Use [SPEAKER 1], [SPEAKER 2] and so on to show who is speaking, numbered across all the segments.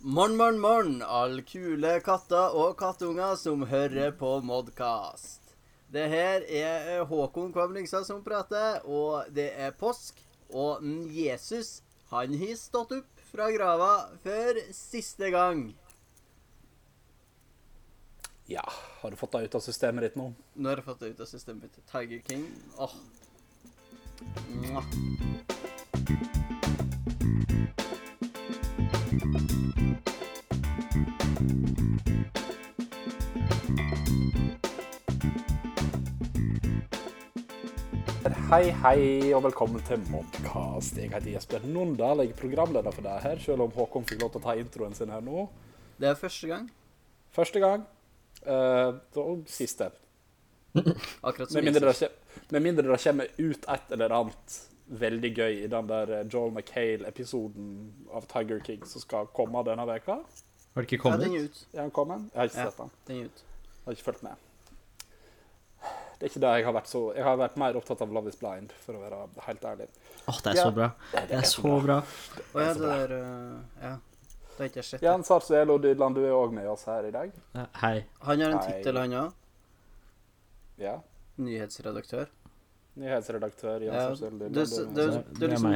[SPEAKER 1] Morn, morn, morn, all kule katter og kattunger som hører på Modcast. Det her er eh, Håkon Kvam-Lyngstad som prater, og det er påsk. Og en Jesus, han har stått opp fra grava for siste gang.
[SPEAKER 2] Ja, har du fått deg ut av systemet ditt nå?
[SPEAKER 1] Nå har jeg fått det ut av systemet mitt. Tiger King. Åh. Mwah.
[SPEAKER 2] Hei, hei, og velkommen til Modcast. Jeg heter Jesper Nondal, jeg er programleder for deg her, selv om Håkon fikk lov til å ta introen sin her nå.
[SPEAKER 1] Det er første gang.
[SPEAKER 2] Første gang, eh, og siste.
[SPEAKER 1] Akkurat som
[SPEAKER 2] Med mindre, det
[SPEAKER 1] Jesus.
[SPEAKER 2] kjem, med mindre det kommer ut et eller annet veldig gøy i den der eh, Joel McHale-episoden av Tiger King som skal komme denne veka.
[SPEAKER 3] Har det ikke
[SPEAKER 1] Ja,
[SPEAKER 3] kommet?
[SPEAKER 1] den er ut.
[SPEAKER 2] Er han kommet? Jeg har ikke
[SPEAKER 1] Ja.
[SPEAKER 2] sett den.
[SPEAKER 1] Den er ut.
[SPEAKER 2] Jeg har ikke fulgt med. Det er ikke det jeg har vært så Jeg har vært mer opptatt av Love is Blind, for å være helt ærlig.
[SPEAKER 3] Åh, det er så
[SPEAKER 2] Ja.
[SPEAKER 3] bra. Det er så bra.
[SPEAKER 1] Å ja, det der eh, Ja. Det har ikke jeg sett.
[SPEAKER 2] Jan Sarsuelo Dydland, du er òg med oss her i dag.
[SPEAKER 3] Ja, Hei.
[SPEAKER 1] Han har en
[SPEAKER 2] Nei.
[SPEAKER 1] tittel, han òg.
[SPEAKER 2] Ja.
[SPEAKER 1] Nyhetsredaktør.
[SPEAKER 2] Nyhetsredaktør Jan
[SPEAKER 1] Ja,
[SPEAKER 2] Sarsuelo
[SPEAKER 1] det,
[SPEAKER 2] Dydland.
[SPEAKER 1] det,
[SPEAKER 2] du er med
[SPEAKER 1] det,
[SPEAKER 2] oss her.
[SPEAKER 1] det er
[SPEAKER 3] Det er
[SPEAKER 1] liksom,
[SPEAKER 3] meg.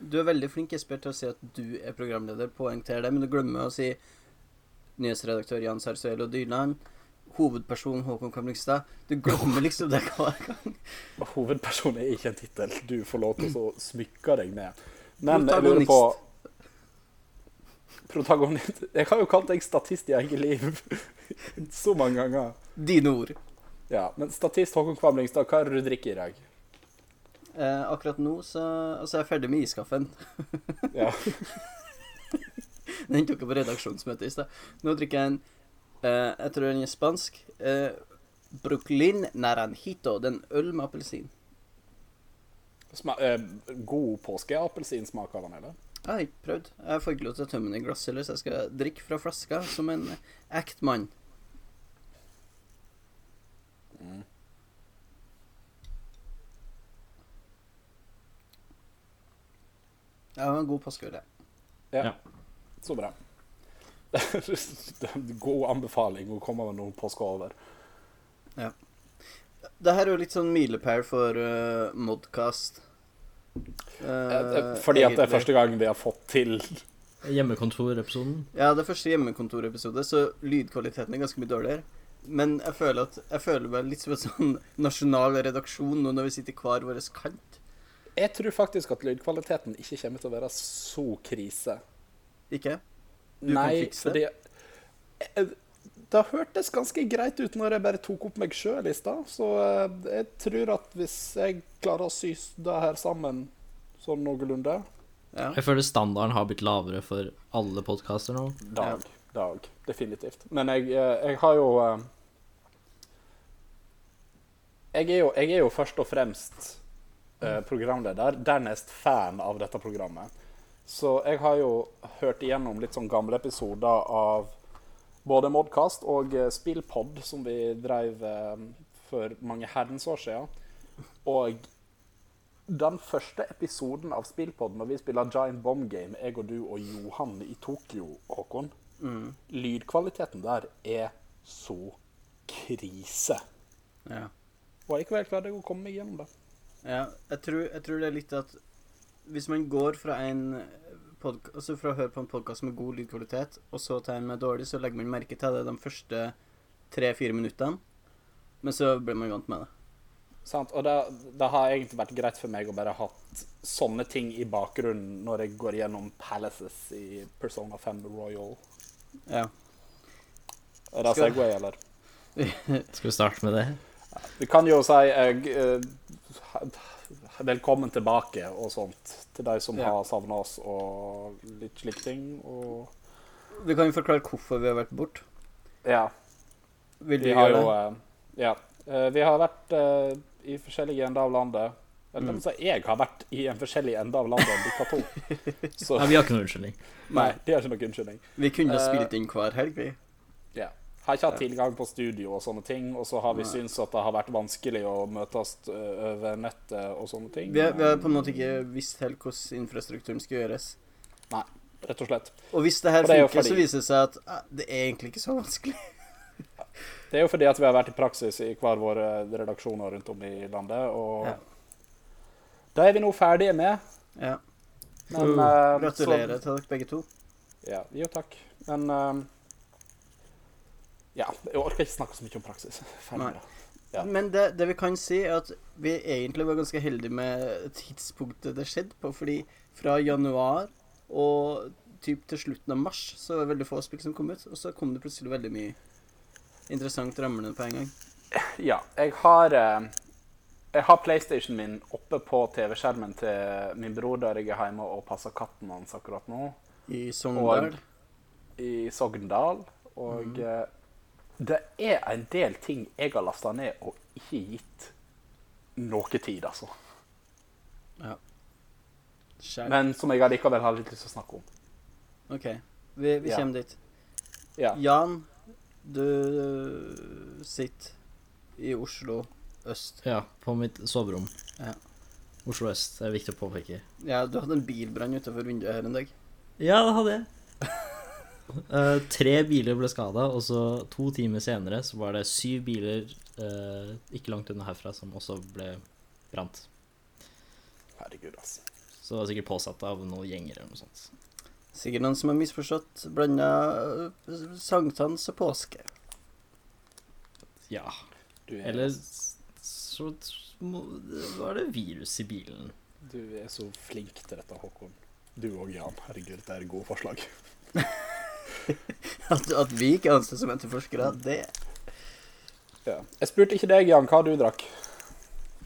[SPEAKER 1] du, du er veldig flink Jesper, til å si at du er programleder, poengter det, men du glemmer å si nyhetsredaktør Jan Sarsuelo Dyrland, hovedperson Håkon Kamlingstad. Du glemmer liksom det hver gang.
[SPEAKER 2] Hovedperson er ikke en tittel du får lov til å smykke deg med. Men jeg lurer
[SPEAKER 1] Protagonist.
[SPEAKER 2] på Protagonist Jeg har jo kalt deg statist i eget liv så mange ganger.
[SPEAKER 1] Dine ord.
[SPEAKER 2] Ja, Men statist Håkon Kvamlingstad, hva er det du drikker i dag?
[SPEAKER 1] Eh, akkurat nå så altså, jeg er ferdig med iskaffen.
[SPEAKER 2] Ja.
[SPEAKER 1] Den tok jeg på redaksjonsmøte i sted. Nå drikker jeg en eh, Jeg tror den er spansk. Eh, Brooklyn Naranjito. Det er en øl med appelsin.
[SPEAKER 2] Sma eh, god påskeappelsinsmak av den, eller?
[SPEAKER 1] Jeg har ikke prøvd. Jeg får ikke lov til å tømme den i glass heller, så jeg skal drikke fra flaska som en ekt mann. Ja, det var en god påskeøl, det.
[SPEAKER 2] Ja.
[SPEAKER 3] Ja.
[SPEAKER 2] Så bra. Det er en God anbefaling å komme med noen påskeover.
[SPEAKER 1] Det her er jo litt sånn milepæl for eh, Modcast. Eh,
[SPEAKER 2] Fordi at det er
[SPEAKER 1] egentlig.
[SPEAKER 2] første gangen vi har fått til
[SPEAKER 3] Hjemmekontorepisoden.
[SPEAKER 1] Ja, det er første hjemmekontorepisode, så lydkvaliteten er ganske mye dårligere. Men jeg føler, at, jeg føler meg litt som en sånn nasjonal redaksjon nå når vi sitter i hver vår kant.
[SPEAKER 2] Jeg tror faktisk at lydkvaliteten ikke kommer til å være så krise.
[SPEAKER 1] Ikke? Du kan
[SPEAKER 2] Nei,
[SPEAKER 1] fikse
[SPEAKER 2] fordi Eh, Det hørtes ganske greit ut når jeg bare tok opp meg sjøl i stad, så eh, jeg tror at hvis jeg klarer å sy det her sammen sånn noenlunde
[SPEAKER 1] Ja.
[SPEAKER 3] Jeg føler standarden har blitt lavere for alle podkaster nå.
[SPEAKER 2] Dag. Dag. Definitivt. Men jeg, eh, jeg har jo eh, jeg er jo, jeg er jo først og fremst eh, programleder, dernest fan av dette programmet. Så jeg har jo hørt igjennom litt sånn gamle episoder av både Modcast og eh, Spillpod, som vi drev eh, for mange herrens år siden. Og den første episoden av Spillpod, når vi spiller Giant Bomb Game, jeg og du og Johan i Tokyo, Håkon Lydkvaliteten der er så krise.
[SPEAKER 1] Ja.
[SPEAKER 2] Og likevel klarte jeg å komme meg gjennom det.
[SPEAKER 1] ja. Jeg, tror, jeg tror det er litt at hvis man går fra en podk- altså fra å høre på en podkast med god lydkvalitet, og så til en med dårlig, så legger man merke til det de første tre-fire minuttene. Men så blir man vant med det.
[SPEAKER 2] Sant? Og det, det har egentlig vært greit for meg å bare hatt sånne ting i bakgrunnen når jeg går gjennom Palaces i Persona 5 Royal.
[SPEAKER 1] Ja.
[SPEAKER 2] Er det
[SPEAKER 1] Skal-
[SPEAKER 2] Segway, eller?
[SPEAKER 3] Skal vi starte med det?
[SPEAKER 2] Vi kan jo si jeg, eh, velkommen tilbake og sånt til de som
[SPEAKER 1] Ja.
[SPEAKER 2] har savna oss og litt slike ting. Og
[SPEAKER 1] Vi kan jo forklare hvorfor vi har vært borte.
[SPEAKER 2] ja,
[SPEAKER 1] Vil du
[SPEAKER 2] vi har
[SPEAKER 1] gjøre
[SPEAKER 2] jo
[SPEAKER 1] det?
[SPEAKER 2] eh, Ja. eh, Vi har vært eh, i forskjellige ender av landet. Eller
[SPEAKER 1] Mm.
[SPEAKER 2] så jeg har vært i en forskjellig ende av landet enn dere to. Så
[SPEAKER 3] Nei, vi har ikke noen unnskyldning.
[SPEAKER 2] nei, det er ikke noen unnskyldning.
[SPEAKER 1] Vi kunne ha
[SPEAKER 2] Eh,
[SPEAKER 1] spilt inn hver helg, vi.
[SPEAKER 2] Ja. Har ikke hatt tilgang på studio og sånne ting, og så har vi
[SPEAKER 1] Nei.
[SPEAKER 2] syntes at det har vært vanskelig å møtes eh, over nettet og sånne ting.
[SPEAKER 1] Vi har, vi har på en måte ikke visst helt hvordan infrastrukturen skal gjøres.
[SPEAKER 2] Nei. rett og slett.
[SPEAKER 1] Og hvis det her
[SPEAKER 2] Og det er jo
[SPEAKER 1] funker, så
[SPEAKER 2] fordi-
[SPEAKER 1] viser det seg at eh, det er egentlig ikke så vanskelig.
[SPEAKER 2] Det er jo fordi at vi har vært i praksis i hver våre redaksjoner rundt om i landet, og
[SPEAKER 1] Ja.
[SPEAKER 2] da er vi nå ferdige med.
[SPEAKER 1] Ja.
[SPEAKER 2] Men,
[SPEAKER 3] Uh,
[SPEAKER 2] eh,
[SPEAKER 1] Gratulerer til dere begge to.
[SPEAKER 2] Så, ja, jo, takk. Men eh, ja, jeg orker ikke snakke så mye om praksis. Ferdig
[SPEAKER 1] Nei.
[SPEAKER 2] med det. Ja.
[SPEAKER 1] Men det, det vi kan si, er at vi egentlig var ganske heldige med tidspunktet det skjedde på. Fordi fra januar og typ til slutten av mars så var det veldig få spill som kom ut. Og så kom det plutselig veldig mye interessant ramlende på en gang.
[SPEAKER 2] Ja, jeg har eh, Jeg har PlayStation min oppe på TV-skjermen til min bror der jeg er hjemme og passer katten hans akkurat nå,
[SPEAKER 1] I Sogndal.
[SPEAKER 2] i Sogndal. Og eh, det er en del ting jeg har lasta ned og ikke gitt noe tid, altså.
[SPEAKER 1] Ja. Skjær.
[SPEAKER 2] Men som jeg allikevel har litt lyst til å snakke om.
[SPEAKER 1] OK. Vi, vi
[SPEAKER 2] Ja.
[SPEAKER 1] kommer dit.
[SPEAKER 2] Ja.
[SPEAKER 1] Jan, du sitter i Oslo øst.
[SPEAKER 3] Ja, på mitt soverom.
[SPEAKER 1] Ja.
[SPEAKER 3] Oslo øst. Det er viktig å påpeke.
[SPEAKER 1] Ja, du hadde en bilbrann utenfor vinduet her en dag.
[SPEAKER 3] Ja, det hadde jeg. Eh, tre biler ble skada, og så to timer senere så var det syv biler eh, ikke langt unna herfra som også ble brant.
[SPEAKER 2] Herregud, altså.
[SPEAKER 3] Så det var sikkert påsatt av noen gjenger eller noe sånt.
[SPEAKER 1] Sikkert noen som har misforstått blanda sankthans og påske.
[SPEAKER 3] Ja.
[SPEAKER 2] Du er,
[SPEAKER 3] Eller s- så t- må- var det virus i bilen.
[SPEAKER 2] du er så flink til dette, Håkon. Du og Jan. Herregud, dette er gode forslag.
[SPEAKER 1] At, at vi ikke anses som etterforskere, det
[SPEAKER 2] Ja. Jeg spurte ikke deg, Jan, hva du drakk.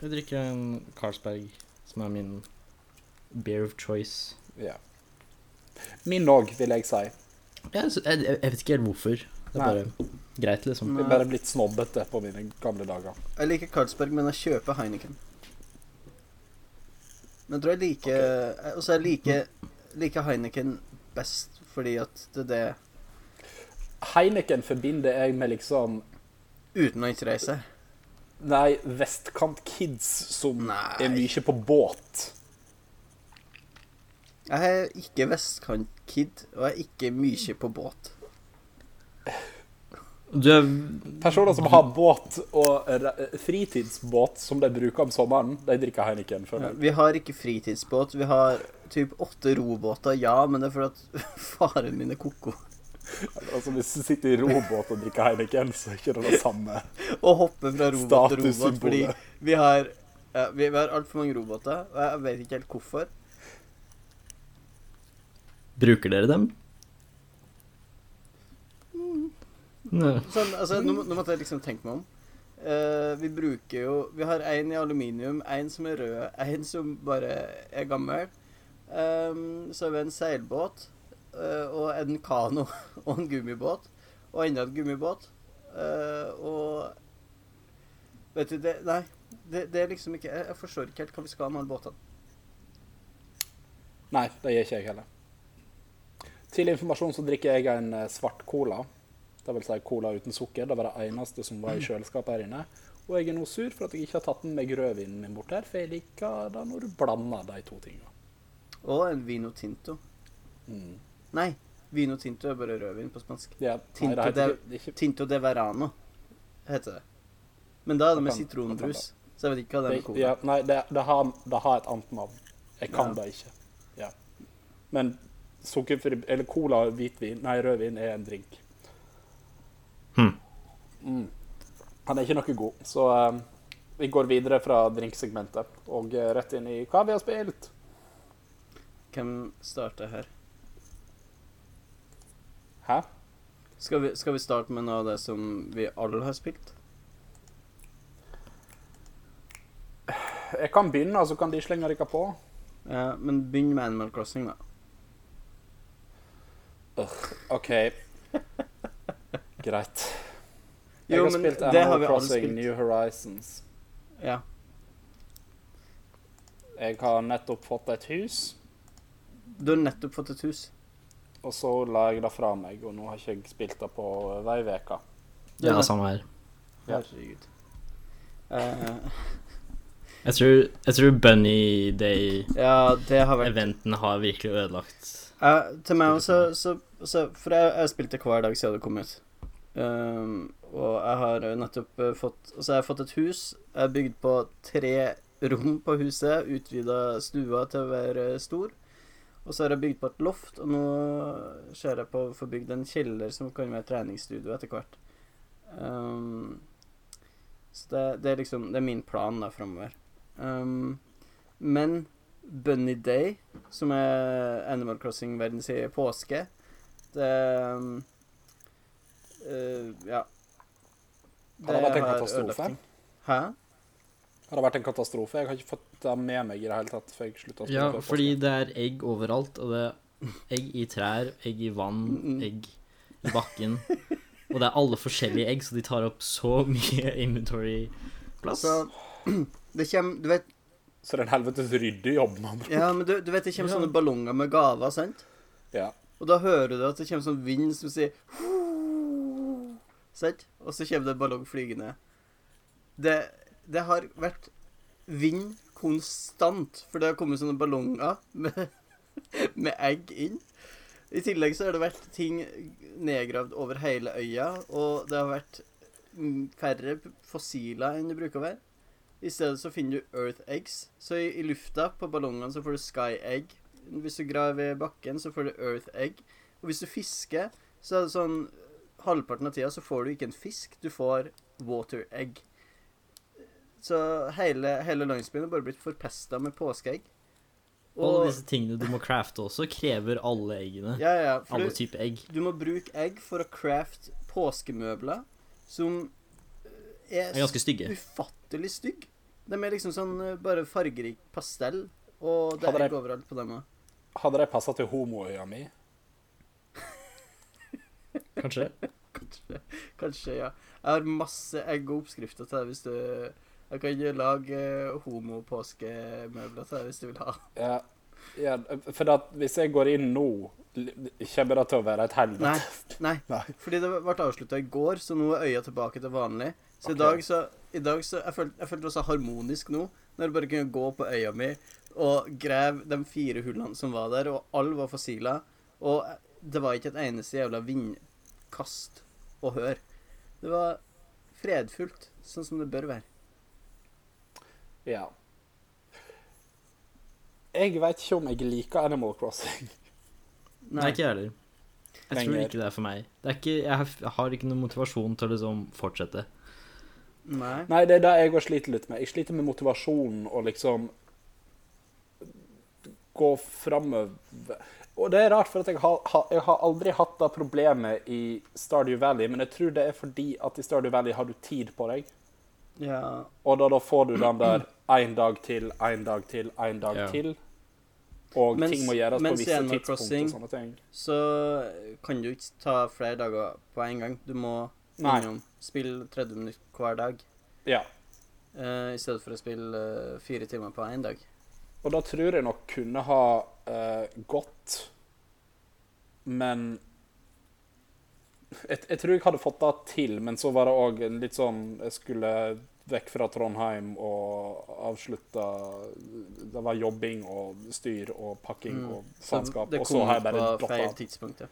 [SPEAKER 3] Jeg drikker en Carlsberg, som er min beer of choice.
[SPEAKER 2] Ja. Min òg, vil jeg si.
[SPEAKER 3] Jeg, sy- jeg, jeg vet ikke helt hvorfor. Det er
[SPEAKER 2] Nei.
[SPEAKER 3] bare greit, liksom.
[SPEAKER 1] Nei.
[SPEAKER 2] Jeg er bare blitt snobbete på mine gamle dager.
[SPEAKER 1] Jeg liker Carlsberg, men jeg kjøper Heineken. Men jeg tror jeg liker jeg- Altså, jeg liker, liker Heineken best fordi at det er det
[SPEAKER 2] Heineken forbinder jeg med liksom
[SPEAKER 1] utenlandsreise.
[SPEAKER 2] Nei, Vestkant-kids som
[SPEAKER 1] Nei.
[SPEAKER 2] er mye på båt.
[SPEAKER 1] Jeg er ikke vestkant-kid, og jeg er ikke mye på båt.
[SPEAKER 3] Du er
[SPEAKER 2] Personer som har båt og re- eh, fritidsbåt som de bruker om sommeren, de drikker Heineken. føler jeg.
[SPEAKER 1] Vi har ikke fritidsbåt. Vi har typ åtte robåter, ja, men det er fordi at faren min er koko.
[SPEAKER 2] Altså, Hvis du sitter i robåt og drikker Heineken, så er ikke det det samme.
[SPEAKER 1] Og hopper fra robåt til robåt
[SPEAKER 2] Statussymbolet.
[SPEAKER 1] fordi vi har ja, vi, vi har altfor mange robåter, og jeg vet ikke helt hvorfor.
[SPEAKER 3] Bruker dere dem? Mm. Nei.
[SPEAKER 1] Sånn, altså, nå, må- nå måtte jeg liksom tenke meg om. Eh, vi bruker jo Vi har én i aluminium, én som er rød, én som bare er gammel. Ehm, så har vi en seilbåt, eh, og en kano og en gummibåt. Og enda en gummibåt. Eh, og Vet du, det Nei. Det, det er liksom ikke Jeg jeg forstår ikke helt hva vi skal med alle båtene.
[SPEAKER 2] Nei, det gjør ikke jeg heller. Til informasjon så drikker jeg en eh, svart cola. Det vil si cola uten sukker. Det var det eneste som var i kjøleskapet her inne. Og jeg er nå sur for at jeg ikke har tatt med meg rødvinen min bort her, for jeg liker det når du blander de to tingene.
[SPEAKER 1] Og en vino tinto.
[SPEAKER 2] Mm.
[SPEAKER 1] Nei, vino tinto er bare rødvin på spansk.
[SPEAKER 2] Ja, nei,
[SPEAKER 1] Tinto,
[SPEAKER 2] det heter
[SPEAKER 1] det-
[SPEAKER 2] ikke, det er ikke,
[SPEAKER 1] Tinto de Verano heter det. Men da er det med
[SPEAKER 2] Kan-
[SPEAKER 1] sitronbrus, så jeg vet ikke hva det er med
[SPEAKER 2] det,
[SPEAKER 1] cola.
[SPEAKER 2] ja, nei, det, det, har, det har et annet navn. Jeg kan
[SPEAKER 1] Ja.
[SPEAKER 2] det ikke. Ja. Men sukkerfri Eller cola og hvitvin Nei, rødvin er en drink.
[SPEAKER 3] Hm.
[SPEAKER 2] Mm. Han er ikke noe god, så eh, vi går videre fra drinksegmentet og eh, rett inn i hva vi har spilt.
[SPEAKER 1] Hvem starter her?
[SPEAKER 2] Hæ?
[SPEAKER 1] Skal vi, skal vi starte med noe av det som vi alle har spilt?
[SPEAKER 2] Jeg kan begynne, så kan de slenge dere på.
[SPEAKER 1] Ja, men begynn med Animal Crossing, da.
[SPEAKER 2] OK. Greit. Jeg
[SPEAKER 1] Jo,
[SPEAKER 2] har
[SPEAKER 1] men
[SPEAKER 2] spilt
[SPEAKER 1] det har
[SPEAKER 2] Animal
[SPEAKER 1] vi alle
[SPEAKER 2] Crossing
[SPEAKER 1] spilt.
[SPEAKER 2] New Horizons.
[SPEAKER 1] Ja.
[SPEAKER 2] Jeg har nettopp fått et hus,
[SPEAKER 1] Du har nettopp fått et hus.
[SPEAKER 2] og så la jeg det fra meg, og nå har ikke jeg spilt det på eh, vei veka.
[SPEAKER 3] Ja, samme her.
[SPEAKER 2] Ja.
[SPEAKER 1] Herregud. Eh,
[SPEAKER 3] Jeg tror, jeg tror Bunny Day-eventen
[SPEAKER 1] ja, det har vært
[SPEAKER 3] har virkelig ødelagt
[SPEAKER 1] Jeg- til meg også, så, så For jeg, jeg spilte hver dag siden det kom ut. Ehm, og jeg har jo nettopp eh, fått Altså, jeg har fått et hus. Jeg er bygd på tre rom på huset. Utvida stua til å være stor. Og så har jeg bygd på et loft, og nå ser jeg på å få bygd en kjeller som kan være treningsstudio etter hvert. Ehm, så det, det er liksom Det er min plan da framover. Ehm, men Bunny Day som er Animal Crossing verdens i påske. Det um, eh, Ja.
[SPEAKER 2] Har det vært en
[SPEAKER 1] har
[SPEAKER 2] katastrofe?
[SPEAKER 1] ødelagt ting. Hæ?
[SPEAKER 2] Har det vært en katastrofe? Jeg har ikke fått det med meg i det hele tatt. For jeg sluttet å spille
[SPEAKER 3] Ja,
[SPEAKER 2] før
[SPEAKER 3] fordi
[SPEAKER 2] påske.
[SPEAKER 3] det er egg overalt, og det er egg i trær, egg i vann,
[SPEAKER 1] Mm.
[SPEAKER 3] egg i bakken. Og det er alle forskjellige egg, så de tar opp så mye inventory-plass.
[SPEAKER 1] Altså, det kommer Du vet,
[SPEAKER 2] Så det er en helvetes ryddejobb. man bruker.
[SPEAKER 1] ja, men du, du vet det kommer
[SPEAKER 3] Ja.
[SPEAKER 1] sånne ballonger med gaver, sant?
[SPEAKER 2] Ja.
[SPEAKER 1] Og da hører du at det kommer sånn vind som sier «Hoo», Sant? Og så kommer det en ballong flygende. Det, det har vært vind konstant, for det har kommet sånne ballonger med, med egg inn. I tillegg så har det vært ting nedgravd over hele øya, og det har vært mm, færre p- fossiler enn det bruker å være. I stedet så finner du Earth Eggs. Så i, i lufta på ballongene så får du Sky Egg. Hvis du graver i bakken, så får du Earth Egg. Og hvis du fisker, så er det sånn Halvparten av tida så får du ikke en fisk, du får water egg. Så hele, hele landsbyen er bare blitt forpesta med påskeegg.
[SPEAKER 3] Og alle disse tingene du må crafte også, krever alle eggene.
[SPEAKER 1] ja, ja, for
[SPEAKER 3] Alle
[SPEAKER 1] du-
[SPEAKER 3] typer egg.
[SPEAKER 1] du må bruke egg for å crafte påskemøbler som eh,
[SPEAKER 3] Er ganske stygge.
[SPEAKER 1] ufattelig stygge. De er liksom sånn eh, bare fargerik pastell, og det
[SPEAKER 2] Hadde
[SPEAKER 1] er
[SPEAKER 2] de-
[SPEAKER 1] egg overalt på dem òg.
[SPEAKER 2] Hadde det passa til homoøya mi?
[SPEAKER 3] Kanskje.
[SPEAKER 1] Kanskje, ja. Jeg har masse egg og oppskrifter til deg hvis du Jeg kan jo lage eh, homopåskemøbler til deg hvis du vil ha.
[SPEAKER 2] Ja, ja, for at hvis jeg går inn nå, l- kommer det til å være et helvete.
[SPEAKER 1] Nei. Nei.
[SPEAKER 2] Nei.
[SPEAKER 1] Fordi det ble avslutta i går, så nå er øya tilbake til vanlig. Så
[SPEAKER 2] Ok.
[SPEAKER 1] i dag så, i dag så Jeg følte jeg følte det var så harmonisk nå, når jeg bare kunne gå på øya mi og grave de fire hullene som var der, og alle var fossiler. Og det var ikke et eneste jævla vindkast å høre. Det var fredfullt, sånn som det bør være.
[SPEAKER 2] Ja. Jeg veit ikke om jeg liker Animal Crossing.
[SPEAKER 3] Nei, ikke jeg heller. Jeg tror
[SPEAKER 2] Lenger.
[SPEAKER 3] ikke det er for meg. Det er ikke, jeg har- jeg har ikke noen motivasjon til å liksom fortsette.
[SPEAKER 1] Nei.
[SPEAKER 2] Nei, det er det jeg òg sliter litt med. Jeg sliter med motivasjonen og liksom gå framover. Og det er rart, for at jeg har, ha- jeg har aldri hatt det problemet i Stardew Valley, men jeg tror det er fordi at i Stardew Valley har du tid på deg,
[SPEAKER 1] Ja.
[SPEAKER 2] og da, da får du den der én dag til, én dag til, én dag
[SPEAKER 3] Ja.
[SPEAKER 2] til. Og
[SPEAKER 1] Mens-
[SPEAKER 2] ting må gjøres på
[SPEAKER 1] mens i
[SPEAKER 2] visse
[SPEAKER 1] Animal
[SPEAKER 2] tidspunkt
[SPEAKER 1] Crossing-
[SPEAKER 2] og sånne ting.
[SPEAKER 1] Så kan du ikke ta flere dager på en gang. Du må
[SPEAKER 2] Nei.
[SPEAKER 1] innom. Spille 30 minutter hver dag.
[SPEAKER 2] Ja.
[SPEAKER 1] Eh, I stedet for å spille eh, fire timer på én dag.
[SPEAKER 2] Og da tror jeg nok kunne ha eh, gått Men jeg, jeg tror jeg hadde fått det til, men så var det òg en litt sånn Jeg skulle vekk fra Trondheim og avslutta Det var jobbing og styr og pakking
[SPEAKER 1] Mm.
[SPEAKER 2] og
[SPEAKER 1] Så
[SPEAKER 2] faenskap.
[SPEAKER 1] det
[SPEAKER 2] Og så
[SPEAKER 1] kom
[SPEAKER 2] har jeg
[SPEAKER 1] ut
[SPEAKER 2] bare
[SPEAKER 1] på
[SPEAKER 2] droppa
[SPEAKER 1] feil
[SPEAKER 2] av.
[SPEAKER 1] tidspunkt. Ja.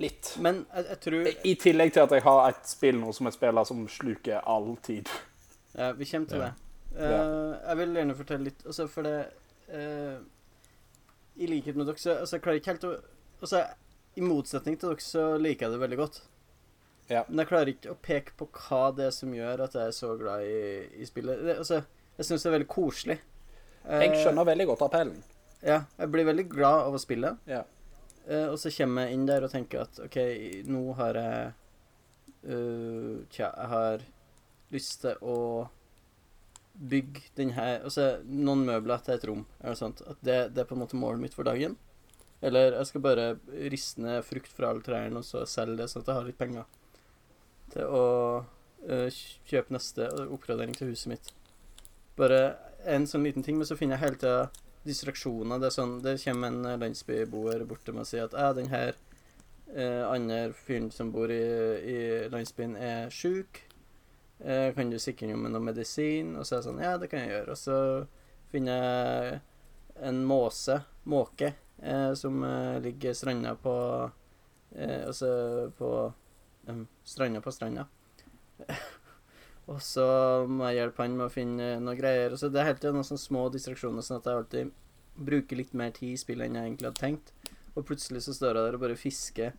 [SPEAKER 2] Litt.
[SPEAKER 1] Men jeg, jeg tror
[SPEAKER 2] I tillegg til at jeg har et spill nå som jeg spiller som sluker all tid.
[SPEAKER 1] ja, Vi kommer til
[SPEAKER 3] Ja.
[SPEAKER 1] det. Eh, jeg vil gjerne fortelle litt, altså, for det eh, I likhet med dere, så altså, jeg klarer ikke helt å altså, I motsetning til dere, så liker jeg det veldig godt.
[SPEAKER 2] Ja.
[SPEAKER 1] Men jeg klarer ikke å peke på hva det er som gjør at jeg er så glad i, i spillet. Det, altså, jeg syns det er veldig koselig.
[SPEAKER 2] Jeg
[SPEAKER 1] Eh,
[SPEAKER 2] skjønner veldig godt appellen.
[SPEAKER 1] Ja, jeg blir veldig glad av å spille.
[SPEAKER 2] Ja.
[SPEAKER 1] Eh, og så kommer jeg inn der og tenker at OK, nå har jeg eh, Tja, jeg har lyst til å bygge den her Altså noen møbler til et rom, eller noe sånt. At det, det er på en måte målet mitt for dagen. Eller jeg skal bare riste ned frukt fra alle trærne og så selge det, sånn at jeg har litt penger til å eh, kj- kjøpe neste oppgradering til huset mitt. Bare en sånn liten ting, men så finner jeg hele tida distraksjoner. Det, er sånn, det kommer en eh, landsbyboer bort til meg og sier at «Ja, den her eh, andre fyren som bor i, i landsbyen, er sjuk. Eh, kan du sikre ham med noe medisin? Og så er jeg sånn Ja, det kan jeg gjøre. Og så finner jeg en måse, måke, eh, som eh, ligger stranda på eh, Altså på em, stranda på stranda. og så må jeg hjelpe han med å finne noen greier. Og så det er hele tiden noen sånne små distraksjoner, sånn at jeg alltid bruker litt mer tid i spillet enn jeg egentlig hadde tenkt. Og plutselig så står jeg der og bare fisker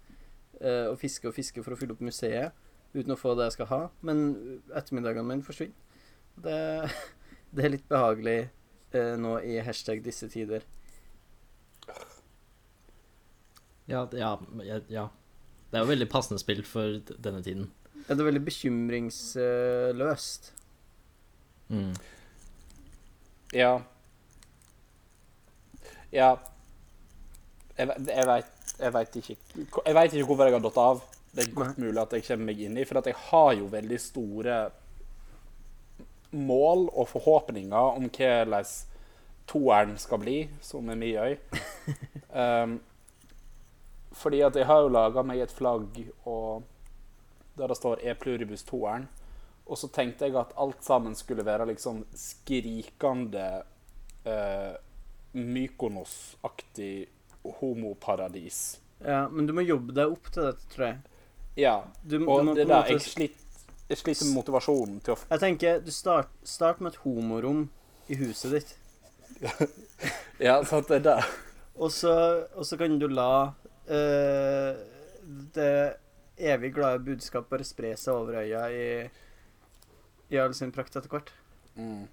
[SPEAKER 1] eh, og fisker og fisker for å fylle opp museet uten å få det jeg skal ha. Men ettermiddagene mine forsvinner. Det, det er litt behagelig eh, nå i hashtag disse tider.
[SPEAKER 3] Ja, det- ja, ja, ja. Det er jo veldig passende spill for d- denne tiden.
[SPEAKER 1] Er det veldig bekymringsløst?
[SPEAKER 3] Mm.
[SPEAKER 2] Ja. Ja. Jeg, ve- jeg veit jeg vet ikke Jeg vet ikke hvorfor jeg har datt av. Det er godt mulig at jeg kommer meg inn i, for at jeg har jo veldig store mål og forhåpninger om hvordan toeren skal bli, som er mye øy. Um, fordi at jeg har jo laga meg et flagg og der det står E pluribus toeren. Og så tenkte jeg at alt sammen skulle være liksom skrikende eh, Mykonos-aktig homoparadis.
[SPEAKER 1] Ja, men du må jobbe deg opp til dette, tror jeg.
[SPEAKER 2] Ja,
[SPEAKER 1] Du, du
[SPEAKER 2] og
[SPEAKER 1] må
[SPEAKER 2] det
[SPEAKER 1] på en
[SPEAKER 2] der,
[SPEAKER 1] måte,
[SPEAKER 2] jeg sliter, jeg sliter med motivasjonen til å f-
[SPEAKER 1] jeg tenker, du start, start med et homorom i huset ditt.
[SPEAKER 2] Ja, sant, det der.
[SPEAKER 1] Og så, og så kan du la eh, det evig glade budskap bare spre seg over øya i, i all sin prakt etter hvert.
[SPEAKER 2] Mm.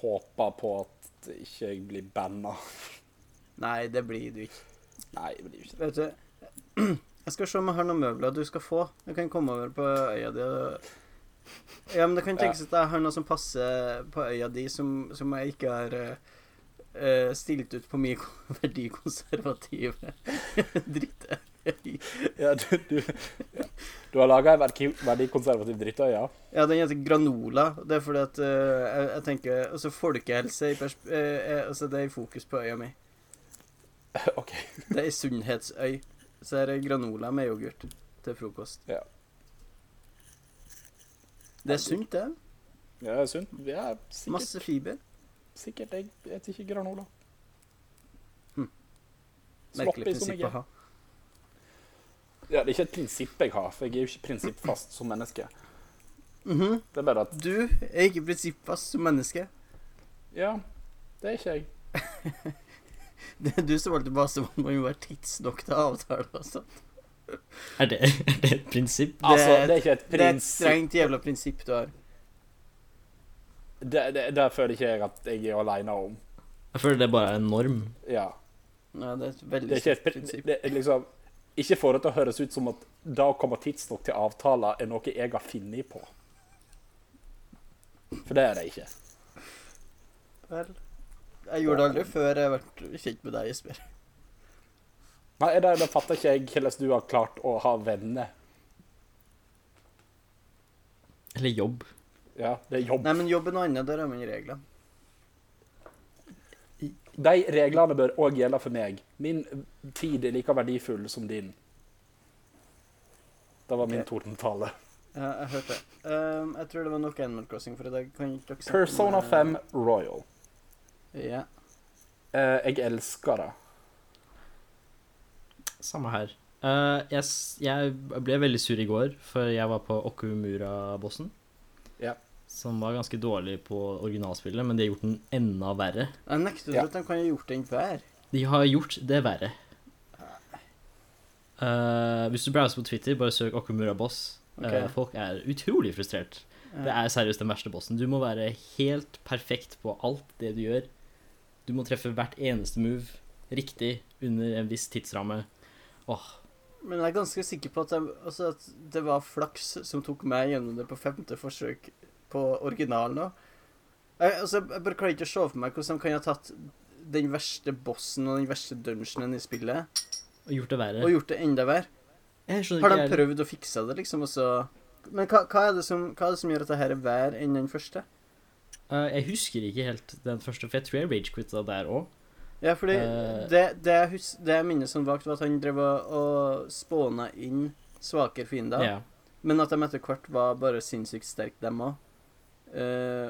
[SPEAKER 2] Håper på at ikke jeg blir banna.
[SPEAKER 1] Nei, det blir du ikke.
[SPEAKER 2] Nei, jeg blir jo ikke det.
[SPEAKER 1] Vet du, jeg skal se om jeg har noen møbler du skal få. Jeg kan komme over på øya di og Ja, men det kan tenkes at jeg har noe som passer på øya di, som, som jeg ikke har eh, eh, stilt ut på min kon- verdikonservative drittøy.
[SPEAKER 2] Ja, du, du, ja. du har laga ei verdi- verdikonservativ drittøye?
[SPEAKER 1] Ja, den heter granola. Det er fordi at eh, jeg, jeg tenker Altså, folkehelse i persp... eh, eh, altså, det er i fokus på øya mi.
[SPEAKER 2] OK.
[SPEAKER 1] Det er ei sunnhetsøy. Så her er granola med yoghurt til frokost.
[SPEAKER 2] Ja.
[SPEAKER 1] Det er sunt, det.
[SPEAKER 2] Ja, det er sunt. Ja, sikkert.
[SPEAKER 1] Masse fiber.
[SPEAKER 2] Sikkert. Jeg spiser ikke granola.
[SPEAKER 1] Hm.
[SPEAKER 2] Sloppy
[SPEAKER 1] Merkelig
[SPEAKER 2] som
[SPEAKER 1] prinsipp
[SPEAKER 2] jeg
[SPEAKER 1] å
[SPEAKER 2] er.
[SPEAKER 1] ha.
[SPEAKER 2] Ja, det er ikke et prinsipp jeg har, for jeg er jo ikke prinsippfast som menneske.
[SPEAKER 1] Mhm.
[SPEAKER 2] Det er bare at
[SPEAKER 1] Du er ikke prinsippfast som menneske.
[SPEAKER 2] Ja, det er ikke jeg.
[SPEAKER 1] Det er du som valgte base, man må jo være tidsnok til avtaler og sånt.
[SPEAKER 3] Er, det, er det et prinsipp?
[SPEAKER 2] Altså,
[SPEAKER 1] et-
[SPEAKER 2] det er ikke et
[SPEAKER 1] Det er et
[SPEAKER 2] prinsipp.
[SPEAKER 1] strengt jævla prinsipp du har.
[SPEAKER 2] Det, det, det føler ikke jeg at jeg er aleine om.
[SPEAKER 3] Jeg føler det bare er en norm.
[SPEAKER 2] Ja.
[SPEAKER 1] Ja, det er et
[SPEAKER 2] Det
[SPEAKER 1] veldig
[SPEAKER 2] er ikke
[SPEAKER 1] strengt
[SPEAKER 2] et
[SPEAKER 1] prinsipp.
[SPEAKER 2] prinsipp. Det er liksom Ikke for det til å høres ut som at det å komme tidsnok til avtaler er noe jeg har funnet på. For det er det ikke.
[SPEAKER 1] Vel, jeg gjorde det aldri før jeg ble kjent med deg, Jesper.
[SPEAKER 2] Nei, det, det fatter ikke jeg hvordan du har klart å ha venner.
[SPEAKER 3] Eller jobb.
[SPEAKER 2] Ja, det er jobb.
[SPEAKER 1] Nei, men jobb er noe annet. Der er man regler.
[SPEAKER 2] De reglene bør òg gjelde for meg. Min tid er like verdifull som din. Det var min
[SPEAKER 1] Ok.
[SPEAKER 2] tordentale.
[SPEAKER 1] Ja, jeg hørte det. Ehm, jeg tror det var nok Animal Crossing for i dag. Kan ikke dere snakke om,
[SPEAKER 2] Persona
[SPEAKER 1] eh,
[SPEAKER 2] 5 Royal.
[SPEAKER 1] Ja.
[SPEAKER 2] Eh, jeg elsker det.
[SPEAKER 3] Samme her. Eh, jeg, s- jeg ble veldig sur i går, for jeg var på Okumura-bossen.
[SPEAKER 2] Ja.
[SPEAKER 3] Som var ganske dårlig på originalspillet, men de har gjort den enda verre.
[SPEAKER 1] Jeg nekter
[SPEAKER 2] Ja.
[SPEAKER 1] at de kan ha gjort den hver.
[SPEAKER 3] De har gjort det verre. Eh, hvis du browser på Twitter, bare søk Okumura-boss. Eh,
[SPEAKER 1] Ok.
[SPEAKER 3] folk er utrolig frustrert. Det er seriøst den verste bossen. Du må være helt perfekt på alt det du gjør. Du må treffe hvert eneste move riktig under en viss tidsramme. Åh,
[SPEAKER 1] Ehm, Men jeg er ganske sikker på at, jeg, altså at det var flaks som tok meg gjennom det på femte forsøk på originalen òg. Jeg, altså, jeg bare klarer ikke å se for meg hvordan de kan ha tatt den verste bossen og den verste dungeonen i spillet
[SPEAKER 3] og gjort det verre.
[SPEAKER 1] og gjort det enda verre.
[SPEAKER 3] Jeg skjønner
[SPEAKER 1] Har
[SPEAKER 3] ikke
[SPEAKER 1] de
[SPEAKER 3] jeg-
[SPEAKER 1] prøvd å fikse det, liksom, og så Men hva, hva, er det som, hva er det som gjør at det her er verre enn den første?
[SPEAKER 3] Eh, jeg husker ikke helt den første, for jeg tror jeg ragequitta der òg.
[SPEAKER 1] Ja, fordi
[SPEAKER 3] Eh.
[SPEAKER 1] det, det, jeg hus det jeg minnes som vagt, var at han drev og og spåna inn svakere fiender.
[SPEAKER 3] Ja.
[SPEAKER 1] Men at de etter hvert var bare sinnssykt Eh, sterke, dem òg.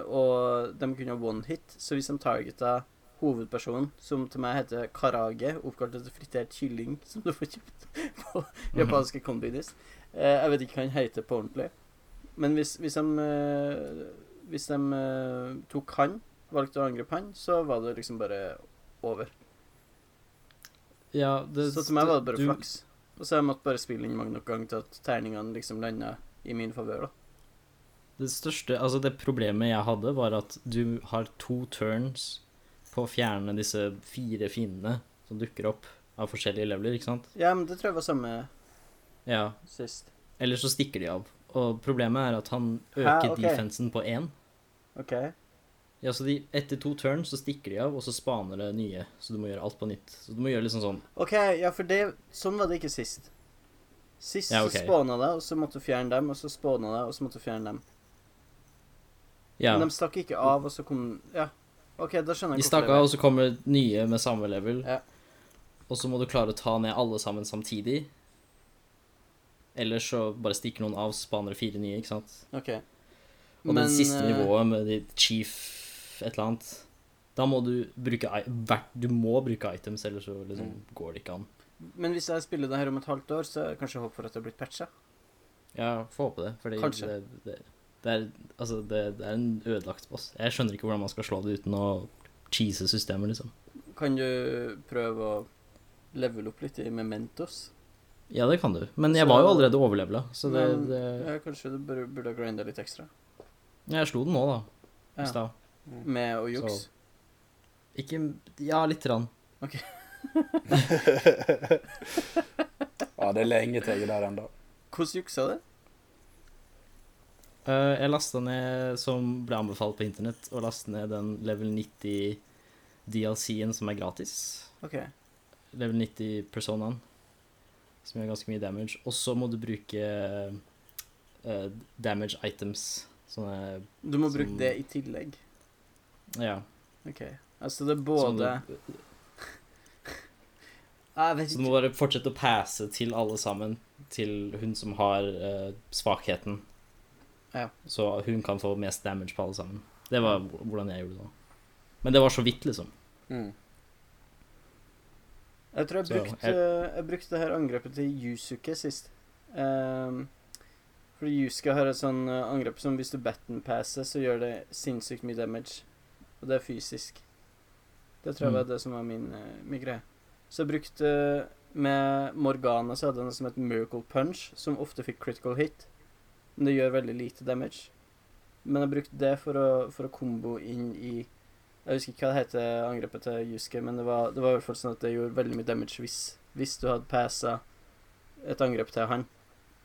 [SPEAKER 1] og de kunne ha one-hit, så hvis de targeta hovedpersonen, som til meg heter Karage, oppkalt etter fritert kylling som du får kjøpt på
[SPEAKER 3] Mhm.
[SPEAKER 1] japanske konbydis. Eh, jeg vet ikke hva han heter på ordentlig. Men hvis, hvis de, eh, hvis de eh, tok han, valgte å angripe han, så var det liksom bare over.
[SPEAKER 3] Ja, det,
[SPEAKER 1] Så til meg var det bare
[SPEAKER 3] du-
[SPEAKER 1] flaks. Og så har jeg måttet bare spille inn mange nok ganger til at terningene liksom landa i min favør, da.
[SPEAKER 3] Det største, altså det problemet jeg hadde, var at du har to turns på å fjerne disse fire fiendene som dukker opp av forskjellige leveler, ikke sant?
[SPEAKER 1] Ja, men det tror jeg var samme
[SPEAKER 3] Ja.
[SPEAKER 1] sist.
[SPEAKER 3] Eller så stikker de av. Og problemet er at han
[SPEAKER 1] Hæ,
[SPEAKER 3] øker
[SPEAKER 1] ok.
[SPEAKER 3] defensen på én.
[SPEAKER 1] OK.
[SPEAKER 3] Ja, så de, etter to turns så stikker de av, og så spaner det nye. Så du må gjøre alt på nytt. Så du må gjøre liksom sånn
[SPEAKER 1] OK, ja, for det Sånn var det ikke sist. Sist
[SPEAKER 3] Ja,
[SPEAKER 1] så
[SPEAKER 3] ok.
[SPEAKER 1] spåna det, og så måtte du fjerne dem, og så spåna det, og så måtte du fjerne dem.
[SPEAKER 3] Ja.
[SPEAKER 1] Men de stakk ikke av, og så kom Ja. OK, da skjønner
[SPEAKER 3] De
[SPEAKER 1] jeg
[SPEAKER 3] stakk av, og så kommer nye med samme level.
[SPEAKER 1] Ja.
[SPEAKER 3] Og så må du klare å ta ned alle sammen samtidig. Eller så bare stikker noen av, spaner fire nye, ikke sant.
[SPEAKER 1] var OK.
[SPEAKER 3] Og
[SPEAKER 1] Men,
[SPEAKER 3] det siste
[SPEAKER 1] eh,
[SPEAKER 3] nivået med de chief et eller annet Da må du bruke i- hvert- Du må bruke items, ellers så liksom
[SPEAKER 1] Mm.
[SPEAKER 3] går det ikke an.
[SPEAKER 1] Men hvis jeg spiller det her om et halvt år, så er det kanskje håp for at det har blitt patcha.
[SPEAKER 3] Ja, får håpe det. Fordi
[SPEAKER 1] Kanskje.
[SPEAKER 3] det, det, det, er, altså det, det er en ødelagt boss. Jeg skjønner ikke hvordan man skal slå det uten å cheese systemet, liksom.
[SPEAKER 1] Kan du prøve å levele opp litt i Mementos?
[SPEAKER 3] Ja, det kan du. Men jeg
[SPEAKER 1] Så-
[SPEAKER 3] var jo allerede overlevela, så det,
[SPEAKER 1] Men-
[SPEAKER 3] det
[SPEAKER 1] Ja, kanskje du burde, burde grinda litt ekstra.
[SPEAKER 3] Jeg slo den nå, da.
[SPEAKER 1] Ja.
[SPEAKER 3] I stad.
[SPEAKER 1] Med å jukse.
[SPEAKER 3] Ikke Ja, lite grann.
[SPEAKER 2] Ja, det er lenge til jeg er der ennå.
[SPEAKER 1] Hvordan juksa du?
[SPEAKER 3] Eh, jeg lasta ned, som ble anbefalt på internett, å laste ned den level 90 DLC-en som er gratis.
[SPEAKER 1] OK.
[SPEAKER 3] Level 90 personaen, som gjør ganske mye damage. Og så må du bruke eh, damage items. Sånne
[SPEAKER 1] Du må
[SPEAKER 3] Som-
[SPEAKER 1] bruke det i tillegg.
[SPEAKER 3] Ja.
[SPEAKER 1] OK. Altså, det er
[SPEAKER 3] som
[SPEAKER 1] både Ah,
[SPEAKER 3] du,
[SPEAKER 1] Jeg vet
[SPEAKER 3] så du må
[SPEAKER 1] ikke.
[SPEAKER 3] bare fortsette å passe til alle sammen, til hun som har eh, svakheten.
[SPEAKER 1] Ja.
[SPEAKER 3] Så hun kan få mest damage på alle sammen. Det var h- hvordan jeg gjorde det da. Men det var så vidt, liksom.
[SPEAKER 2] Mm.
[SPEAKER 1] Jeg tror jeg
[SPEAKER 3] Så,
[SPEAKER 1] brukte, jeg brukte det her angrepet til Yusuke sist. Ehm, fordi Yusuke har et sånn eh, angrep som hvis du batten-passer, så gjør det sinnssykt mye damage. Og det er fysisk. Det tror jeg
[SPEAKER 3] Mm.
[SPEAKER 1] var det som var min, eh, min greie. Så jeg brukte Med Morgana så hadde jeg noe som het Miracle Punch, som ofte fikk critical hit. Men det gjør veldig lite damage. Men jeg brukte det for å, for å kombo inn i Jeg husker ikke hva det heter angrepet til Yusuke, men det var, det var i hvert fall sånn at det gjorde veldig mye damage hvis, hvis du hadde passa et angrep til han.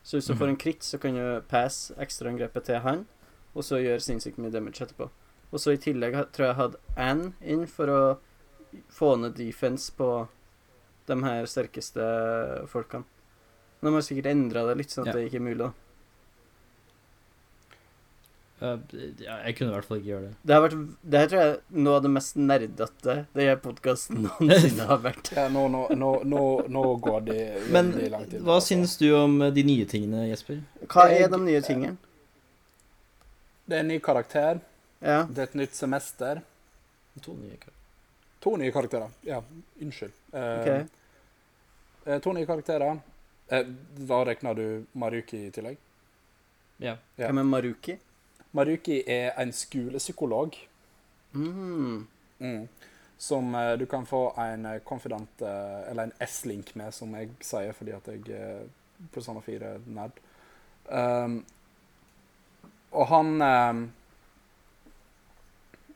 [SPEAKER 1] Så hvis du
[SPEAKER 3] Mhm.
[SPEAKER 1] får en crit, så kan du passe ekstraangrepet til han, og så gjøre sinnssykt mye damage etterpå. Og så i tillegg ha- tror jeg jeg hadde Ann inn for å få ned defense på de her sterkeste folkene. Men de har sikkert endra det litt, sånn at
[SPEAKER 3] Ja.
[SPEAKER 1] det ikke er mulig. da.
[SPEAKER 3] Eh, ja, jeg kunne i hvert fall ikke gjøre det.
[SPEAKER 1] Det har vært, det her tror jeg er noe av det mest nerdete denne podkasten noensinne har vært.
[SPEAKER 2] Ja, nå, nå, nå, nå, nå går det veldig
[SPEAKER 3] Men
[SPEAKER 2] langt inn,
[SPEAKER 3] hva
[SPEAKER 2] altså.
[SPEAKER 3] syns du om eh, de nye tingene, Jesper?
[SPEAKER 1] Hva er de nye tingene?
[SPEAKER 2] Altså, Det er en ny karakter.
[SPEAKER 1] Ja.
[SPEAKER 2] Det er et nytt semester.
[SPEAKER 3] To nye karakterer.
[SPEAKER 2] To nye karakterer. Ja, unnskyld. Eh,
[SPEAKER 1] ok.
[SPEAKER 2] eh, to nye karakterer. Eh, da regner du Maruki i tillegg?
[SPEAKER 3] Ja.
[SPEAKER 2] ja.
[SPEAKER 1] Hvem er Maruki?
[SPEAKER 2] Maruki er en skolepsykolog
[SPEAKER 1] Mm.
[SPEAKER 2] mm, som eh, du kan få en eh, confident eh, Eller en S-link med, som jeg sier fordi at jeg eh, er Persona 4-nerd. Um, og han um,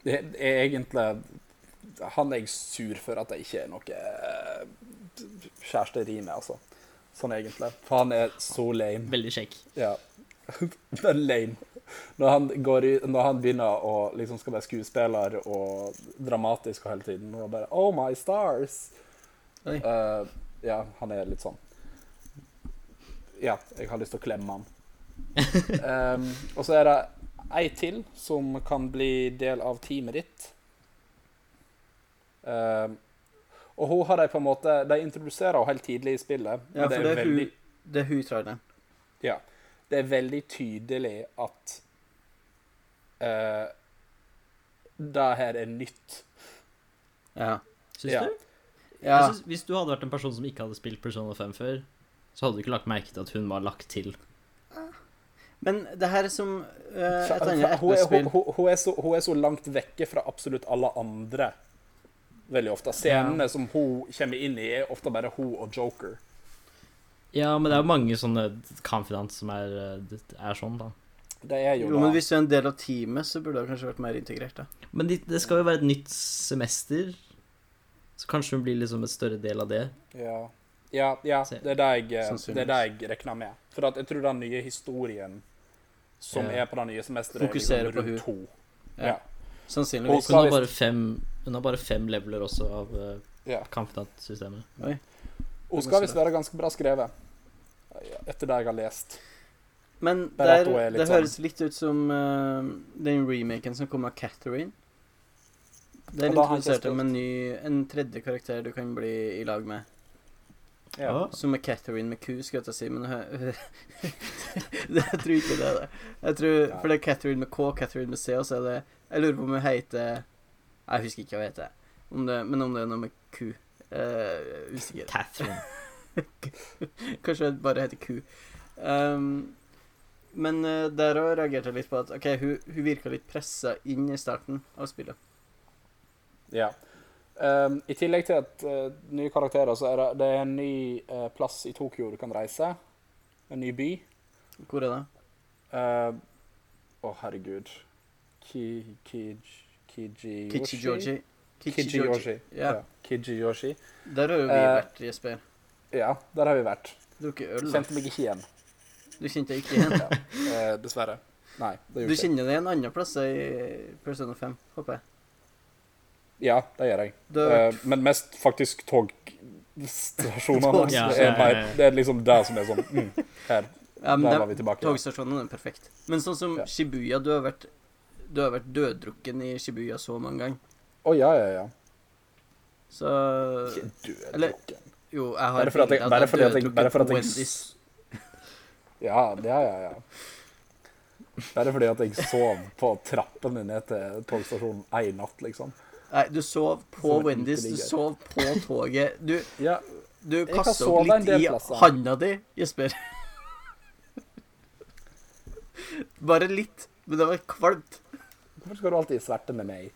[SPEAKER 2] er, er egentlig Han er jeg sur for at det ikke er noe eh, kjæresteri med, altså. Sånn egentlig. For han er så lame.
[SPEAKER 3] Veldig kjekk.
[SPEAKER 2] Ja. Det er lame. Når han, går i, når han begynner å liksom skal være skuespiller og dramatisk og hele tiden og bare Oh my stars!
[SPEAKER 1] Oi.
[SPEAKER 2] Eh, ja, han er litt sånn. Ja, jeg har lyst til å klemme han. Em, og så er det ei til som kan bli del av teamet ditt. Em, og hun har de på en måte De introduserer henne helt tidlig i spillet. men
[SPEAKER 1] Ja, for det
[SPEAKER 2] er
[SPEAKER 1] er hun, det er hun traileren.
[SPEAKER 2] ja. Det er veldig tydelig at eh, det her er nytt.
[SPEAKER 1] Ja.
[SPEAKER 3] Syns
[SPEAKER 2] Ja.
[SPEAKER 3] du?
[SPEAKER 1] ja.
[SPEAKER 3] Jeg synes, hvis du hadde vært en person som ikke hadde spilt Persona 5 før, så hadde du ikke lagt merke til at hun var lagt til.
[SPEAKER 1] Men det her er som eh, et
[SPEAKER 2] Hun
[SPEAKER 1] annet
[SPEAKER 2] er, hun,
[SPEAKER 1] RP-spill
[SPEAKER 2] hun, hun, er så, hun er så langt vekke fra absolutt alle andre veldig ofte. Scenene som hun kommer inn i, er ofte bare hun og Joker.
[SPEAKER 3] Ja, men det er jo mange sånne confidants som er, eh, er sånn, da.
[SPEAKER 2] Det er jo,
[SPEAKER 1] Jo, men
[SPEAKER 2] da
[SPEAKER 1] hvis du er en del av teamet, så burde du kanskje vært mer integrert, da.
[SPEAKER 3] Men det, det skal jo være et nytt semester, så kanskje hun blir liksom et større del av det.
[SPEAKER 2] Ja, ja, ja
[SPEAKER 3] Se.
[SPEAKER 2] det er det jeg, det er det
[SPEAKER 1] Sannsynligvis.
[SPEAKER 2] jeg regner med. For at jeg tror den nye historien som
[SPEAKER 3] Ja.
[SPEAKER 2] er på det nye semesteret, er
[SPEAKER 1] Fokuserer
[SPEAKER 2] liksom
[SPEAKER 1] på
[SPEAKER 2] rundt henne.
[SPEAKER 1] Ja.
[SPEAKER 2] Ja.
[SPEAKER 1] Sannsynligvis.
[SPEAKER 3] Hun har bare fem, hun har bare fem leveler også av uh,
[SPEAKER 2] Ja.
[SPEAKER 3] confidant-systemet.
[SPEAKER 2] Hun skal visst være ganske bra skrevet, eh, etter det jeg har lest.
[SPEAKER 1] Men
[SPEAKER 2] Bare
[SPEAKER 1] der,
[SPEAKER 2] at hun er litt
[SPEAKER 1] det
[SPEAKER 2] sånn-
[SPEAKER 1] høres litt ut som eh, den remaken som kom av Catherine. Der
[SPEAKER 2] Og da har jeg ikke
[SPEAKER 1] introduserte de
[SPEAKER 2] spilt.
[SPEAKER 1] en ny En tredje karakter du kan bli i lag med.
[SPEAKER 2] Ja.
[SPEAKER 3] Ah,
[SPEAKER 1] Som er Catherine med Q, skal jeg til å si, men hø- Jeg tror ikke det er det. Jeg tror, for det er Catherine med K, Catherine med C, og så er det Jeg lurer på om hun heter Jeg husker ikke hva hun heter, om det, men om det er noe med Q. eh, usikker.
[SPEAKER 3] Catherine.
[SPEAKER 1] Kanskje det bare heter ku. Ehm, men eh, der òg reagerte jeg litt på at OK, hun, hun virka litt pressa inn i starten av spillet.
[SPEAKER 2] Ja. Ehm, I tillegg til at eh, nye karakterer, så er det, det er en ny eh, plass i Tokyo du kan reise. En ny by.
[SPEAKER 1] Hvor er det?
[SPEAKER 2] Eh, Å, herregud. Ki, ki, Kijiyoshi?
[SPEAKER 1] Kichijoji.
[SPEAKER 2] Kijiyoshi.
[SPEAKER 1] Ja.
[SPEAKER 2] Ja. Kijiyoshi.
[SPEAKER 1] Der har jo vi
[SPEAKER 2] Eh,
[SPEAKER 1] vært, Jesper.
[SPEAKER 2] Ja, der har vi vært.
[SPEAKER 1] Drukket øl. da.
[SPEAKER 2] Kjente meg ikke igjen.
[SPEAKER 1] Du kjente deg ikke igjen.
[SPEAKER 2] Ja. Eh, dessverre. Nei, det
[SPEAKER 1] Du
[SPEAKER 2] gjorde jeg ikke.
[SPEAKER 1] kjenner deg en annen plass i Persona 5, håper jeg.
[SPEAKER 2] Ja, det gjør jeg.
[SPEAKER 1] Du har vært
[SPEAKER 2] Eh, men mest faktisk togstasjonene.
[SPEAKER 1] Tog-
[SPEAKER 2] det,
[SPEAKER 3] Ja,
[SPEAKER 2] er
[SPEAKER 3] så-
[SPEAKER 2] bare- det er liksom det som er sånn mm, Her.
[SPEAKER 1] ja,
[SPEAKER 2] der
[SPEAKER 1] men
[SPEAKER 2] var
[SPEAKER 1] de,
[SPEAKER 2] vi tilbake.
[SPEAKER 1] Togstasjonene er perfekt. Men sånn som
[SPEAKER 2] Ja.
[SPEAKER 1] Shibuya, du har vært du har vært døddrukken i Shibuya så mange ganger.
[SPEAKER 2] Å ja, ja, ja.
[SPEAKER 1] Så
[SPEAKER 2] Ikke du er
[SPEAKER 1] Eller-
[SPEAKER 2] drukken.
[SPEAKER 1] jo, jeg har
[SPEAKER 2] Bare fordi at jeg,
[SPEAKER 1] bildet av
[SPEAKER 2] bare
[SPEAKER 1] deg
[SPEAKER 2] fordi at jeg,
[SPEAKER 1] døddrukken
[SPEAKER 2] bare fordi
[SPEAKER 1] på
[SPEAKER 2] at jeg
[SPEAKER 1] Wendy's.
[SPEAKER 2] Ja, ja, ja. ja. Bare fordi at jeg sov på trappene ned til togstasjonen ei natt, liksom.
[SPEAKER 1] Nei, du sov på
[SPEAKER 2] Som en
[SPEAKER 1] Wendy's, du
[SPEAKER 2] uteligger.
[SPEAKER 1] sov på toget. Du,
[SPEAKER 2] Ja,
[SPEAKER 1] du
[SPEAKER 2] kan
[SPEAKER 1] kasta
[SPEAKER 2] sove
[SPEAKER 1] opp
[SPEAKER 2] en
[SPEAKER 1] litt
[SPEAKER 2] del
[SPEAKER 1] i
[SPEAKER 2] plasser.
[SPEAKER 1] handa di, Jesper. Bare litt, men det var kvalmt.
[SPEAKER 2] Hvorfor skal du alltid sverte med meg?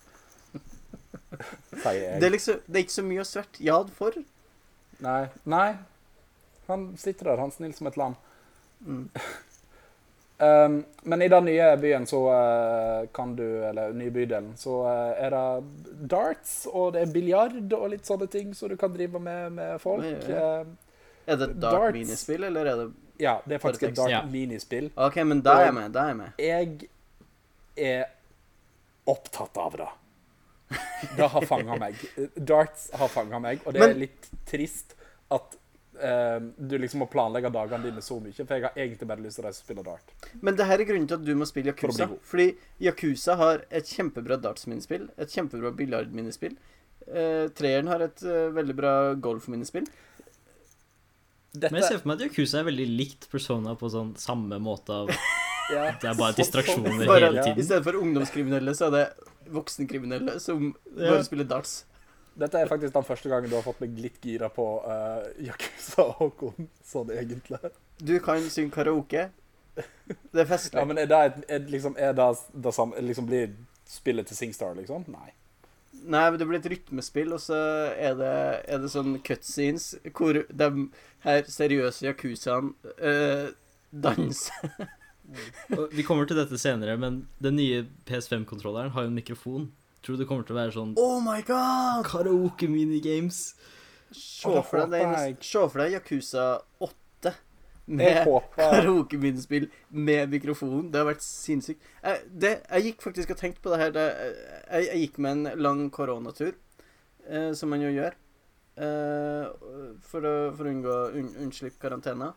[SPEAKER 2] Sier jeg.
[SPEAKER 1] Det er liksom, det er ikke så mye å sverte ja for.
[SPEAKER 2] Nei. Nei. Han sitter der, han snill som et lam.
[SPEAKER 1] Mm.
[SPEAKER 2] Um, men i den nye byen så eh, kan du, eller nye bydelen, så eh, er det darts, og det er biljard og litt sånne ting som du kan drive med med folk.
[SPEAKER 1] Oi, oi, oi.
[SPEAKER 2] Eh,
[SPEAKER 1] Er det et dark
[SPEAKER 2] Darts.
[SPEAKER 1] minispill, eller er det
[SPEAKER 2] ja, det er faktisk
[SPEAKER 1] Bare
[SPEAKER 2] et dart
[SPEAKER 3] tekst. Ja.
[SPEAKER 2] minispill.
[SPEAKER 1] OK, men da er jeg med. Da er jeg med.
[SPEAKER 2] Jeg er opptatt av det. Det har fanga meg. Darts har fanga meg, og det
[SPEAKER 1] Men-
[SPEAKER 2] er litt trist at eh, du liksom må planlegge dagene dine så mye, for jeg har egentlig bare lyst til å reise og spille dart.
[SPEAKER 1] Men det her er grunnen til at du må spille
[SPEAKER 2] For å bli
[SPEAKER 1] Yakuza.
[SPEAKER 2] god.
[SPEAKER 1] Fordi Yakuza har et kjempebra darts-minispill, et kjempebra biljard-minispill. Eh, treeren har et eh, veldig bra golf-minispill.
[SPEAKER 3] Men jeg ser for meg at Yakuza er veldig likt Persona på sånn samme måte av
[SPEAKER 2] Ja.
[SPEAKER 3] Det er bare
[SPEAKER 2] Sånn-
[SPEAKER 3] distraksjoner
[SPEAKER 2] sånn-
[SPEAKER 1] Bare
[SPEAKER 3] hele
[SPEAKER 2] Ja.
[SPEAKER 1] at I
[SPEAKER 3] tiden.
[SPEAKER 1] stedet for ungdomskriminelle, så er det voksenkriminelle som
[SPEAKER 3] Ja.
[SPEAKER 1] bare spiller darts.
[SPEAKER 2] Dette er faktisk den første gangen du har fått meg litt gira på uh, Yakuza og Håkon, sånn egentlig.
[SPEAKER 1] Du kan synge karaoke. Det er festlig.
[SPEAKER 2] Ja, men er det, et- er, det liksom, er det, det samme liksom Blir spillet til Singstar, liksom? Nei.
[SPEAKER 1] Nei, men det blir et rytmespill, og så er det, er det sånn cutscenes hvor de her seriøse yakuzaene eh, danser.
[SPEAKER 3] Og Vi kommer til dette senere, men den nye PS5-kontrolleren har jo en mikrofon. Tror du det kommer til å være sånn
[SPEAKER 1] Oh my god!
[SPEAKER 3] karaoke minigames?
[SPEAKER 1] Se for deg den- se for deg Yakuza 8
[SPEAKER 2] Jeg
[SPEAKER 1] med
[SPEAKER 2] håper
[SPEAKER 1] Karaoke-minnespill med mikrofon. Det har vært sinnssykt. Jeg, det, jeg gikk faktisk og tenkte på det her. Det, jeg, jeg gikk med en lang koronatur, eh, som man jo gjør, eh, for, å, for å unngå un, unnslippe karantene.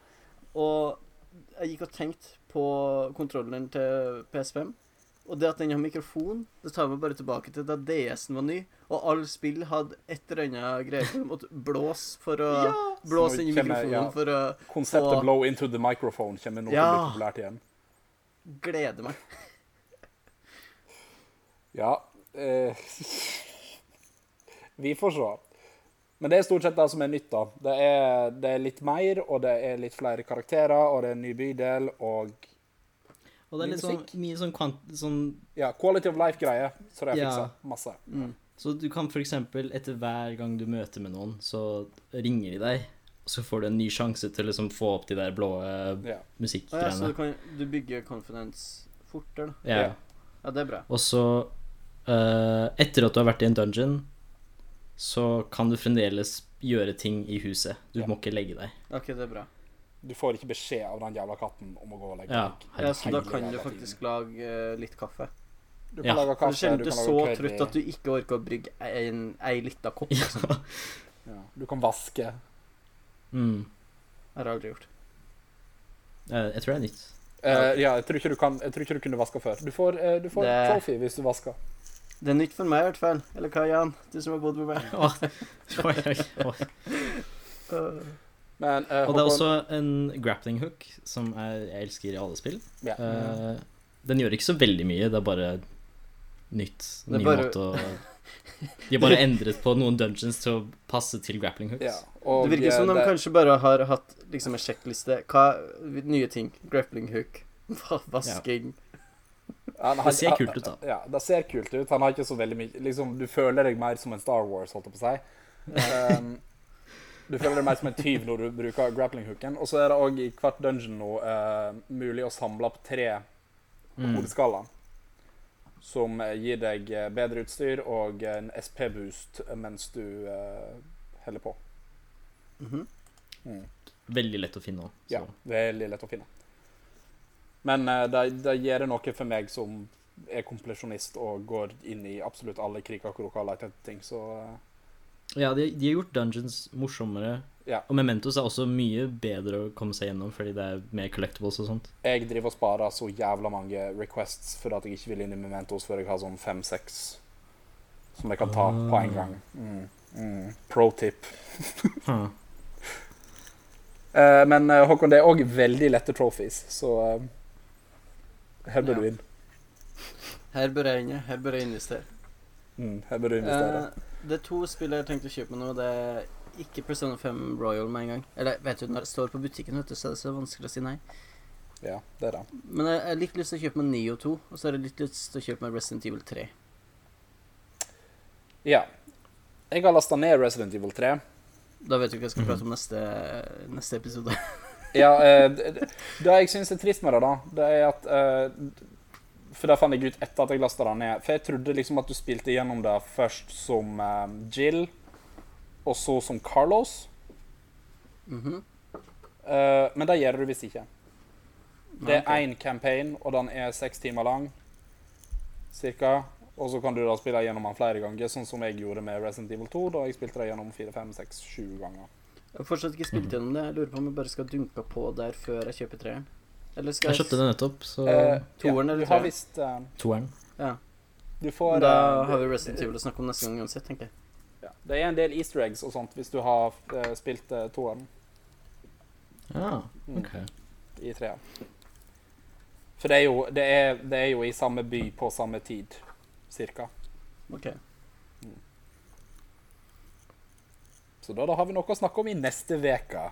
[SPEAKER 1] Og jeg gikk og tenkte på kontrolleren til PS5. Og det at den har mikrofon, det tar meg bare tilbake til da DS-en var ny, og alle spill hadde et eller annet greier som måtte blåse for å Blåse inn i
[SPEAKER 2] Nå kjenner jeg-
[SPEAKER 1] mikrofonen
[SPEAKER 2] ja.
[SPEAKER 1] for å
[SPEAKER 2] konseptet
[SPEAKER 1] Og-
[SPEAKER 2] 'blow into the microphone' kommer nå til å
[SPEAKER 1] Ja.
[SPEAKER 2] bli populært igjen.
[SPEAKER 1] glede meg.
[SPEAKER 2] Ja. eh, Vi får se. Men det er stort sett det som er nytt, da. Det er, det er litt mer, og det er litt flere karakterer, og det er en ny bydel, og
[SPEAKER 3] Og det er litt sånn, mye sånn, kvant, sånn
[SPEAKER 2] ja, quality of life-greier. Så det har jeg
[SPEAKER 3] Ja.
[SPEAKER 2] fiksa masse.
[SPEAKER 1] Mm.
[SPEAKER 3] Så du kan f.eks. etter hver gang du møter med noen, så ringer de deg. Og så får du en ny sjanse til å liksom få opp de der blå eh,
[SPEAKER 1] Å ja,
[SPEAKER 2] Ja.
[SPEAKER 1] så du,
[SPEAKER 3] musikkgreiene.
[SPEAKER 1] kan, du bygger confidence fortere, da.
[SPEAKER 3] Ja.
[SPEAKER 2] ja.
[SPEAKER 1] Ja, det er bra.
[SPEAKER 3] Og så, eh, etter at du har vært i en dungeon, så kan du fremdeles gjøre ting i huset. Du
[SPEAKER 2] Ja.
[SPEAKER 3] må ikke legge deg.
[SPEAKER 1] Ok, det er bra.
[SPEAKER 2] Du får ikke beskjed av den jævla katten om å gå og legge
[SPEAKER 3] Ja,
[SPEAKER 2] deg.
[SPEAKER 1] Ja, så da
[SPEAKER 2] herregud,
[SPEAKER 1] kan du
[SPEAKER 2] jævla
[SPEAKER 1] faktisk lage eh, litt kaffe.
[SPEAKER 2] Du kan
[SPEAKER 3] Ja.
[SPEAKER 2] lage
[SPEAKER 1] For Du
[SPEAKER 2] kaffe,
[SPEAKER 1] kjenner
[SPEAKER 2] du
[SPEAKER 1] deg
[SPEAKER 2] kan
[SPEAKER 1] så
[SPEAKER 2] lage curry.
[SPEAKER 1] trøtt at du ikke orker å brygge en, ei lita kopp. Liksom.
[SPEAKER 3] Ja.
[SPEAKER 2] ja. du kan vaske.
[SPEAKER 3] Mm.
[SPEAKER 1] Det har jeg aldri gjort.
[SPEAKER 3] Eh, Jeg tror det er nytt.
[SPEAKER 2] Eh, ja, jeg tror, ikke du kan, jeg tror ikke du kunne vaska før. Du får, eh, du får
[SPEAKER 1] Det-
[SPEAKER 2] trophy hvis du vasker.
[SPEAKER 1] Det er nytt for meg i hvert fall. Eller hva, Jan? Du som har bodd med meg.
[SPEAKER 3] Åh, oi, oi, oi.
[SPEAKER 1] Øh.
[SPEAKER 2] Men eh,
[SPEAKER 3] Og det er
[SPEAKER 2] Håkon-
[SPEAKER 3] også en grappling hook, som er, jeg elsker i alle spill.
[SPEAKER 2] ja.
[SPEAKER 3] Eh, Den gjør ikke så veldig mye, det er bare nytt.
[SPEAKER 1] Det er
[SPEAKER 3] Ny
[SPEAKER 1] bare-
[SPEAKER 3] måte å De har bare endret på noen dungeons til å passe til grappling hooks.
[SPEAKER 2] ja. Og,
[SPEAKER 1] det virker som
[SPEAKER 2] eh,
[SPEAKER 1] de kanskje bare har hatt liksom en sjekkliste. Hva, nye ting. Grappling hook. Vasking.
[SPEAKER 2] han- han-
[SPEAKER 3] Det ser kult ut, da.
[SPEAKER 2] Ja, det ser kult ut. Han har ikke så veldig mye liksom, Du føler deg mer som en Star Wars, holdt jeg på å si. Um, du føler deg mer som en tyv når du bruker grappling-hooken. Og så er det òg i hvert dungeon nå eh, mulig å samle opp tre
[SPEAKER 3] Mm.
[SPEAKER 2] hodeskala. Som eh, gir deg eh, bedre utstyr og en SP-boost mens du eh, holder på.
[SPEAKER 1] Mhm.
[SPEAKER 2] Mm.
[SPEAKER 3] Veldig lett å finne òg.
[SPEAKER 2] Ja, veldig lett å finne. Men eh, det, det gjør det noe for meg som er komplesjonist og går inn i absolutt alle kriker og kroker og leter etter ting, så eh,
[SPEAKER 3] Ja, de, de har gjort dungeons morsommere.
[SPEAKER 2] Ja.
[SPEAKER 3] Og Mementos er også mye bedre å komme seg gjennom fordi det er mer collectibles og sånt.
[SPEAKER 2] jeg driver og sparer så jævla mange requests fordi at jeg ikke vil inn i Mementos før jeg har sånn fem-seks som jeg kan ta på en gang. Mm. Mm. Pro tip.
[SPEAKER 3] Huh.
[SPEAKER 2] Eh, men eh, Håkon, det er òg veldig lette trophies, så uh, her bør
[SPEAKER 1] Ja.
[SPEAKER 2] du inn.
[SPEAKER 1] Her bør jeg inn, ja. her bør jeg investere.
[SPEAKER 2] Mm, her bør du investere.
[SPEAKER 1] Eh, det er to spill jeg har tenkt å kjøpe nå. Det er ikke Persona 5 Royal med en gang. Eller vet du, når det står på butikken, vet du, så er det så vanskelig å si nei.
[SPEAKER 2] Ja, det er det.
[SPEAKER 1] Men jeg jeg har litt lyst til å kjøpe meg Neo 2, og så har jeg litt lyst til å kjøpe meg Resident Evil 3.
[SPEAKER 2] Ja. Jeg har lasta ned Resident Evil 3.
[SPEAKER 1] Da vet du hva jeg skal prate om neste, neste episode.
[SPEAKER 2] Ja, eh, d- d- det jeg syns er trist med det, da, det er at eh, d- For det fant jeg ut etter at jeg lasta det ned. For jeg trodde liksom at du spilte gjennom det først som eh, Jill, og så som Carlos.
[SPEAKER 1] Mhm.
[SPEAKER 2] Eh, men det gjør du visst ikke. Det er
[SPEAKER 1] Ok.
[SPEAKER 2] én campaign, og den er seks timer lang. Cirka. Og så kan du da spille gjennom den flere ganger, sånn som jeg gjorde med Resident Evil 2. Da jeg spilte det gjennom fire, fem, seks, sju ganger.
[SPEAKER 1] Jeg har fortsatt ikke spilt gjennom det. Jeg lurer på om jeg bare skal dunke på der før jeg kjøper treeren. Eller skal
[SPEAKER 3] Jeg
[SPEAKER 1] jeg,
[SPEAKER 3] kjøpte det nettopp, så
[SPEAKER 2] Eh,
[SPEAKER 1] toeren
[SPEAKER 2] ja,
[SPEAKER 1] eller
[SPEAKER 2] du har
[SPEAKER 1] treeren?
[SPEAKER 2] visst eh,
[SPEAKER 3] toeren.
[SPEAKER 2] Du får
[SPEAKER 1] Da
[SPEAKER 2] eh,
[SPEAKER 1] har vi Resident Evil å snakke om neste gang uansett, tenker jeg.
[SPEAKER 2] Ja. Det er en del easter eggs og sånt hvis du har eh, spilt uh, toeren Mm.
[SPEAKER 3] Ja, Ah, ok.
[SPEAKER 2] i treeren. For det er, jo, det, er, det er jo i samme by på samme tid, cirka. Mm.
[SPEAKER 1] Ok.
[SPEAKER 2] Så da, da har vi noe å snakke om i neste uke.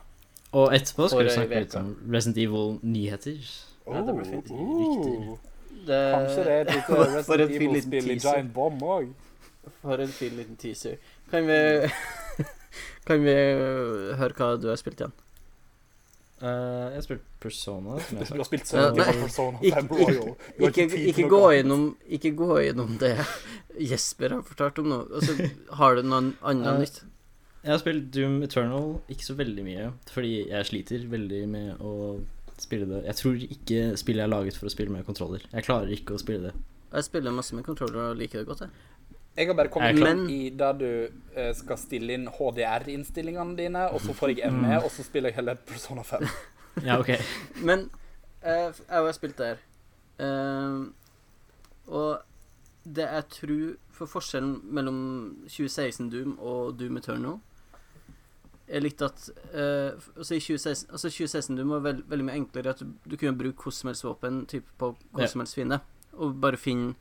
[SPEAKER 3] Og etterpå skal
[SPEAKER 1] For
[SPEAKER 3] vi
[SPEAKER 2] eh,
[SPEAKER 1] ei
[SPEAKER 3] snakke litt
[SPEAKER 1] veke.
[SPEAKER 3] om Resident Evil-nyheter.
[SPEAKER 1] Ja, det blir fint.
[SPEAKER 2] Oh,
[SPEAKER 1] Det,
[SPEAKER 2] Kanskje det er et lite
[SPEAKER 1] For- for en
[SPEAKER 2] Resident
[SPEAKER 1] fin liten
[SPEAKER 2] Evil-spill i
[SPEAKER 1] teaser.
[SPEAKER 2] Giant Bomb òg.
[SPEAKER 1] For en fin liten teaser. Kan vi Kan vi eh, høre hva du har spilt igjen?
[SPEAKER 3] Eh, jeg spilte Persona, som
[SPEAKER 2] Du
[SPEAKER 3] jeg sa.
[SPEAKER 2] har spilt
[SPEAKER 1] Ja,
[SPEAKER 2] Sonic
[SPEAKER 1] nei.
[SPEAKER 2] og Persona
[SPEAKER 1] Ikke-
[SPEAKER 2] 5 Royal. Du har
[SPEAKER 1] Ikke,
[SPEAKER 2] tid til
[SPEAKER 1] ikke,
[SPEAKER 2] noe
[SPEAKER 1] gå
[SPEAKER 2] annet.
[SPEAKER 1] gjennom, ikke gå gjennom det Jesper har fortalt om nå. Altså, har du noe
[SPEAKER 3] Eh,
[SPEAKER 1] annet nytt?
[SPEAKER 3] Jeg har spilt Doom Eternal ikke så veldig mye, fordi jeg sliter veldig med å spille det. Jeg tror ikke spillet er laget for å spille med kontroller. Jeg klarer ikke å spille det.
[SPEAKER 1] Jeg spiller masse med controller og liker det godt. Jeg.
[SPEAKER 2] Jeg har bare kommet
[SPEAKER 3] Jeg
[SPEAKER 1] er
[SPEAKER 2] inn
[SPEAKER 1] klar.
[SPEAKER 2] i der du eh, skal stille inn HDR-innstillingene dine, og så får jeg ME, og så spiller jeg heller Persona 5.
[SPEAKER 3] Ja, ok.
[SPEAKER 1] Men eh, f- jeg har spilt der. Ehm, og det jeg tror For forskjellen mellom 2016 Doom og Doom Eternal er litt at eh, f- altså, i 2016, altså 2016 Doom var vel, veldig mye enklere. At du, du kunne bruke hvordan som helst våpen typ på
[SPEAKER 3] Ja.
[SPEAKER 1] hvordan som helst fiende. Og bare finne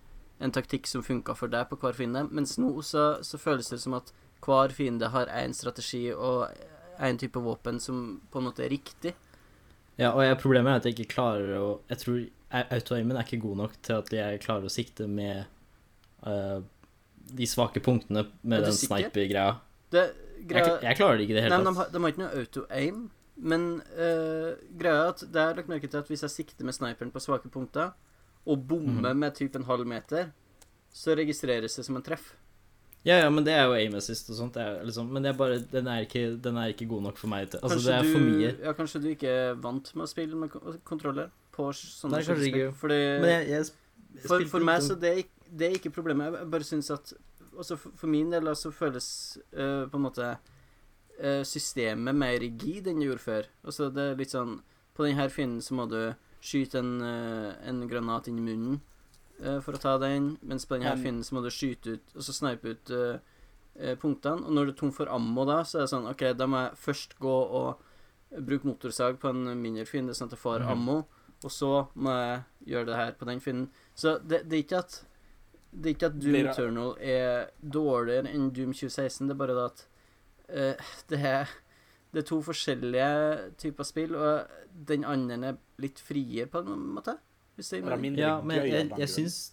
[SPEAKER 1] en taktikk som funka for deg på hver fiende. Mens nå så, så føles det som at hver fiende har én strategi og én type våpen som på en måte er riktig.
[SPEAKER 3] Ja, og jeg, problemet er at jeg ikke klarer å Jeg tror jeg- autoaimen er ikke god nok til at jeg klarer å sikte med eh, de svake punktene
[SPEAKER 1] Er
[SPEAKER 3] med
[SPEAKER 1] du
[SPEAKER 3] den
[SPEAKER 1] sikker?
[SPEAKER 3] sniper-greia.
[SPEAKER 1] Det,
[SPEAKER 3] Jeg,
[SPEAKER 1] greia,
[SPEAKER 3] jeg klarer det ikke i det
[SPEAKER 1] nei, men
[SPEAKER 3] hele
[SPEAKER 1] de,
[SPEAKER 3] tatt.
[SPEAKER 1] har- de har ikke noe auto-aim, men eh, greia er at det er lagt merke til at hvis jeg sikter med sniperen på svake punkter, og bommer
[SPEAKER 3] Mhm.
[SPEAKER 1] med typ en halv meter, så registreres det som en treff.
[SPEAKER 3] Ja, ja, men det er jo aim assist og sånt. Det er, jo liksom, men det er bare, den, er ikke, den er ikke god nok for meg. Til, altså, det er for mye.
[SPEAKER 1] Du, ja, kanskje du ikke er vant med å spille med ko- kontroller på sånne
[SPEAKER 3] Nei, kanskje
[SPEAKER 1] skytespill,
[SPEAKER 3] ikke.
[SPEAKER 1] Fordi,
[SPEAKER 3] Men jeg, jeg, sp- jeg
[SPEAKER 1] eh, for,
[SPEAKER 3] spilte
[SPEAKER 1] for meg
[SPEAKER 3] litt
[SPEAKER 1] så
[SPEAKER 3] om-
[SPEAKER 1] det er, ikk- det er ikke problemet. Jeg- Jeg bare syns at også for, for min del så føles eh, på en måte eh, systemet mer rigid enn det gjorde før. Altså det er litt sånn På denne fienden så må du skyte en, eh, en granat inn i munnen eh, for å ta den, mens på denne
[SPEAKER 2] Ja, men-
[SPEAKER 1] fienden så må du skyte ut og så snipe ut eh, eh, punktene. Og når du er tom for ammo da, så er det sånn OK, da må jeg først gå og bruke motorsag på en mindre fiende, sånn at jeg får
[SPEAKER 3] Mhm.
[SPEAKER 1] ammo, og så må jeg gjøre det her på den fienden. Så det, det er ikke at det er ikke at Doom
[SPEAKER 2] Blir det-
[SPEAKER 1] Eternal er dårligere enn Doom 2016, det er bare det at eh, det, er, det er to forskjellige typer spill, og den andre er litt frie, på en måte. Hvis det
[SPEAKER 2] Det
[SPEAKER 1] gir
[SPEAKER 2] er
[SPEAKER 1] mening.
[SPEAKER 2] mindre
[SPEAKER 3] Ja,
[SPEAKER 2] gøy
[SPEAKER 3] men
[SPEAKER 2] av
[SPEAKER 3] jeg,
[SPEAKER 2] den
[SPEAKER 3] jeg
[SPEAKER 2] grunn.
[SPEAKER 3] syns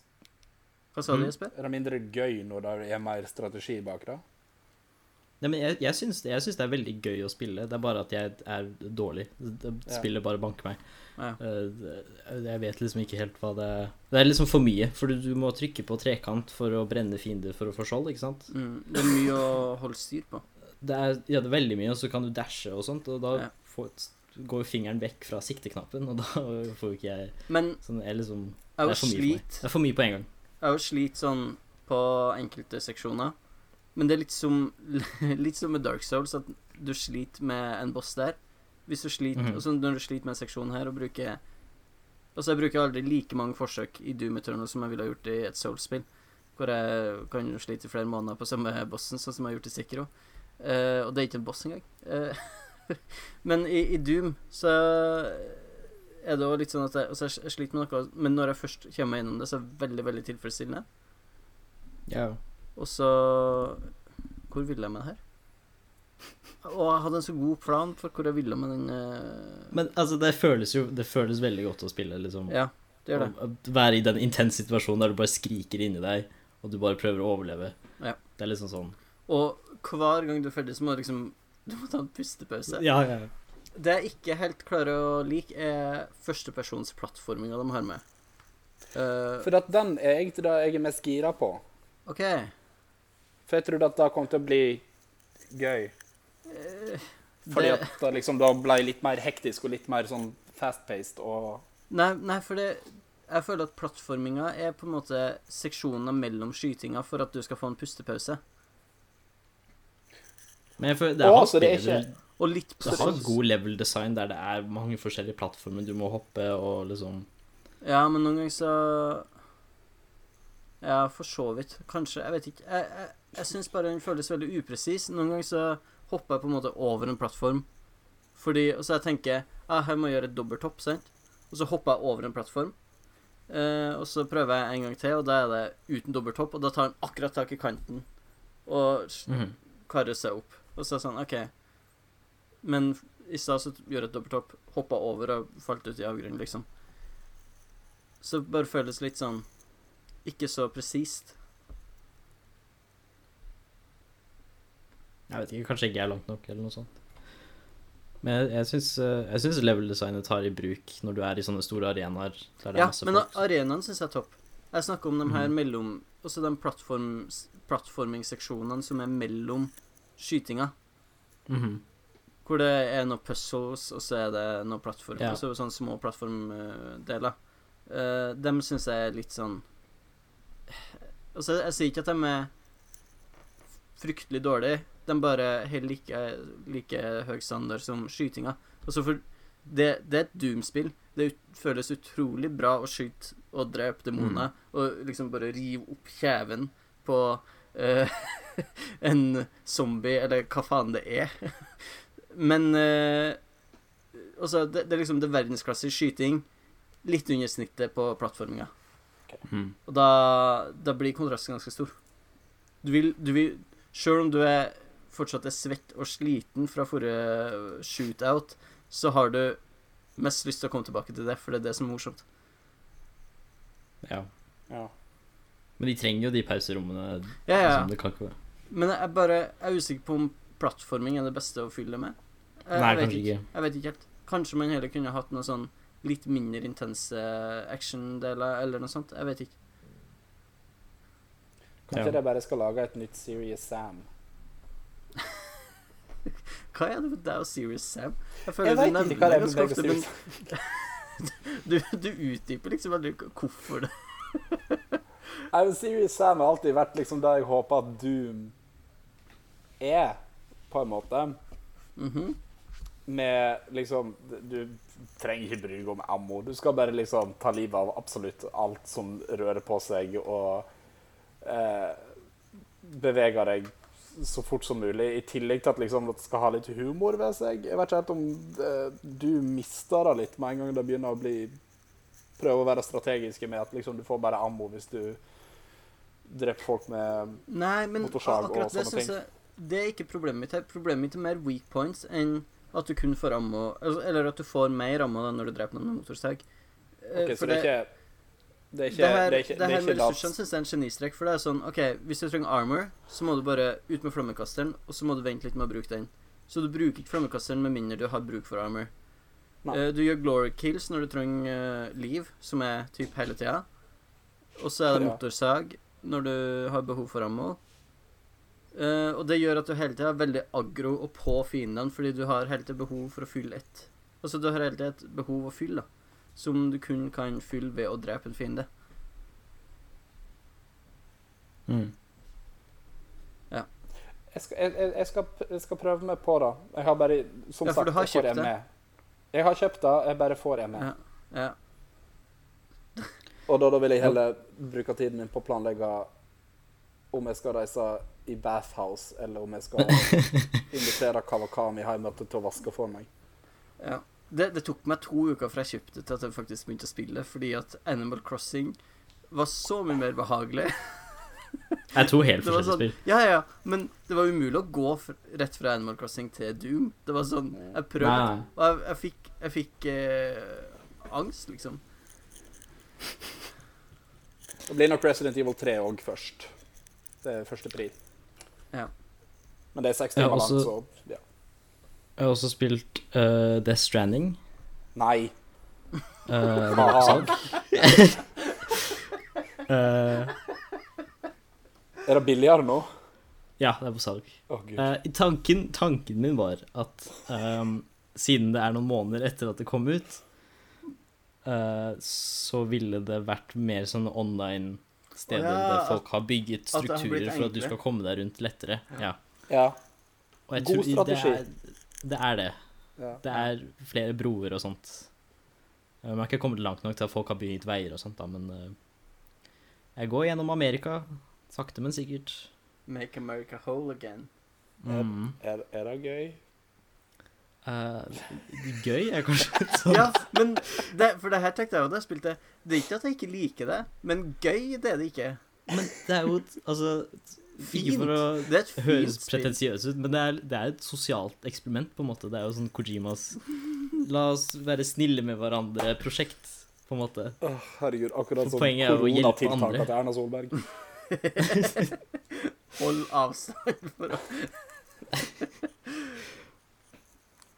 [SPEAKER 1] Hva sa du,
[SPEAKER 3] Mm.
[SPEAKER 1] Jesper?
[SPEAKER 2] Er det mindre gøy når det er mer strategi bak det?
[SPEAKER 3] Nei, men jeg, jeg, syns, jeg syns det er veldig gøy å spille, det er bare at jeg er dårlig. Det- det-
[SPEAKER 2] Ja.
[SPEAKER 3] Spillet bare banker meg.
[SPEAKER 1] Ja.
[SPEAKER 3] Eh, det- Jeg vet liksom ikke helt hva det er. Det er liksom for mye, for du, du må trykke på trekant for å brenne fiender for å få skjold, ikke sant?
[SPEAKER 1] Mm, det er mye å holde styr på.
[SPEAKER 3] Det er, ja, det er veldig mye, og så kan du dashe og sånt, og da
[SPEAKER 1] Ja.
[SPEAKER 3] får, går fingeren vekk fra sikteknappen, og da får jo ikke jeg
[SPEAKER 1] Men
[SPEAKER 3] sånn Jeg liksom Det
[SPEAKER 1] jeg
[SPEAKER 3] er
[SPEAKER 1] jo
[SPEAKER 3] for mye for meg.
[SPEAKER 1] sliter
[SPEAKER 3] Det er for mye på en gang.
[SPEAKER 1] Jeg har jo slitt sånn på enkelte seksjoner. Men det er litt som, litt som med Dark Souls, at du sliter med en boss der. Hvis du sliter,
[SPEAKER 3] Mhm.
[SPEAKER 1] altså Når du sliter med en seksjon her og bruker Altså, jeg bruker aldri like mange forsøk i Doom Eternal som jeg ville ha gjort i et Souls-spill, hvor jeg kan jo slite i flere måneder på samme bossen, sånn som jeg har gjort i Sekiro. Eh, og det er ikke en boss engang. Eh, men i, i Doom så er det òg litt sånn at jeg, altså jeg sliter med noe, men når jeg først kommer meg gjennom det, så er det veldig, veldig tilfredsstillende.
[SPEAKER 3] Ja.
[SPEAKER 1] Og så Hvor ville jeg med det her? Og jeg hadde en så god plan for hvor jeg ville med den eh,
[SPEAKER 3] Men altså, det føles jo Det føles veldig godt å spille, liksom.
[SPEAKER 1] Ja, det gjør det.
[SPEAKER 3] Å- å Være i den intense situasjonen der du bare skriker inni deg, og du bare prøver å overleve.
[SPEAKER 1] Ja.
[SPEAKER 3] Det er liksom sånn
[SPEAKER 1] Og hver gang du er ferdig, så må du liksom Du må ta en pustepause.
[SPEAKER 3] Ja, ja.
[SPEAKER 1] Det jeg ikke helt klarer å like, er førstepersonsplattforminga de har med. Eh,
[SPEAKER 2] For at den er egentlig det jeg er mest gira på.
[SPEAKER 1] OK.
[SPEAKER 2] For jeg trodde at det kom til å bli gøy.
[SPEAKER 3] Eh,
[SPEAKER 2] Fordi
[SPEAKER 1] Det,
[SPEAKER 2] at det liksom da ble litt mer hektisk og litt mer sånn fast-paced og
[SPEAKER 1] nei, nei, for det Jeg føler at plattforminga er på en måte seksjoner mellom skytinga for at du skal få en pustepause.
[SPEAKER 3] Men jeg føler det
[SPEAKER 2] Å,
[SPEAKER 3] er,
[SPEAKER 2] så det er
[SPEAKER 3] spillet-
[SPEAKER 1] Og litt
[SPEAKER 3] det har god level design der det er mange forskjellige plattformer du må hoppe og liksom
[SPEAKER 1] Ja, men noen ganger så Ja, for så vidt. Kanskje. Jeg vet ikke. Jeg, jeg, jeg syns bare den føles veldig upresis. Noen ganger så hopper jeg på en måte over en plattform. Fordi Og så jeg tenker ah, her må jeg gjøre et dobbelthopp, sant? Og så hopper jeg over en plattform. Eh, og så prøver jeg en gang til, og da er det uten dobbelthopp. Og da tar han akkurat tak i kanten og s-
[SPEAKER 3] mhm.
[SPEAKER 1] karrer seg opp. Og så er det sånn OK. Men i stad så gjorde jeg et dobbelthopp, hoppa over og falt ut i avgrunnen, liksom. Så det bare føles litt sånn Ikke så presist.
[SPEAKER 3] Jeg vet ikke, kanskje ikke jeg er langt nok, eller noe sånt. Men jeg, jeg syns, eh, jeg syns level-designet tar i bruk når du er i sånne store arenaer. Der det
[SPEAKER 1] Ja,
[SPEAKER 3] er masse
[SPEAKER 1] men
[SPEAKER 3] folk.
[SPEAKER 1] arenaen syns jeg er topp. Jeg snakker om de her
[SPEAKER 3] Mhm.
[SPEAKER 1] mellom Også de plattform, plattformingsseksjonene som er mellom skytinga.
[SPEAKER 3] Mhm.
[SPEAKER 1] Hvor det er noen puzzles, og så er det noen plattform,
[SPEAKER 3] Ja.
[SPEAKER 1] og så er det sånne små plattformdeler. Uh, dem syns jeg er litt sånn Altså, jeg sier ikke at de er fryktelig dårlige, de bare har like, like høy standard som skytinga. Altså, for det, det er et Doom-spill. Det ut, føles utrolig bra å skyte og drepe demoner, og liksom bare rive opp kjeven på eh, en zombie, eller hva faen det er. Men eh, Altså, det, det er liksom det er verdensklasse i skyting. Litt under snittet på plattforminga.
[SPEAKER 3] Mhm.
[SPEAKER 1] Og da, da blir kontrasten ganske stor. Du vil, du vil Sjøl om du er fortsatt er svett og sliten fra forrige shootout, så har du mest lyst til å komme tilbake til det, for det er det som er morsomt.
[SPEAKER 3] Ja.
[SPEAKER 2] Ja.
[SPEAKER 3] Men de trenger jo de pauserommene.
[SPEAKER 1] Ja, ja.
[SPEAKER 3] Liksom, det kan ikke være.
[SPEAKER 1] Men jeg er bare jeg er usikker på om plattforming er det beste å fylle det med. Jeg,
[SPEAKER 3] Nei,
[SPEAKER 1] jeg vet
[SPEAKER 3] kanskje ikke.
[SPEAKER 1] Jeg vet ikke helt. Kanskje man heller kunne hatt noe sånn litt mindre intense action-deler, eller noe sånt. Jeg vet ikke.
[SPEAKER 2] Kanskje
[SPEAKER 3] Ja.
[SPEAKER 2] de bare skal lage et nytt Serious Sam.
[SPEAKER 1] Hva er det med deg og Serious Sam?
[SPEAKER 2] Jeg
[SPEAKER 1] du
[SPEAKER 2] veit
[SPEAKER 1] nevner
[SPEAKER 2] ikke hva det er med
[SPEAKER 1] ganske
[SPEAKER 2] deg og
[SPEAKER 1] ofte,
[SPEAKER 2] Serious
[SPEAKER 1] men
[SPEAKER 2] Sam.
[SPEAKER 1] du, du utdyper liksom aldri hvorfor det
[SPEAKER 2] Nei, men Serious Sam har alltid vært liksom det jeg håper at Doom er, på en måte.
[SPEAKER 1] Mhm.
[SPEAKER 2] Med liksom Du trenger ikke bry deg om ammo. Du skal bare liksom ta livet av absolutt alt som rører på seg, og eh, bevege deg så fort som mulig. I tillegg til at liksom at det skal ha litt humor ved seg. Jeg vet ikke helt om eh, du mister det litt med en gang det begynner å bli Prøve å være strategiske med at liksom du får bare ammo hvis du dreper folk med
[SPEAKER 1] Nei, men
[SPEAKER 2] Motorsag og
[SPEAKER 1] akkurat det
[SPEAKER 2] sånne
[SPEAKER 1] synes
[SPEAKER 2] ting.
[SPEAKER 1] jeg Det er ikke problemet mitt her. Problemet mitt er mer weak points enn at du kun får ammo altså- Eller at du får mer ammo da når du dreper noen med motorsag. Eh,
[SPEAKER 2] Ok,
[SPEAKER 1] for
[SPEAKER 2] så det er ikke Det er
[SPEAKER 1] Det
[SPEAKER 2] ikke
[SPEAKER 1] her,
[SPEAKER 2] det er ikke-
[SPEAKER 1] det
[SPEAKER 2] det er
[SPEAKER 1] her
[SPEAKER 2] ikke
[SPEAKER 1] med
[SPEAKER 2] lats-
[SPEAKER 1] ressursene synes jeg er en genistrek. For det er sånn, ok, Hvis du trenger armor, så må du bare ut med flammekasteren, og så må du vente litt med å bruke den. Så du bruker ikke flammekasteren med mindre du har bruk for armor.
[SPEAKER 2] Nei.
[SPEAKER 1] Eh, du gjør glory kills når du trenger eh, liv, som er typ hele tida. Og så er det
[SPEAKER 2] Ja.
[SPEAKER 1] motorsag når du har behov for ammo. Eh, og det gjør at du hele tida er veldig aggro og på fiendene, fordi du har hele tida behov for å fylle ett Altså du har hele tida et behov å fylle, da. Som du kun kan fylle ved å drepe en fiende.
[SPEAKER 2] Jeg skal, jeg, jeg- jeg, skal, jeg skal prøve meg på det. Jeg har bare Som
[SPEAKER 1] Ja, for
[SPEAKER 2] sagt,
[SPEAKER 1] du har
[SPEAKER 2] jeg får
[SPEAKER 1] kjøpt
[SPEAKER 2] en
[SPEAKER 1] det.
[SPEAKER 2] med. Jeg har kjøpt det, jeg bare får en med.
[SPEAKER 1] Ja. ja.
[SPEAKER 2] Og da, da vil jeg heller bruke tiden min på å planlegge om jeg skal reise i bathhouse, eller om jeg skal invitere Kawakami hjem til å vaske for meg.
[SPEAKER 1] Ja. Det, det tok meg to uker fra jeg kjøpte til at jeg faktisk begynte å spille, fordi at Animal Crossing var så mye mer behagelig.
[SPEAKER 3] Det er to helt
[SPEAKER 1] Det var
[SPEAKER 3] forskjellige
[SPEAKER 1] sånn,
[SPEAKER 3] spill.
[SPEAKER 1] ja, ja, men det var umulig å gå f rett fra Animal Crossing til Doom. Det var sånn Jeg prøvde,
[SPEAKER 3] Nei, nei.
[SPEAKER 1] og jeg, jeg fikk, jeg fikk eh, angst, liksom.
[SPEAKER 2] Det blir nok Resident Evil 3 òg først. Det er første pri.
[SPEAKER 1] Ja.
[SPEAKER 2] Men det er seks
[SPEAKER 3] Ja,
[SPEAKER 2] timer langt,
[SPEAKER 3] også-
[SPEAKER 2] så ja.
[SPEAKER 3] Jeg har også spilt eh, Death Stranding.
[SPEAKER 2] Nei.
[SPEAKER 3] eh, med oppsag. Eh,
[SPEAKER 2] Er det billigere nå? Å,
[SPEAKER 3] ja, det er på salg.
[SPEAKER 2] gud.
[SPEAKER 3] Eh, tanken, tanken min var at ehm, siden det er noen måneder etter at det kom ut, eh, så ville det vært mer sånn sånne online-steder
[SPEAKER 1] Å ja,
[SPEAKER 3] der folk har bygget
[SPEAKER 1] at det har blitt
[SPEAKER 3] strukturer for at du
[SPEAKER 1] enklere.
[SPEAKER 3] skal komme deg rundt lettere. Ja.
[SPEAKER 2] Ja.
[SPEAKER 3] Og jeg
[SPEAKER 2] God
[SPEAKER 3] tror det er,
[SPEAKER 2] strategi.
[SPEAKER 3] det er det.
[SPEAKER 2] ja.
[SPEAKER 3] Det er flere broer og sånt. Eh, Man har ikke kommet langt nok til at folk har bygget veier og sånt, da, men eh, jeg går gjennom Amerika, sakte, men sikkert.
[SPEAKER 1] Make America whole again.
[SPEAKER 3] Mm.
[SPEAKER 2] Er, er det gøy?
[SPEAKER 3] Eh, gøy er kanskje sånn. et sånt
[SPEAKER 1] Ja, men det, For det her tenkte jeg jo da jeg spilte. Det er ikke at jeg ikke liker det, men gøy det er det ikke.
[SPEAKER 3] Men det er jo et- Altså, ikke for å
[SPEAKER 1] Det er et fint
[SPEAKER 3] høres
[SPEAKER 1] spill.
[SPEAKER 3] pretensiøs ut, men det er, det er et sosialt eksperiment, på en måte. Det er jo sånn Kojimas La oss være snille med hverandre-prosjekt, på en måte.
[SPEAKER 2] Åh, herregud, akkurat sånn
[SPEAKER 3] For
[SPEAKER 2] som
[SPEAKER 3] poenget er å hjelpe
[SPEAKER 2] koronatiltaka
[SPEAKER 3] andre.
[SPEAKER 2] til Erna Solberg.
[SPEAKER 1] Hold avstand for å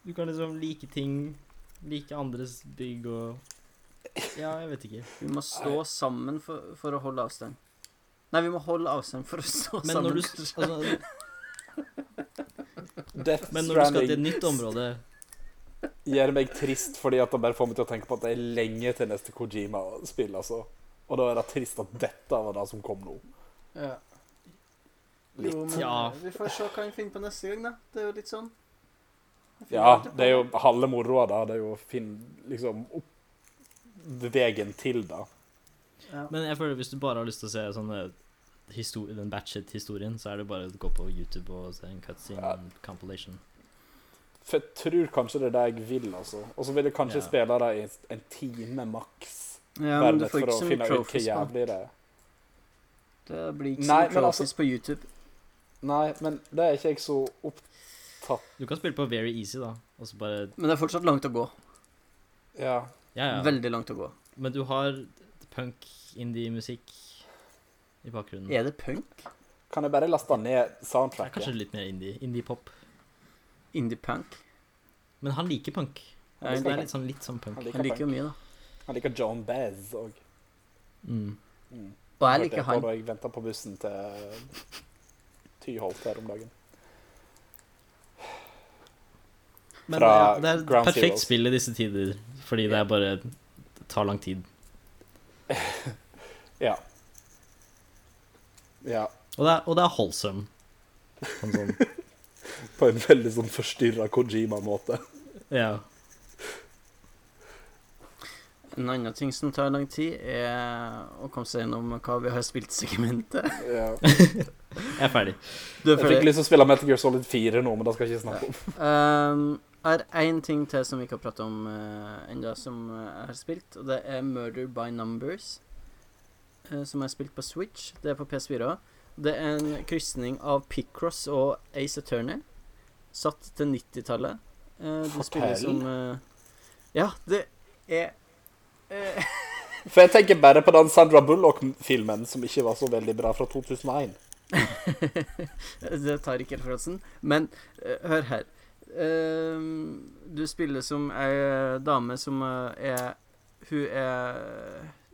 [SPEAKER 3] Du kan liksom like ting, like andres bygg og Ja, jeg vet ikke.
[SPEAKER 1] Vi må stå sammen for, for å holde avstand. Nei, vi må holde avstand for å stå
[SPEAKER 3] Men
[SPEAKER 1] sammen.
[SPEAKER 3] når du,
[SPEAKER 1] kanskje.
[SPEAKER 3] altså,
[SPEAKER 2] Death
[SPEAKER 3] men når du skal til et
[SPEAKER 2] Stranding
[SPEAKER 3] nytt område
[SPEAKER 2] gjør meg trist fordi at det bare får meg til å tenke på at det er lenge til neste Kojima-spill, altså. Og da er det trist at dette var det som kom nå.
[SPEAKER 1] ja.
[SPEAKER 2] Litt.
[SPEAKER 1] Jo, men
[SPEAKER 3] Ja.
[SPEAKER 1] eh, vi får se hva vi finner på neste gang, da. Det er jo litt sånn. Jeg finner
[SPEAKER 2] Ja,
[SPEAKER 1] alltid på
[SPEAKER 2] det er jo halve moroa, da. Det er jo å finne liksom opp veien til det.
[SPEAKER 1] Ja.
[SPEAKER 3] Men jeg føler hvis du bare har lyst til å se sånne histori- den batchet-historien, så er det bare å gå på YouTube og se en cutscene
[SPEAKER 2] Ja.
[SPEAKER 3] en compilation.
[SPEAKER 2] For jeg tror kanskje det er det jeg vil, altså. Og så vil jeg kanskje
[SPEAKER 3] Ja.
[SPEAKER 2] spille det i en time maks.
[SPEAKER 1] ja,
[SPEAKER 2] bare
[SPEAKER 1] men du
[SPEAKER 2] litt
[SPEAKER 1] får
[SPEAKER 2] for
[SPEAKER 1] ikke
[SPEAKER 2] å
[SPEAKER 1] så mye
[SPEAKER 2] finne ut hvor
[SPEAKER 1] trophies på.
[SPEAKER 2] jævlig det er.
[SPEAKER 1] Det blir ikke så
[SPEAKER 2] Nei,
[SPEAKER 1] mye
[SPEAKER 2] men altså-
[SPEAKER 1] trophies på YouTube.
[SPEAKER 2] Nei, men det er ikke jeg så opptatt
[SPEAKER 3] Du kan spille på Very Easy, da. Og så bare
[SPEAKER 1] Men det er fortsatt langt å gå.
[SPEAKER 2] Ja.
[SPEAKER 3] Ja, ja.
[SPEAKER 1] Veldig langt å gå.
[SPEAKER 3] Men du har punk, indie-musikk i
[SPEAKER 2] Mm.
[SPEAKER 3] bakgrunnen.
[SPEAKER 1] Er det punk?
[SPEAKER 2] Kan jeg bare laste ned
[SPEAKER 3] Det er kanskje
[SPEAKER 2] soundtracket?
[SPEAKER 3] litt mer indie. Indie-pop.
[SPEAKER 1] Indie-punk?
[SPEAKER 3] Men han liker punk.
[SPEAKER 1] Ja,
[SPEAKER 3] Det er litt sånn, litt sånn
[SPEAKER 2] Han
[SPEAKER 3] punk.
[SPEAKER 1] Jeg
[SPEAKER 2] liker,
[SPEAKER 1] liker jo
[SPEAKER 2] punk.
[SPEAKER 1] mye, da.
[SPEAKER 2] han liker Joan Baez òg.
[SPEAKER 3] Mm.
[SPEAKER 1] Og
[SPEAKER 2] Mm.
[SPEAKER 1] jeg
[SPEAKER 2] Hørte
[SPEAKER 1] liker
[SPEAKER 2] på
[SPEAKER 1] han.
[SPEAKER 2] Da jeg venta på bussen til eh, Tyholt her om dagen.
[SPEAKER 3] Men
[SPEAKER 2] Fra
[SPEAKER 3] ja, det er et
[SPEAKER 2] Ground
[SPEAKER 3] perfekt
[SPEAKER 2] Zeroes.
[SPEAKER 3] spill i disse tider, fordi det er bare det tar lang tid.
[SPEAKER 2] Ja. Ja.
[SPEAKER 3] Og det er, og det er holdsom. På en sånn
[SPEAKER 2] På en veldig sånn forstyrra Kojima-måte.
[SPEAKER 3] Ja.
[SPEAKER 1] En annen ting som tar lang tid, er å komme seg gjennom hva vi har spilt segmentet.
[SPEAKER 2] Ja.
[SPEAKER 3] Jeg er ferdig.
[SPEAKER 1] Du er
[SPEAKER 2] Jeg fikk
[SPEAKER 1] ferdig.
[SPEAKER 2] lyst til å spille Metal Gear Solid 4 nå, men det skal jeg ikke snakke om.
[SPEAKER 1] Um, jeg har én ting til som vi ikke har pratet om uh, ennå, som eh, jeg har spilt. Og det er Murder by Numbers, eh, som jeg har spilt på Switch. Det er på PS4 òg. Det er en krysning av Picross og Ace Attorney, satt til 90-tallet. Eh, du
[SPEAKER 2] Fortell.
[SPEAKER 1] spiller som eh, Ja, det er eh,
[SPEAKER 2] For jeg tenker bare på den Sandra Bullock-filmen som ikke var så veldig bra, fra 2001.
[SPEAKER 1] Det tar ikke helt referansen. Men eh, hør her. Ehm, du spiller som ei dame som eh, er Hun er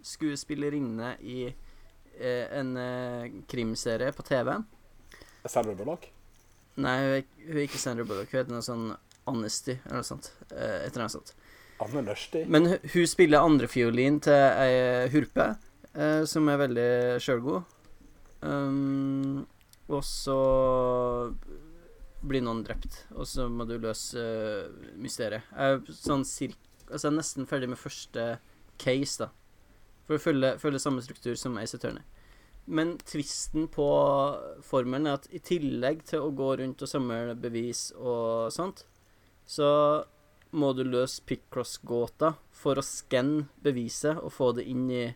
[SPEAKER 1] skuespillerinne i eh, en eh, krimserie på TV.
[SPEAKER 2] Sandra Bullock?
[SPEAKER 1] Nei, hun er, hun er ikke Sandra Bullock. Hun heter noe sånn Honesty eller noe sånt. eh, et eller annet sånt.
[SPEAKER 2] Anne Nørsti?
[SPEAKER 1] Men hu- hun spiller andrefiolin til ei hurpe, eh, som er veldig sjølgod. Um, og så blir noen drept, og så må du løse eh, mysteriet. Jeg er, sånn cirka, altså jeg er nesten ferdig med første case, da. For å følge, følge samme struktur som Ace Attorney. Men tvisten på formelen er at i tillegg til å gå rundt og samle bevis og sånt, så må du løse Picross-gåta for å skanne beviset og få det inn i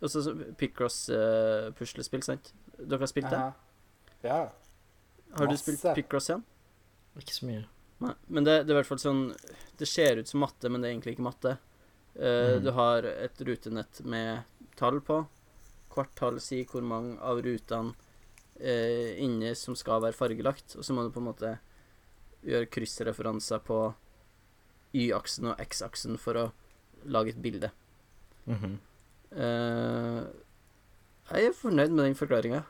[SPEAKER 1] Altså så- Picross-puslespill, sant? Dere har spilt det?
[SPEAKER 2] Aha. Ja.
[SPEAKER 1] Har du
[SPEAKER 2] masse.
[SPEAKER 1] spilt Picross igjen?
[SPEAKER 3] Ikke så mye.
[SPEAKER 1] Nei. Men det, det er i hvert fall sånn Det ser ut som matte, men det er egentlig ikke matte. Eh,
[SPEAKER 3] Mhm.
[SPEAKER 1] Du har et rutenett med tall på. Hvert tall sier hvor mange av rutene eh, inni som skal være fargelagt. Og så må du på en måte gjøre kryssreferanser på Y-aksen og X-aksen for å lage et bilde.
[SPEAKER 3] Mhm.
[SPEAKER 1] Eh, jeg er fornøyd med den forklaringa.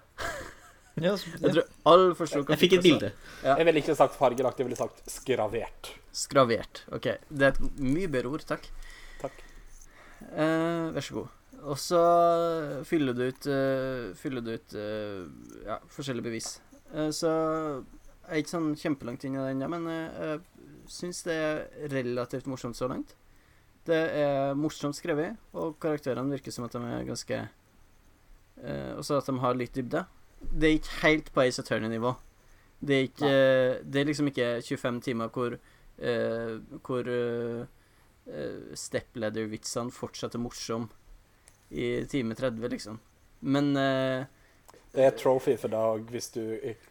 [SPEAKER 3] ja, så,
[SPEAKER 1] Jeg
[SPEAKER 3] ja.
[SPEAKER 1] tror alle forsto hva
[SPEAKER 3] Jeg fikk et
[SPEAKER 1] Picross var.
[SPEAKER 3] bilde.
[SPEAKER 2] Jeg ville ikke sagt fargelagt, jeg ville sagt skravert.
[SPEAKER 1] Skravert. OK. Det er et mye bedre ord, takk.
[SPEAKER 2] Takk.
[SPEAKER 1] Eh, vær så god. Og så fyller du ut, eh, fyller du ut eh, ja, forskjellige bevis. Eh, så jeg er ikke sånn kjempelangt inn i den, ennå, men eh, jeg syns det er relativt morsomt så langt. Det er morsomt skrevet, og karakterene virker som at de er ganske eh, Også at de har litt dybde. Det er ikke helt på Ace Attorney-nivå. Det, er ikke, eh, det er liksom ikke 25 timer hvor, eh, hvor eh, eh, stepladder-vitsene fortsatt er morsom i time 30, liksom. Men eh,
[SPEAKER 2] Det er trophy for dag hvis du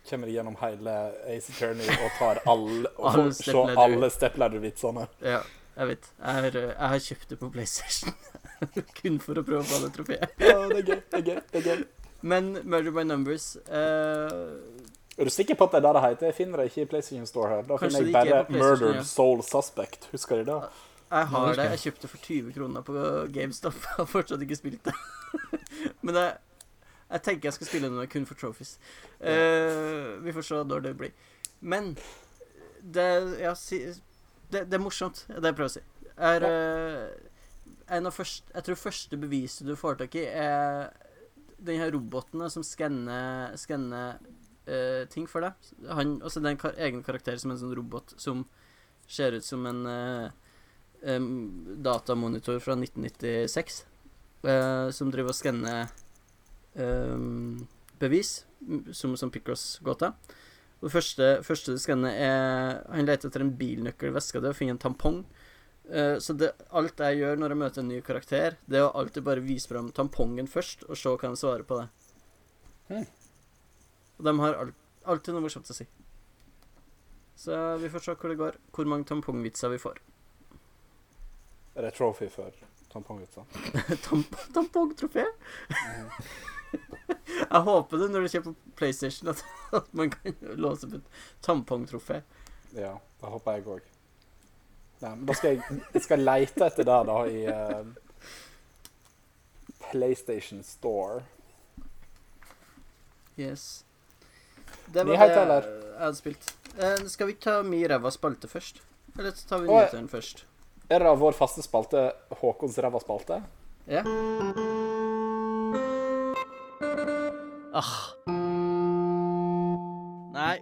[SPEAKER 2] kommer gjennom hele Ace Attorney og tar alle og
[SPEAKER 1] Alle
[SPEAKER 2] får se
[SPEAKER 1] stepladder.
[SPEAKER 2] alle stepladder-vitsene.
[SPEAKER 1] ja, jeg vet. Jeg har, eh, jeg har kjøpt det på PlayStation kun for å prøve å få det trofeet.
[SPEAKER 2] Ja, det er gøy. det er gøy, det er gøy.
[SPEAKER 1] Men Murder by Numbers eh,
[SPEAKER 2] Er du sikker på at det er det det heter? Jeg finner det ikke i PlayStation Store her. Da
[SPEAKER 1] Kanskje
[SPEAKER 2] finner jeg
[SPEAKER 1] det ikke er
[SPEAKER 2] bare
[SPEAKER 1] på PlayStation,
[SPEAKER 2] Murdered
[SPEAKER 1] ja.
[SPEAKER 2] Soul Suspect. Husker du det?
[SPEAKER 1] Jeg
[SPEAKER 3] Ja,
[SPEAKER 1] har
[SPEAKER 3] det
[SPEAKER 1] det.
[SPEAKER 3] husker jeg.
[SPEAKER 1] Jeg kjøpte det for 20 kroner på GameStop. Jeg har fortsatt ikke spilt det. Men jeg, jeg tenker jeg skal spille det nå, kun for trophies. Eh, vi får se når det blir. Men det, ja, si, det, det er morsomt, det er det jeg prøver å si. Er, eh, en av først, jeg tror første beviset du får tak i, er den her roboten da, som skanner skanner, eh, ting for deg. Han, altså det er en kar egen karakter som en sånn robot som ser ut som en eh, em, datamonitor fra 1996, eh, som driver og skanner em, bevis, m- som, som Picross-gåta. Og Det første, første du skanner, er Han leter etter en bilnøkkel i veska di og finner en tampong. Eh, så det, alt jeg gjør når jeg møter en ny karakter, det er å alltid bare vise fram tampongen først, og se hva han svarer på det.
[SPEAKER 2] Hmm.
[SPEAKER 1] Og de har alt, alltid noe morsomt å si. Så vi får se hvor det går. Hvor mange tampongvitser vi får.
[SPEAKER 2] Er det trophy for tampongvitser?
[SPEAKER 1] Tamp Tampongtrofé? Jeg håper det når du kjøper PlayStation, at, at man kan låse opp et tampongtrofé.
[SPEAKER 2] Ja, det håper jeg òg. Nei, men da skal jeg, jeg skal leite etter det, da, i eh, PlayStation Store.
[SPEAKER 1] Yes. Det var
[SPEAKER 2] Nyhet,
[SPEAKER 1] det
[SPEAKER 2] eller?
[SPEAKER 1] jeg hadde spilt. Eh, skal vi ta Mi ræva spalte først? Eller så tar vi
[SPEAKER 2] Å, ja.
[SPEAKER 1] nyhetene først?
[SPEAKER 2] Er det da vår faste spalte Håkons ræva spalte?
[SPEAKER 1] Ja. Ah. Nei.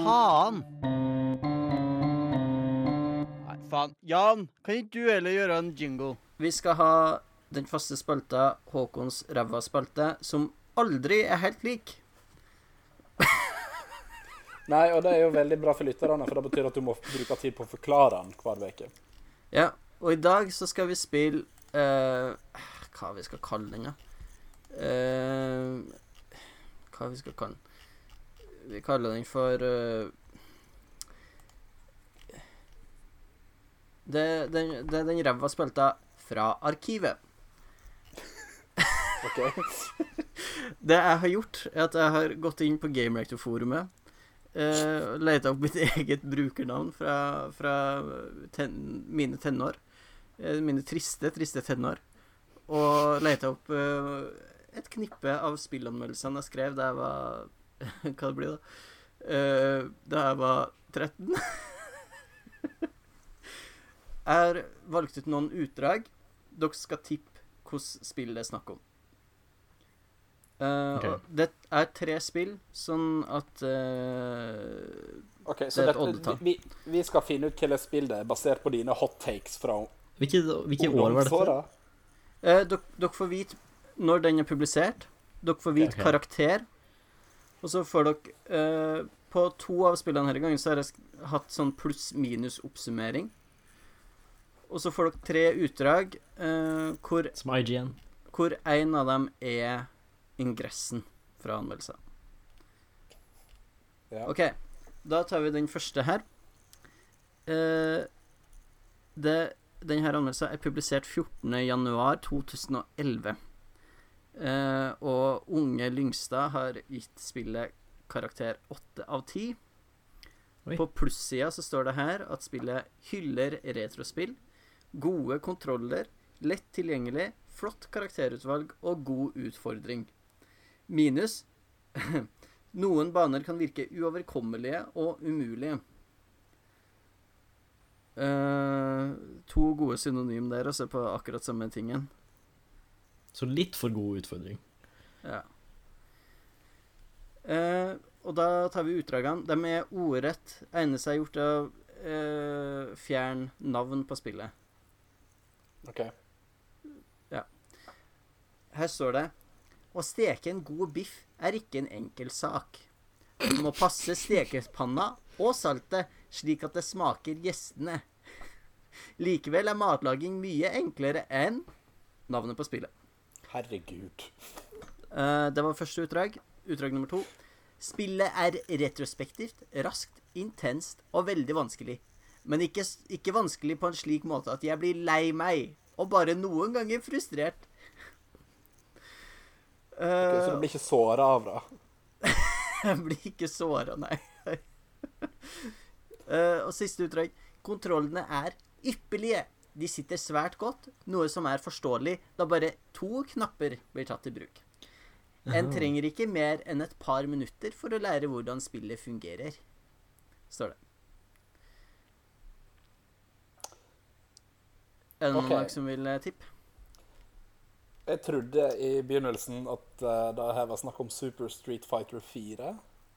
[SPEAKER 1] Faen. Nei, faen. Jan, kan ikke du heller gjøre en jingle? Vi skal ha den faste spalta Håkons ræva spalte, som aldri er helt lik.
[SPEAKER 2] Nei, og det er jo veldig bra for lytterne, for det betyr at du må bruke tid på å forklare den hver uke.
[SPEAKER 1] Ja, og i dag så skal vi spille eh, Hva vi skal kalle den, da? Eh, hva vi skal kalle den? Vi kaller den for eh, det, den, det er den ræva spalta fra arkivet.
[SPEAKER 2] OK?
[SPEAKER 1] Det jeg har gjort, er at jeg har gått inn på GameRector-forumet. Uh, Leita opp mitt eget brukernavn fra, fra ten, mine tenår. eh, mine triste, triste tenår. Og leita opp eh, et knippe av spillanmeldelsene jeg skrev da jeg var Hva det blir da? Eh, da jeg var 13. jeg har valgt ut noen utdrag. Dere skal tippe hvilket spill det er snakk om. Eh,
[SPEAKER 3] Ok.
[SPEAKER 1] og det er tre spill, sånn at eh,
[SPEAKER 2] Ok,
[SPEAKER 1] Det er
[SPEAKER 2] så
[SPEAKER 1] et
[SPEAKER 2] dette-
[SPEAKER 1] oddetall.
[SPEAKER 2] Vi, vi skal finne ut hvilket spill det er, basert på dine hot takes fra
[SPEAKER 3] Hvilke, hvilke år var dette?
[SPEAKER 2] ungdomsåra.
[SPEAKER 1] Eh, dok- Dere får vite når den er publisert. Dere får vite
[SPEAKER 3] Ok.
[SPEAKER 1] karakter. Og så får dere eh, På to av spillene denne gangen så har jeg sk- hatt sånn pluss-minus-oppsummering. Og så får dere tre utdrag eh, hvor
[SPEAKER 3] Som IGN.
[SPEAKER 1] hvor en av dem er ingressen fra anmeldelsen.
[SPEAKER 2] Ja.
[SPEAKER 1] OK, da tar vi den første her. Eh, det, den her anmeldelsen er publisert 14.1.2011. Eh, og Unge Lyngstad har gitt spillet karakter 8 av 10.
[SPEAKER 3] Oi.
[SPEAKER 1] På plussida så står det her at spillet hyller retrospill, gode kontroller, lett tilgjengelig, flott karakterutvalg og god utfordring. Minus Noen baner kan virke uoverkommelige og umulige. Eh, to gode synonym der, altså, på akkurat samme tingen.
[SPEAKER 3] Så litt for god utfordring.
[SPEAKER 1] Ja. Eh, og da tar vi utdragene. De er ordrett. Egner seg gjort av eh, fjern navn på spillet.
[SPEAKER 2] Ok.
[SPEAKER 1] Her står det Å steke en god biff er ikke en enkel sak. Du må passe stekepanna og saltet slik at det smaker gjestene. Likevel er matlaging mye enklere enn navnet på spillet.
[SPEAKER 2] Herregud.
[SPEAKER 1] Eh, det var første utdrag. Utdrag nummer to. Spillet er retrospektivt, raskt, intenst og veldig vanskelig. Men ikke, s- ikke vanskelig på en slik måte at jeg blir lei meg, og bare noen ganger frustrert.
[SPEAKER 2] Ok, så
[SPEAKER 1] Eh,
[SPEAKER 2] du blir ikke såra av det?
[SPEAKER 1] jeg blir ikke såra, nei. Eh, og siste utdrag. Kontrollene er ypperlige. De sitter svært godt, noe som er forståelig, da bare to knapper blir tatt i bruk. En trenger ikke mer enn et par minutter for å lære hvordan spillet fungerer, står det. Er det noen
[SPEAKER 2] Ok.
[SPEAKER 1] av dere som vil eh, tippe?
[SPEAKER 2] Jeg trodde i begynnelsen at uh, det her var snakk om Super Street Fighter 4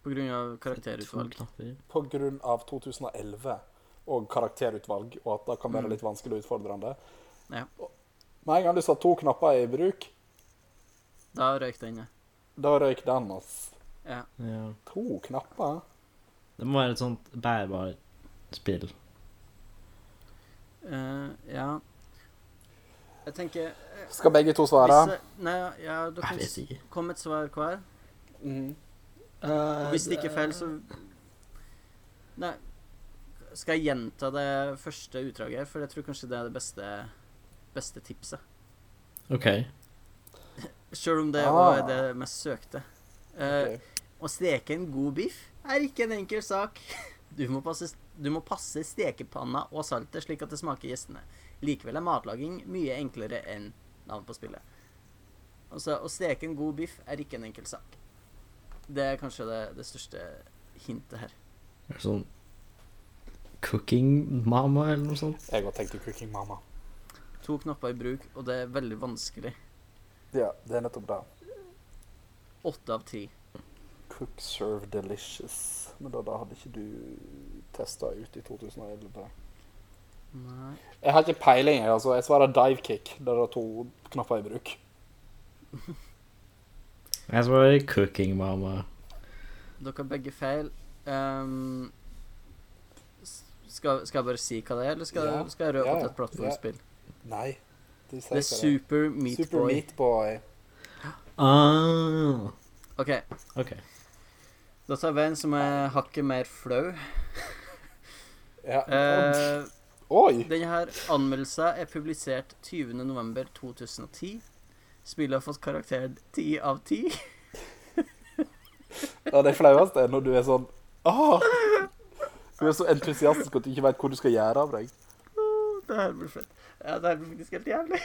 [SPEAKER 1] På grunn av
[SPEAKER 3] To
[SPEAKER 1] karakterutvalg.
[SPEAKER 3] knapper.
[SPEAKER 2] pga. 2011 og karakterutvalg, og at det kan være litt vanskelig og utfordrende.
[SPEAKER 1] Mm. Ja,
[SPEAKER 2] Med en gang du sa to knapper i bruk,
[SPEAKER 1] da røyk den, ja.
[SPEAKER 2] da røyk den, ass.
[SPEAKER 1] ja.
[SPEAKER 3] Ja.
[SPEAKER 2] To knapper?
[SPEAKER 3] Det må være et sånt bærbar spill.
[SPEAKER 1] Eh, ja. Jeg tenker
[SPEAKER 2] Skal begge to svare?
[SPEAKER 1] hvis, eh, Nei, ja, dere
[SPEAKER 3] Jeg vet ikke.
[SPEAKER 1] kom et svar hver. eh,
[SPEAKER 2] Mhm.
[SPEAKER 1] Og Eh, hvis det ikke er feil, så
[SPEAKER 2] eh,
[SPEAKER 1] Nei. Skal jeg gjenta det første utdraget her, for jeg tror kanskje det er det beste, beste tipset.
[SPEAKER 3] OK.
[SPEAKER 1] Sjøl om det
[SPEAKER 2] Ah.
[SPEAKER 1] også er det mest søkte. Eh,
[SPEAKER 2] Ok.
[SPEAKER 1] Å steke en god biff er ikke en enkel sak. Du må passe, du må passe stekepanna og saltet slik at det smaker gjestene. Likevel er matlaging mye enklere enn navn på spillet. Altså, å steke en god biff er ikke en enkel sak. Det er kanskje det, det største hintet her.
[SPEAKER 3] Sånn Cooking mama, eller noe sånt.
[SPEAKER 2] Jeg òg tenkte Cooking Mama.
[SPEAKER 1] To knapper i bruk, og det er veldig vanskelig.
[SPEAKER 2] Ja, det er nettopp det.
[SPEAKER 1] Åtte av ti.
[SPEAKER 2] Cook Serve Delicious. Men da, da hadde ikke du testa ut i 2011.
[SPEAKER 1] Nei.
[SPEAKER 2] Jeg har ikke peiling, jeg, altså. Jeg svarer dive kick. Der er to knapper i bruk.
[SPEAKER 3] Jeg svarer cooking mama.
[SPEAKER 1] Dere har begge feil. Ehm, s- skal, skal jeg bare si hva det er, eller skal,
[SPEAKER 2] Ja.
[SPEAKER 1] skal jeg røpe
[SPEAKER 2] Ja,
[SPEAKER 1] at det
[SPEAKER 2] ja.
[SPEAKER 1] er et plattformspill?
[SPEAKER 2] Nei. Du sier
[SPEAKER 1] Det er
[SPEAKER 2] ikke
[SPEAKER 1] Super Meat
[SPEAKER 2] Super
[SPEAKER 1] Boy.
[SPEAKER 2] Meat Boy.
[SPEAKER 3] Ah,
[SPEAKER 1] OK,
[SPEAKER 3] OK.
[SPEAKER 1] da tar vi en som er hakket mer flau.
[SPEAKER 2] Ja.
[SPEAKER 1] Eh,
[SPEAKER 2] Oi!
[SPEAKER 1] denne her anmeldelsen er publisert 20.11.2010. Spillet har fått karakteren 10 av 10.
[SPEAKER 2] Ja, det flaueste er når du er sånn Åh! Du er så entusiastisk at du ikke veit hvor du skal gjøre av deg.
[SPEAKER 1] Det her blir fett. Ja, det her blir faktisk helt jævlig.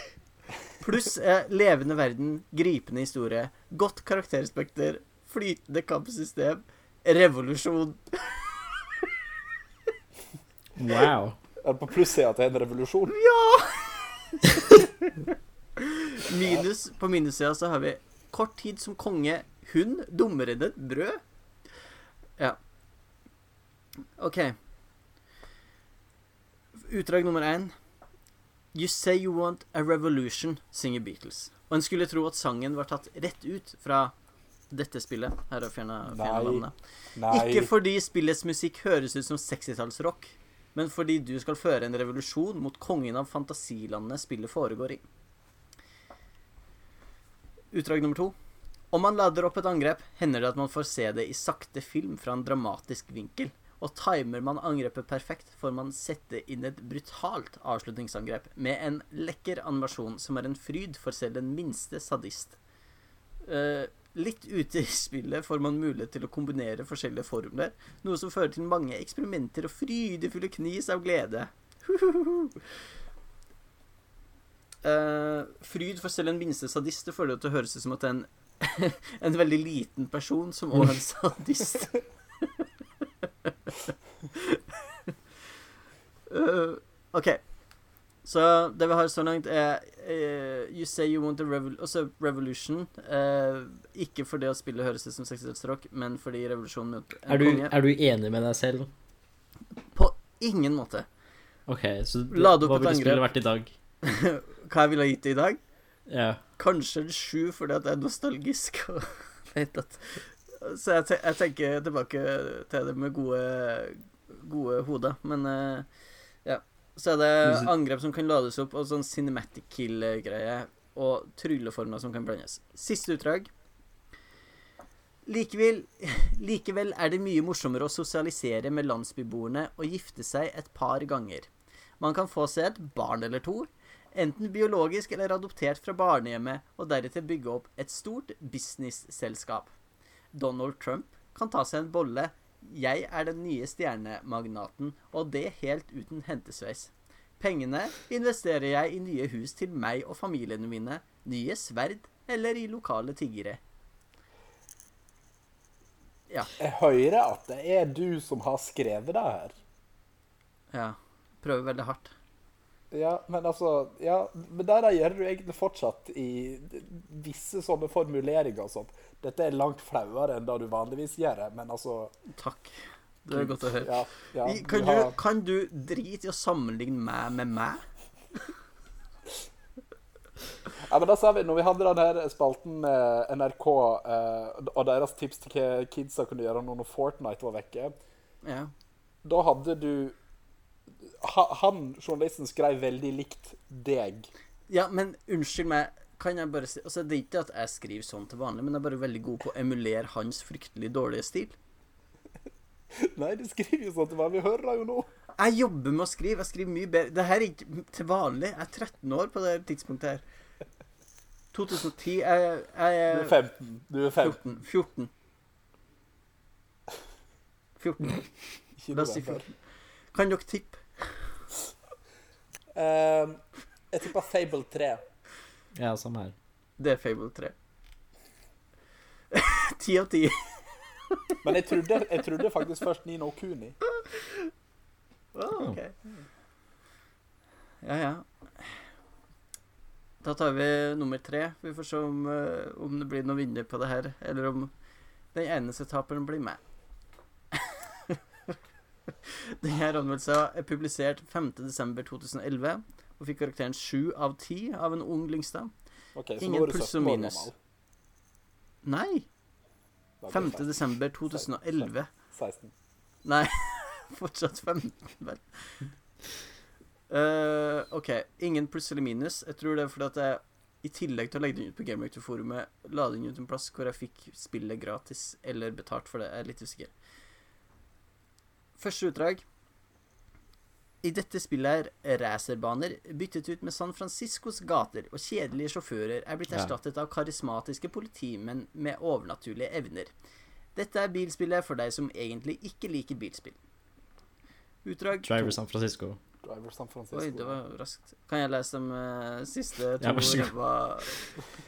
[SPEAKER 1] Pluss eh, levende verden, gripende historie, godt karakterspekter, flytende kampsystem, revolusjon.
[SPEAKER 3] Wow.
[SPEAKER 2] Er det på plussida at det er en revolusjon?
[SPEAKER 1] Minus, på minussida så har vi kort tid som konge, hund, dummere enn et brød. Ja. OK. Utdrag nummer én. You say you want a revolution, synger Beatles. Og en skulle tro at sangen var tatt rett ut fra dette spillet. Her har fjerna
[SPEAKER 2] Nei.
[SPEAKER 1] navnet.
[SPEAKER 2] Nei.
[SPEAKER 1] Ikke fordi spillets musikk høres ut som 60-tallsrock, men fordi du skal føre en revolusjon mot kongen av fantasilandene spillet foregår i. Utdrag nummer to. Om man lader opp et angrep, hender det at man får se det i sakte film fra en dramatisk vinkel. Og timer man angrepet perfekt, får man sette inn et brutalt avslutningsangrep med en lekker animasjon som er en fryd for selv den minste sadist. Eh, litt ute i spillet får man mulighet til å kombinere forskjellige formler, noe som fører til mange eksperimenter og frydefulle knis av glede. Eh, fryd for selv en minste sadist det får det til å høres ut som at det er en, en veldig liten person som også er en sadist. Eh, OK. Så det vi har så langt, er eh, You say you want a revol altså revolution. eh, ikke fordi at spillet høres ut som 60-tallsrock, men fordi revolusjonen mot en
[SPEAKER 3] Er du,
[SPEAKER 1] konge
[SPEAKER 3] er du enig med deg selv?
[SPEAKER 1] På ingen måte.
[SPEAKER 3] OK, så d-
[SPEAKER 1] Lade opp
[SPEAKER 3] hva
[SPEAKER 1] et
[SPEAKER 3] ville spillet
[SPEAKER 1] angrep.
[SPEAKER 3] vært i dag?
[SPEAKER 1] Hva jeg ville ha gitt det i dag?
[SPEAKER 3] Ja.
[SPEAKER 1] Kanskje en sju fordi at det er nostalgisk. og vet at- Så jeg, te jeg tenker tilbake til det med gode, gode hoder, men eh, ja. Så er det angrep som kan lades opp, og sånn cinematic kill-greie. Og trylleformer som kan blandes. Siste utdrag. Likevel, likevel er det mye morsommere å sosialisere med landsbyboerne og gifte seg et par ganger. Man kan få seg et barn eller to, enten biologisk eller adoptert fra barnehjemmet, og deretter bygge opp et stort businessselskap. Donald Trump kan ta seg en bolle. Jeg er den nye stjernemagnaten, og det helt uten hentesveis. Pengene investerer jeg i nye hus til meg og familiene mine, nye sverd eller i lokale tiggere.
[SPEAKER 2] Jeg hører at det er du som har skrevet det her.
[SPEAKER 1] Ja, prøver veldig hardt.
[SPEAKER 2] Ja, men altså Ja, men det der gjør du egentlig fortsatt i visse sånne formuleringer som Dette er langt flauere enn det du vanligvis gjør, men altså
[SPEAKER 1] Takk. Det er godt å høre.
[SPEAKER 2] Ja. ja
[SPEAKER 1] I- Kan du,
[SPEAKER 2] har-
[SPEAKER 1] kan du drite i å sammenligne meg med meg?
[SPEAKER 2] Ja, men da sa vi, når vi hadde den her spalten med NRK eh, og deres tips til hva kidsa kunne gjøre når Fortnite var vekke,
[SPEAKER 1] Ja.
[SPEAKER 2] da hadde du ha, Han journalisten skrev veldig likt deg.
[SPEAKER 1] Ja, men unnskyld meg, kan jeg bare si Altså, det er ikke at jeg skriver sånn til vanlig, men jeg er bare veldig god på å emulere hans fryktelig dårlige stil.
[SPEAKER 2] Nei, de skriver jo sånn til meg. Vi hører jo nå.
[SPEAKER 1] Jeg jobber med å skrive. Jeg skriver mye bedre. Det her er ikke til vanlig. Jeg er 13 år på det her tidspunktet her. 2010 Jeg, jeg
[SPEAKER 2] Du
[SPEAKER 1] er
[SPEAKER 2] er 15. Du er 15.
[SPEAKER 1] 14. 14. 14.
[SPEAKER 2] Ikke
[SPEAKER 1] La oss si
[SPEAKER 2] november.
[SPEAKER 1] 14. Kan dere tippe?
[SPEAKER 2] Ehm, jeg tipper Fable 3.
[SPEAKER 3] Ja, samme her.
[SPEAKER 1] Det er Fable 3. 10 av 10.
[SPEAKER 2] Men jeg trodde, jeg trodde faktisk først Nino Kuni.
[SPEAKER 1] Ah, ok. Ja, ja. Da tar vi nummer tre. Vi får se om, eh, om det blir noen vinner på det her, eller om den eneste taperen blir meg. Denne anmeldelsen er publisert 5.12.2011 og fikk karakteren 7 av 10 av en ung Lyngstad.
[SPEAKER 2] Ok, så
[SPEAKER 1] Ingen
[SPEAKER 2] nå er du
[SPEAKER 1] pluss
[SPEAKER 2] 17
[SPEAKER 1] og
[SPEAKER 2] år
[SPEAKER 1] minus.
[SPEAKER 2] gammel.
[SPEAKER 1] Nei!
[SPEAKER 2] Da blir det
[SPEAKER 1] 5.12.2011.
[SPEAKER 2] 16.
[SPEAKER 1] Nei, fortsatt 15, vel. Eh, OK. Ingen pluss eller minus. Jeg tror det er fordi at jeg i tillegg til å legge den ut på Gamelector-forumet, la den ut en plass hvor jeg fikk spillet gratis eller betalt for det. Jeg er litt usikker. Første utdrag. I dette spillet er racerbaner byttet ut med San Franciscos gater, og kjedelige sjåfører er blitt
[SPEAKER 3] Ja.
[SPEAKER 1] erstattet av karismatiske politimenn med overnaturlige evner. Dette er bilspillet for deg som egentlig ikke liker bilspill. Utdrag to.
[SPEAKER 3] Driver sånn. San Francisco.
[SPEAKER 2] Driver San Francisco.
[SPEAKER 1] Oi, det var raskt. Kan jeg lese de eh, siste to?
[SPEAKER 3] Ja, vær så god.
[SPEAKER 1] ræva-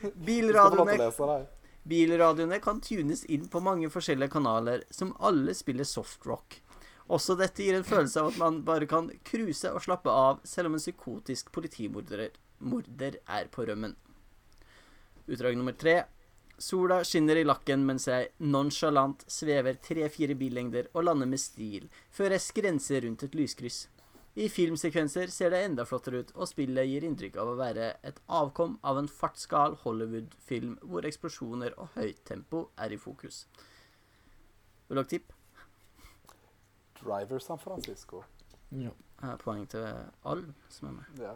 [SPEAKER 2] Du skal få lov til å
[SPEAKER 1] Bilradioene,
[SPEAKER 2] lese det.
[SPEAKER 1] bilradioene kan tunes inn på mange forskjellige kanaler, som alle spiller softrock. Også dette gir en følelse av at man bare kan cruise og slappe av, selv om en psykotisk politimorder morder er på rømmen. Utdrag nummer tre. Sola skinner i lakken mens jeg nonchalant svever tre-fire billengder og lander med stil, før jeg skrenser rundt et lyskryss. I filmsekvenser ser det enda flottere ut, og spillet gir inntrykk av å være et avkom av en fartsgal Hollywood-film hvor eksplosjoner og høyt tempo er i fokus. Vil dere tippe?
[SPEAKER 2] Driver San Francisco.
[SPEAKER 3] Ja.
[SPEAKER 1] Her er poeng til alle som er med.
[SPEAKER 2] Ja.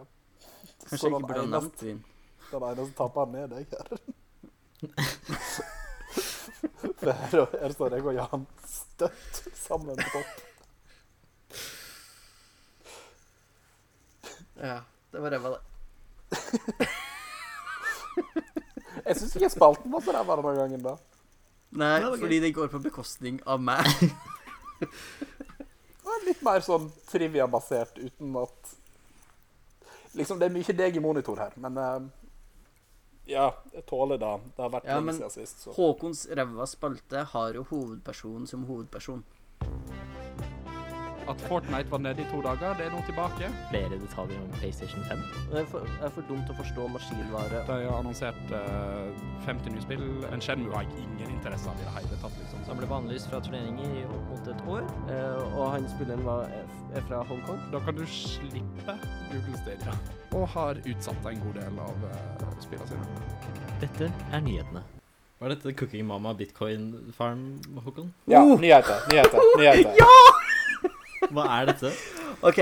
[SPEAKER 1] Kanskje
[SPEAKER 2] Så
[SPEAKER 1] jeg
[SPEAKER 2] den
[SPEAKER 1] ikke burde ha
[SPEAKER 2] eneste-
[SPEAKER 1] nevnt Vin.
[SPEAKER 2] Den eneste taperen er deg her. For her, her står jeg og Jan støtt sammen på topp.
[SPEAKER 1] Ja, det var ræva, det.
[SPEAKER 2] Jeg syns ikke spalten var så ræva denne gangen, da.
[SPEAKER 1] Nei,
[SPEAKER 3] det var gøy.
[SPEAKER 1] fordi det går på bekostning av meg.
[SPEAKER 2] Det var Litt mer sånn trivia-basert, uten at Liksom, det er mye deg i monitor her, men eh, Ja, jeg tåler det. Det har vært
[SPEAKER 1] Ja,
[SPEAKER 2] lenge
[SPEAKER 1] men-
[SPEAKER 2] siden sist, så
[SPEAKER 1] Håkons ræva spalte har jo hovedpersonen som hovedperson.
[SPEAKER 4] At Fortnite var nede i to dager, det er nå tilbake.
[SPEAKER 3] Flere detaljer om PlayStation 5.
[SPEAKER 5] Det er for, det er for dumt å forstå maskinvare.
[SPEAKER 4] De har annonsert eh, 50 nye spill. En Shenmue har jeg ingen interesse av i det hele tatt, liksom. Så
[SPEAKER 5] Han ble bannlyst fra turneringer i opp mot et år, eh, og han spilleren var, er fra Hongkong.
[SPEAKER 4] Da kan du slippe Google Stadia. Og har utsatt en god del av uh, spillene sine.
[SPEAKER 3] Dette er nyhetene. Var dette Cooking Mama Bitcoin Farm, Håkon?
[SPEAKER 2] Ja, nyheter, nyheter, nyheter.
[SPEAKER 3] Hva er dette?
[SPEAKER 1] OK,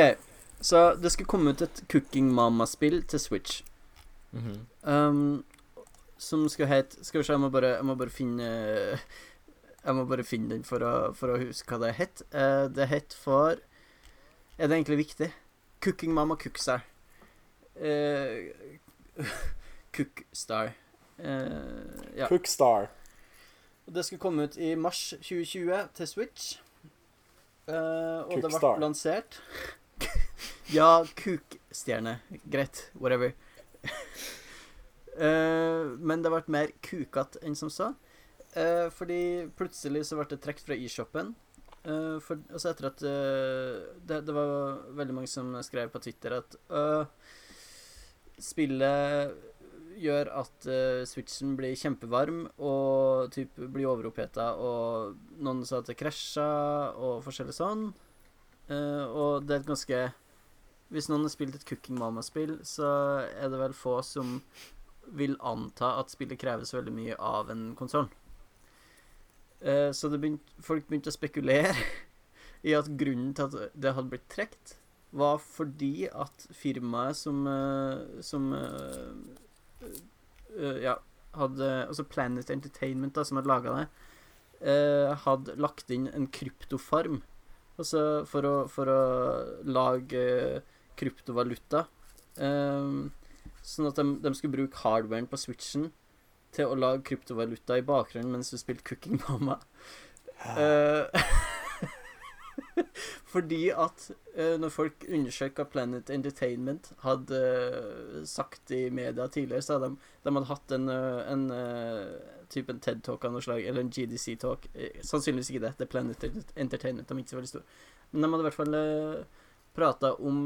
[SPEAKER 1] så det skal komme ut et Cooking Mama-spill til Switch.
[SPEAKER 3] Mhm.
[SPEAKER 1] Um, som skal hete Skal vi se, jeg må bare, jeg må bare finne Jeg må bare finne den for å, for å huske hva det het. Eh, det het for Er det egentlig viktig? Cooking Mama Cookstar. Uh, Cookstar. Eh, ja.
[SPEAKER 2] Cookstar.
[SPEAKER 1] Og Det skulle komme ut i mars 2020 til Switch. Eh, og det ble
[SPEAKER 2] Cookstar.
[SPEAKER 1] lansert. ja, kukstjerne. Greit. Whatever. Eh, men det ble mer kukete enn som så. Eh, fordi plutselig så ble det trukket fra eShopen. Eh, for, altså etter at eh, det, det var veldig mange som skrev på Twitter at eh, spillet gjør at eh, switchen blir kjempevarm og typ blir overoppheta, og noen sa at det krasja, og forskjellig sånn. Eh, og det er et ganske Hvis noen har spilt et Cooking Mama-spill, så er det vel få som vil anta at spillet krever så veldig mye av en konsoll. Eh, så det begynt, folk begynte å spekulere i at grunnen til at det hadde blitt trukket, var fordi at firmaet som, eh, som eh, eh, Ja, hadde Altså Planet Entertainment, da, som hadde laga det, eh, hadde lagt inn en kryptofarm. Altså for å, for å lage eh, kryptovaluta. Eh, sånn at de, de skulle bruke hardwaren på switchen til å lage kryptovaluta i bakgrunnen mens du spilte Cooking Mama. Eh, fordi at eh, når folk undersøkte hva Planet Entertainment hadde eh, sagt i media tidligere, så hadde de, de hadde hatt en, eh, en eh, type en TED-talk av noe slag, eller en GDC-talk. Eh, Sannsynligvis ikke det, det er Planet Ent- Entertainment, de er ikke så veldig store. Men de hadde i hvert fall eh, prata om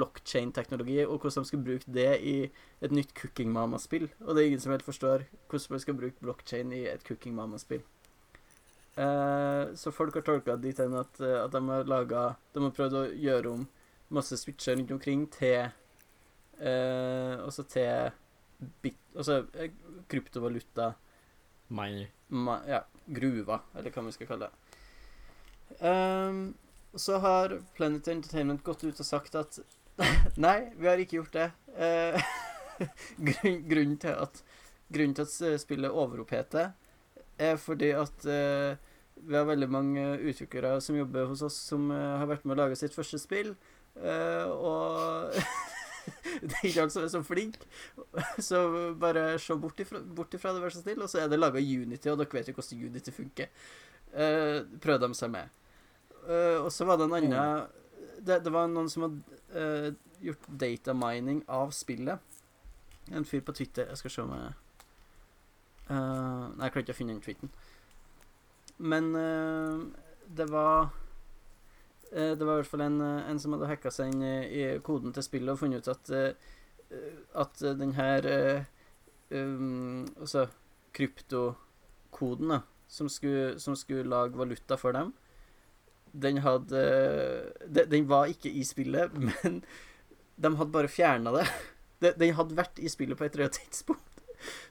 [SPEAKER 1] blockchain-teknologi, og hvordan de skulle bruke det i et nytt Cooking Mama-spill. Og det er ingen som helt forstår hvordan man skal bruke blockchain i et Cooking Mama-spill. Eh, så folk har tolka det dit hen at, eh, at de har laget De har prøvd å gjøre om masse switcher rundt omkring til eh, Altså til bit, altså, eh, kryptovaluta
[SPEAKER 3] Miner.
[SPEAKER 1] ma, ja, gruva, eller hva vi skal kalle det. Ehm, så har Planet Entertainment gått ut og sagt at nei, vi har ikke gjort det. Eh, grunn, grunnen, til at, grunnen til at spillet overoppheter, er fordi at eh, vi har veldig mange utviklere som jobber hos oss, som eh, har vært med å lage sitt første spill. eh, og det er ikke alle som er så flinke. Så bare se bort ifra, bort ifra det, vær så snill. Og så er det laga Unity, og dere vet jo hvordan Unity funker. Eh, prøvde de seg med. Eh, og så var det en annen det, det var noen som hadde eh, gjort datamining av spillet. En fyr på Twitter Jeg skal se om jeg Eh, Nei, jeg klarte ikke å finne den tweeten. Men eh, det var eh, Det var i hvert fall en, eh, en som hadde hacka seg inn i, i koden til spillet og funnet ut at eh, eh, at eh, den her eh, um, Altså kryptokoden da, som skulle, som skulle lage valuta for dem, den hadde eh, de- Den var ikke i spillet, men de hadde bare fjerna det. De- Den hadde vært i spillet på et eller annet tidspunkt.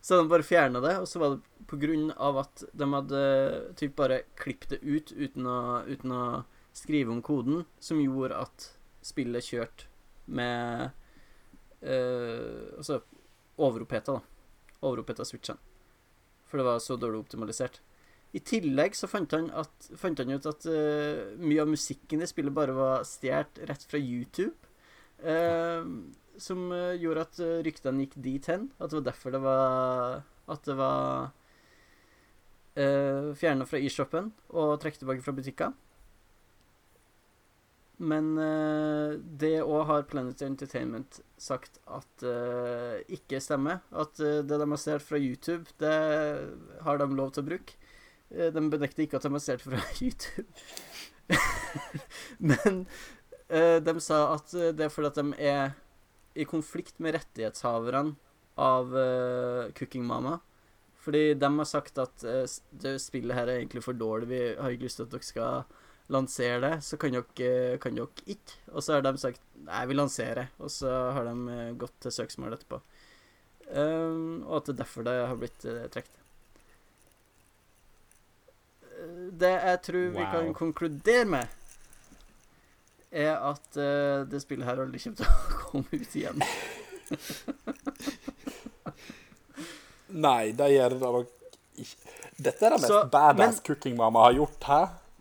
[SPEAKER 1] Så hadde de bare fjerna det, og så var det på grunn av at de hadde typ bare klippet det ut uten å, uten å skrive om koden, som gjorde at spillet kjørte med eh, Altså overoppheta, da. Overoppheta switchen. For det var så dårlig optimalisert. I tillegg så fant han, at, fant han ut at eh, mye av musikken i spillet bare var stjålet rett fra YouTube. eh, som eh, gjorde at eh, ryktene gikk dit hen. At det var derfor det var At det var uh, fjerna fra e-shoppen og trukket tilbake fra butikker. Men eh, det òg har Planet Entertainment sagt at eh, ikke stemmer. At eh, det de har stjålet fra YouTube, det har de lov til å bruke. Eh, de benekter ikke at de har stjålet fra YouTube. Men eh, de sa at eh, det er fordi at de er i konflikt med rettighetshaverne av eh, Cooking Mama. Fordi de har sagt at eh, s- det spillet her er egentlig for dårlig, vi har ikke lyst til at dere skal lansere det, så kan dere, eh, kan dere ikke. Og så har de sagt nei, vi lanserer, og så har de eh, gått til søksmål etterpå. Ehm, og at det er derfor det har blitt uh, trukket. Eh, Det jeg tror vi kan
[SPEAKER 2] Wow.
[SPEAKER 1] konkludere med, er at eh, det spillet her aldri kommer til å komme ut igjen.
[SPEAKER 2] Nei, det gjør det nok ikke. Dette er det mest
[SPEAKER 1] Så,
[SPEAKER 2] badass
[SPEAKER 1] men-
[SPEAKER 2] cooking mamma har gjort, hæ?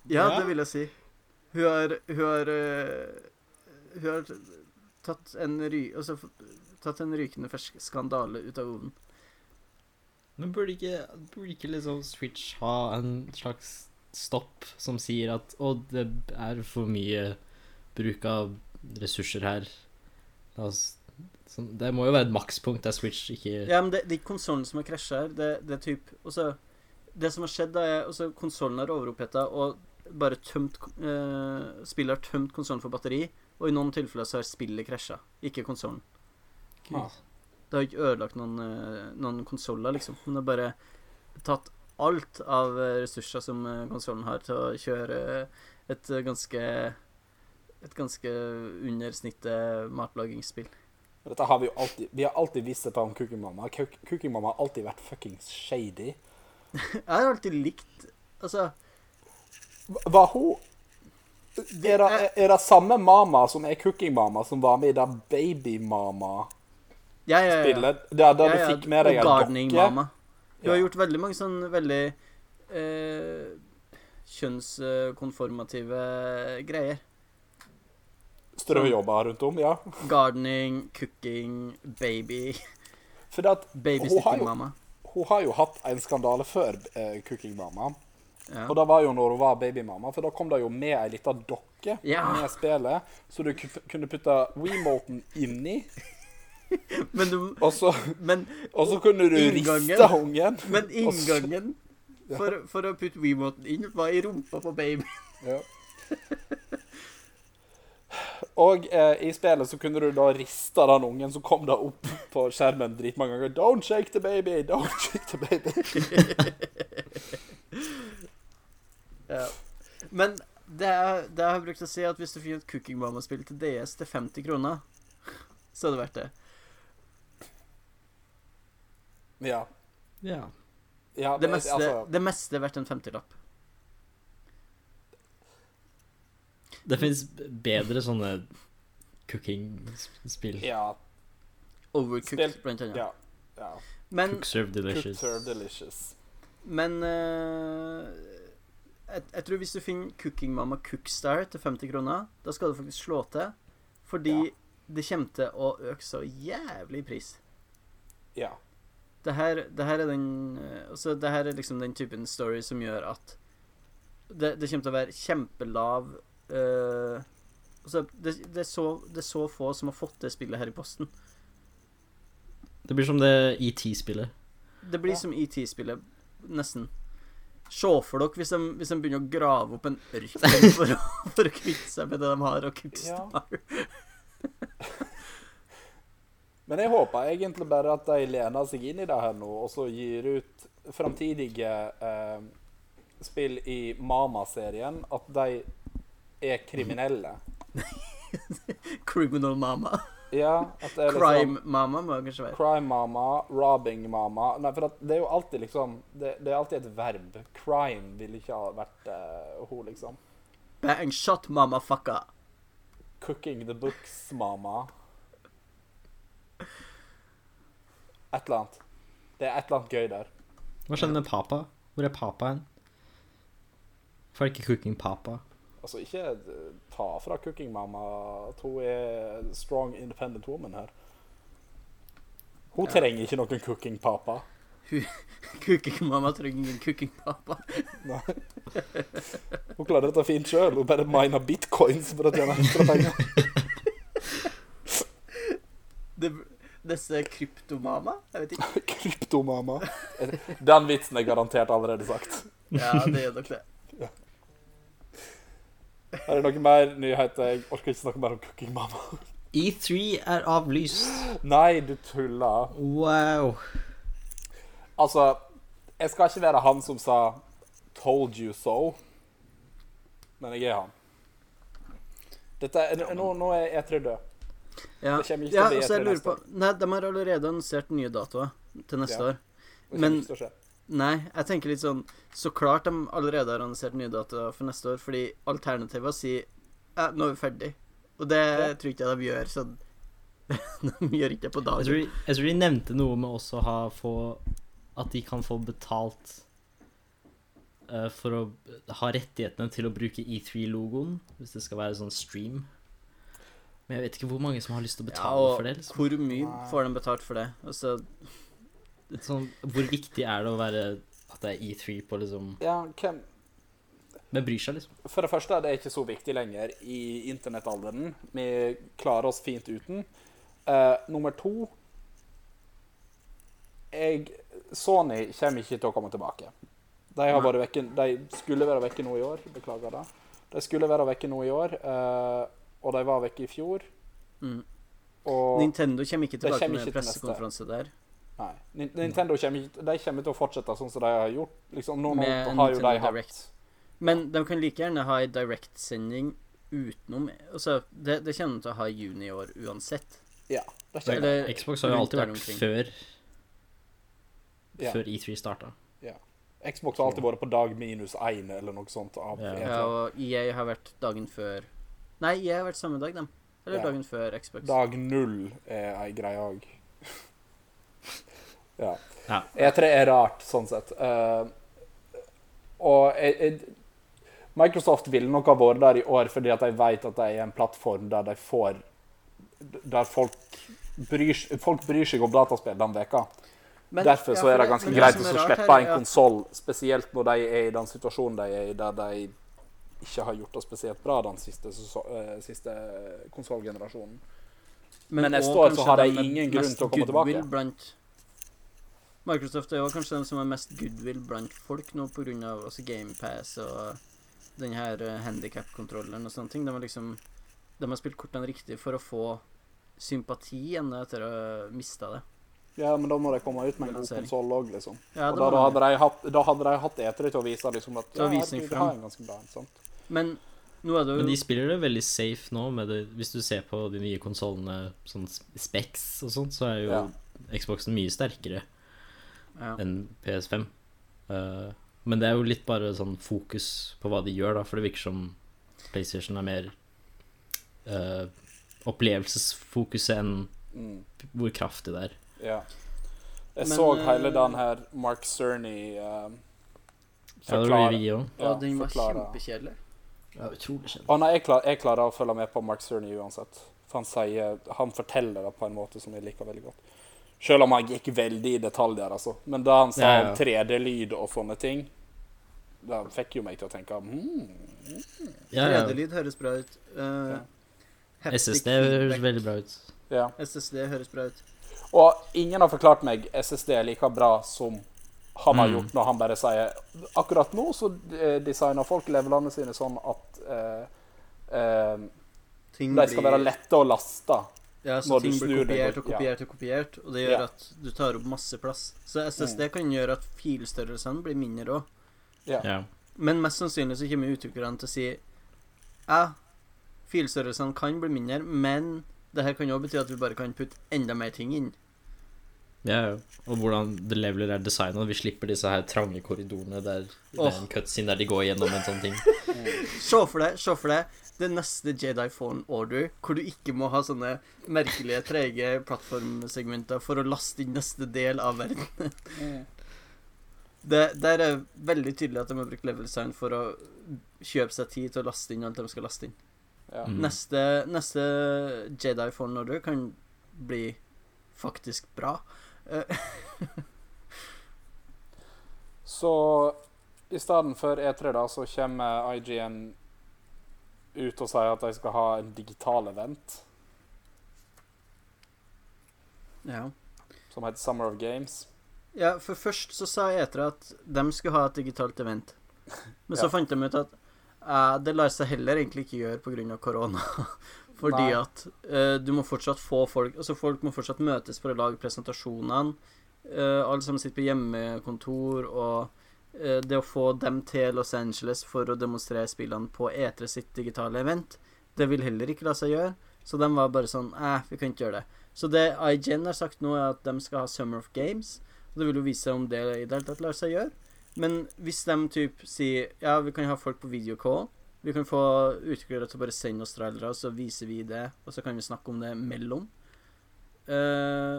[SPEAKER 1] Ja,
[SPEAKER 2] Ja.
[SPEAKER 1] det vil jeg si. Hun har Hun har, eh, hun har tatt en, ry, altså, f- tatt en rykende fersk skandale ut av ovnen.
[SPEAKER 3] Men burde ikke, burde ikke liksom Switch ha en slags stopp som sier at å, det er for mye bruk av ressurser her. La oss- sånn- Det må jo være et makspunkt der Switch ikke
[SPEAKER 1] Ja, men det, det er ikke konsollen som har krasja her. Det, det er typ altså, Det som har skjedd, da er altså, konsollen har overoppheta og bare tømt eh, Spillet har tømt konsollen for batteri, og i noen tilfeller så har spillet krasja, ikke konsollen.
[SPEAKER 2] Ah.
[SPEAKER 1] Det har ikke ødelagt noen, eh, noen konsoller, liksom. Men det har bare tatt alt av eh, ressurser som konsollen har, til å kjøre eh, et eh, ganske et ganske eh, under snittet matlagingsspill.
[SPEAKER 2] Dette har vi jo alltid Vi har alltid visst dette om cooking mamma. Cook- Cooking mamma har alltid vært fuckings shady.
[SPEAKER 1] Jeg har alltid likt Altså
[SPEAKER 2] Var hun Er det, er det samme mama som er Cooking Mama, som var med i det Baby Mama-spillet?
[SPEAKER 1] Ja, ja, ja.
[SPEAKER 2] Det er der
[SPEAKER 1] Ja, ja,
[SPEAKER 2] du fikk med deg
[SPEAKER 1] eh, og
[SPEAKER 2] en
[SPEAKER 1] gardening
[SPEAKER 2] dokke?
[SPEAKER 1] mama. Du har
[SPEAKER 2] Ja.
[SPEAKER 1] gjort veldig mange sånn veldig eh, kjønnskonformative eh, greier.
[SPEAKER 2] Strøjobber rundt om, ja.
[SPEAKER 1] Gardening, cooking, baby,
[SPEAKER 2] For at hun, har
[SPEAKER 1] babysitting
[SPEAKER 2] jo,
[SPEAKER 1] mamma.
[SPEAKER 2] hun har jo hatt en skandale før eh, Cooking Mama.
[SPEAKER 1] Ja.
[SPEAKER 2] Og det var jo når hun var babymamma, for da kom det jo med ei lita dokke
[SPEAKER 1] Ja.
[SPEAKER 2] med spillet, så du ku- kunne putte Wiimoten inni,
[SPEAKER 1] Men, du,
[SPEAKER 2] og så,
[SPEAKER 1] men,
[SPEAKER 2] og så kunne du
[SPEAKER 1] Inngangen.
[SPEAKER 2] riste ungen.
[SPEAKER 1] men
[SPEAKER 2] Og så-
[SPEAKER 1] inngangen for, for å putte Wiimoten inn var i rumpa på baby.
[SPEAKER 2] Ja. Og eh, i spillet så kunne du da riste den ungen som kom da opp på skjermen dritmange ganger. Don't shake the baby, don't shake the baby.
[SPEAKER 1] Ja. Men det er, det jeg har brukt å si at hvis du finner et Cooking Mama-spill til DS til 50 kroner, så er det verdt det.
[SPEAKER 2] Ja.
[SPEAKER 3] Ja.
[SPEAKER 2] ja
[SPEAKER 1] Det meste,
[SPEAKER 2] altså,
[SPEAKER 1] det meste er verdt en 50-lapp.
[SPEAKER 3] Det fins bedre sånne cooking-spill.
[SPEAKER 2] ja,
[SPEAKER 1] Overcooked,
[SPEAKER 2] Spill-
[SPEAKER 1] blant annet.
[SPEAKER 2] ja, ja.
[SPEAKER 1] Men
[SPEAKER 3] Cook serve
[SPEAKER 2] Cook
[SPEAKER 3] delicious.
[SPEAKER 2] serve delicious.
[SPEAKER 1] Men eh, jeg, jeg tror hvis du finner Cooking Mama Cookstar til 50 kroner, da skal du faktisk slå til. Fordi
[SPEAKER 2] Ja.
[SPEAKER 1] det kommer til å øke så jævlig i pris.
[SPEAKER 2] Ja.
[SPEAKER 1] Det her, det her er den eh, altså det her er liksom den typen story som gjør at det, det kommer til å være kjempelav eh, altså det, det, er så, det er så få som har fått det spillet her i posten.
[SPEAKER 3] Det blir som det E ET-spillet.
[SPEAKER 1] Det blir
[SPEAKER 2] Ja.
[SPEAKER 1] som ET-spillet, nesten. Se for dere hvis de, hvis de begynner å grave opp en ørken for å, for å kvitte seg med det de har, og Cookstar.
[SPEAKER 2] Men jeg håper egentlig bare at de lener seg inn i det her nå, og så gir ut framtidige eh, spill i Mama-serien at de er kriminelle.
[SPEAKER 1] Criminal Mama.
[SPEAKER 2] Ja, at det er liksom
[SPEAKER 1] Crime Mama må det kanskje være.
[SPEAKER 2] Crime mama, robbing mama Nei, for at det er jo alltid liksom Det, det er alltid et verb. Crime ville ikke ha vært eh, hun, liksom.
[SPEAKER 1] Bang shot, mama fucka.
[SPEAKER 2] Cooking the books, mama. Et eller annet. Det er et eller annet gøy der.
[SPEAKER 3] Hva skjedde med Papa? Hvor er Papa hen? Hvorfor er det ikke Cooking Papa?
[SPEAKER 2] Altså, ikke eh, ta fra cooking mama at hun er en strong, independent woman her. Hun trenger ikke noen cooking pappa.
[SPEAKER 1] Cooking Mama trenger ingen cooking pappa.
[SPEAKER 2] Nei. Hun klarer dette fint sjøl. Hun bare miner bitcoins for å tjene ekstra penger.
[SPEAKER 1] Det, disse Kryptomama? Jeg vet ikke.
[SPEAKER 2] Kryptomama. Den vitsen er garantert allerede sagt.
[SPEAKER 1] Ja, det gjør nok det.
[SPEAKER 2] Er det noe mer nyheter? Jeg orker ikke snakke mer om cooking mama.
[SPEAKER 3] E3 E er avlyst.
[SPEAKER 2] Nei, du tuller.
[SPEAKER 3] Wow.
[SPEAKER 2] Altså, jeg skal ikke være han som sa 'told you so', men jeg er han. Dette er, nå, nå er E3 død.
[SPEAKER 1] Ja,
[SPEAKER 2] Det kommer ikke til
[SPEAKER 1] ja
[SPEAKER 2] å
[SPEAKER 1] altså
[SPEAKER 2] bli
[SPEAKER 1] jeg
[SPEAKER 2] etter
[SPEAKER 1] lurer
[SPEAKER 2] neste
[SPEAKER 1] på Nei, de har allerede annonsert nye datoer til neste
[SPEAKER 2] Ja.
[SPEAKER 1] år.
[SPEAKER 2] Det kommer
[SPEAKER 1] Men-
[SPEAKER 2] ikke til å skje.
[SPEAKER 1] Nei, jeg tenker litt sånn Så klart de allerede har annonsert nye datoer for neste år, fordi alternativet sier ja, nå er vi ferdig. Og det
[SPEAKER 2] Ja.
[SPEAKER 1] tror ikke jeg de gjør, så de gjør ikke det på
[SPEAKER 3] Jeg tror,
[SPEAKER 1] dagen.
[SPEAKER 3] de, jeg tror de nevnte noe med også å ha få At de kan få betalt eh, for å ha rettighetene til å bruke E3-logoen, hvis det skal være sånn stream. Men jeg vet ikke hvor mange som har lyst til å
[SPEAKER 1] Ja,
[SPEAKER 3] betale
[SPEAKER 1] og
[SPEAKER 3] for det. Liksom.
[SPEAKER 1] hvor mye får de betalt for det? Altså,
[SPEAKER 3] Sånn, hvor viktig er det å være at det er E3 på liksom
[SPEAKER 2] Ja, hvem
[SPEAKER 3] Hvem bryr seg, liksom?
[SPEAKER 2] For det første er det ikke så viktig lenger i internettalderen. Vi klarer oss fint uten. Eh, nummer to jeg, Sony kommer ikke til å komme tilbake. De, har vært vekke, de skulle være vekke nå i år. Beklager det. De skulle være vekke nå i år, eh, og de var vekke i fjor.
[SPEAKER 1] Mm.
[SPEAKER 2] Og
[SPEAKER 1] Nintendo kommer ikke tilbake
[SPEAKER 2] kommer
[SPEAKER 1] med
[SPEAKER 2] ikke til neste.
[SPEAKER 1] pressekonferanse der.
[SPEAKER 2] nei, Nin- Nintendo kommer, ikke- de kommer til å fortsette sånn som de har gjort. Liksom, nå nå
[SPEAKER 1] Med
[SPEAKER 2] har jo
[SPEAKER 1] Nintendo
[SPEAKER 2] de hatt
[SPEAKER 1] Direct. Men de kan like gjerne ha ei direktsending utenom altså, det, det kommer de til å ha i juni i år uansett.
[SPEAKER 2] Ja. De kommer,
[SPEAKER 1] Eller
[SPEAKER 3] Xbox har jo
[SPEAKER 1] rundt
[SPEAKER 3] alltid
[SPEAKER 1] der
[SPEAKER 3] vært
[SPEAKER 1] omkring.
[SPEAKER 3] før E
[SPEAKER 2] Ja.
[SPEAKER 3] Før E3 starta.
[SPEAKER 2] Ja. Xbox har alltid vært på dag minus én eller noe sånt. Av
[SPEAKER 3] Ja.
[SPEAKER 2] E3.
[SPEAKER 1] Ja, og EA har vært dagen før Nei, EA har vært samme dag, dem. Eller
[SPEAKER 2] Ja.
[SPEAKER 1] dagen før Xbox.
[SPEAKER 2] Dag null er ei greie òg. ja.
[SPEAKER 3] Ja.
[SPEAKER 2] E3 er rart, sånn sett. Eh, og jeg, jeg, Microsoft ville nok ha vært der i år fordi at de vet at de er en plattform der de får Der folk bryr, s- folk bryr seg om dataspill den veka.
[SPEAKER 1] Men-
[SPEAKER 2] Derfor
[SPEAKER 1] ja,
[SPEAKER 2] så er
[SPEAKER 1] for
[SPEAKER 2] det ganske
[SPEAKER 1] men
[SPEAKER 2] greit
[SPEAKER 1] som
[SPEAKER 2] å
[SPEAKER 1] er rart
[SPEAKER 2] slippe
[SPEAKER 1] her,
[SPEAKER 2] en
[SPEAKER 1] ja.
[SPEAKER 2] konsoll, spesielt når de er i den situasjonen de er i, der de ikke har gjort det spesielt bra den siste, seso- eh, siste konsollgenerasjonen. Men neste
[SPEAKER 1] også
[SPEAKER 2] år så
[SPEAKER 1] kanskje
[SPEAKER 2] har de
[SPEAKER 1] den med
[SPEAKER 2] ingen grunn
[SPEAKER 1] mest
[SPEAKER 2] til å komme
[SPEAKER 1] goodwill
[SPEAKER 2] tilbake.
[SPEAKER 1] Blant Microsoft er jo kanskje den som har mest goodwill blant folk nå pga. GamePass og den her handikap-kontrolleren og sånne ting. De har liksom De har spilt kortene riktig for å få sympati igjen etter å ha mista det.
[SPEAKER 2] Ja, men da må de komme ut med en god
[SPEAKER 1] Lansering.
[SPEAKER 2] konsoll òg, liksom.
[SPEAKER 1] Ja,
[SPEAKER 2] og
[SPEAKER 1] det var
[SPEAKER 2] da, da,
[SPEAKER 1] det.
[SPEAKER 2] hadde de hatt, da hadde de hatt etere til å vise liksom at
[SPEAKER 1] Til å
[SPEAKER 2] ja,
[SPEAKER 1] vise
[SPEAKER 2] du,
[SPEAKER 1] den
[SPEAKER 2] du
[SPEAKER 1] fram.
[SPEAKER 2] har en ganske bra en. sant?
[SPEAKER 1] Men nå er det jo
[SPEAKER 3] Men de spiller det veldig safe nå, med det, hvis du ser på de nye konsollene, sånn Specs og sånt, så er jo
[SPEAKER 2] Ja.
[SPEAKER 3] Xboxen mye sterkere
[SPEAKER 1] ja.
[SPEAKER 3] enn PS5. Eh, men det er jo litt bare sånn fokus på hva de gjør, da, for det virker som PlayStation er mer eh, opplevelsesfokuset enn
[SPEAKER 2] Mm,
[SPEAKER 3] hvor kraftig det er.
[SPEAKER 2] ja. Jeg
[SPEAKER 1] Men,
[SPEAKER 2] så
[SPEAKER 1] eh,
[SPEAKER 2] hele den her Mark Cerny eh,
[SPEAKER 3] Ja, det blir
[SPEAKER 2] forklare.
[SPEAKER 3] vi òg.
[SPEAKER 1] Ja, den var
[SPEAKER 2] forklare.
[SPEAKER 1] kjempekjedelig.
[SPEAKER 3] Ja, utrolig kjent.
[SPEAKER 2] Å nei, jeg, klar, jeg klarer å følge med på Mark Cerny uansett. For han, sier, han forteller det på en måte som jeg liker veldig godt. Selv om han gikk veldig i detaljer, altså. Men da han sa
[SPEAKER 3] Ja, ja.
[SPEAKER 2] om 3D-lyd og sånne ting, det fikk jo meg til å tenke hmm,
[SPEAKER 3] Ja, ja.
[SPEAKER 1] Gledelig lyd høres bra ut. Eh, haptic
[SPEAKER 3] SSD
[SPEAKER 1] feedback.
[SPEAKER 3] høres veldig bra ut.
[SPEAKER 2] ja.
[SPEAKER 1] SSD høres bra ut.
[SPEAKER 2] Og ingen har forklart meg SSD er like bra som han har
[SPEAKER 3] Mm.
[SPEAKER 2] gjort når han bare sier Akkurat nå så eh, designer folk levelene sine sånn at eh, eh,
[SPEAKER 1] Ting
[SPEAKER 2] de skal være lette å laste.
[SPEAKER 1] Ja, så
[SPEAKER 2] når
[SPEAKER 1] ting
[SPEAKER 2] du
[SPEAKER 1] blir
[SPEAKER 2] snur
[SPEAKER 1] kopiert
[SPEAKER 2] deg bort,
[SPEAKER 1] og kopiert og kopiert, og det gjør
[SPEAKER 2] Ja. Mm.
[SPEAKER 1] at du tar opp masse plass. Så SSD kan gjøre at filstørrelsene blir mindre òg.
[SPEAKER 3] Ja.
[SPEAKER 1] Men mest sannsynlig så kommer utviklerne til å si ja, filstørrelsene kan bli mindre, men det her kan jo bety at vi bare kan putte enda mer ting inn.
[SPEAKER 3] Ja, ja. og hvordan the leveler er designet. Vi slipper disse her trange korridorene der det er
[SPEAKER 1] Åh.
[SPEAKER 3] en cutscene der de går gjennom en sånn ting.
[SPEAKER 1] Se for deg, se for deg det neste Jedi Phone Order, hvor du ikke må ha sånne merkelige, trege plattformsegmenter for å laste inn neste del av verden.
[SPEAKER 2] Mm.
[SPEAKER 1] Det, der er veldig tydelig at de har brukt level design for å kjøpe seg tid til å laste inn alt de skal laste inn.
[SPEAKER 2] Ja.
[SPEAKER 3] Mm.
[SPEAKER 1] Neste, neste Jedi Phone Order kan bli faktisk bra.
[SPEAKER 2] Så i stedet for E3 da, så kommer IGN ut og sier at de skal ha en digital event
[SPEAKER 1] Ja.
[SPEAKER 2] som heter Summer of Games.
[SPEAKER 1] Ja, for først så sa Etra at de skulle ha et digitalt event. Men så
[SPEAKER 2] Ja.
[SPEAKER 1] fant de ut at eh, det lar seg heller egentlig ikke gjøre pga. korona. Fordi
[SPEAKER 2] Nei.
[SPEAKER 1] at eh, du må fortsatt få folk Altså folk må fortsatt møtes for å lage presentasjonene. Eh, alle sammen sitter på hjemmekontor, og eh, det å få dem til Los Angeles for å demonstrere spillene på E3 sitt digitale event, det vil heller ikke la seg gjøre. Så de var bare sånn Æh, vi kan ikke gjøre det. Så det IGN har sagt nå, er at de skal ha Summer of Games. Og det vil jo vise seg om det i det hele tatt lar seg gjøre. Men hvis de typ sier ja, vi kan ha folk på videocall, vi kan få utviklere til å bare sende oss trailere, og så viser vi det, og så kan vi snakke om det mellom. Eh,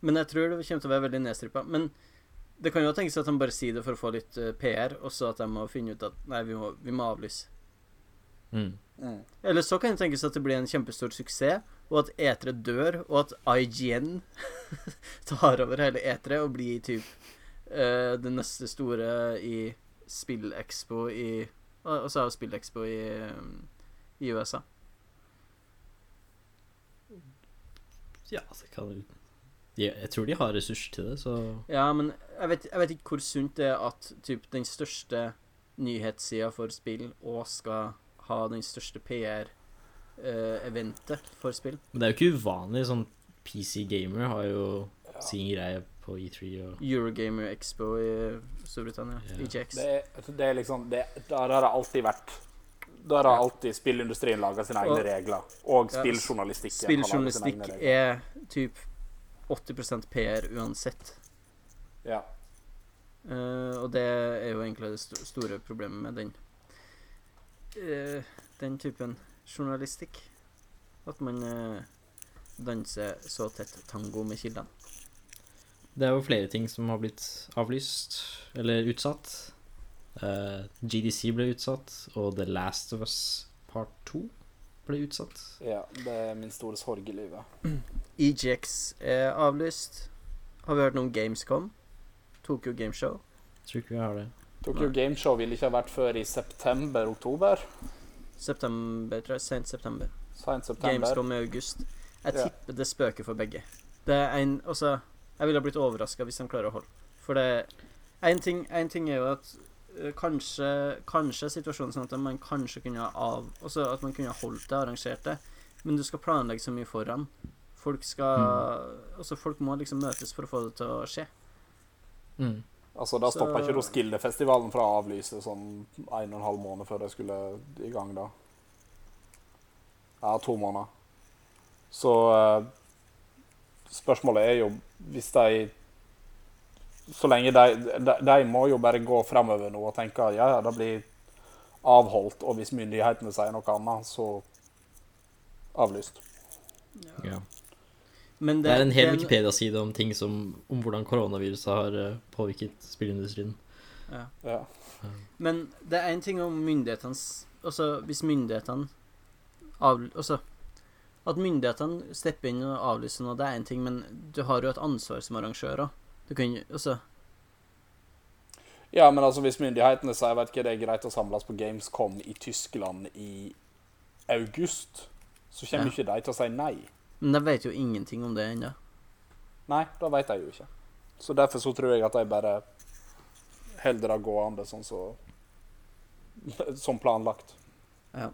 [SPEAKER 1] men jeg tror det kommer til å være veldig nedstrippa. Men det kan jo tenkes at de bare sier det for å få litt eh, PR, og så at de må finne ut at nei, vi må, vi må avlyse.
[SPEAKER 3] Mm.
[SPEAKER 1] Eller så kan det tenkes at det blir en kjempestor suksess, og at etere dør, og at IGN tar over hele etere og blir typ eh, det neste store i Spillexpo i Og og så er jo Spillexpo i, um, i USA.
[SPEAKER 3] Ja, det kan jo de, Jeg tror de har ressurser til det, så
[SPEAKER 1] Ja, men jeg vet, jeg vet ikke hvor sunt det er at typ den største nyhetssida for spill og skal ha den største PR-eventet for spill.
[SPEAKER 3] Men det er jo ikke uvanlig. Sånn PC Gamer har jo sin greie på E3 og
[SPEAKER 1] Eurogamer Expo i Storbritannia.
[SPEAKER 3] Ja.
[SPEAKER 1] EGX.
[SPEAKER 2] Det er, det er liksom det, Der har det alltid vært. Der har alltid spillindustrien laga sine egne
[SPEAKER 1] Og-
[SPEAKER 2] regler. Og
[SPEAKER 1] Ja,
[SPEAKER 2] spilljournalistikken. har laget sine
[SPEAKER 1] Spilljournalistikk
[SPEAKER 2] egne regler.
[SPEAKER 1] er typ 80 PR uansett.
[SPEAKER 2] Ja.
[SPEAKER 1] Eh, og det er jo egentlig det sto- store problemet med den eh, den typen journalistikk. At man eh, danser så tett tango med kildene.
[SPEAKER 3] Det er jo flere ting som har blitt avlyst, eller utsatt. Eh, GDC ble utsatt, og The Last of Us Part 2 ble utsatt.
[SPEAKER 2] Ja, det er min store sorg i livet.
[SPEAKER 1] EGX E er avlyst. Har vi hørt noe om Gamescom? Tokyo Gameshow.
[SPEAKER 3] Tror ikke vi har det.
[SPEAKER 2] Tokyo
[SPEAKER 1] Nei.
[SPEAKER 2] Gameshow ville ikke ha vært før i september-oktober.
[SPEAKER 1] September, tror jeg. Sent september.
[SPEAKER 2] Sent september.
[SPEAKER 1] Gamescom i august. Jeg
[SPEAKER 2] Ja.
[SPEAKER 1] tipper det spøker for begge. Det er en Altså, jeg ville ha blitt overraska hvis de klarer å holde. For det En ting, en ting er jo at øh, kanskje, kanskje er situasjonen sånn at man kanskje kunne ha av Altså at man kunne ha holdt det, arrangert det, men du skal planlegge så mye foran. Folk skal Altså, folk må liksom møtes for å få det til å skje.
[SPEAKER 3] Mm.
[SPEAKER 2] Altså, Da
[SPEAKER 1] Så-
[SPEAKER 2] stoppa ikke Roskilde-festivalen fra å avlyse sånn en og en halv måned før de skulle i gang, da. Ja, to måneder. Så eh, spørsmålet er jo hvis de Så lenge de, de De må jo bare gå fremover nå og tenke ja, ja, det blir avholdt, og hvis myndighetene sier noe annet, så avlyst.
[SPEAKER 3] Ja.
[SPEAKER 1] Men
[SPEAKER 3] Det er en hel Wikipedia-side om ting som Om hvordan koronaviruset har eh, påvirket spillindustrien.
[SPEAKER 1] ja.
[SPEAKER 2] Ja.
[SPEAKER 1] Men det er en ting om myndighetenes Altså hvis myndighetene av, Altså at myndighetene stepper inn og avlyser noe, det er en ting, men du har jo et ansvar som arrangør òg. Du kan jo Altså
[SPEAKER 2] Ja, men altså hvis myndighetene sier vet ikke, det er greit å samles på Gamescom i Tyskland i august, så kommer
[SPEAKER 1] Ja.
[SPEAKER 2] ikke de til å si nei.
[SPEAKER 1] Men de vet jo ingenting om det ennå.
[SPEAKER 2] Nei, da vet de jo ikke. Så derfor så tror jeg at de bare holder det gående sånn så Som planlagt.
[SPEAKER 1] Ja.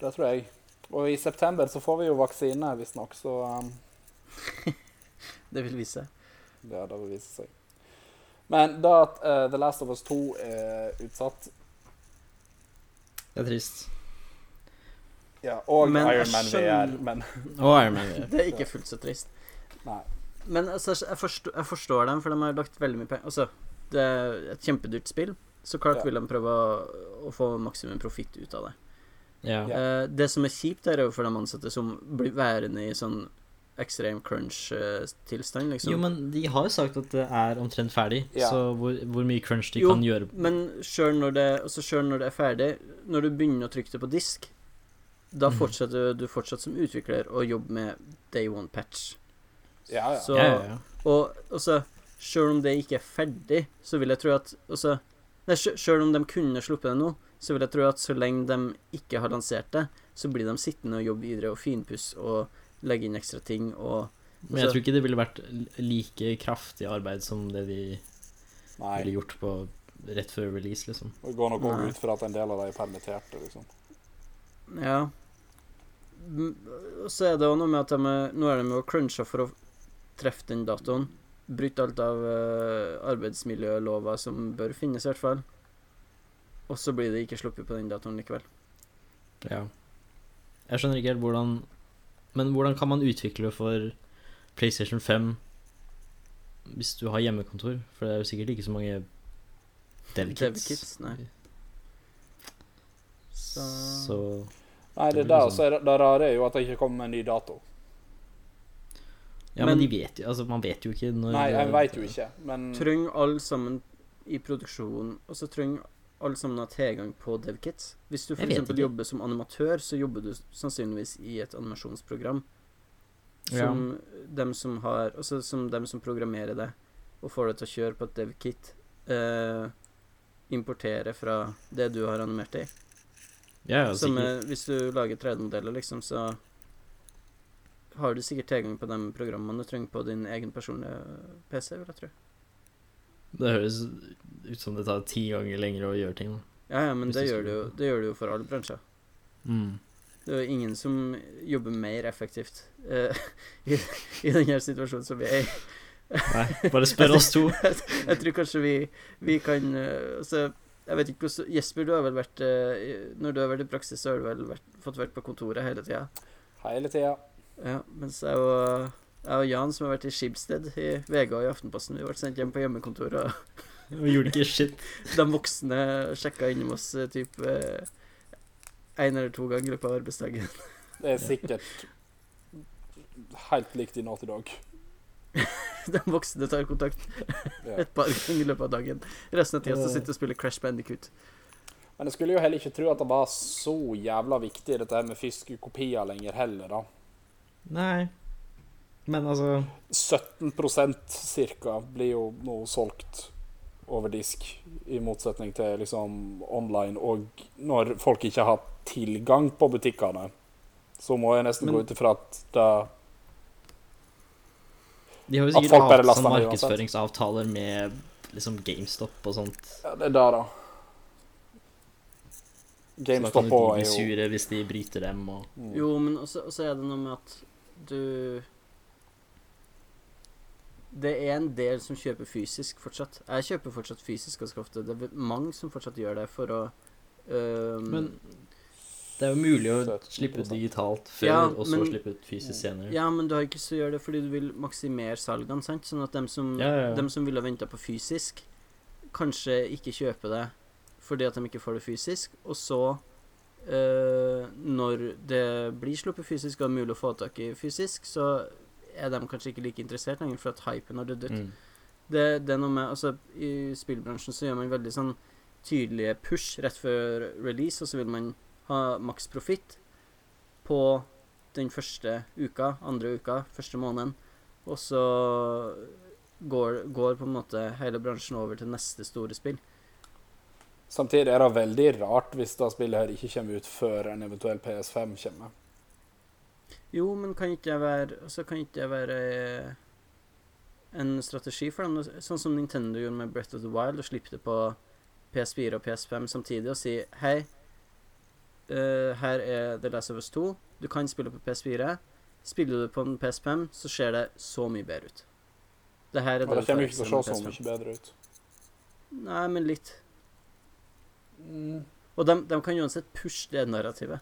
[SPEAKER 2] Det tror jeg. Og i september så får vi jo vaksine, visstnok, så um,
[SPEAKER 1] Det vil vise seg.
[SPEAKER 2] Ja, det vil vise seg. Men da at eh, The Last of Us 2 er utsatt
[SPEAKER 3] Det er trist.
[SPEAKER 2] ja, Og
[SPEAKER 1] Men jeg
[SPEAKER 2] Iron Man VR,
[SPEAKER 1] skjønner-
[SPEAKER 2] men
[SPEAKER 3] Og Iron Man.
[SPEAKER 1] Det er ikke fullt så trist.
[SPEAKER 2] Nei.
[SPEAKER 1] Men altså, jeg, forstår, jeg forstår dem, for de har lagt veldig mye penger Altså, det er et kjempedyrt spill, så klart
[SPEAKER 2] Ja.
[SPEAKER 1] vil de prøve å, å få maksimum profitt ut av det.
[SPEAKER 3] Ja.
[SPEAKER 2] Ja.
[SPEAKER 1] Eh, det som er kjipt, er jo for de ansatte som blir værende i sånn ekstrem crunch-tilstand, liksom.
[SPEAKER 3] Jo, men de har jo sagt at det er omtrent ferdig,
[SPEAKER 2] Ja.
[SPEAKER 3] så hvor, hvor mye crunch de
[SPEAKER 1] Jo,
[SPEAKER 3] kan gjøre
[SPEAKER 1] Men sjøl når, det- altså selv når det er ferdig, når du begynner å trykke det på disk, da
[SPEAKER 3] Mhm.
[SPEAKER 1] fortsetter du fortsatt som utvikler å jobbe med day one patch.
[SPEAKER 2] Ja, ja.
[SPEAKER 1] Så,
[SPEAKER 3] ja, ja, ja.
[SPEAKER 1] Og altså, sjøl om det ikke er ferdig, så vil jeg tro at altså, Nei, sj- sjøl om de kunne sluppet det nå, så vil jeg tro at så lenge de ikke har lansert det, så blir de sittende og jobbe videre og finpusse og legge inn ekstra ting og
[SPEAKER 3] Men jeg
[SPEAKER 1] altså-
[SPEAKER 3] tror ikke det ville vært l- like kraftig arbeid som det de
[SPEAKER 2] Nei.
[SPEAKER 3] ville gjort på rett før release, liksom.
[SPEAKER 2] Det går nok også
[SPEAKER 1] Nei.
[SPEAKER 2] ut fra at en del av de er permitterte, liksom.
[SPEAKER 1] Ja. M- Og så er det òg noe med at de er, nå er de jo cruncha for å treffe den datoen. Bryte alt av uh, arbeidsmiljølova som bør finnes, i hvert fall. Og så blir det ikke sluppet på den datoen likevel.
[SPEAKER 3] Ja. Jeg skjønner ikke helt hvordan Men hvordan kan man utvikle for PlayStation 5 hvis du har hjemmekontor? For det er jo sikkert ikke så mange devkits.
[SPEAKER 1] Dev-kits, nei.
[SPEAKER 3] Så,
[SPEAKER 2] Nei, det
[SPEAKER 3] Det blir
[SPEAKER 2] der
[SPEAKER 3] sånn.
[SPEAKER 1] liksom-
[SPEAKER 2] så er det, det rare er jo at de ikke kommer med en ny dato.
[SPEAKER 3] Ja, men,
[SPEAKER 1] Men-
[SPEAKER 3] de vet jo Altså, man vet jo ikke når
[SPEAKER 2] Nei, jeg veit jo ikke, men
[SPEAKER 3] Mm.
[SPEAKER 1] Trenger alle sammen i produksjonen Og så trenger alle sammen ha tilgang på DevKit. Hvis du
[SPEAKER 3] Jeg vet
[SPEAKER 1] f.eks.
[SPEAKER 3] ikke.
[SPEAKER 1] jobber som animatør, så jobber du sannsynligvis i et animasjonsprogram.
[SPEAKER 3] Ja.
[SPEAKER 1] Som dem som har Altså som dem som programmerer det, og får det til å kjøre på et DevKit, eh, importerer fra det du har animert det i.
[SPEAKER 3] Ja, ja,
[SPEAKER 1] Som
[SPEAKER 3] sikkert.
[SPEAKER 1] eh, hvis du lager 3D-modeller, liksom, så har du sikkert tilgang på de programmene du trenger på din egen personlige PC, vil jeg tro.
[SPEAKER 3] Det høres ut som det tar ti ganger lenger å gjøre ting. da.
[SPEAKER 1] Ja, ja, men
[SPEAKER 3] Hvis
[SPEAKER 1] det
[SPEAKER 3] du
[SPEAKER 1] gjør,
[SPEAKER 3] skulle-
[SPEAKER 1] det jo, det gjør det jo for alle bransjer. Det er jo ingen som jobber mer effektivt eh, i, i denne situasjonen som vi er i.
[SPEAKER 3] Nei, bare spør oss to.
[SPEAKER 1] Jeg tror kanskje vi, vi kan eh, altså, Jeg vet ikke hvordan Jesper, du har vel vært eh, i- Når du har vært i praksis, så har du vel vært, fått vært på kontoret hele tida?
[SPEAKER 2] hele tida.
[SPEAKER 1] Ja, mens jeg og Jeg og Jan som har vært i Skibsted i VG og i Aftenposten, vi ble sendt hjem på hjemmekontor, og
[SPEAKER 3] Vi gjorde ikke shit.
[SPEAKER 1] de voksne sjekka innom oss eh, typ én eller to ganger i løpet av arbeidsdagen.
[SPEAKER 2] Det er sikkert helt likt i natt i dag.
[SPEAKER 1] De voksne tar kontakt
[SPEAKER 2] Ja.
[SPEAKER 1] et par ganger i løpet av dagen. Resten av tida så sitter og spiller Crash Bandicoot.
[SPEAKER 2] Men jeg skulle jo heller ikke tro at det var så jævla viktig, dette her med fysiske kopier lenger heller, da.
[SPEAKER 3] Nei. Men altså
[SPEAKER 2] 17 cirka blir jo nå solgt over disk, i motsetning til liksom online. Og når folk ikke har tilgang på butikkene, så må jeg nesten
[SPEAKER 3] Men-
[SPEAKER 2] gå ut ifra at det
[SPEAKER 3] De har jo
[SPEAKER 2] At
[SPEAKER 3] sikkert
[SPEAKER 2] folk bare
[SPEAKER 3] hatt
[SPEAKER 2] laster
[SPEAKER 3] sånn
[SPEAKER 2] ned uansett.
[SPEAKER 3] markedsføringsavtaler med liksom GameStop og sånt.
[SPEAKER 2] ja, Det er der, da.
[SPEAKER 3] Så da kan
[SPEAKER 2] GameStop
[SPEAKER 3] jo de
[SPEAKER 2] også
[SPEAKER 3] bli
[SPEAKER 2] er jo
[SPEAKER 3] sure hvis de bryter dem og
[SPEAKER 2] Mm.
[SPEAKER 1] Jo, men også, også er det noe med at du Det er en del som kjøper fysisk fortsatt. Jeg kjøper fortsatt fysisk ganske ofte. Det er mange som fortsatt gjør det for å øhm,
[SPEAKER 3] Men det er jo mulig å
[SPEAKER 2] 17%.
[SPEAKER 3] slippe ut digitalt før,
[SPEAKER 1] Ja,
[SPEAKER 3] og så
[SPEAKER 1] men- Mm.
[SPEAKER 3] slippe ut fysisk senere.
[SPEAKER 1] Ja, men du har ikke lyst til å gjøre det fordi du vil maksimere salgene, sant? Sånn at dem som,
[SPEAKER 3] Ja, ja, ja.
[SPEAKER 1] dem som ville venta på fysisk, kanskje ikke kjøper det fordi at de ikke får det fysisk, og så eh, når det blir sluppet fysisk og er mulig å få tak i fysisk, så er de kanskje ikke like interessert lenger, for at hypen har dødd ut.
[SPEAKER 3] Mm.
[SPEAKER 1] Det, det er noe med Altså, i spillbransjen så gjør man veldig sånn tydelige push rett før release, og så vil man ha maks profitt på den første uka, andre uka, første måneden. Og så går, går på en måte hele bransjen over til neste store spill.
[SPEAKER 2] Samtidig er det veldig rart hvis det spillet her ikke kommer ut før en eventuell PS5 kommer.
[SPEAKER 1] Jo, men kan ikke det være Altså, kan ikke det være eh, en strategi for dem? Sånn som Nintendo gjorde med Breath of the Wild, og slippe det på PS4 og PS5 samtidig, og si hei, eh, her er The Last of Us 2, du kan spille på PS4. Spiller du på en PS5, så ser det så mye bedre ut. Det her er
[SPEAKER 2] Og det
[SPEAKER 1] du får
[SPEAKER 2] kommer jo ikke til å se
[SPEAKER 1] med
[SPEAKER 2] så
[SPEAKER 1] PS5.
[SPEAKER 2] mye bedre ut.
[SPEAKER 1] Nei, men litt.
[SPEAKER 3] Mm.
[SPEAKER 1] Og de, de kan uansett pushe det narrativet.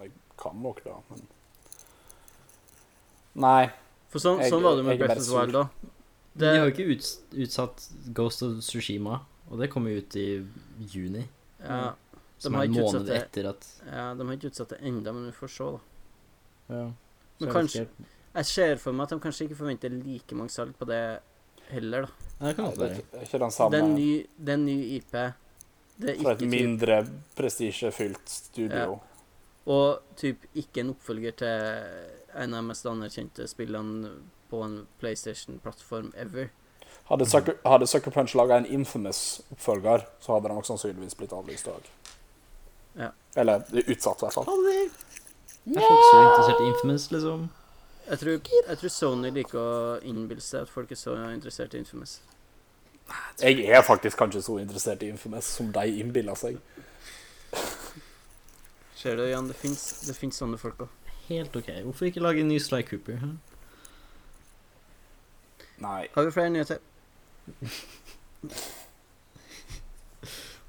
[SPEAKER 2] Jeg kan nok det, men Nei.
[SPEAKER 1] For sånn,
[SPEAKER 2] Jeg-
[SPEAKER 1] sånn var det
[SPEAKER 2] jeg
[SPEAKER 1] med
[SPEAKER 2] er
[SPEAKER 1] Breath of the
[SPEAKER 2] bare
[SPEAKER 1] Wild òg.
[SPEAKER 3] Men De har jo ikke uts utsatt Ghost of Tsushima, og det kommer jo ut i juni.
[SPEAKER 1] ja,
[SPEAKER 3] Som
[SPEAKER 1] har
[SPEAKER 3] er en
[SPEAKER 1] ikke utsatt
[SPEAKER 3] måned
[SPEAKER 1] det.
[SPEAKER 3] etter at
[SPEAKER 1] Ja, de har ikke utsatt det enda, men vi får se, da.
[SPEAKER 3] ja.
[SPEAKER 1] Men
[SPEAKER 3] så jeg vet
[SPEAKER 1] kanskje-
[SPEAKER 3] ikke helt-
[SPEAKER 1] Jeg ser for meg at de kanskje ikke forventer like mange salg på det heller, da.
[SPEAKER 3] Nei, det kan
[SPEAKER 2] Nei,
[SPEAKER 3] godt
[SPEAKER 2] det er
[SPEAKER 3] være.
[SPEAKER 2] ikke- det er ikke den
[SPEAKER 1] Det er en
[SPEAKER 2] samme
[SPEAKER 1] ny, det er en ny IP. Det er
[SPEAKER 2] fra et
[SPEAKER 1] ikke typ,
[SPEAKER 2] mindre prestisjefylt studio.
[SPEAKER 1] Og typ ikke en oppfølger til en av de mest anerkjente spillene på en PlayStation-plattform ever.
[SPEAKER 2] Hadde, Sucker, hadde Sucker Punch laga en infamous oppfølger, så hadde den nok sannsynligvis blitt avlyst òg.
[SPEAKER 1] Ja.
[SPEAKER 2] Eller utsatt, i hvert fall.
[SPEAKER 3] Er folk så interessert i Infamous, liksom?
[SPEAKER 1] Jeg tror, jeg tror Sony liker å innbille seg at folk er så interessert i Infamous.
[SPEAKER 2] Jeg er faktisk kanskje så interessert i infamous som de innbiller seg.
[SPEAKER 1] Ser du, Jan, det fins det finnes sånne folk òg.
[SPEAKER 3] Helt ok. Hvorfor ikke lage en ny Sly Cooper? hæ?
[SPEAKER 2] Nei.
[SPEAKER 1] Har vi flere nyheter?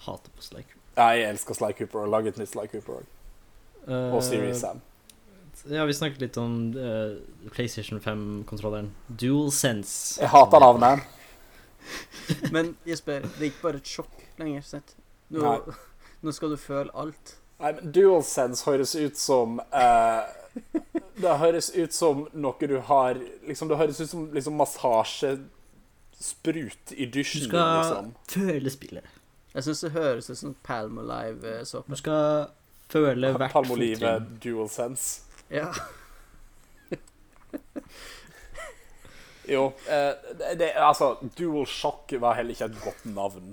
[SPEAKER 3] Hater på Sly Cooper.
[SPEAKER 2] Jeg elsker Sly Cooper og lager et nytt Sly Cooper også. og
[SPEAKER 3] Eh,
[SPEAKER 2] Series Sam.
[SPEAKER 3] Ja, vi snakket litt om eh, PlayStation 5-kontrolleren. Dual Sense.
[SPEAKER 2] Jeg hater navnet.
[SPEAKER 1] Men Jesper, det er ikke bare et sjokk lenger, sant? Nå,
[SPEAKER 2] Nei.
[SPEAKER 1] nå skal du føle alt.
[SPEAKER 2] Nei, men DualSense høres ut som eh, Det høres ut som noe du har liksom, Det høres ut som liksom, massasjesprut i
[SPEAKER 3] Du
[SPEAKER 2] dusjen.
[SPEAKER 3] skal
[SPEAKER 2] liksom.
[SPEAKER 3] føle spillet.
[SPEAKER 1] Jeg syns det høres ut som eh, Palmolive-såpe.
[SPEAKER 3] Du skal føle hvert
[SPEAKER 2] Palmolive
[SPEAKER 3] fottrinn.
[SPEAKER 2] DualSense.
[SPEAKER 1] Ja.
[SPEAKER 2] Jo, eh, det, det, altså DualShock var heller ikke et godt navn.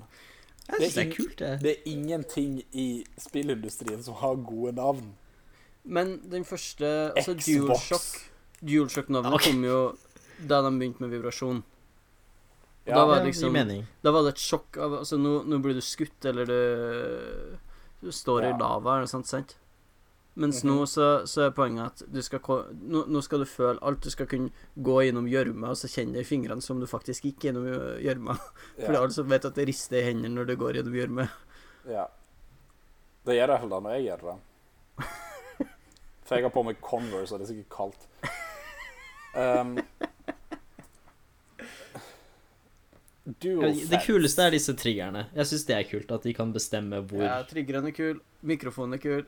[SPEAKER 2] Det
[SPEAKER 3] Jeg
[SPEAKER 2] er
[SPEAKER 3] synes det
[SPEAKER 2] ing-
[SPEAKER 3] er kult, det.
[SPEAKER 2] Det er ingenting i spillindustrien som har gode navn.
[SPEAKER 1] Men den første altså DualShock
[SPEAKER 2] Xbox.
[SPEAKER 1] DualShock-navnet
[SPEAKER 3] Ok.
[SPEAKER 1] kom jo da de begynte med vibrasjon. Og
[SPEAKER 2] Ja,
[SPEAKER 1] da, var
[SPEAKER 3] Ja,
[SPEAKER 1] det
[SPEAKER 3] det
[SPEAKER 1] liksom,
[SPEAKER 3] gir mening.
[SPEAKER 1] da var det et sjokk av Altså, nå, nå blir du skutt, eller du, du står
[SPEAKER 2] Ja.
[SPEAKER 1] i
[SPEAKER 2] Mhm.
[SPEAKER 1] lava, eller sånt, sant? Mens nå så, så er poenget at du skal, ko- nå, nå skal du føle alt. Du skal kunne gå gjennom gjørma og så kjenne det i fingrene som du faktisk gikk gjennom gjø- gjørma. For det er
[SPEAKER 2] Ja,
[SPEAKER 1] alle som vet at det rister i hendene når du går gjennom gjørme.
[SPEAKER 2] ja. Det gjør det iallfall da når jeg gjør det. For jeg har på meg Converse, og det er sikkert kaldt. Um,
[SPEAKER 3] Det
[SPEAKER 2] DualSense.
[SPEAKER 3] kuleste er disse triggerne. Jeg syns det er kult at de kan bestemme hvor.
[SPEAKER 1] Ja, Triggeren er kul. Mikrofonen er kul.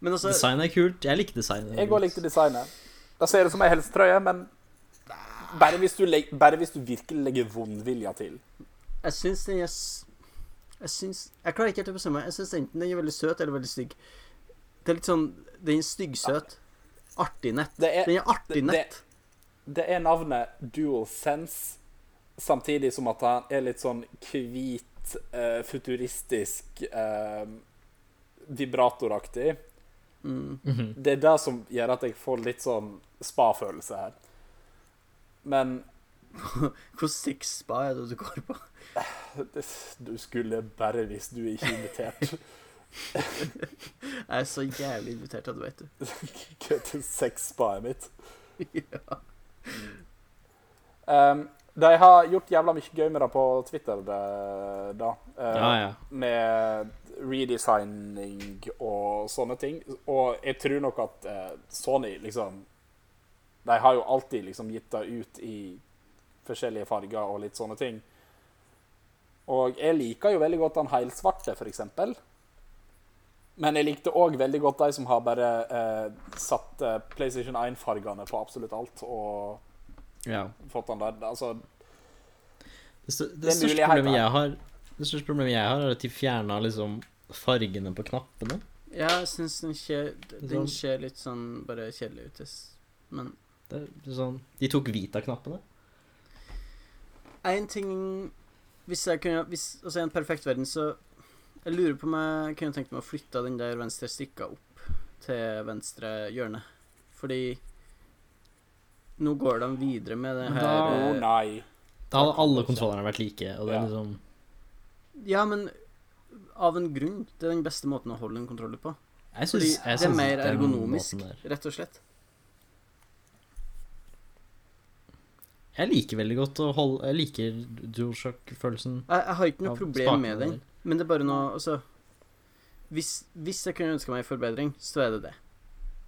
[SPEAKER 1] Men altså
[SPEAKER 3] Design er kult. Jeg liker design.
[SPEAKER 2] Jeg òg likte designet. Da ser det ut som ei helsetrøye, men bare hvis, du leg- bare hvis du virkelig legger vondvilja til.
[SPEAKER 1] Jeg syns den er s- Jeg syns Jeg klarer ikke helt å bestemme meg. Jeg syns enten den er veldig søt eller veldig stygg. Det er litt sånn Den er styggsøt. Artig nett.
[SPEAKER 2] Det er,
[SPEAKER 1] Den er artig
[SPEAKER 2] det-
[SPEAKER 1] nett.
[SPEAKER 2] det er navnet DualSense, samtidig som at han er litt sånn hvit, eh, futuristisk eh, vibratoraktig.
[SPEAKER 1] Mm.
[SPEAKER 3] Mhm.
[SPEAKER 2] Det er det som gjør at jeg får litt sånn spa-følelse her. Men
[SPEAKER 1] Hvor sexspa er det du går på?
[SPEAKER 2] du skulle bare hvis du ikke er invitert
[SPEAKER 1] Jeg er så jævlig invitert, ja, du vet det.
[SPEAKER 2] til sexspaet mitt. Um, de har gjort jævla mye gøy med det på Twitter, eh, da. Eh,
[SPEAKER 3] Ja, ja.
[SPEAKER 2] Med redesigning og sånne ting. Og jeg tror nok at eh, Sony liksom De har jo alltid liksom gitt det ut i forskjellige farger og litt sånne ting. Og jeg liker jo veldig godt den helsvarte, for eksempel. Men jeg likte òg veldig godt de som har bare eh, satt eh, PlayStation 1-fargene på absolutt alt. og
[SPEAKER 3] Ja.
[SPEAKER 2] fått han der. Altså,
[SPEAKER 3] Det, stør- det,
[SPEAKER 2] Det er
[SPEAKER 3] største
[SPEAKER 2] muligheter.
[SPEAKER 3] problemet jeg har, det største problemet jeg har, er at de fjerna liksom fargene på knappene.
[SPEAKER 1] Ja, jeg syns den ser Den
[SPEAKER 3] Sånn.
[SPEAKER 1] ser litt sånn bare kjedelig ut. jeg s- Men
[SPEAKER 3] Det er sånn, de tok hvit av knappene.
[SPEAKER 1] én ting Hvis jeg kunne hvis, Altså, i en perfekt verden, så Jeg lurer på om jeg kunne tenkt meg å flytte den der venstre stikka opp til venstre hjørne. Fordi nå går de videre med det
[SPEAKER 4] Men
[SPEAKER 1] her
[SPEAKER 4] da-
[SPEAKER 2] Å
[SPEAKER 1] eh,
[SPEAKER 2] nei.
[SPEAKER 3] Da hadde alle kontrollerne vært like. Og det
[SPEAKER 2] Ja.
[SPEAKER 3] er liksom
[SPEAKER 1] eh, Ja, men av en grunn. Det er den beste måten å holde en kontroller på.
[SPEAKER 3] Jeg
[SPEAKER 1] Fordi
[SPEAKER 3] syns jeg
[SPEAKER 1] det er
[SPEAKER 3] syns
[SPEAKER 1] mer
[SPEAKER 3] den
[SPEAKER 1] ergonomisk,
[SPEAKER 3] måten der-
[SPEAKER 1] rett og slett.
[SPEAKER 3] Jeg liker veldig godt å holde Jeg liker DualShock-følelsen.
[SPEAKER 1] Jeg, jeg har ikke noe
[SPEAKER 3] av
[SPEAKER 1] problem med
[SPEAKER 3] spakene
[SPEAKER 1] den,
[SPEAKER 3] der.
[SPEAKER 1] men det er bare noe Altså Hvis, hvis jeg kunne ønske meg en forbedring, så er det det.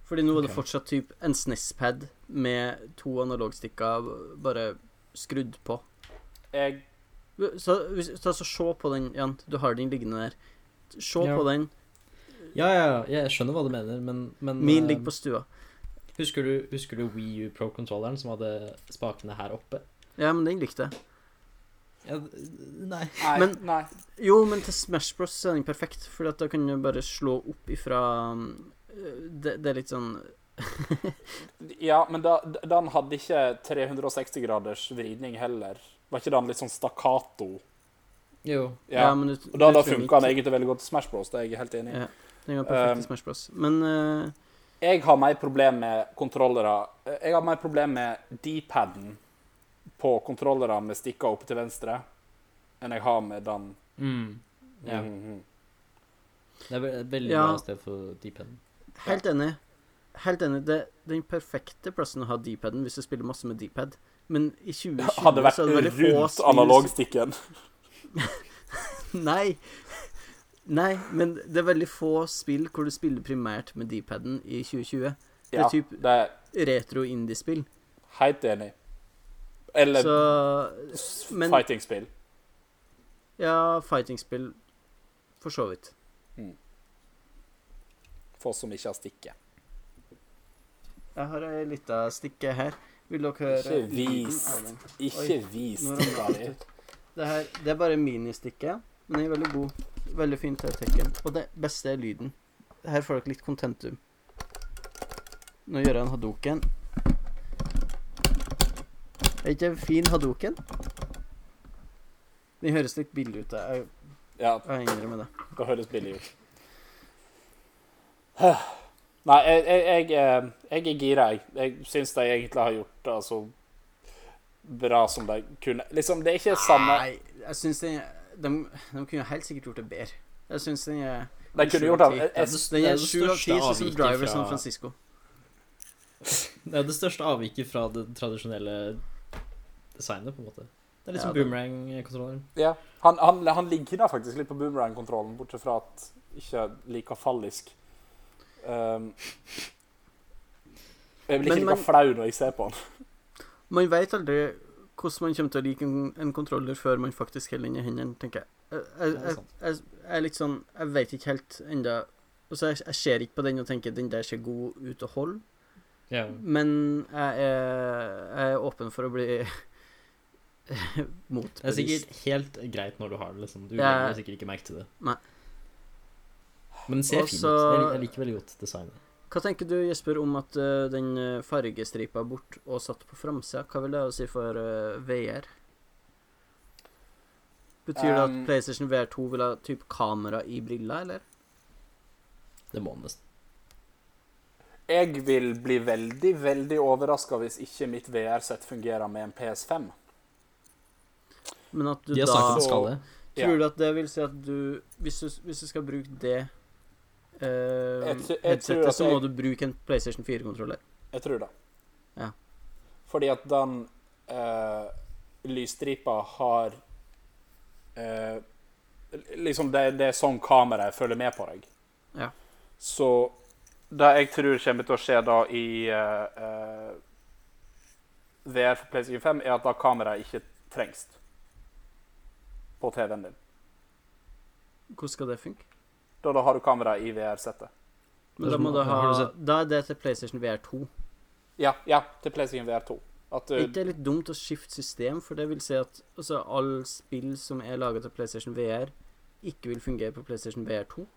[SPEAKER 1] Fordi nå er det
[SPEAKER 3] Ok.
[SPEAKER 1] fortsatt typ en SNES-pad med to analogstikker bare skrudd på.
[SPEAKER 2] Jeg,
[SPEAKER 1] Så, hvis, så, så se på den, Jan. Du har den liggende der. Se
[SPEAKER 3] Ja.
[SPEAKER 1] på den.
[SPEAKER 3] Ja, ja, ja, jeg skjønner hva du mener, men, men
[SPEAKER 1] Min
[SPEAKER 3] eh,
[SPEAKER 1] ligger på stua.
[SPEAKER 3] Husker du, husker du Wii U Pro-kontrolleren som hadde spakene her oppe?
[SPEAKER 1] Ja, men den likte jeg.
[SPEAKER 3] Ja, nei.
[SPEAKER 2] nei,
[SPEAKER 1] Men-
[SPEAKER 2] nei.
[SPEAKER 1] Jo, men til Smash Bros er den perfekt, for da kan du bare slå opp ifra um, det, det er litt sånn
[SPEAKER 2] Ja, men da, den hadde ikke 360 graders vridning heller. Var ikke den litt sånn stakkato?
[SPEAKER 3] Jo.
[SPEAKER 2] Ja.
[SPEAKER 1] men du,
[SPEAKER 2] Og da,
[SPEAKER 1] du
[SPEAKER 2] da
[SPEAKER 1] trenger
[SPEAKER 2] funka den
[SPEAKER 1] ikke-
[SPEAKER 2] egentlig veldig godt til Smash Bros. Det er jeg helt enig i.
[SPEAKER 1] Ja. Den var perfekt
[SPEAKER 2] Um,
[SPEAKER 1] i Smash Bros. Men eh,
[SPEAKER 2] Jeg har mer problem med kontrollere eh, Jeg har mer problem med D-paden på kontrollere med stikker opp til venstre enn jeg har med den.
[SPEAKER 3] Mm. Ja.
[SPEAKER 2] Mhm, mhm.
[SPEAKER 3] Det er ve- et veldig
[SPEAKER 1] Ja.
[SPEAKER 3] bra sted for deep-end.
[SPEAKER 1] helt enig. Helt enig. Det er den perfekte plassen å ha D-paden hvis du spiller masse med D-pad. Men i 2020
[SPEAKER 2] Hadde vært
[SPEAKER 1] så er det veldig få
[SPEAKER 2] rundt
[SPEAKER 1] spill
[SPEAKER 2] analogstikken.
[SPEAKER 1] Nei. Nei, men det er veldig få spill hvor du spiller primært med D-paden i 2020. er
[SPEAKER 2] Ja,
[SPEAKER 1] typ-
[SPEAKER 2] det er
[SPEAKER 1] Retro indie-spill.
[SPEAKER 2] helt enig. Eller
[SPEAKER 1] Så
[SPEAKER 2] s-
[SPEAKER 1] men-
[SPEAKER 2] fighting-spill.
[SPEAKER 1] ja, fighting-spill for så vidt.
[SPEAKER 2] For som ikke har stikket.
[SPEAKER 1] Jeg har ei lita stikke her. Vil dere høre
[SPEAKER 2] Ikke vis. Ikke vis
[SPEAKER 1] Nå
[SPEAKER 2] det
[SPEAKER 1] ramlet
[SPEAKER 2] der.
[SPEAKER 1] det ut. Det, her, det er bare ministikket, men den er veldig god. Veldig fin til tekken. Og det beste er lyden. Her får dere litt kontentum. Nå gjør jeg en hadoken. Er ikke det en fin hadoken? Den høres litt billig ut. Jeg,
[SPEAKER 2] Ja,
[SPEAKER 1] jeg innrømmer det.
[SPEAKER 2] det høres billig ut. Nei, jeg, jeg, jeg, eh, jeg er gira, jeg. Jeg syns de egentlig har gjort det så bra som de kunne. Liksom, det er ikke det samme
[SPEAKER 1] Nei, jeg syns den de, de kunne helt sikkert gjort det bedre. Jeg syns den er
[SPEAKER 2] De kunne gjort det
[SPEAKER 3] Det er
[SPEAKER 2] jeg-
[SPEAKER 3] det,
[SPEAKER 1] Den
[SPEAKER 3] det
[SPEAKER 1] er
[SPEAKER 3] er det
[SPEAKER 1] sju av ti,
[SPEAKER 3] største
[SPEAKER 1] sånn som
[SPEAKER 3] avviket
[SPEAKER 1] Driver
[SPEAKER 3] fra-
[SPEAKER 1] San Francisco.
[SPEAKER 3] Det er det største avviket fra det tradisjonelle designet, på en måte. Det er litt
[SPEAKER 1] Ja,
[SPEAKER 3] som
[SPEAKER 1] det-
[SPEAKER 3] boomerang-kontrolleren.
[SPEAKER 2] Ja. Han, han, han ligner faktisk litt på boomerang-kontrollen, bortsett fra at ikke like fallisk. Um, Ehm, Jeg blir
[SPEAKER 1] Men
[SPEAKER 2] ikke
[SPEAKER 1] man-
[SPEAKER 2] like flau når jeg ser på han.
[SPEAKER 1] Man veit aldri hvordan man kommer til å like en, en kontroller før man faktisk holder den i hendene, tenker jeg. Jeg, jeg,
[SPEAKER 3] Det er
[SPEAKER 1] jeg, jeg, jeg er litt sånn Jeg veit ikke helt ennå. Altså, jeg, jeg ser ikke på den og tenker den der ser god ut å holde,
[SPEAKER 3] Ja.
[SPEAKER 1] men jeg er, jeg er åpen for å bli motbevist.
[SPEAKER 3] Det er sikkert helt greit når du har det, liksom. Du
[SPEAKER 1] Ja.
[SPEAKER 3] legger sikkert ikke merke til det.
[SPEAKER 1] Nei.
[SPEAKER 3] Men det ser
[SPEAKER 1] Og
[SPEAKER 3] fint ut.
[SPEAKER 1] så-
[SPEAKER 3] Jeg lik- Jeg liker veldig godt designet.
[SPEAKER 1] Hva tenker du, Jesper, om at eh, den eh, fargestripa bort og satt på framsida? Hva vil det å si for eh, VR? Betyr det at
[SPEAKER 2] Um,
[SPEAKER 1] PlayStation VR2 vil ha typ kamera i briller, eller?
[SPEAKER 3] Det må nesten.
[SPEAKER 2] Jeg vil bli veldig, veldig overraska hvis ikke mitt VR-sett fungerer med en PS5.
[SPEAKER 1] Men at du
[SPEAKER 3] De har sagt at
[SPEAKER 1] da
[SPEAKER 3] det skal det.
[SPEAKER 2] Ja.
[SPEAKER 1] Tror du at det vil si at du Hvis du, hvis du skal bruke det eh,
[SPEAKER 2] Jeg tr- jeg tror
[SPEAKER 1] headsetet,
[SPEAKER 2] at
[SPEAKER 1] så må
[SPEAKER 2] jeg-
[SPEAKER 1] du bruke en PlayStation 4-kontroller.
[SPEAKER 2] Jeg tror det.
[SPEAKER 1] Ja.
[SPEAKER 2] Fordi at den eh, lysstripa har eh, Liksom, det, det er sånn kameraet følger med på deg.
[SPEAKER 1] Ja.
[SPEAKER 2] Så det jeg tror kommer til å skje da i eh, eh, VR for PlayStation 5, er at da kameraet ikke trengs på TV-en din.
[SPEAKER 1] Hvordan skal det funke?
[SPEAKER 2] Da, da har du kamera i VR-settet.
[SPEAKER 1] Men
[SPEAKER 3] Det
[SPEAKER 1] da,
[SPEAKER 3] er
[SPEAKER 1] må
[SPEAKER 3] som-
[SPEAKER 1] du ha,
[SPEAKER 3] har du sett-
[SPEAKER 1] da er det til PlayStation VR2.
[SPEAKER 2] Ja, ja, til PlayStation VR2. At
[SPEAKER 1] Er
[SPEAKER 2] du,
[SPEAKER 1] ikke det litt dumt å skifte system? For det vil si at altså, alle spill som er laget til PlayStation VR, ikke vil fungere på PlayStation VR2.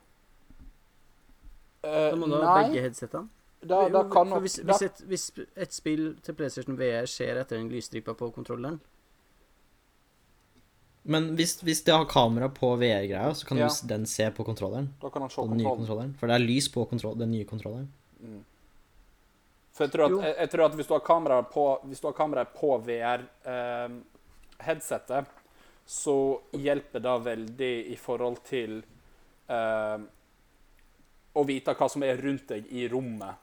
[SPEAKER 2] eh,
[SPEAKER 1] Da må du ha
[SPEAKER 2] nei,
[SPEAKER 1] begge headsetene.
[SPEAKER 2] da, da
[SPEAKER 1] Jo,
[SPEAKER 2] kan
[SPEAKER 1] for
[SPEAKER 2] nok
[SPEAKER 1] hvis,
[SPEAKER 2] da
[SPEAKER 1] hvis, et, hvis et spill til PlayStation VR ser etter den lysstripa på kontrolleren
[SPEAKER 3] Men hvis, hvis de har kamera på VR-greia, så kan
[SPEAKER 2] Ja.
[SPEAKER 3] du, s- den se på kontrolleren.
[SPEAKER 2] Da kan han se
[SPEAKER 3] På den nye
[SPEAKER 2] kontrollen.
[SPEAKER 3] kontrolleren. For det er lys på kontroll, den nye kontrolleren.
[SPEAKER 2] For jeg tror,
[SPEAKER 1] Jo.
[SPEAKER 2] at, jeg, jeg tror at hvis du har kamera på, hvis du har kamera på VR eh, headsetet, så hjelper det veldig i forhold til eh, å vite hva som er rundt deg i rommet,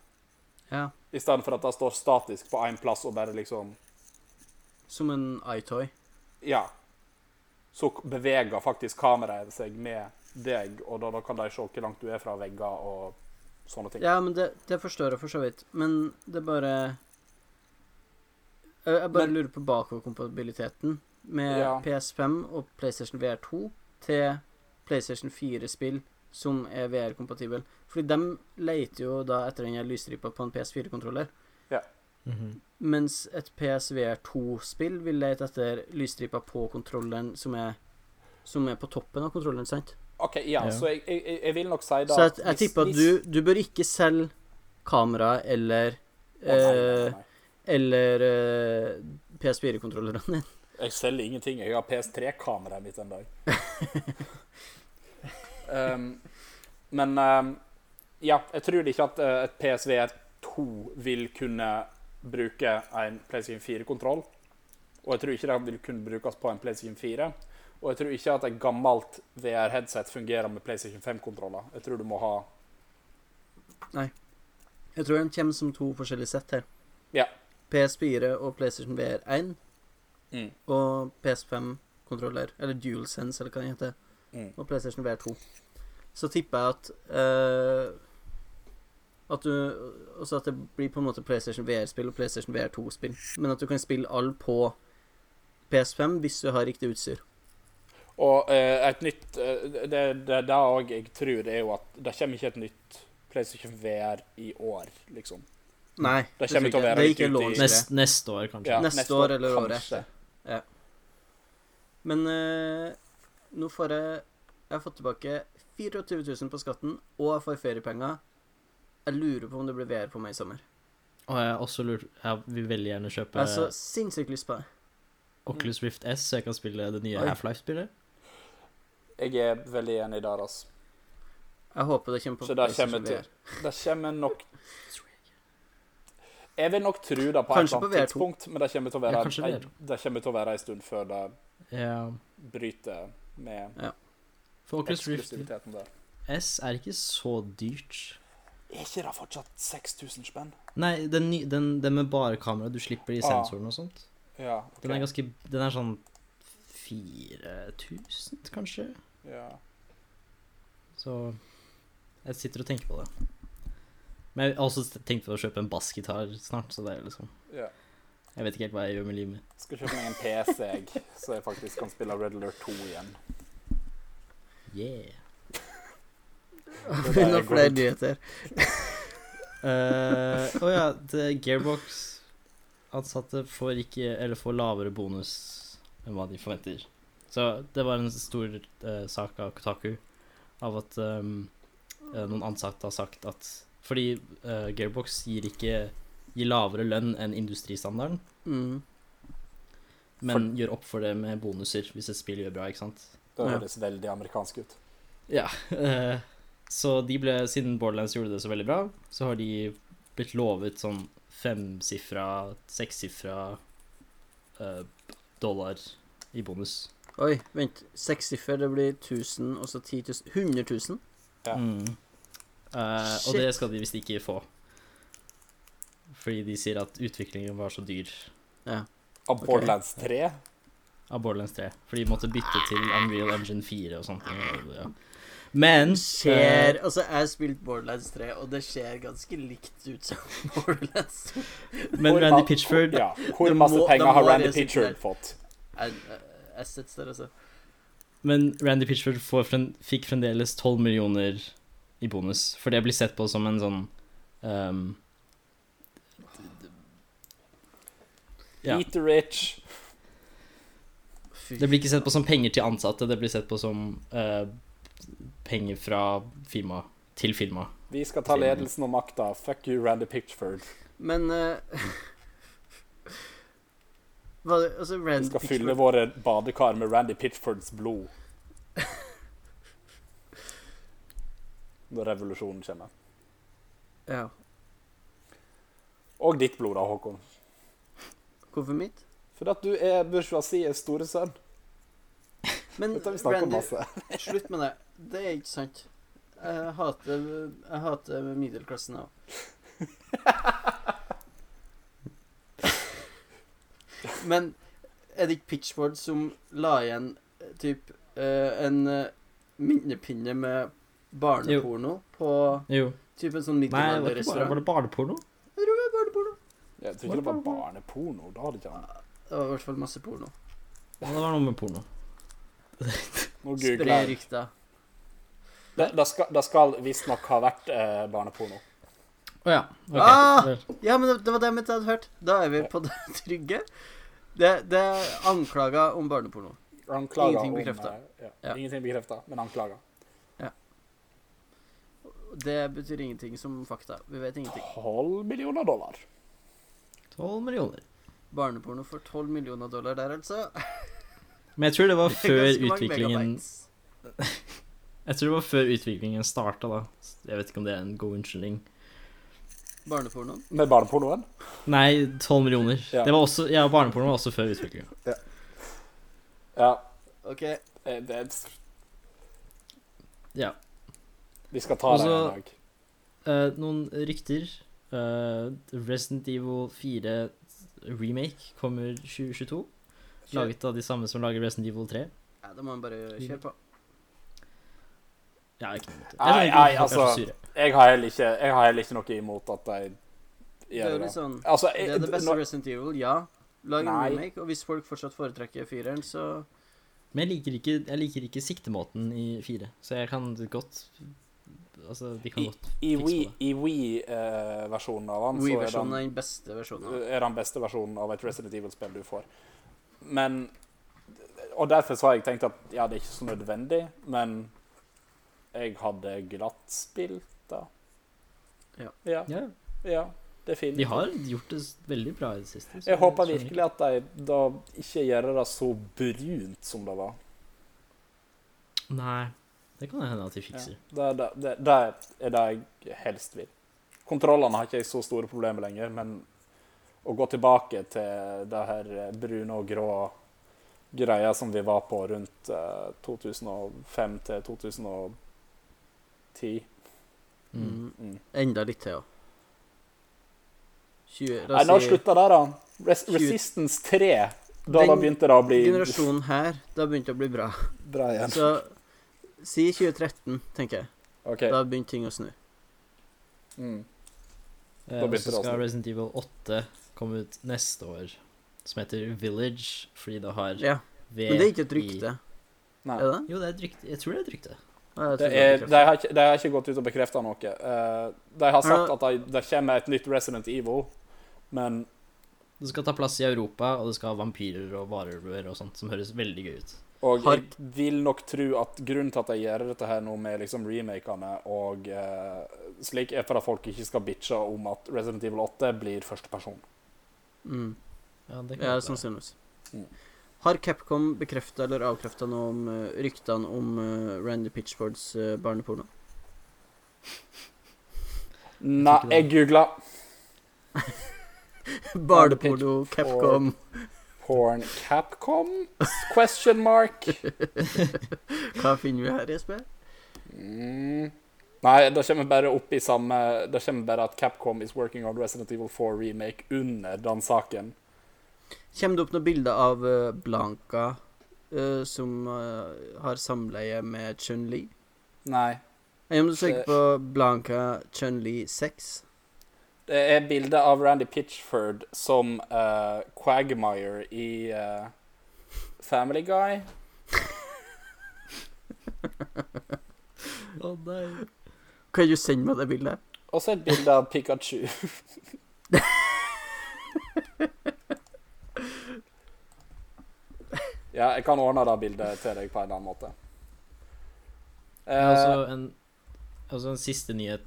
[SPEAKER 1] Ja.
[SPEAKER 2] i stedet for at det står statisk på én plass og bare liksom
[SPEAKER 1] Som en iToy.
[SPEAKER 2] Ja. Så k- beveger faktisk kameraet seg med deg, og da, da kan de se hvor langt du er fra vegger og sånne ting.
[SPEAKER 1] Ja, men det, det forstår jeg for så vidt. Men det er bare Jeg, jeg bare
[SPEAKER 2] Men-
[SPEAKER 1] lurer på bakoverkompatibiliteten med
[SPEAKER 2] Ja.
[SPEAKER 1] PS5 og PlayStation VR2 til PlayStation 4-spill som er VR-kompatibel. Fordi de leter jo da etter den her lysstripa på en PS4-kontroller.
[SPEAKER 3] Mhm.
[SPEAKER 1] Mens et PSVR2-spill vil lete etter lysstripa på kontrolleren som er, som er på toppen av kontrolleren, sant?
[SPEAKER 2] OK, ja,
[SPEAKER 3] Ja.
[SPEAKER 2] så jeg, jeg, jeg- jeg vil nok si da
[SPEAKER 1] Så jeg,
[SPEAKER 2] hvis-
[SPEAKER 1] jeg tipper at
[SPEAKER 2] hvis-
[SPEAKER 1] du, du bør ikke selge kamera eller
[SPEAKER 2] Å, nei, nei,
[SPEAKER 1] eh,
[SPEAKER 2] nei.
[SPEAKER 1] Eller eh, PS4-kontrollerne dine.
[SPEAKER 2] Jeg selger ingenting. Jeg har PS3-kameraet mitt en dag. um, men um, ja, jeg tror ikke at eh, et PSVR2 vil kunne bruke en PlayStation 4-kontroll. Og jeg tror ikke det vil kunne brukes på en PlayStation 4. Og jeg tror ikke at et gammelt VR-headset fungerer med PlayStation 5-kontroller. Jeg tror du må ha
[SPEAKER 1] Jeg tror de kommer som to forskjellige sett her.
[SPEAKER 2] Ja.
[SPEAKER 1] PS4 og PlayStation VR1
[SPEAKER 2] Mm.
[SPEAKER 1] og PS5-kontroller, eller DualSense, eller hva den heter,
[SPEAKER 2] Mm.
[SPEAKER 1] og PlayStation VR2. Så tipper jeg at eh, at du Også at det blir på en måte PlayStation VR-spill og PlayStation VR2-spill. Men at du kan spille alle på PS5 hvis du har riktig utstyr.
[SPEAKER 2] Og eh, et nytt eh, Det det er det òg jeg tror, er jo at det kommer ikke et nytt PlayStation VR i år, liksom.
[SPEAKER 1] Nei.
[SPEAKER 2] Det
[SPEAKER 1] tror
[SPEAKER 2] kommer til
[SPEAKER 1] ikke jeg.
[SPEAKER 2] å være
[SPEAKER 1] Det er
[SPEAKER 2] litt
[SPEAKER 1] ikke
[SPEAKER 2] ute i-
[SPEAKER 1] launch, det.
[SPEAKER 3] Nest, neste år, kanskje.
[SPEAKER 2] Ja,
[SPEAKER 1] Neste år eller året
[SPEAKER 2] kanskje.
[SPEAKER 1] Men eh, nå får jeg Jeg har fått tilbake 24 000 på skatten, og jeg får feriepenger. Jeg lurer på om det blir VR på meg i sommer.
[SPEAKER 3] Og jeg har også lurt Jeg vil veldig gjerne
[SPEAKER 1] Jeg
[SPEAKER 3] kjøpe
[SPEAKER 1] har så sinnssykt lyst på det.
[SPEAKER 3] Oculus Rift S, så jeg kan spille det nye
[SPEAKER 1] Oi.
[SPEAKER 3] Half-Life-spillet.
[SPEAKER 2] Jeg er veldig enig der, altså.
[SPEAKER 1] Jeg håper det kommer på
[SPEAKER 2] Så da
[SPEAKER 1] PlayStation
[SPEAKER 2] kommer til
[SPEAKER 1] VR.
[SPEAKER 2] Det kommer nok Jeg vil nok tro det på et
[SPEAKER 1] Kanskje
[SPEAKER 2] eller
[SPEAKER 1] på VR2.
[SPEAKER 2] annet tidspunkt, men det kommer til å være,
[SPEAKER 3] Ja, kanskje
[SPEAKER 2] ei-
[SPEAKER 3] VR2.
[SPEAKER 2] det kommer til å være en stund før det
[SPEAKER 3] Ja.
[SPEAKER 2] bryter med
[SPEAKER 3] For Oculus Rift
[SPEAKER 2] eksklusiviteten der.
[SPEAKER 3] S er ikke så dyrt.
[SPEAKER 2] Er ikke det fortsatt 6000 spenn?
[SPEAKER 3] Nei, den, ny- den, den med bare kamera, du slipper de
[SPEAKER 2] Ah.
[SPEAKER 3] sensorene og sånt.
[SPEAKER 2] Ja. ok.
[SPEAKER 3] Den er ganske Den er sånn 4000, kanskje?
[SPEAKER 2] ja.
[SPEAKER 3] Så jeg sitter og tenker på det. Men jeg har også tenkt på å kjøpe en bassgitar snart, så det er liksom
[SPEAKER 2] Ja.
[SPEAKER 3] Jeg vet ikke helt hva jeg gjør med livet mitt.
[SPEAKER 2] Skal kjøpe meg en PC, jeg, så jeg faktisk kan spille Red Alert 2 igjen.
[SPEAKER 3] Yeah.
[SPEAKER 2] Det er der
[SPEAKER 1] Noen
[SPEAKER 2] jeg går
[SPEAKER 1] flere
[SPEAKER 2] ut.
[SPEAKER 1] nyheter.
[SPEAKER 3] Eh, Å ja, det- Gearbox-ansatte får ikke Eller får lavere bonus enn hva de forventer. Så det var en stor eh, sak av Kotaku av at ehm, eh, noen ansatte har sagt at Fordi eh, Gearbox gir ikke gir lavere lønn enn industristandarden,
[SPEAKER 1] Mm.
[SPEAKER 3] men gjør opp for det med bonuser hvis et spill gjør bra, ikke sant?
[SPEAKER 2] Det
[SPEAKER 1] Ja.
[SPEAKER 2] høres veldig amerikansk ut.
[SPEAKER 3] Ja. eh, så de ble, siden Borderlands gjorde det så veldig bra, så har de blitt lovet sånn femsifra, sekssifra eh, dollar i bonus.
[SPEAKER 1] Oi, vent. Seks siffer, det blir 1000, og så 10 000 100 000?
[SPEAKER 2] Ja.
[SPEAKER 3] Mm. Eh, og
[SPEAKER 1] Shit.
[SPEAKER 3] det skal de visst ikke få. Fordi de sier at utviklingen var så dyr
[SPEAKER 2] Av Borderlands 3?
[SPEAKER 3] av Borderlands 3. For de måtte bytte til Unreal Engine 4 og sånt. og- Ja. Men eh,
[SPEAKER 1] Ser Altså, jeg har spilt Borderlands 3, og det ser ganske likt ut som Borderlands 2.
[SPEAKER 3] Men Randy Pitchford
[SPEAKER 2] Ja. Hvor
[SPEAKER 1] Det
[SPEAKER 2] masse
[SPEAKER 1] må- det
[SPEAKER 2] penger
[SPEAKER 1] må
[SPEAKER 2] har Randy
[SPEAKER 1] være sikkert
[SPEAKER 2] Pitchford
[SPEAKER 1] der.
[SPEAKER 2] fått?
[SPEAKER 1] Jeg- jeg- Assets der, altså.
[SPEAKER 3] Men Randy Pitchford får frem, fikk fremdeles 12 millioner i bonus, for det blir sett på som en sånn ehm, Ja.
[SPEAKER 2] Eat the rich.
[SPEAKER 1] Fy.
[SPEAKER 3] Det blir ikke sett på som penger til ansatte, det blir sett på som eh, penger fra firmaet til firmaet.
[SPEAKER 2] Vi skal ta ledelsen og makta. Fuck you, Randy Pitchford.
[SPEAKER 1] Men eh, Hva det, altså,
[SPEAKER 2] Vi
[SPEAKER 1] Randy
[SPEAKER 2] skal fylle
[SPEAKER 1] Pitchford
[SPEAKER 2] våre badekar med Randy Pitchfords blod. Når revolusjonen kommer.
[SPEAKER 1] Ja.
[SPEAKER 2] Og ditt blod, da, Håkon.
[SPEAKER 1] Hvorfor mitt?
[SPEAKER 2] For at du er bourgeoisies store sønn.
[SPEAKER 1] Men
[SPEAKER 2] Dette har vi snakket om
[SPEAKER 1] Randy,
[SPEAKER 2] masse.
[SPEAKER 1] slutt med det. Det er ikke sant. Jeg hater, jeg hater middelklassen òg. Men er det ikke Pitchford som la igjen eh, typ eh, en eh, minnepinne med barneporno på
[SPEAKER 3] Jo.
[SPEAKER 1] typ en sånn
[SPEAKER 3] Nei, var det, ikke bare,
[SPEAKER 1] middelalderrestaurant?
[SPEAKER 3] var det barneporno?
[SPEAKER 2] Jeg tror ikke det var barneporno. Da hadde ikke han
[SPEAKER 1] Det var i hvert fall masse porno.
[SPEAKER 3] Ja, det var noe med porno.
[SPEAKER 2] Nå googler
[SPEAKER 1] Spre
[SPEAKER 2] jeg.
[SPEAKER 1] rykter.
[SPEAKER 2] Det, det skal, det skal visstnok ha vært eh, barneporno.
[SPEAKER 3] Å ja. ok.
[SPEAKER 1] Ah!
[SPEAKER 3] Vel,
[SPEAKER 1] Ja, men det, det var det jeg mente jeg hadde hørt. Da er vi på det trygge. Det, det er anklager om barneporno.
[SPEAKER 2] Anklager
[SPEAKER 1] Ingenting
[SPEAKER 2] om,
[SPEAKER 1] bekreftet.
[SPEAKER 2] eh, Ja.
[SPEAKER 1] Ja.
[SPEAKER 2] Ingenting bekrefta, men anklager.
[SPEAKER 1] Det betyr ingenting som fakta. Vi vet ingenting.
[SPEAKER 2] 12 millioner dollar.
[SPEAKER 3] 12 millioner.
[SPEAKER 1] Barneporno for 12 millioner dollar der, altså.
[SPEAKER 3] Men jeg tror det var
[SPEAKER 1] Det er
[SPEAKER 3] før
[SPEAKER 1] ganske mange
[SPEAKER 3] utviklingen
[SPEAKER 1] megabytes.
[SPEAKER 3] Jeg tror det var før utviklingen starta, da. Jeg vet ikke om det er en god unnskyldning.
[SPEAKER 1] Barnepornoen.
[SPEAKER 2] Med barnepornoen?
[SPEAKER 3] Nei, 12 millioner.
[SPEAKER 2] Ja.
[SPEAKER 3] Det var også, ja, barneporno var også før utviklingen.
[SPEAKER 2] Ja.
[SPEAKER 1] OK.
[SPEAKER 2] eh, Det, er-
[SPEAKER 3] Ja.
[SPEAKER 2] vi skal ta
[SPEAKER 3] Og
[SPEAKER 2] det
[SPEAKER 1] Altså-
[SPEAKER 3] så-
[SPEAKER 2] en dag.
[SPEAKER 3] Eh, noen rykter. Eh, Resident Evil 4 remake kommer 2022. Laget Mm. av de samme som lager Resident Evil 3.
[SPEAKER 1] Ja, da må man bare kjøre på.
[SPEAKER 3] Ja, ikke noe imot det.
[SPEAKER 2] Nei,
[SPEAKER 3] Jeg skjønner ikke
[SPEAKER 2] nei,
[SPEAKER 3] hvorfor folk er så
[SPEAKER 2] altså,
[SPEAKER 3] sure.
[SPEAKER 2] Jeg har heller ikke, jeg har heller ikke noe imot at de
[SPEAKER 1] Det er
[SPEAKER 2] gjør
[SPEAKER 1] jo
[SPEAKER 2] det.
[SPEAKER 1] litt sånn
[SPEAKER 2] Altså,
[SPEAKER 1] Det er det beste
[SPEAKER 2] når-
[SPEAKER 1] Resident Evil, ja. Lag en
[SPEAKER 2] Nei.
[SPEAKER 1] remake, og hvis folk fortsatt foretrekker fireren, så
[SPEAKER 3] Men jeg liker, ikke, jeg liker ikke siktemåten i 4, så jeg kan godt Altså, de kan godt
[SPEAKER 2] I
[SPEAKER 3] fikse på
[SPEAKER 2] Wii-
[SPEAKER 3] det.
[SPEAKER 2] i Wii-versjonen av han, så Eh, er
[SPEAKER 1] Wii-versjonen
[SPEAKER 2] den,
[SPEAKER 1] er den beste versjonen.
[SPEAKER 2] er den beste versjonen av et Resident Evil-spill du får. Men Og derfor så har jeg tenkt at ja, det er ikke så nødvendig, men jeg hadde glatt spilt, da.
[SPEAKER 1] Ja.
[SPEAKER 2] Ja.
[SPEAKER 3] Ja,
[SPEAKER 2] ja det er fint.
[SPEAKER 3] de har gjort det s- veldig bra i det siste. så
[SPEAKER 2] Jeg håper
[SPEAKER 3] skjønner
[SPEAKER 2] virkelig at de da ikke gjør det så brunt som det var.
[SPEAKER 3] ikke- Nei, det kan hende at de fikser.
[SPEAKER 2] Ja, det, det, det, det er det jeg helst vil. Kontrollene har ikke jeg så store problemer lenger, men å gå tilbake til det her brune og grå greia som vi var på rundt eh, 2005 til 2010
[SPEAKER 3] Mm.
[SPEAKER 1] Mm.
[SPEAKER 2] mm.
[SPEAKER 1] Enda litt til, ja. 20
[SPEAKER 2] Nei,
[SPEAKER 1] La
[SPEAKER 2] når
[SPEAKER 1] oss si
[SPEAKER 2] slutta det, da? Res
[SPEAKER 1] Tjue-
[SPEAKER 2] Resistance 3. Da, da
[SPEAKER 1] Den
[SPEAKER 2] begynte det å bli
[SPEAKER 1] generasjonen her, da begynte det å bli bra.
[SPEAKER 2] bra igjen.
[SPEAKER 1] Så si 2013, tenker jeg.
[SPEAKER 2] Ok.
[SPEAKER 1] Da begynte ting å snu.
[SPEAKER 2] Mm.
[SPEAKER 3] Eh,
[SPEAKER 2] Da
[SPEAKER 3] Og
[SPEAKER 2] begynte
[SPEAKER 3] så
[SPEAKER 2] det å
[SPEAKER 3] skal
[SPEAKER 2] snu.
[SPEAKER 3] Resident Evil 8 komme ut neste år, som heter Village, fordi det har
[SPEAKER 1] Ja,
[SPEAKER 3] V
[SPEAKER 1] Men det er ikke et
[SPEAKER 3] i-
[SPEAKER 1] rykte,
[SPEAKER 2] Nei.
[SPEAKER 1] er det?
[SPEAKER 3] Jo, det er et rykte. Jeg tror det er et rykte.
[SPEAKER 1] Ja, jeg tror
[SPEAKER 2] Det
[SPEAKER 1] det
[SPEAKER 2] er,
[SPEAKER 1] er
[SPEAKER 2] de, har ikke, de har ikke gått ut og bekrefta noe. Eh, de har sagt
[SPEAKER 1] Ja.
[SPEAKER 2] at det de kommer et nytt Resident Evil, men
[SPEAKER 3] Det skal ta plass i Europa, og det skal ha vampyrer og varulver og sånt, som høres veldig gøy ut.
[SPEAKER 2] Og
[SPEAKER 1] Har-
[SPEAKER 2] jeg vil nok tro at grunnen til at de gjør dette her nå med liksom remakene og eh, slik, er for at folk ikke skal bitche om at Resident Evil 8 blir førsteperson.
[SPEAKER 1] Mm.
[SPEAKER 3] Ja, det
[SPEAKER 1] Ja,
[SPEAKER 3] godt være.
[SPEAKER 1] sannsynligvis.
[SPEAKER 2] Mm.
[SPEAKER 1] Har Capcom bekrefta eller avkrefta noe om eh, ryktene om eh, Randy Pitchfords eh, barneporno?
[SPEAKER 2] Nei,
[SPEAKER 3] ikke det.
[SPEAKER 2] jeg googla
[SPEAKER 1] Barneporno, Capcom
[SPEAKER 2] Porn Capcom? Question mark.
[SPEAKER 1] Hva finner vi her, Jesper?
[SPEAKER 2] Mm. Nei, det kommer bare opp i samme Det kommer bare at Capcom is working on Resident Evil 4 remake under den saken.
[SPEAKER 1] Kommer det opp noen bilder av eh, Blanca eh, som eh, har samleie med Chun-Li?
[SPEAKER 2] Nei.
[SPEAKER 1] Jeg må søke på Blanca Chun-Li 6.
[SPEAKER 2] Det er bilde av Randy Pitchford som eh, Quagmire i eh, Family Guy.
[SPEAKER 3] Å nei.
[SPEAKER 1] Kan du sende meg det bildet?
[SPEAKER 2] Og så et bilde av Pikachu. ja, jeg kan ordne det bildet til deg på en eller annen måte.
[SPEAKER 3] Det er
[SPEAKER 2] Eh,
[SPEAKER 3] også en, også en siste nyhet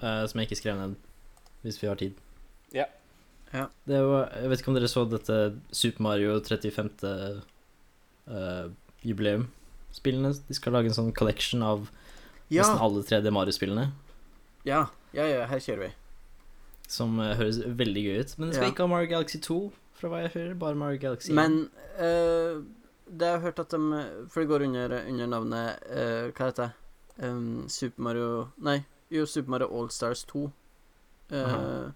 [SPEAKER 3] eh, som jeg ikke skrev ned, hvis vi har tid.
[SPEAKER 2] Ja.
[SPEAKER 1] Ja.
[SPEAKER 3] Det var, jeg vet ikke om dere så dette Super Mario 35. eh, jubileum-spillene. De skal lage en sånn collection av
[SPEAKER 1] Ja,
[SPEAKER 3] nesten alle 3D Mario-spillene.
[SPEAKER 1] ja, ja, ja, her kjører vi.
[SPEAKER 3] Som eh, høres veldig gøy ut. Men det skal
[SPEAKER 1] Ja.
[SPEAKER 3] ikke ha Mario Galaxy 2, fra hva jeg hører. Bare Mario Galaxy 1.
[SPEAKER 1] Men eh, det jeg har hørt at de For det går under, under navnet eh, Hva heter det? Em, Super Mario Nei, jo, Super Mario Allstars 2. Uh,
[SPEAKER 3] Aha.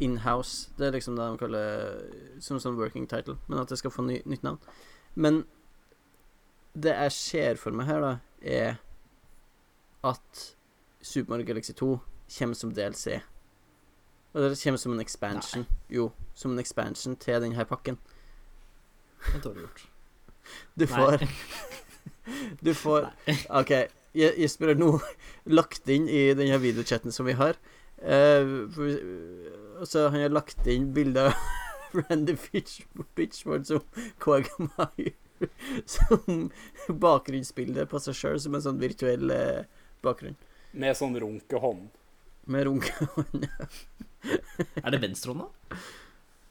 [SPEAKER 1] Inhouse. Det er liksom det de kaller som sånn working title, men at det skal få ny, nytt navn. Men det jeg ser for meg her, da, er at Super Mario Galaxy 2 kommer som DLC. Og det kommer som en expansion. Jo, som en expansion til denne pakken.
[SPEAKER 3] Det er dårlig gjort.
[SPEAKER 1] Du
[SPEAKER 3] Nei.
[SPEAKER 1] får Du får OK. Je- Jesper har nå lagt inn i denne videochatten som vi har eh, for, eh, Så han har lagt inn bilder av Randy Fitch- Pitchford som Quagmire som bakgrunnsbilde på seg sjøl, som en sånn virtuell eh, bakgrunn.
[SPEAKER 2] med sånn runkehånd.
[SPEAKER 1] Med runke hånd.
[SPEAKER 3] Er det venstrehånda?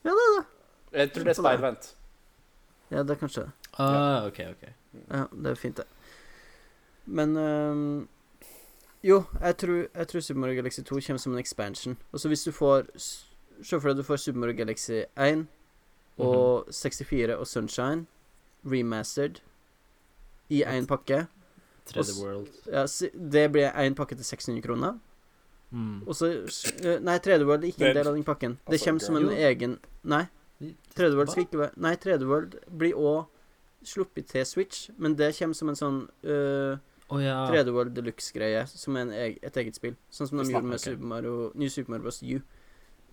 [SPEAKER 2] Jeg tror det er speilvendt.
[SPEAKER 1] Ja, det er kanskje det.
[SPEAKER 3] Ah, ok, ok.
[SPEAKER 1] Ja, det er fint, det. Men ehm, Jo, jeg tror, jeg tror Super Mario Galaxy 2 kommer som en expansion. Og så hvis du får s- Se for deg du får Super Mario Galaxy 1 og 64 og Sunshine remastered i én pakke.
[SPEAKER 3] 3D World.
[SPEAKER 1] Ja, si- det blir én pakke til 600 kroner.
[SPEAKER 3] Mm.
[SPEAKER 1] Og så s- eh, Nei, 3D World er ikke en
[SPEAKER 2] Det-
[SPEAKER 1] del av den pakken. Det
[SPEAKER 2] altså,
[SPEAKER 1] kommer som en
[SPEAKER 3] jo.
[SPEAKER 1] egen Nei. 3D World skal ikke være Nei, 3D World blir òg sluppet til Switch, men det kommer som en sånn øh,
[SPEAKER 3] Å ja.
[SPEAKER 1] 3D World Deluxe-greie, som er en eg et eget spill. Sånn som de
[SPEAKER 2] Vi
[SPEAKER 1] gjorde med
[SPEAKER 3] snakker, ok.
[SPEAKER 1] Super Mario, New Super Mario Bros. U.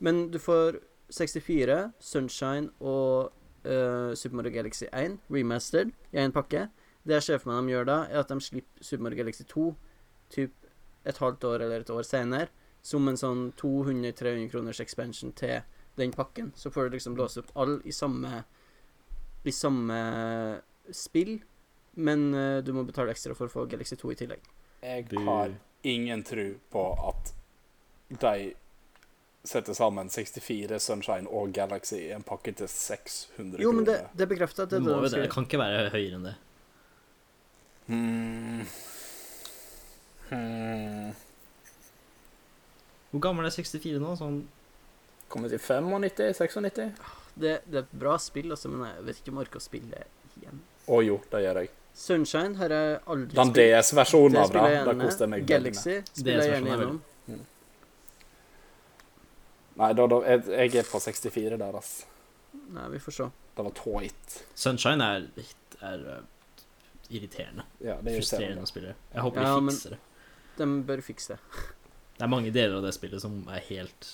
[SPEAKER 1] Men du får 64, Sunshine og eh, Super Mario Galaxy 1 remastered i én pakke. Det jeg ser for meg de gjør da, er at de slipper Super Mario Galaxy 2 typ et halvt år eller et år senere, som en sånn 200-300 kroners expansion til den pakken. Så får du liksom låse opp alle i samme i samme spill, men eh, du må betale ekstra for å få Galaxy 2 i tillegg.
[SPEAKER 2] Jeg
[SPEAKER 3] Du-
[SPEAKER 2] har ingen tro på at de setter sammen 64 Sunshine og Galaxy i en pakke til 600
[SPEAKER 1] Jo, men det,
[SPEAKER 2] kroner.
[SPEAKER 1] det er bekrefta. Det,
[SPEAKER 3] Det,
[SPEAKER 1] er
[SPEAKER 3] må
[SPEAKER 1] det, de
[SPEAKER 3] jo det. det
[SPEAKER 1] skal gjøre.
[SPEAKER 3] kan ikke være høyere enn det.
[SPEAKER 2] Hmm. Hmm.
[SPEAKER 3] Hvor gammel er 64 nå? Sånn
[SPEAKER 2] Kommer til 95? 96?
[SPEAKER 1] det, det er et bra spill, altså, men jeg vet ikke om jeg orker å spille igjen.
[SPEAKER 2] Å jo, det gjør jeg.
[SPEAKER 1] Sunshine har jeg aldri
[SPEAKER 2] Den DS-versjonen
[SPEAKER 1] Det
[SPEAKER 2] av det,
[SPEAKER 1] spiller jeg
[SPEAKER 2] da
[SPEAKER 1] gjerne.
[SPEAKER 2] koste jeg meg veldig med.
[SPEAKER 1] Galaxy spiller jeg
[SPEAKER 3] DS-versjonen
[SPEAKER 1] gjerne
[SPEAKER 3] er
[SPEAKER 1] gjennom.
[SPEAKER 2] Nei, da, da, jeg, jeg er på 64 der, ass.
[SPEAKER 1] Nei, vi får se.
[SPEAKER 2] Det var tåit.
[SPEAKER 3] Sunshine er, er eh, irriterende.
[SPEAKER 2] Ja, det gjør jeg.
[SPEAKER 3] Frustrerende å spille. Jeg håper
[SPEAKER 1] Ja,
[SPEAKER 3] de
[SPEAKER 1] men-
[SPEAKER 3] fikser det.
[SPEAKER 1] De bør fikse det.
[SPEAKER 3] Det er mange deler av det spillet som er helt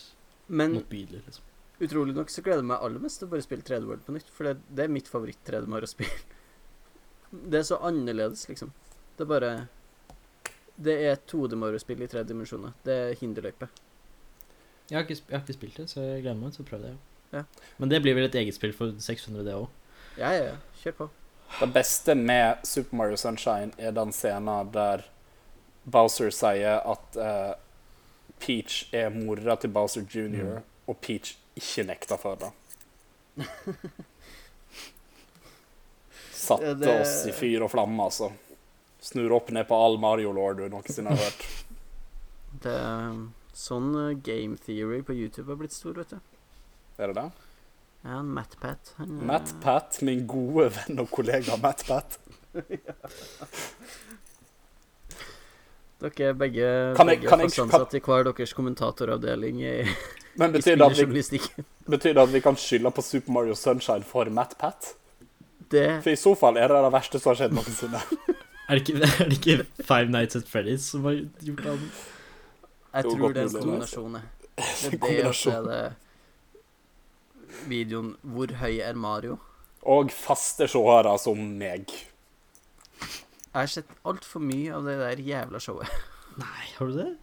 [SPEAKER 1] Men
[SPEAKER 3] Motbydelig, liksom.
[SPEAKER 1] utrolig nok så gleder jeg meg aller mest til å bare spille 3D World på nytt, for det, det er mitt favoritt-3D Mario å spille. Det er så annerledes, liksom. Det er bare Det er 2D Mario-spill i tre dimensjoner. Det er hinderløype.
[SPEAKER 3] Jeg har, ikke, sp- jeg har ikke spilt det, så jeg gleder meg til å prøve det.
[SPEAKER 1] Ja.
[SPEAKER 3] Men det blir vel et eget spill for 600, det òg.
[SPEAKER 1] Ja, ja, ja. Kjør på.
[SPEAKER 2] Det beste med Super Mario Sunshine er den scenen der Bowser sier at eh, Peach er mora til Bowser jr.,
[SPEAKER 1] Mm.
[SPEAKER 2] og Peach ikke nekter for det. Satte
[SPEAKER 1] Ja, det-
[SPEAKER 2] oss i fyr og flamme, altså. Snur opp ned på all Mario Lord du noensinne har hørt.
[SPEAKER 1] Det er sånn eh, game theory på YouTube har blitt stor, vet du.
[SPEAKER 2] Er det det?
[SPEAKER 1] Ja, han Matt Pat. Han, eh,
[SPEAKER 2] Matt Pat, min gode venn og kollega Matt Pat.
[SPEAKER 1] Dere er begge,
[SPEAKER 2] Kan jeg-
[SPEAKER 1] begge
[SPEAKER 2] kan jeg-
[SPEAKER 1] fast ansatt i hver deres kommentatoravdeling i,
[SPEAKER 2] Men
[SPEAKER 1] i
[SPEAKER 2] betyr det, at vi,
[SPEAKER 1] spillerjournalistikken.
[SPEAKER 2] betyr det at vi kan skylde på Super Mario Sunshine for Matt Pat?
[SPEAKER 1] Det
[SPEAKER 2] For i så fall er det det verste som har skjedd noensinne.
[SPEAKER 3] Er, det ikke- er det ikke Five Nights at Freddy's som har gjort det?
[SPEAKER 1] Jeg
[SPEAKER 2] Jo,
[SPEAKER 1] tror
[SPEAKER 2] godt
[SPEAKER 1] det er en
[SPEAKER 2] mulig.
[SPEAKER 1] kombinasjon. jeg. Det er det, og så
[SPEAKER 2] Kombinasjon.
[SPEAKER 1] er det videoen 'Hvor høy er Mario?'
[SPEAKER 2] Og faste seere som meg.
[SPEAKER 1] Jeg har sett altfor mye av det der jævla showet.
[SPEAKER 3] Nei, har du det?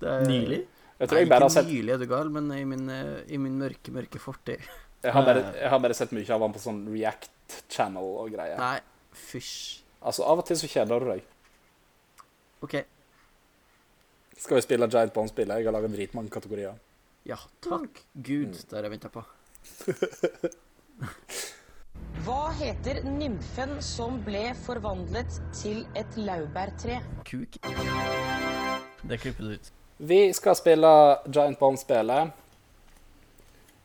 [SPEAKER 1] Det er,
[SPEAKER 3] Nylig?
[SPEAKER 2] Jeg tror
[SPEAKER 1] Nei,
[SPEAKER 2] jeg bare
[SPEAKER 1] ikke
[SPEAKER 2] har sett
[SPEAKER 1] nylig er du gal, men i min, eh, i min mørke, mørke fortid.
[SPEAKER 2] Jeg har bare, jeg har bare sett mye av han på sånn React Channel og greier.
[SPEAKER 1] Nei, fysj.
[SPEAKER 2] Altså, av og til så kjeder du deg.
[SPEAKER 1] OK.
[SPEAKER 2] Skal vi spille Giant Bond-spillet? Jeg har laga dritmange kategorier.
[SPEAKER 1] Ja, takk Gud,
[SPEAKER 2] Mm.
[SPEAKER 1] det har jeg venta på.
[SPEAKER 6] Hva heter nymfen som ble forvandlet til et laurbærtre?
[SPEAKER 5] Kuk. Det klipper du ut.
[SPEAKER 2] Vi skal spille Giant Bond-spillet.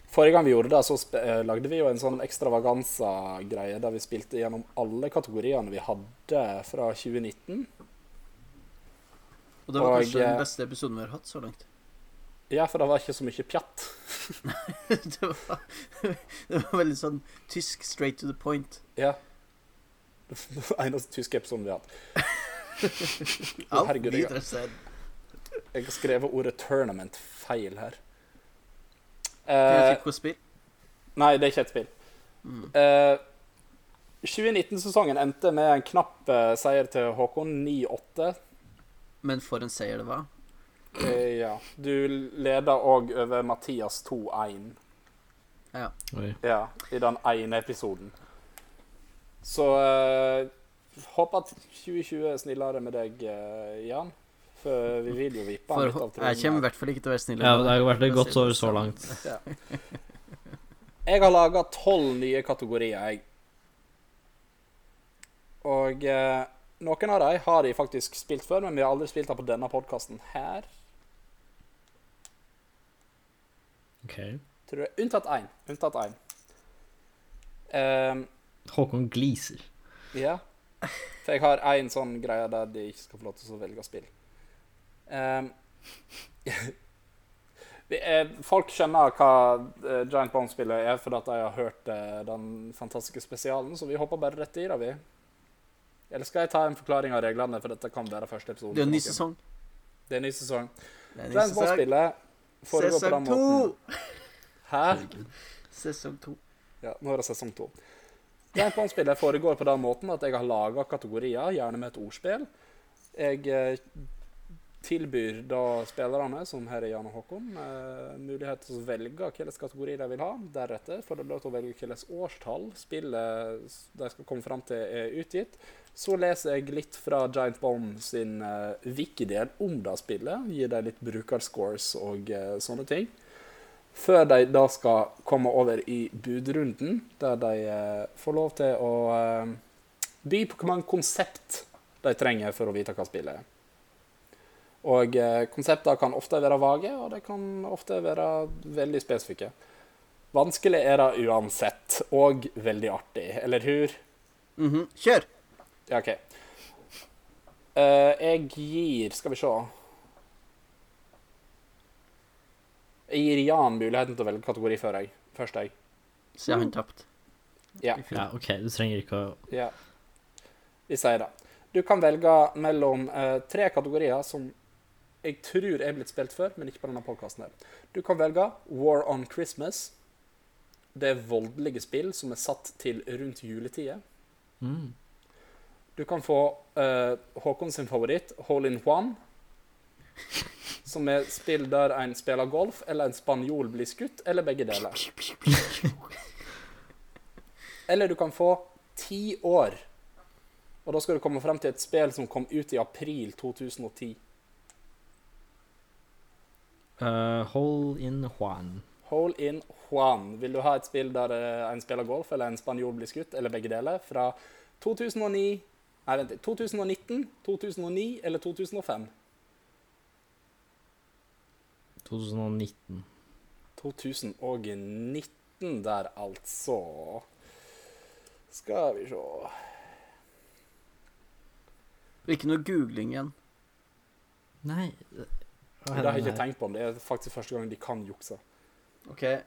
[SPEAKER 2] Forrige gang vi gjorde det, så sp eh, lagde vi jo en sånn ekstravaganza-greie der vi spilte gjennom alle kategoriene vi hadde fra 2019.
[SPEAKER 1] Og det var
[SPEAKER 2] Og,
[SPEAKER 1] kanskje
[SPEAKER 2] eh,
[SPEAKER 1] den beste episoden vi har hatt så langt.
[SPEAKER 2] Ja, for det var ikke så mye pjatt.
[SPEAKER 1] Det var, det var veldig sånn tysk straight to the point.
[SPEAKER 2] Ja. Eneste tyske episoden vi har hatt. Å,
[SPEAKER 1] Alt
[SPEAKER 2] herregud, jeg-
[SPEAKER 1] videre sted.
[SPEAKER 2] Jeg har skrevet ordet 'tournament' feil her.
[SPEAKER 1] Kan jeg
[SPEAKER 2] Eh,
[SPEAKER 1] tippe hva spill?
[SPEAKER 2] nei, det er ikke et spill.
[SPEAKER 1] Mm.
[SPEAKER 2] Eh, 2019-sesongen endte med en knapp eh, seier til Håkon 9-8.
[SPEAKER 1] Men for en seier det var.
[SPEAKER 2] Eh, ja. Du leda òg over Mathias 2-1
[SPEAKER 3] Oi.
[SPEAKER 2] ja, i den ene episoden. Så eh, håper at 2020 er snillere med deg, eh, Jan. For vi vil jo vippe han
[SPEAKER 1] For,
[SPEAKER 2] litt av
[SPEAKER 1] jeg
[SPEAKER 2] tronen her.
[SPEAKER 1] kommer i hvert fall ikke til å være snill.
[SPEAKER 3] Ja, det har vært et godt år så langt.
[SPEAKER 2] Jeg har laga tolv nye kategorier, jeg. Og eh, noen av dem har jeg faktisk spilt før, men vi har aldri spilt dem på denne podkasten her.
[SPEAKER 3] Ok.
[SPEAKER 2] Tror jeg. Unntatt én. Unntatt én. Ehm,
[SPEAKER 3] Håkon gliser.
[SPEAKER 2] ja. For jeg har én sånn greie der de ikke skal få lov til å velge spill. Ehm, vi er, folk skjønner hva eh, Giant Bomb-spillet er, fordi at de har hørt eh, den fantastiske spesialen, så vi hopper bare rett i det, vi. Eller skal jeg ta en forklaring av reglene, for dette kan være første episode?
[SPEAKER 1] Det er en ny
[SPEAKER 2] for noen.
[SPEAKER 1] sesong.
[SPEAKER 2] Det er en ny sesong.
[SPEAKER 1] Det er en ny
[SPEAKER 2] Giant
[SPEAKER 1] sesong.
[SPEAKER 2] Bomb-spillet foregår på
[SPEAKER 1] Sesong
[SPEAKER 2] den
[SPEAKER 1] to!
[SPEAKER 2] måten. Hæ?
[SPEAKER 1] Sesong to.
[SPEAKER 2] Ja, nå er det sesong to. Giant Bomb-spillet foregår på den måten at jeg har laga kategorier, gjerne med et ordspill. Jeg eh, tilbyr da spillerne, som her er Jan og Håkon, eh, mulighet til å velge hvilken kategori de vil ha. Deretter får de lov til å velge hvilket årstall spillet s- de skal komme fram til, er utgitt. Så leser jeg litt fra Giant Bomb sin eh, wiki-del om det spillet. Gir dem litt brukerscores og eh, sånne ting før de da skal komme over i budrunden, der de eh, får lov til å eh, by på hvor mange konsept de trenger for å vite hva spillet er. Og eh, konsepter kan ofte være vage, og de kan ofte være veldig spesifikke. Vanskelig er det uansett, og veldig artig, eller hur?
[SPEAKER 1] Mhm. Kjør!
[SPEAKER 2] Ja, OK. Eh, jeg gir Skal vi se. Jeg gir Jan muligheten til å velge kategori før jeg. Først jeg.
[SPEAKER 1] Så har han tapt.
[SPEAKER 2] Mm. Ja.
[SPEAKER 1] I fjor.
[SPEAKER 3] Ja, ok, du trenger ikke å
[SPEAKER 2] Ja. Vi sier det. Du kan velge mellom eh, tre kategorier som jeg tror er blitt spilt før, men ikke på denne podkasten her. Du kan velge War on Christmas. Det er voldelige spill som er satt til rundt juletider.
[SPEAKER 3] Mm.
[SPEAKER 2] Du kan få eh, Håkon sin favoritt, Hole in One. Som er spill der en spiller golf, eller en spanjol blir skutt, eller begge deler. Eller du kan få ti år. Og da skal du komme frem til et spill som kom ut i april 2010.
[SPEAKER 3] Eh, hold in Juan.
[SPEAKER 2] Hole in Juan. Vil du ha et spill der eh, en spiller golf, eller en spanjol blir skutt, eller begge deler, fra 2009 Nei, vent. 2019, 2009 eller 2005?
[SPEAKER 3] 2019.
[SPEAKER 2] 2019 der, altså. Skal vi se
[SPEAKER 1] Ikke noe googling igjen.
[SPEAKER 3] Nei
[SPEAKER 2] Det har jeg ikke tenkt på, men det er faktisk første gang de kan jukse.
[SPEAKER 1] OK. Jeg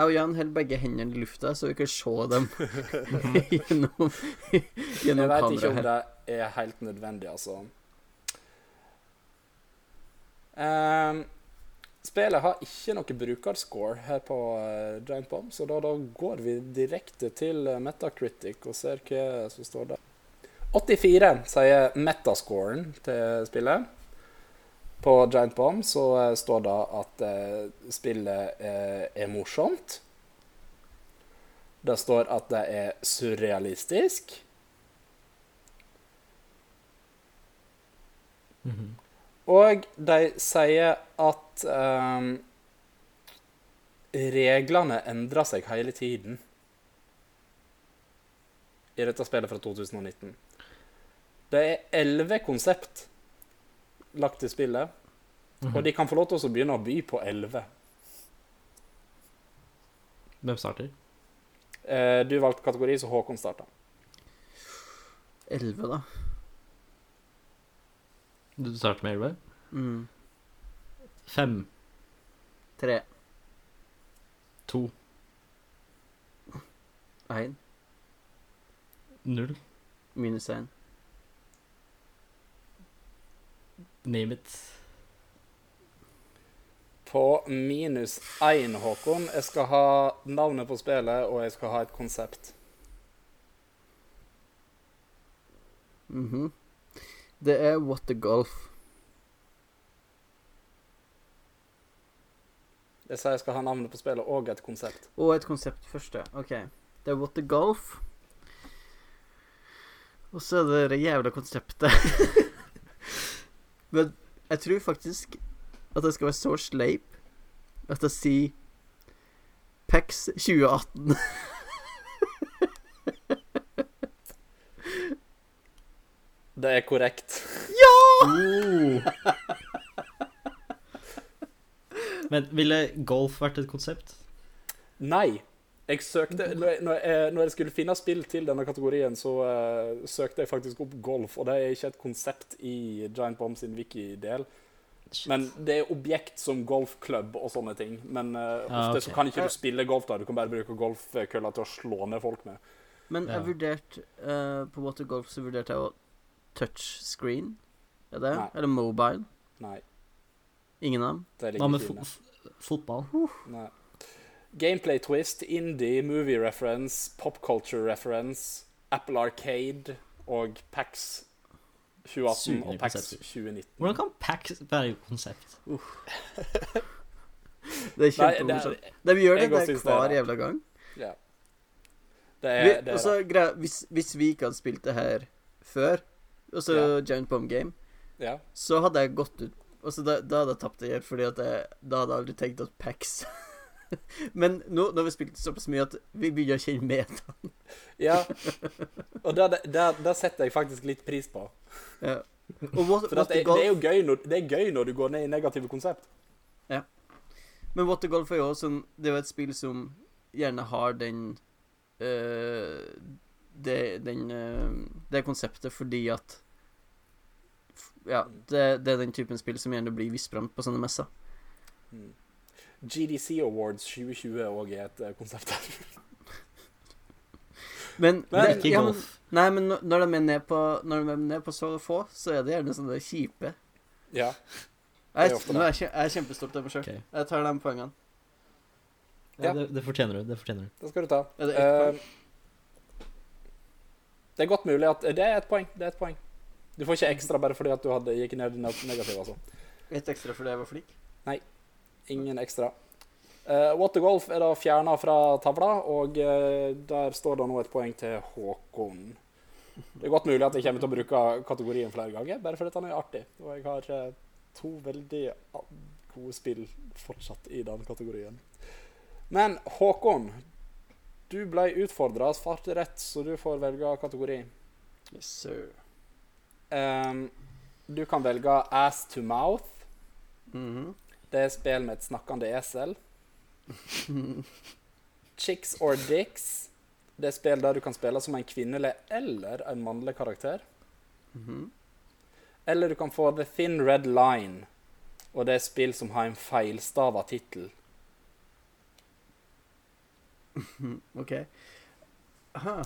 [SPEAKER 1] og Jan holder begge hendene i lufta, så vi kan se dem gjennom,
[SPEAKER 2] Jeg
[SPEAKER 1] gjennom
[SPEAKER 2] vet ikke
[SPEAKER 1] kameraet
[SPEAKER 2] om
[SPEAKER 1] her.
[SPEAKER 2] det er helt nødvendig, altså. Ehm, spillet har ikke noe brukerscore her på eh, Giant Bomb, så da, da går vi direkte til eh, Metacritic og ser hva som står der. 84 sier metascoren til spillet. På Giant Bomb så eh, står det at eh, spillet eh, er morsomt. Det står at det er surrealistisk.
[SPEAKER 3] Mhm.
[SPEAKER 2] Og de sier at ehm, reglene endrer seg hele tiden i dette spillet fra 2019. Det er elleve konsept lagt i spillet,
[SPEAKER 3] Mhm.
[SPEAKER 2] og de kan få lov til å begynne å by på elleve.
[SPEAKER 3] Hvem starter?
[SPEAKER 2] Eh, Du valgte kategori, så Håkon starta.
[SPEAKER 1] 11, da.
[SPEAKER 3] Du starter med 11?
[SPEAKER 1] Mm.
[SPEAKER 3] 5,
[SPEAKER 1] 3,
[SPEAKER 3] 2,
[SPEAKER 1] 1,
[SPEAKER 3] 0.
[SPEAKER 1] minus 1.
[SPEAKER 3] Name it.
[SPEAKER 2] På minus én, Håkon. Jeg skal ha navnet på spillet, og jeg skal ha et konsept.
[SPEAKER 1] Mhm. Det er What the Golf.
[SPEAKER 2] Jeg sier jeg skal ha navnet på spillet og et konsept.
[SPEAKER 1] Og et konsept først, ja. OK. Det er What the Golf. Og så er det det jævla konseptet. Men jeg tror faktisk at jeg skal være så sleip at jeg sier E PEX 2018.
[SPEAKER 2] Det er korrekt.
[SPEAKER 3] Men ville golf vært et konsept?
[SPEAKER 2] Nei. Jeg søkte,
[SPEAKER 3] Mm.
[SPEAKER 2] når jeg, når jeg- eh, når jeg skulle finne spill til denne kategorien, så eh, søkte jeg faktisk opp golf. Og det er ikke et konsept i Giant Bomb sin wiki-del. Men det er objekt som golfklubb og sånne ting. Men eh, ofte
[SPEAKER 3] Ah, ok.
[SPEAKER 2] så kan ikke du spille golf da. Du kan bare bruke golfkølla til å slå ned folk med.
[SPEAKER 1] Men jeg
[SPEAKER 3] Ja.
[SPEAKER 1] vurderte eh, På What the Golf så vurderte jeg å touchscreen. Er det?
[SPEAKER 2] Nei.
[SPEAKER 1] Eller mobile.
[SPEAKER 2] Nei.
[SPEAKER 1] Ingen av dem.
[SPEAKER 2] Det
[SPEAKER 3] Hva
[SPEAKER 2] ligger
[SPEAKER 3] med
[SPEAKER 2] ikke
[SPEAKER 3] fo
[SPEAKER 2] inne.
[SPEAKER 3] f- fotball?
[SPEAKER 2] Nei. Gameplay twist, indie, movie reference, pop culture reference, Apple Arcade og PAX 2018 og
[SPEAKER 3] Sugende
[SPEAKER 2] PAX
[SPEAKER 3] konsepter.
[SPEAKER 2] 2019.
[SPEAKER 3] Hvordan kan pack være et konsept?
[SPEAKER 1] Det er
[SPEAKER 2] Nei, det
[SPEAKER 1] kjempemorsomt.
[SPEAKER 2] er,
[SPEAKER 1] De gjør
[SPEAKER 2] Jeg
[SPEAKER 1] det der
[SPEAKER 2] også synes det er
[SPEAKER 1] hver
[SPEAKER 2] rart.
[SPEAKER 1] jævla gang.
[SPEAKER 2] ja. det er,
[SPEAKER 1] Vi,
[SPEAKER 2] Eh, det er
[SPEAKER 1] altså, greia, hvis, hvis vi ikke hadde spilt det her før, altså
[SPEAKER 2] Ja.
[SPEAKER 1] Giant Bomb Game,
[SPEAKER 2] ja.
[SPEAKER 1] så hadde jeg gått ut altså, da, da hadde jeg tapt det her, fordi at jeg, da hadde jeg aldri tenkt at Pax Men nå, nå har vi spilt såpass mye at vi begynner å kjenne med.
[SPEAKER 2] ja. Og der, der, der setter jeg faktisk litt pris på.
[SPEAKER 1] Ja. Og what,
[SPEAKER 2] For
[SPEAKER 1] what
[SPEAKER 2] at
[SPEAKER 1] the
[SPEAKER 2] det, det, er
[SPEAKER 1] golf,
[SPEAKER 2] jo gøy når, det er gøy når du går ned i negative konsept.
[SPEAKER 1] men What the Golf er jo også sånn Det er jo et spill som gjerne har den eh, det, den, eh, det konseptet fordi at Ja, det, det er den typen spill som gjerne blir visperamt på sånne messer.
[SPEAKER 2] Mm. GDC Awards 2020 òg er et eh, konsept her.
[SPEAKER 1] Men,
[SPEAKER 2] Men-
[SPEAKER 1] det,
[SPEAKER 3] Ikke
[SPEAKER 1] ja, men
[SPEAKER 3] golf.
[SPEAKER 1] Nei, men når når de er ned på, når de er ned på så få, så er det gjerne sånne kjipe.
[SPEAKER 2] Ja.
[SPEAKER 1] sånn Jeg,
[SPEAKER 2] Det er ofte det.
[SPEAKER 1] nå er jeg, kje- jeg er kjempestolt av meg sjøl.
[SPEAKER 3] Ok.
[SPEAKER 1] Jeg tar de poengene.
[SPEAKER 2] Ja.
[SPEAKER 3] Ja, det, det fortjener du. Det fortjener du.
[SPEAKER 2] Det skal du ta.
[SPEAKER 1] Er det ett poeng?
[SPEAKER 2] Eh, det er godt mulig at eh, Det er ett poeng. Det er et poeng. Du får ikke ekstra bare fordi at du hadde, gikk ned i neg- negativ, altså.
[SPEAKER 1] Ett ekstra fordi jeg var flink.
[SPEAKER 2] Ingen ekstra. Eh, What the Golf er da fjerna fra tavla, og eh, der står det nå et poeng til Håkon. Det er godt mulig at jeg kommer til å bruke kategorien flere ganger, bare fordi den er artig. Og jeg har eh, to veldig a- gode spill fortsatt i den kategorien. Men Håkon, du ble utfordra og svarte rett, så du får velge kategori.
[SPEAKER 1] Yes, sir.
[SPEAKER 2] Ehm, du kan velge ass to mouth.
[SPEAKER 1] Mhm.
[SPEAKER 2] Det er spill med et snakkende esel. Chicks or dicks. Det er spill der du kan spille som en kvinnelig eller en mannlig karakter.
[SPEAKER 1] Mhm.
[SPEAKER 2] Eller du kan få The Thin Red Line, og det er spill som har en feilstava tittel.
[SPEAKER 1] mhm. OK. Aha.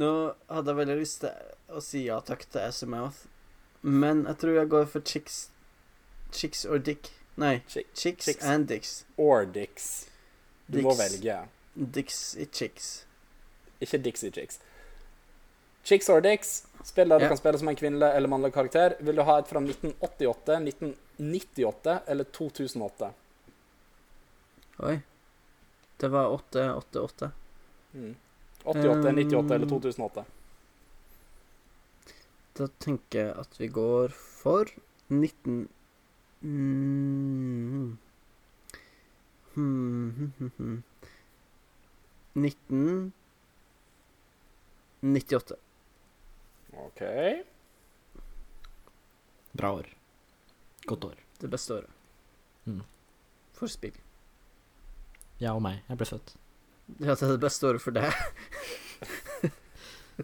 [SPEAKER 1] Nå hadde jeg veldig lyst til å si ja takk til SMouth, men jeg tror jeg går for chicks Chicks or dick. Nei,
[SPEAKER 2] Chick-
[SPEAKER 1] chicks,
[SPEAKER 2] chicks.
[SPEAKER 1] and dicks.
[SPEAKER 2] Or dicks. Du må velge.
[SPEAKER 1] Dicks i chicks.
[SPEAKER 2] Ikke Dixie Chicks. Chicks or dicks. Spill der du
[SPEAKER 1] Ja.
[SPEAKER 2] kan spille som en kvinnelig eller mannlig karakter. Vil du ha et fra 1988, 1998 eller 2008?
[SPEAKER 1] Oi. Det var 888.
[SPEAKER 2] Mm. 88,
[SPEAKER 1] Um,
[SPEAKER 2] 98 eller 2008?
[SPEAKER 1] Da tenker jeg at vi går for 19... Mm. Hmm, hmm, hmm, hmm. 1998.
[SPEAKER 2] OK.
[SPEAKER 3] Bra år. Godt år.
[SPEAKER 1] Det beste året.
[SPEAKER 3] Mm.
[SPEAKER 1] For spill.
[SPEAKER 3] Ja og meg. Jeg ble født.
[SPEAKER 1] Ja, det er det beste året for deg.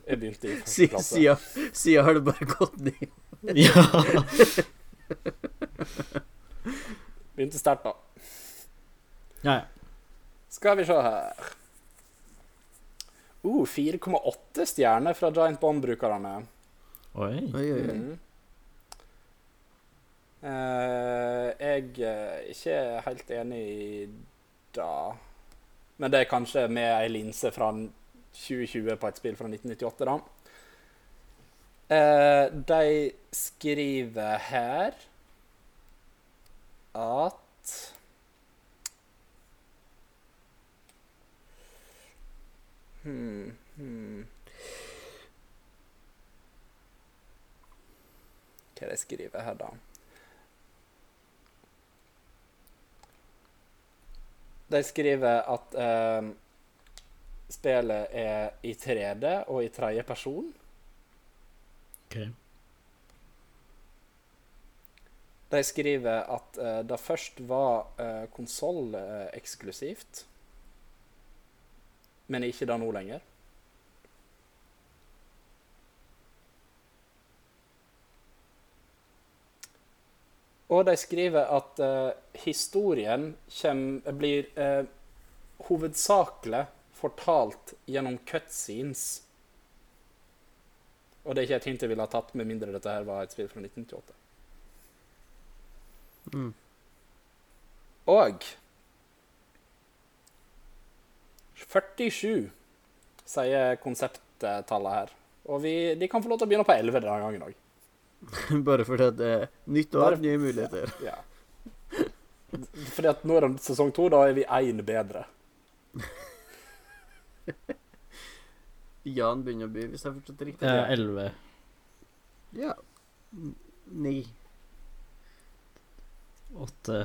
[SPEAKER 2] Jeg begynte i første
[SPEAKER 1] Siden
[SPEAKER 2] klasse.
[SPEAKER 1] siden- siden har det bare gått ned.
[SPEAKER 3] Ja!
[SPEAKER 2] Begynte sterkt, da.
[SPEAKER 3] ja, ja.
[SPEAKER 2] Skal vi se her uh, 4,8 stjerner fra Giant Bomb-brukerne.
[SPEAKER 1] Oi,
[SPEAKER 3] Oi.
[SPEAKER 1] oi, oi.
[SPEAKER 2] Mm. Eh, jeg er ikke helt enig i det. Men det er kanskje med ei linse fra 2020 på et spill fra 1998, da. Eh, de skriver her at hmm, hmm. Hva er det jeg skriver her, da? De skriver at eh, spillet er i 3D og i tredje person.
[SPEAKER 3] Ok.
[SPEAKER 2] De skriver at eh, det først var uh, konsoll eh, eksklusivt, men ikke det nå lenger. Og de skriver at eh, historien kjem, blir eh, hovedsakelig fortalt gjennom cutscenes. Og det er ikke et hint jeg ville ha tatt, med mindre dette her var et spill fra 1998.
[SPEAKER 1] Mm.
[SPEAKER 2] Og 47 sier konsepttallet her. Og vi, de kan få lov til å begynne på 11 denne gangen òg.
[SPEAKER 1] Bare fordi at det er nytt år,
[SPEAKER 2] Bare-
[SPEAKER 1] nye muligheter.
[SPEAKER 2] Ja. Fordi at nå er det sesong to, da er vi én bedre.
[SPEAKER 1] Jan begynner å by, hvis jeg har forstått det riktig.
[SPEAKER 3] Eh, 11.
[SPEAKER 1] Ja. N- Ni.
[SPEAKER 3] 8.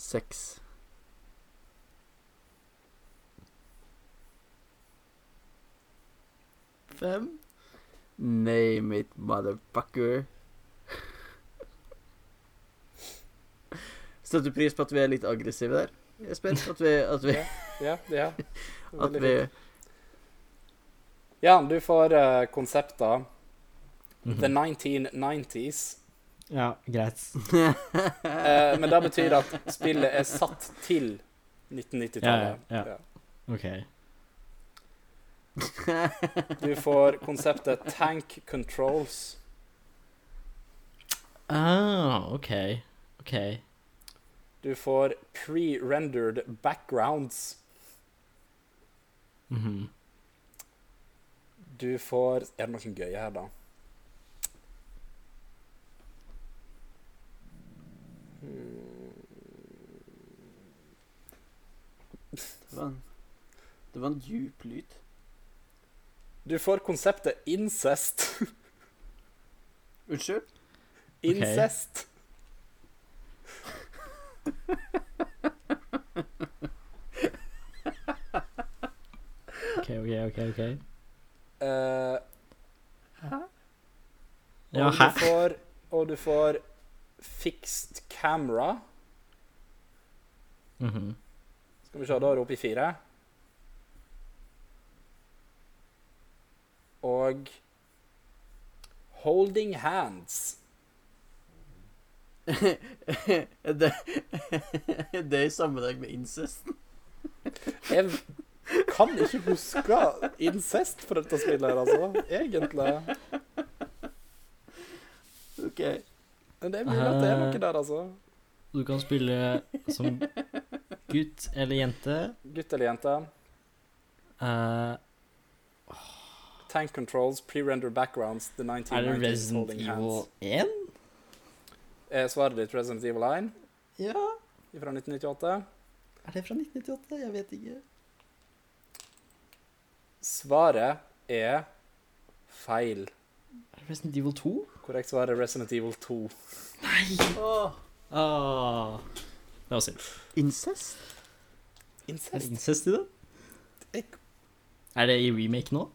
[SPEAKER 1] Seks. Fem. Name it, motherfucker. Setter du pris på at vi er litt aggressive der? Jesper? At vi, at vi,
[SPEAKER 2] Ja, ja.
[SPEAKER 1] at vi
[SPEAKER 2] Jan, du får uh, konsepta
[SPEAKER 3] Mhm.
[SPEAKER 2] The 1990s.
[SPEAKER 3] Ja, greit.
[SPEAKER 2] Eh, men det betyr at spillet er satt til 1990-tallet.
[SPEAKER 3] Ja, ja, ja. Ok.
[SPEAKER 2] Du får konseptet tank controls.
[SPEAKER 3] Ah, OK. OK.
[SPEAKER 2] Du får pre-rendered backgrounds.
[SPEAKER 3] Mhm.
[SPEAKER 2] Du får Er det noe gøy her, da?
[SPEAKER 1] Det var en, det var en djup lyd.
[SPEAKER 2] Du får konseptet incest.
[SPEAKER 1] Unnskyld?
[SPEAKER 2] Incest.
[SPEAKER 3] OK, OK, OK. ok
[SPEAKER 2] Eh,
[SPEAKER 3] Ja,
[SPEAKER 2] og,
[SPEAKER 3] hæ?
[SPEAKER 2] du får, og du får fixed camera.
[SPEAKER 3] Mhm.
[SPEAKER 2] Skal vi se, da er du oppe i fire. Og holding hands.
[SPEAKER 1] Er det, er det i sammenheng med incest?
[SPEAKER 2] Jeg kan ikke huske incest for dette spillet her, altså. Egentlig.
[SPEAKER 1] OK.
[SPEAKER 2] Men det er mulig at det er noe der, altså.
[SPEAKER 3] Du kan spille som gutt eller jente.
[SPEAKER 2] Gutt eller jente.
[SPEAKER 3] Eh,
[SPEAKER 2] Tank controls, pre-render backgrounds, the
[SPEAKER 3] er det
[SPEAKER 2] 1990s
[SPEAKER 3] Resident
[SPEAKER 2] holding
[SPEAKER 3] Evil
[SPEAKER 2] hands.
[SPEAKER 3] 1?
[SPEAKER 2] Er svaret ditt Resident Evil 1
[SPEAKER 3] Ja.
[SPEAKER 2] fra 1998?
[SPEAKER 3] Er det fra 1998? Jeg vet ikke.
[SPEAKER 2] Svaret er feil.
[SPEAKER 3] Er det Resident Evil 2?
[SPEAKER 2] Korrekt svar er Resident Evil 2.
[SPEAKER 1] Åh,
[SPEAKER 3] Ah. Det var synd.
[SPEAKER 1] incest?
[SPEAKER 3] Er det
[SPEAKER 2] Incest
[SPEAKER 3] incest i det?
[SPEAKER 2] Jeg-
[SPEAKER 3] Er det i remake nå?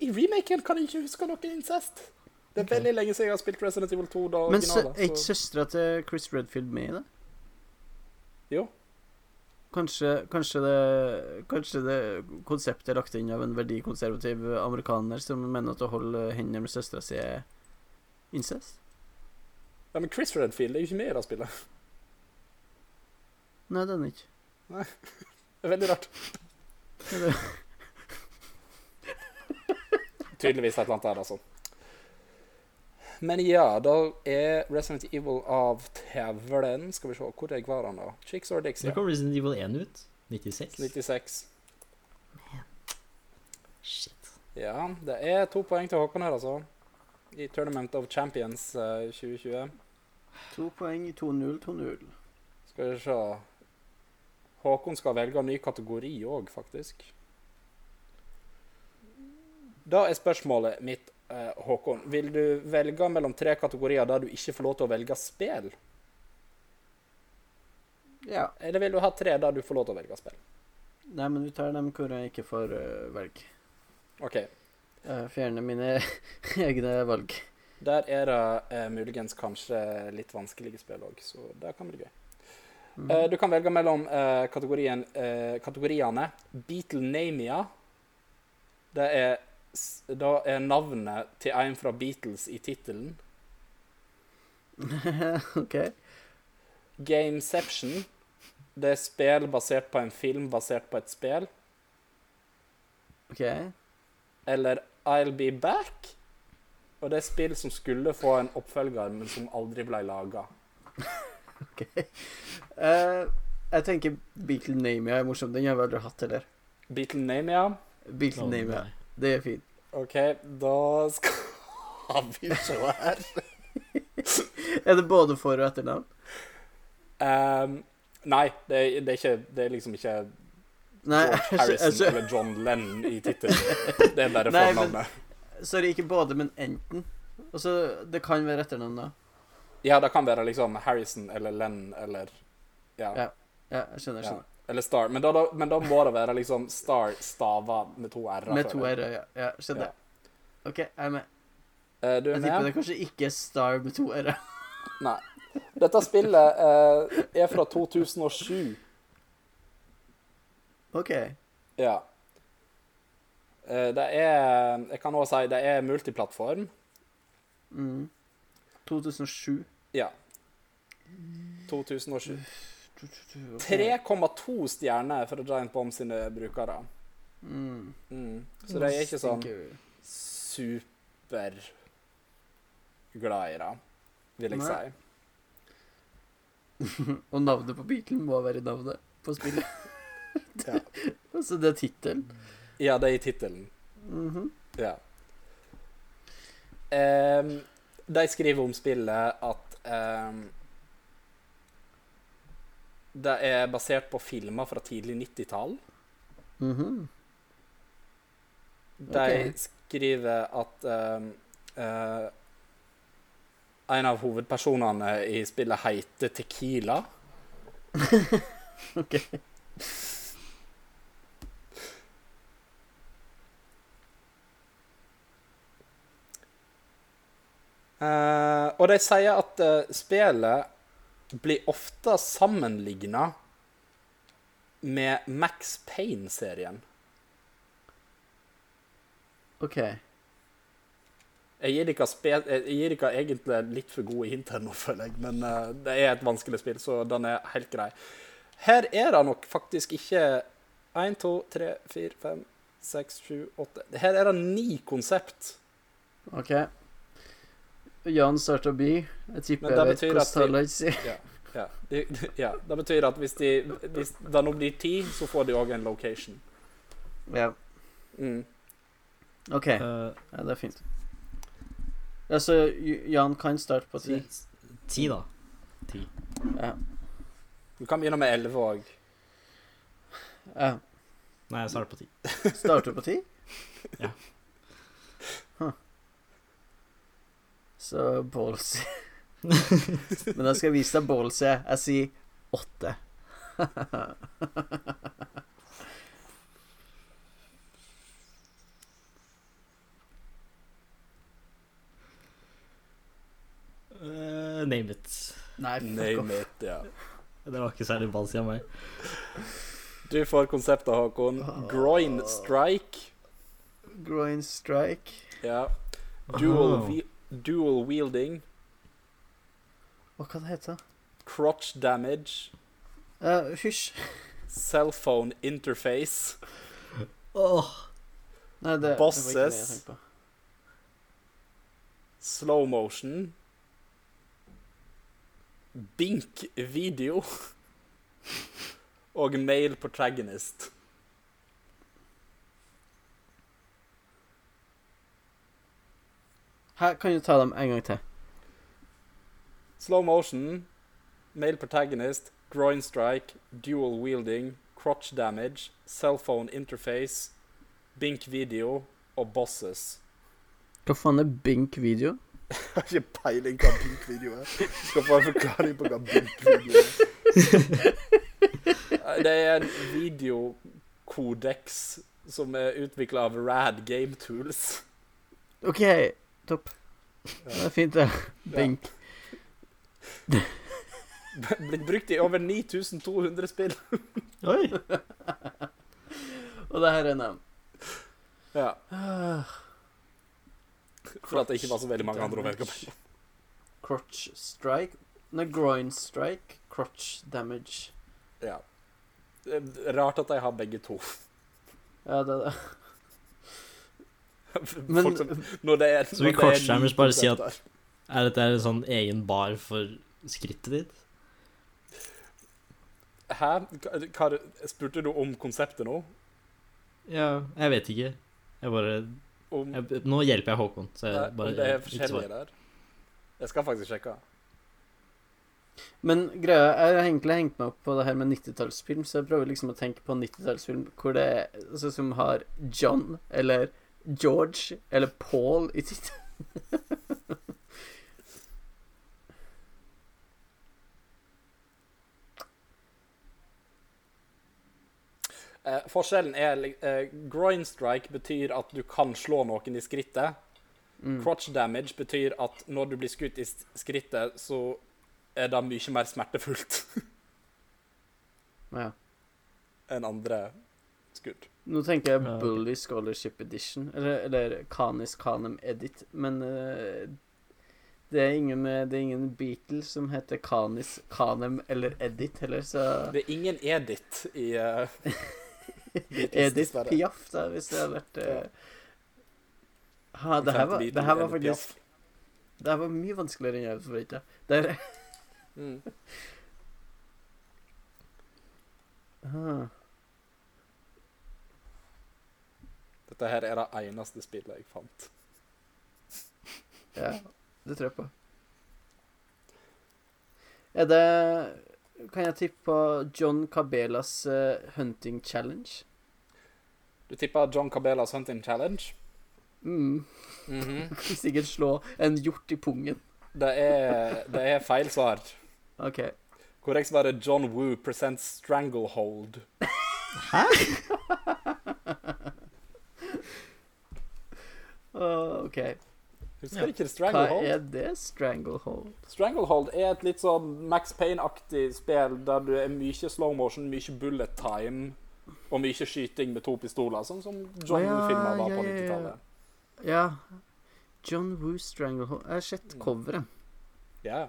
[SPEAKER 2] I remaken kan jeg ikke huske noe incest. Det er
[SPEAKER 3] Ok.
[SPEAKER 2] veldig lenge siden jeg har spilt Resident Evil 2. da
[SPEAKER 1] Men så,
[SPEAKER 2] originale.
[SPEAKER 1] er ikke
[SPEAKER 2] Så
[SPEAKER 1] søstera til Chris Redfield med i det?
[SPEAKER 2] Jo.
[SPEAKER 1] Kanskje, kanskje, det, kanskje det konseptet er lagt inn av en verdikonservativ amerikaner som mener at å holde hendene med søstera si er incest?
[SPEAKER 2] ja, men Chris Redfield er jo ikke med i det spillet.
[SPEAKER 1] Nei, den er ikke.
[SPEAKER 2] Det er veldig rart.
[SPEAKER 1] Er det-
[SPEAKER 2] Tydeligvis et eller annet der, altså. Men ja, da er Resident Evil av tavlen. Skal vi se, hvor er jeg var han da? Chicks or dicks?
[SPEAKER 3] Når
[SPEAKER 2] Ja.
[SPEAKER 3] kom Resident Evil 1 ut? 96?
[SPEAKER 2] 96.
[SPEAKER 3] Shit.
[SPEAKER 2] Ja, det er to poeng til Håkon her, altså. I Tournament of Champions eh, 2020.
[SPEAKER 1] To poeng, 2-0, 2-0.
[SPEAKER 2] Skal vi se Håkon skal velge en ny kategori òg, faktisk. Da er spørsmålet mitt, eh, Håkon Vil du velge mellom tre kategorier der du ikke får lov til å velge spill?
[SPEAKER 1] Ja.
[SPEAKER 2] Eller vil du ha tre der du får lov til å velge spill?
[SPEAKER 1] Nei, men vi tar dem hvor jeg ikke får eh, velge.
[SPEAKER 2] OK.
[SPEAKER 1] Jeg fjerner mine egne valg.
[SPEAKER 2] Der er det eh, muligens kanskje litt vanskelige spill òg, så det kan bli gøy.
[SPEAKER 1] Mhm.
[SPEAKER 2] Eh, du kan velge mellom eh, kategorien, eh, kategoriene Beatlenamia. Det er, s- da er navnet til en fra Beatles i tittelen.
[SPEAKER 1] OK.
[SPEAKER 2] Gameception. Det er spill basert på en film basert på et spill.
[SPEAKER 1] ok.
[SPEAKER 2] Eller I'll Be Back. Og det er spill som skulle få en oppfølger, men som aldri ble laga.
[SPEAKER 1] Eh, jeg tenker Beatlenamia er morsom. Den har vi aldri hatt heller.
[SPEAKER 2] Beatlenamia.
[SPEAKER 3] Å,
[SPEAKER 1] Beatlenamia.
[SPEAKER 3] nei.
[SPEAKER 1] Det er fint.
[SPEAKER 2] OK, da skal vi se her.
[SPEAKER 1] Er det både for- og etternavn?
[SPEAKER 2] Ehm, nei, det, er- det, er ikke, det er liksom ikke
[SPEAKER 1] Nei, jeg
[SPEAKER 2] George
[SPEAKER 1] skjø- jeg
[SPEAKER 2] Harrison
[SPEAKER 1] skjø-
[SPEAKER 2] eller John Lennon i tittelen. Det er bare
[SPEAKER 1] Nei, men-
[SPEAKER 2] fornavnet.
[SPEAKER 1] sorry, ikke både, men enten. Og så, Det kan være etternavn, da.
[SPEAKER 2] Ja, det kan være liksom Harrison eller Lennon eller ja,
[SPEAKER 1] Ja. Ja, jeg skjønner. jeg
[SPEAKER 2] Ja.
[SPEAKER 1] skjønner.
[SPEAKER 2] Eller Star. Men da, da, men da må det være liksom Star stava med to r-er.
[SPEAKER 1] Med
[SPEAKER 2] før
[SPEAKER 1] to
[SPEAKER 2] det.
[SPEAKER 1] r-er, ja. ja. Skjønner.
[SPEAKER 2] Ja.
[SPEAKER 1] OK, jeg er med.
[SPEAKER 2] Eh, du er
[SPEAKER 1] Jeg tipper
[SPEAKER 2] med?
[SPEAKER 1] det kanskje ikke er Star med to r-er.
[SPEAKER 2] Nei. Dette spillet eh, er fra 2007.
[SPEAKER 1] OK.
[SPEAKER 2] Ja. Eh, det er Jeg kan også si det er multiplattform.
[SPEAKER 1] Mm. 2007.
[SPEAKER 2] Ja. 2007.
[SPEAKER 1] Ok. Mm.
[SPEAKER 2] 3,2 stjerner for Giant Bomb sine brukere.
[SPEAKER 1] Mm.
[SPEAKER 2] Mm. Så de er ikke sånn
[SPEAKER 1] Stinker.
[SPEAKER 2] superglad i det, vil jeg
[SPEAKER 1] Nei.
[SPEAKER 2] si.
[SPEAKER 1] Og navnet på bilen må være navnet på spillet.
[SPEAKER 2] Ja.
[SPEAKER 1] altså, det er tittelen.
[SPEAKER 2] Ja, det er i tittelen.
[SPEAKER 1] Mhm.
[SPEAKER 2] Ja. Ehm, de skriver om spillet at ehm, Det er basert på filmer fra tidlig 90-tall.
[SPEAKER 1] Mhm.
[SPEAKER 2] De
[SPEAKER 1] Ok.
[SPEAKER 2] skriver at ehm, eh, en av hovedpersonene i spillet heter Tequila.
[SPEAKER 1] Ok.
[SPEAKER 2] Eh, og de sier at eh, spillet blir ofte sammenligna med Max Payne-serien.
[SPEAKER 1] OK.
[SPEAKER 2] Jeg gir dere spe- jeg gir dere egentlig litt for gode hint her nå, føler jeg, men eh, det er et vanskelig spill, så den er helt grei. Her er det nok faktisk ikke 1, 2, 3, 4, 5, 6, 7, 8 Her er det ni konsept.
[SPEAKER 1] ok. Jan starter by. Jeg tipper
[SPEAKER 2] Men det
[SPEAKER 1] jeg vet
[SPEAKER 2] betyr
[SPEAKER 1] hvordan
[SPEAKER 2] at vi-
[SPEAKER 1] tallet sier.
[SPEAKER 2] Ja, de, de, ja. Det betyr at hvis, de, hvis det nå blir ti, så får de òg en location.
[SPEAKER 1] Ja.
[SPEAKER 2] Mm.
[SPEAKER 1] OK.
[SPEAKER 3] Eh,
[SPEAKER 1] Ja, det er fint. Altså, J- Jan kan starte
[SPEAKER 3] Eh,
[SPEAKER 1] på ti.
[SPEAKER 3] Ti, da.
[SPEAKER 2] Du kan begynne med 11 òg.
[SPEAKER 1] Ja.
[SPEAKER 3] Nei, jeg starter på ti.
[SPEAKER 1] Starter på ti?
[SPEAKER 3] Ja.
[SPEAKER 1] Huh. Så ballsy. Men jeg skal vise deg ballsy. Jeg sier åtte.
[SPEAKER 3] Eh, name it.
[SPEAKER 1] Nei, fuck off.
[SPEAKER 2] Name it, ja.
[SPEAKER 3] Det var ikke særlig ball siden meg.
[SPEAKER 2] Du får konseptet, Håkon.
[SPEAKER 1] Ah.
[SPEAKER 2] Groin strike.
[SPEAKER 1] Groin strike.
[SPEAKER 2] Ja. Dual,
[SPEAKER 3] Oh.
[SPEAKER 2] whe- dual wielding.
[SPEAKER 1] Hva kan det hete?
[SPEAKER 2] Crotch damage.
[SPEAKER 1] Eh, hysj.
[SPEAKER 2] Cellphone interface.
[SPEAKER 3] Åh,
[SPEAKER 1] Nei, det, det var ikke det jeg
[SPEAKER 2] Bosses.
[SPEAKER 1] tenkte på.
[SPEAKER 2] Slow motion. Bink video. Og male protagonist.
[SPEAKER 1] Her kan du ta dem en gang til.
[SPEAKER 2] Slow motion, male protagonist, groin strike, dual wielding, crotch damage, cell phone interface, bink video og bosses.
[SPEAKER 1] Hva faen er bink video?
[SPEAKER 2] Jeg har ikke peiling hva bink video er. Skal få en forklaring på hva bink video er. Det er en videokodeks som er utvikla av Rad Game Tools.
[SPEAKER 1] OK, topp. Det er fint, det. Bink.
[SPEAKER 2] Blitt brukt i over 9200 spill.
[SPEAKER 3] oi!
[SPEAKER 1] Og det her er eh, navn.
[SPEAKER 2] Ja,
[SPEAKER 1] Ah.
[SPEAKER 2] For at det ikke var så veldig mange andre å velge på.
[SPEAKER 1] Crotch strike Nei, groin strike Crotch damage
[SPEAKER 2] Ja. Det er Eh, Rart at de har begge to.
[SPEAKER 1] Ja, det er det Men
[SPEAKER 2] Folk som, når det er,
[SPEAKER 3] Så vi
[SPEAKER 2] når det er
[SPEAKER 3] kortskjermer
[SPEAKER 2] ni
[SPEAKER 3] bare si at-
[SPEAKER 2] prosent
[SPEAKER 3] Er dette en sånn egen bar for skrittet ditt?
[SPEAKER 2] der. Hæ? Hva- hva- Spurte du om konseptet nå?
[SPEAKER 3] Ja. Jeg vet ikke. Jeg bare
[SPEAKER 2] Om,
[SPEAKER 3] jeg, Nå hjelper jeg Håkon, så jeg
[SPEAKER 2] nei,
[SPEAKER 3] bare
[SPEAKER 2] om det er
[SPEAKER 3] jeg- ikke
[SPEAKER 2] forskjellige
[SPEAKER 3] svar.
[SPEAKER 2] der? Jeg skal faktisk sjekke.
[SPEAKER 1] Men greia Jeg har egentlig hengt meg opp på det her med 90-tallsfilm Så jeg prøver liksom å tenke på 90-tallsfilm Hvor det er altså, Som har John Eller George Eller Paul i tittelen
[SPEAKER 2] Eh, forskjellen er li- eh, Groin strike betyr at du kan slå noen i skrittet.
[SPEAKER 1] mm.
[SPEAKER 2] Crotch damage betyr at når du blir skutt i s- skrittet, så er det mye mer smertefullt
[SPEAKER 1] ja.
[SPEAKER 2] enn andre skudd.
[SPEAKER 1] Nå tenker jeg
[SPEAKER 3] Ja, ok.
[SPEAKER 1] Bully Scholarship Edition Eller, eller Canis Canem Edit Men eh, det er ingen, med, det er ingen Beatles som heter Canis, Canem eller Edit heller, så
[SPEAKER 2] Det er ingen edit i, eh,
[SPEAKER 1] Edith
[SPEAKER 2] dessverre.
[SPEAKER 1] Piaf, da, hvis det hadde vært eh, ha, det, her var,
[SPEAKER 2] Liten
[SPEAKER 1] det her var
[SPEAKER 2] Edith
[SPEAKER 1] faktisk
[SPEAKER 2] Piaf.
[SPEAKER 1] Det her var mye vanskeligere enn jeg forventa. Der
[SPEAKER 2] Mm.
[SPEAKER 1] ah,
[SPEAKER 2] Dette her er det eneste spillet jeg fant.
[SPEAKER 1] Ja, det tror jeg på. Er det Kan jeg tippe på John Cabelas eh, Hunting Challenge?
[SPEAKER 2] Du tipper John Cabellas Hunting Challenge.
[SPEAKER 1] Mm.
[SPEAKER 2] Mhm.
[SPEAKER 1] Sikkert slå en hjort i pungen.
[SPEAKER 2] det, er, det er feil svar.
[SPEAKER 1] OK.
[SPEAKER 2] Korrekt svar er John Woo presents Stranglehold.
[SPEAKER 1] Ah, OK.
[SPEAKER 2] Husker du ikke
[SPEAKER 1] Hva
[SPEAKER 2] Stranglehold?
[SPEAKER 1] er det? Stranglehold?
[SPEAKER 2] Stranglehold er et litt sånn Max Payne-aktig spill der du er mye slow motion, mye bullet time og mye skyting med to pistoler, sånn som John
[SPEAKER 1] Å, ja,
[SPEAKER 2] Woo-filmer var
[SPEAKER 1] ja,
[SPEAKER 2] på
[SPEAKER 1] ja, ja.
[SPEAKER 2] 90-tallet.
[SPEAKER 1] Ja. John Woo Stranglehold Jeg har sett coveret.
[SPEAKER 2] Ja.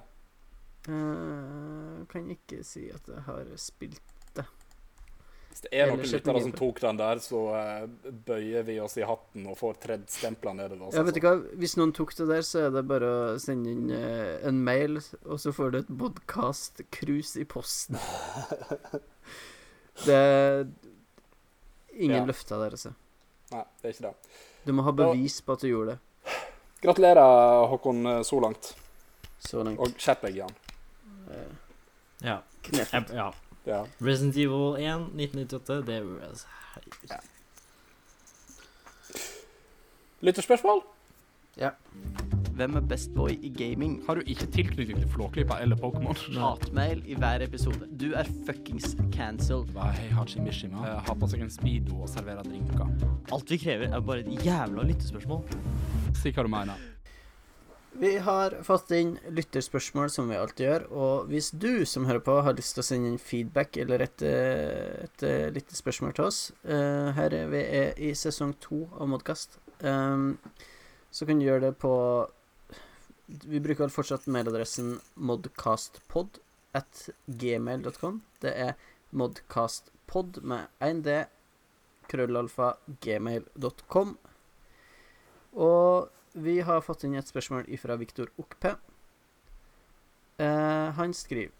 [SPEAKER 1] Eh, kan ikke si at jeg har spilt
[SPEAKER 2] Hvis det er
[SPEAKER 1] Eller
[SPEAKER 2] noen
[SPEAKER 1] sett
[SPEAKER 2] lyttere
[SPEAKER 1] mye
[SPEAKER 2] som
[SPEAKER 1] på.
[SPEAKER 2] tok den der, så eh, bøyer vi oss i hatten og får tredd stempler nedover. sånn
[SPEAKER 1] Ja, vet du hva, Hvis noen tok det der, så er det bare å sende inn eh, en mail, og så får du et podkast-krus i posten. det er ingen
[SPEAKER 2] Ja.
[SPEAKER 1] løfter der, altså.
[SPEAKER 2] Nei, det er ikke det.
[SPEAKER 1] Du må ha bevis på at du gjorde det.
[SPEAKER 2] Gratulerer, Håkon, eh, så langt.
[SPEAKER 1] Så langt. Eh,
[SPEAKER 2] Og skjerp deg, Jan.
[SPEAKER 3] Ja.
[SPEAKER 1] Kneft.
[SPEAKER 3] Jeg- ja.
[SPEAKER 2] Ja.
[SPEAKER 3] Resident Evil 1, 1998, det er altså, herregud.
[SPEAKER 2] Lytterspørsmål?
[SPEAKER 5] Hvem er best boy i gaming?
[SPEAKER 4] Har du ikke tilknytning til Flåklypa eller Pokémon?
[SPEAKER 5] Hatmail i hver episode. Du er fuckings cancelled.
[SPEAKER 4] Hei, Hachi Mishima. Eh, Ha på seg en speedo og servere drinker.
[SPEAKER 5] Alt vi krever, er bare et jævla lyttespørsmål.
[SPEAKER 4] Si hva du mener.
[SPEAKER 1] Vi har fått inn lytterspørsmål, som vi alltid gjør. Og hvis du som hører på, har lyst til å sende inn feedback eller et, eh, et, eh, lite spørsmål til oss eh, Her er vi er i sesong to av Modkast. ehm, så kan du gjøre det på Vi bruker vel fortsatt mailadressen modcastpod at gmail.com. Det er modcastpod med 1d krøllalfa gmail.com. Og vi har fått inn et spørsmål fra Viktor Okpe. Eh, han skriver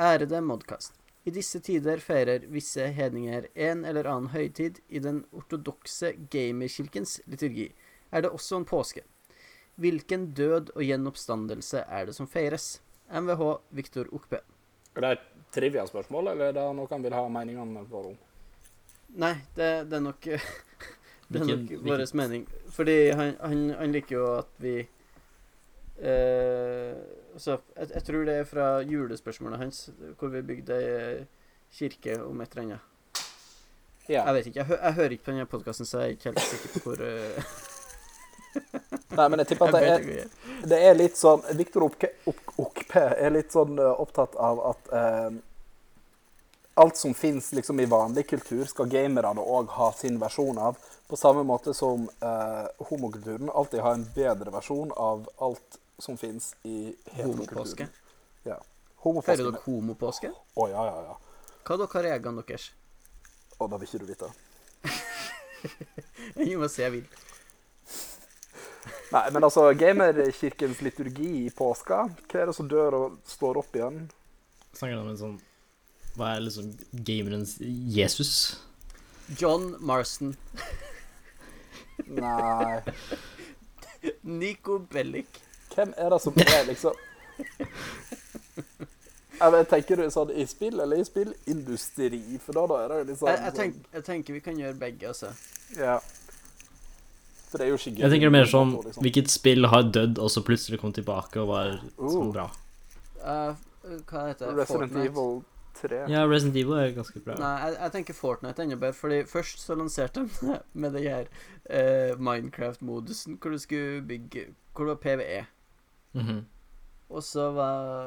[SPEAKER 1] Ærede Modkast. I disse tider feirer visse hedninger en eller annen høytid i den ortodokse gamerkirkens liturgi. Er det også en påske? Hvilken død og gjenoppstandelse er det som feires? MVH Viktor Okpe.
[SPEAKER 2] Er det et trivia-spørsmål, eller er det noe han vil ha meningene våre om?
[SPEAKER 1] Nei, det, det er nok Det er
[SPEAKER 3] Hvilken-
[SPEAKER 1] nok
[SPEAKER 3] hvilken-
[SPEAKER 1] vår mening. Fordi han, han, han liker jo at vi eh, altså, jeg, jeg tror det er fra julespørsmålet hans, hvor vi bygde ei eh, kirke om et eller annet.
[SPEAKER 2] Ja.
[SPEAKER 1] Jeg vet ikke. Jeg, hø jeg hører ikke på denne podkasten, så jeg er ikke helt sikker på hvor eh,
[SPEAKER 2] Nei, men jeg tipper
[SPEAKER 1] jeg
[SPEAKER 2] at det
[SPEAKER 1] vet
[SPEAKER 2] er,
[SPEAKER 1] ikke.
[SPEAKER 2] det er litt sånn Viktor Okpe er litt sånn eh, opptatt av at eh, alt som fins liksom, i vanlig kultur, skal gamerne òg ha sin versjon av. På samme måte som eh, homokulturen alltid har en bedre versjon av alt som fins i
[SPEAKER 1] Homopåske.
[SPEAKER 2] heterokulturen. Ja.
[SPEAKER 1] Feirer
[SPEAKER 2] Homopåske.
[SPEAKER 1] dere homopåske?
[SPEAKER 2] Å, ja, ja, ja.
[SPEAKER 1] Hva er dere reglene deres?
[SPEAKER 2] Å, det vil ikke du vite.
[SPEAKER 1] Jeg må se jeg vil.
[SPEAKER 2] Nei, men altså, gamerkirkens liturgi i påska Hva er det som dør og står opp igjen?
[SPEAKER 3] Snakker han om en sånn Hva er liksom gamerens Jesus?
[SPEAKER 1] John Marston.
[SPEAKER 2] Nei
[SPEAKER 1] Nico Bellic.
[SPEAKER 2] Hvem er det som er liksom Jeg vet, Tenker du sånn i spill eller i spillindustri? For da, da er det jo liksom
[SPEAKER 1] Jeg, jeg, tenk, jeg tenker vi kan gjøre begge, altså.
[SPEAKER 2] ja. For det er jo ikke gøy.
[SPEAKER 3] Jeg tenker det er mer sånn
[SPEAKER 2] Liksom.
[SPEAKER 3] Hvilket spill har dødd, og så plutselig kom tilbake og var sånn
[SPEAKER 2] Oh.
[SPEAKER 3] bra?
[SPEAKER 1] Eh, hva heter det?
[SPEAKER 2] Resident
[SPEAKER 1] Fortnite.
[SPEAKER 2] Evil 3.
[SPEAKER 3] Ja, Resident Evil er ganske bra.
[SPEAKER 1] Nei, jeg, jeg tenker Fortnite enda bedre, fordi først så lanserte de med det her eh, Minecraft-modusen, hvor du skulle bygge Hvor det var PVE.
[SPEAKER 3] Mhm.
[SPEAKER 1] Og så var,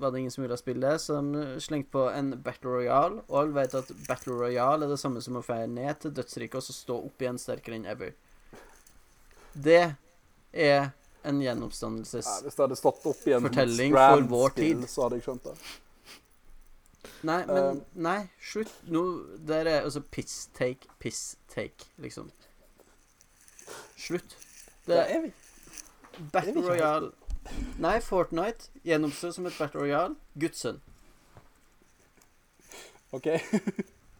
[SPEAKER 1] var det ingen som ville spille det, så de slengte på en Battle Royale. Og alle vet at Battle Royale er det samme som å feire ned til dødsriket og så stå opp igjen sterkere enn ever. Det er en gjenoppstandelses...
[SPEAKER 2] Nei, hvis det hadde stått opp igjen som et
[SPEAKER 1] Fortelling for vår
[SPEAKER 2] Strand-spill,
[SPEAKER 1] tid.
[SPEAKER 2] så hadde jeg skjønt det.
[SPEAKER 1] Nei, men
[SPEAKER 2] Um,
[SPEAKER 1] Nei, slutt. Nå Der er altså piss take, piss take, liksom. Slutt. Det er
[SPEAKER 2] vi.
[SPEAKER 1] Battle Royale. Nei, Fortnite gjennomstår som et Battle Royale. Gudsen.
[SPEAKER 2] OK.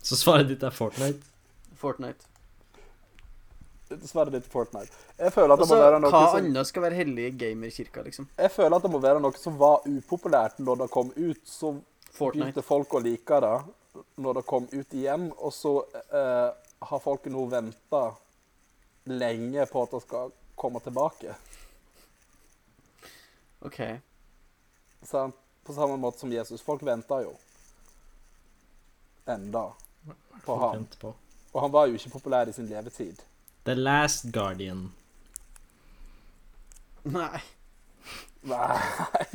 [SPEAKER 3] Så svaret ditt er Fortnite.
[SPEAKER 1] Fortnite.
[SPEAKER 2] Svaret ditt Fortnite. Jeg føler at det
[SPEAKER 1] Altså,
[SPEAKER 2] må være noe sånn.
[SPEAKER 1] hva
[SPEAKER 2] som
[SPEAKER 1] annet skal være hellig i gamerkirka, liksom?
[SPEAKER 2] Jeg føler at det må være noe som var upopulært når det kom ut. Så
[SPEAKER 1] Fortnite.
[SPEAKER 2] begynte folk å like det når det kom ut igjen. Og så eh, har folk nå venta lenge på at det skal komme tilbake.
[SPEAKER 1] OK.
[SPEAKER 2] Sant? På samme måte som Jesus. Folk venta jo enda på han.
[SPEAKER 3] Vent på.
[SPEAKER 2] Og han var jo ikke populær i sin levetid.
[SPEAKER 3] The Last Guardian.
[SPEAKER 1] Nei.
[SPEAKER 2] Nei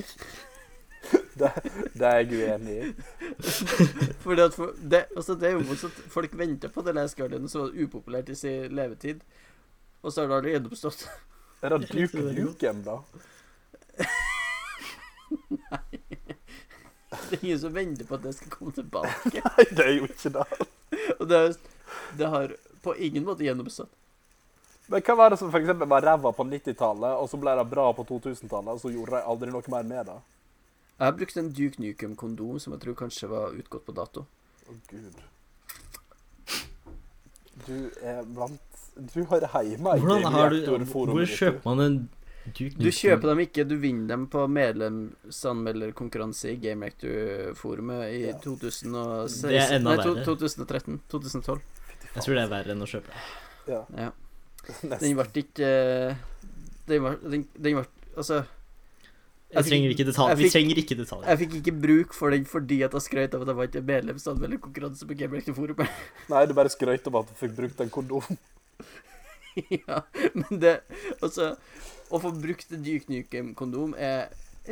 [SPEAKER 2] Det, det er jeg uenig i.
[SPEAKER 1] Fordi at for, det, altså det er jo motsatt. Folk venter på The Last Guardian, som var upopulært i sin levetid. Og så har det aldri gjennomstått.
[SPEAKER 2] Er det Duke Nukem, da?
[SPEAKER 1] Det er ingen som venter på at det skal komme tilbake.
[SPEAKER 2] Nei, det er jo ikke det.
[SPEAKER 1] Og det, er- det har på ingen måte gjennomstått.
[SPEAKER 2] Men hva var det som for eksempel var ræva på 90-tallet, og så ble det bra på 2000-tallet, og så gjorde de aldri noe mer med det?
[SPEAKER 1] Jeg brukte en Duke Nukem-kondom som jeg tror kanskje var utgått på dato.
[SPEAKER 2] Å, gud. Du er blant Du hører hjemme i
[SPEAKER 3] Hvordan har du Hvor
[SPEAKER 2] Gamereaktorforumet ditt.
[SPEAKER 3] kjøper man en Duke
[SPEAKER 1] Du kjøper dem ikke, du vinner dem på medlemsanmelderkonkurranse i Game Actor-forumet i
[SPEAKER 2] Ja.
[SPEAKER 1] 2016
[SPEAKER 3] Det er enda
[SPEAKER 1] Nei, to-
[SPEAKER 3] verre.
[SPEAKER 1] 2013. 2012.
[SPEAKER 3] Jeg tror det er verre enn å kjøpe.
[SPEAKER 2] Ja.
[SPEAKER 1] Ja. Den
[SPEAKER 2] Nesten.
[SPEAKER 1] ble ikke eh, Den ble, den, den ble Altså Jeg
[SPEAKER 3] Jeg trenger
[SPEAKER 1] fikk-
[SPEAKER 3] ikke detaljer.
[SPEAKER 1] jeg
[SPEAKER 3] Vi
[SPEAKER 1] fikk-
[SPEAKER 3] trenger ikke detaljer.
[SPEAKER 1] Jeg fikk ikke bruk for den fordi at jeg skrøt av at jeg vant en medlemsanmelderkonkurranse på Gamerector-forumet.
[SPEAKER 2] Nei, du bare skrøt om at du fikk brukt en kondom.
[SPEAKER 1] ja, men det Altså, å få brukt en Duke Nukem-kondom er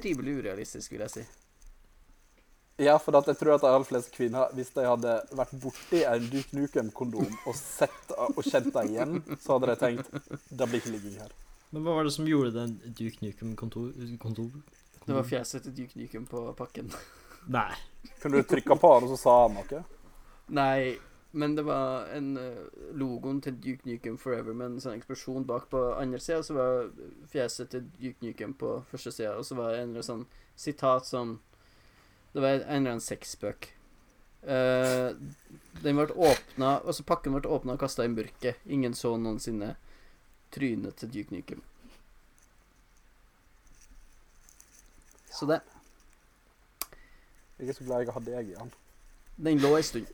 [SPEAKER 1] rimelig urealistisk, vil jeg si.
[SPEAKER 2] Ja, for at jeg tror at de aller fleste kvinner, hvis de hadde vært borti en Duke Nukem-kondom og sett og kjent deg igjen, så hadde de tenkt det blir ikke ligging her.
[SPEAKER 3] Men hva var det som gjorde den Duke Nukem-kontor...
[SPEAKER 1] Det
[SPEAKER 3] Mm.
[SPEAKER 1] var fjeset til Duke Nukem på pakken.
[SPEAKER 3] Nei.
[SPEAKER 2] Kunne du trykka på han, og så sa han noe?
[SPEAKER 1] Nei, men det var en eh, logoen til Duke Nukem Forever med en sånn eksplosjon bak på andre sida, og så var fjeset til Duke Nukem på første sida, og så var det en eller annen sånn sitat som Det var en eller annen sexspøk. Eh, den ble åpna Og så pakken ble åpna og kasta i mørket. Ingen så noensinne trynet til Duke Nukem. Så det
[SPEAKER 2] Jeg er så glad jeg har deg igjen.
[SPEAKER 1] Den lå ei stund.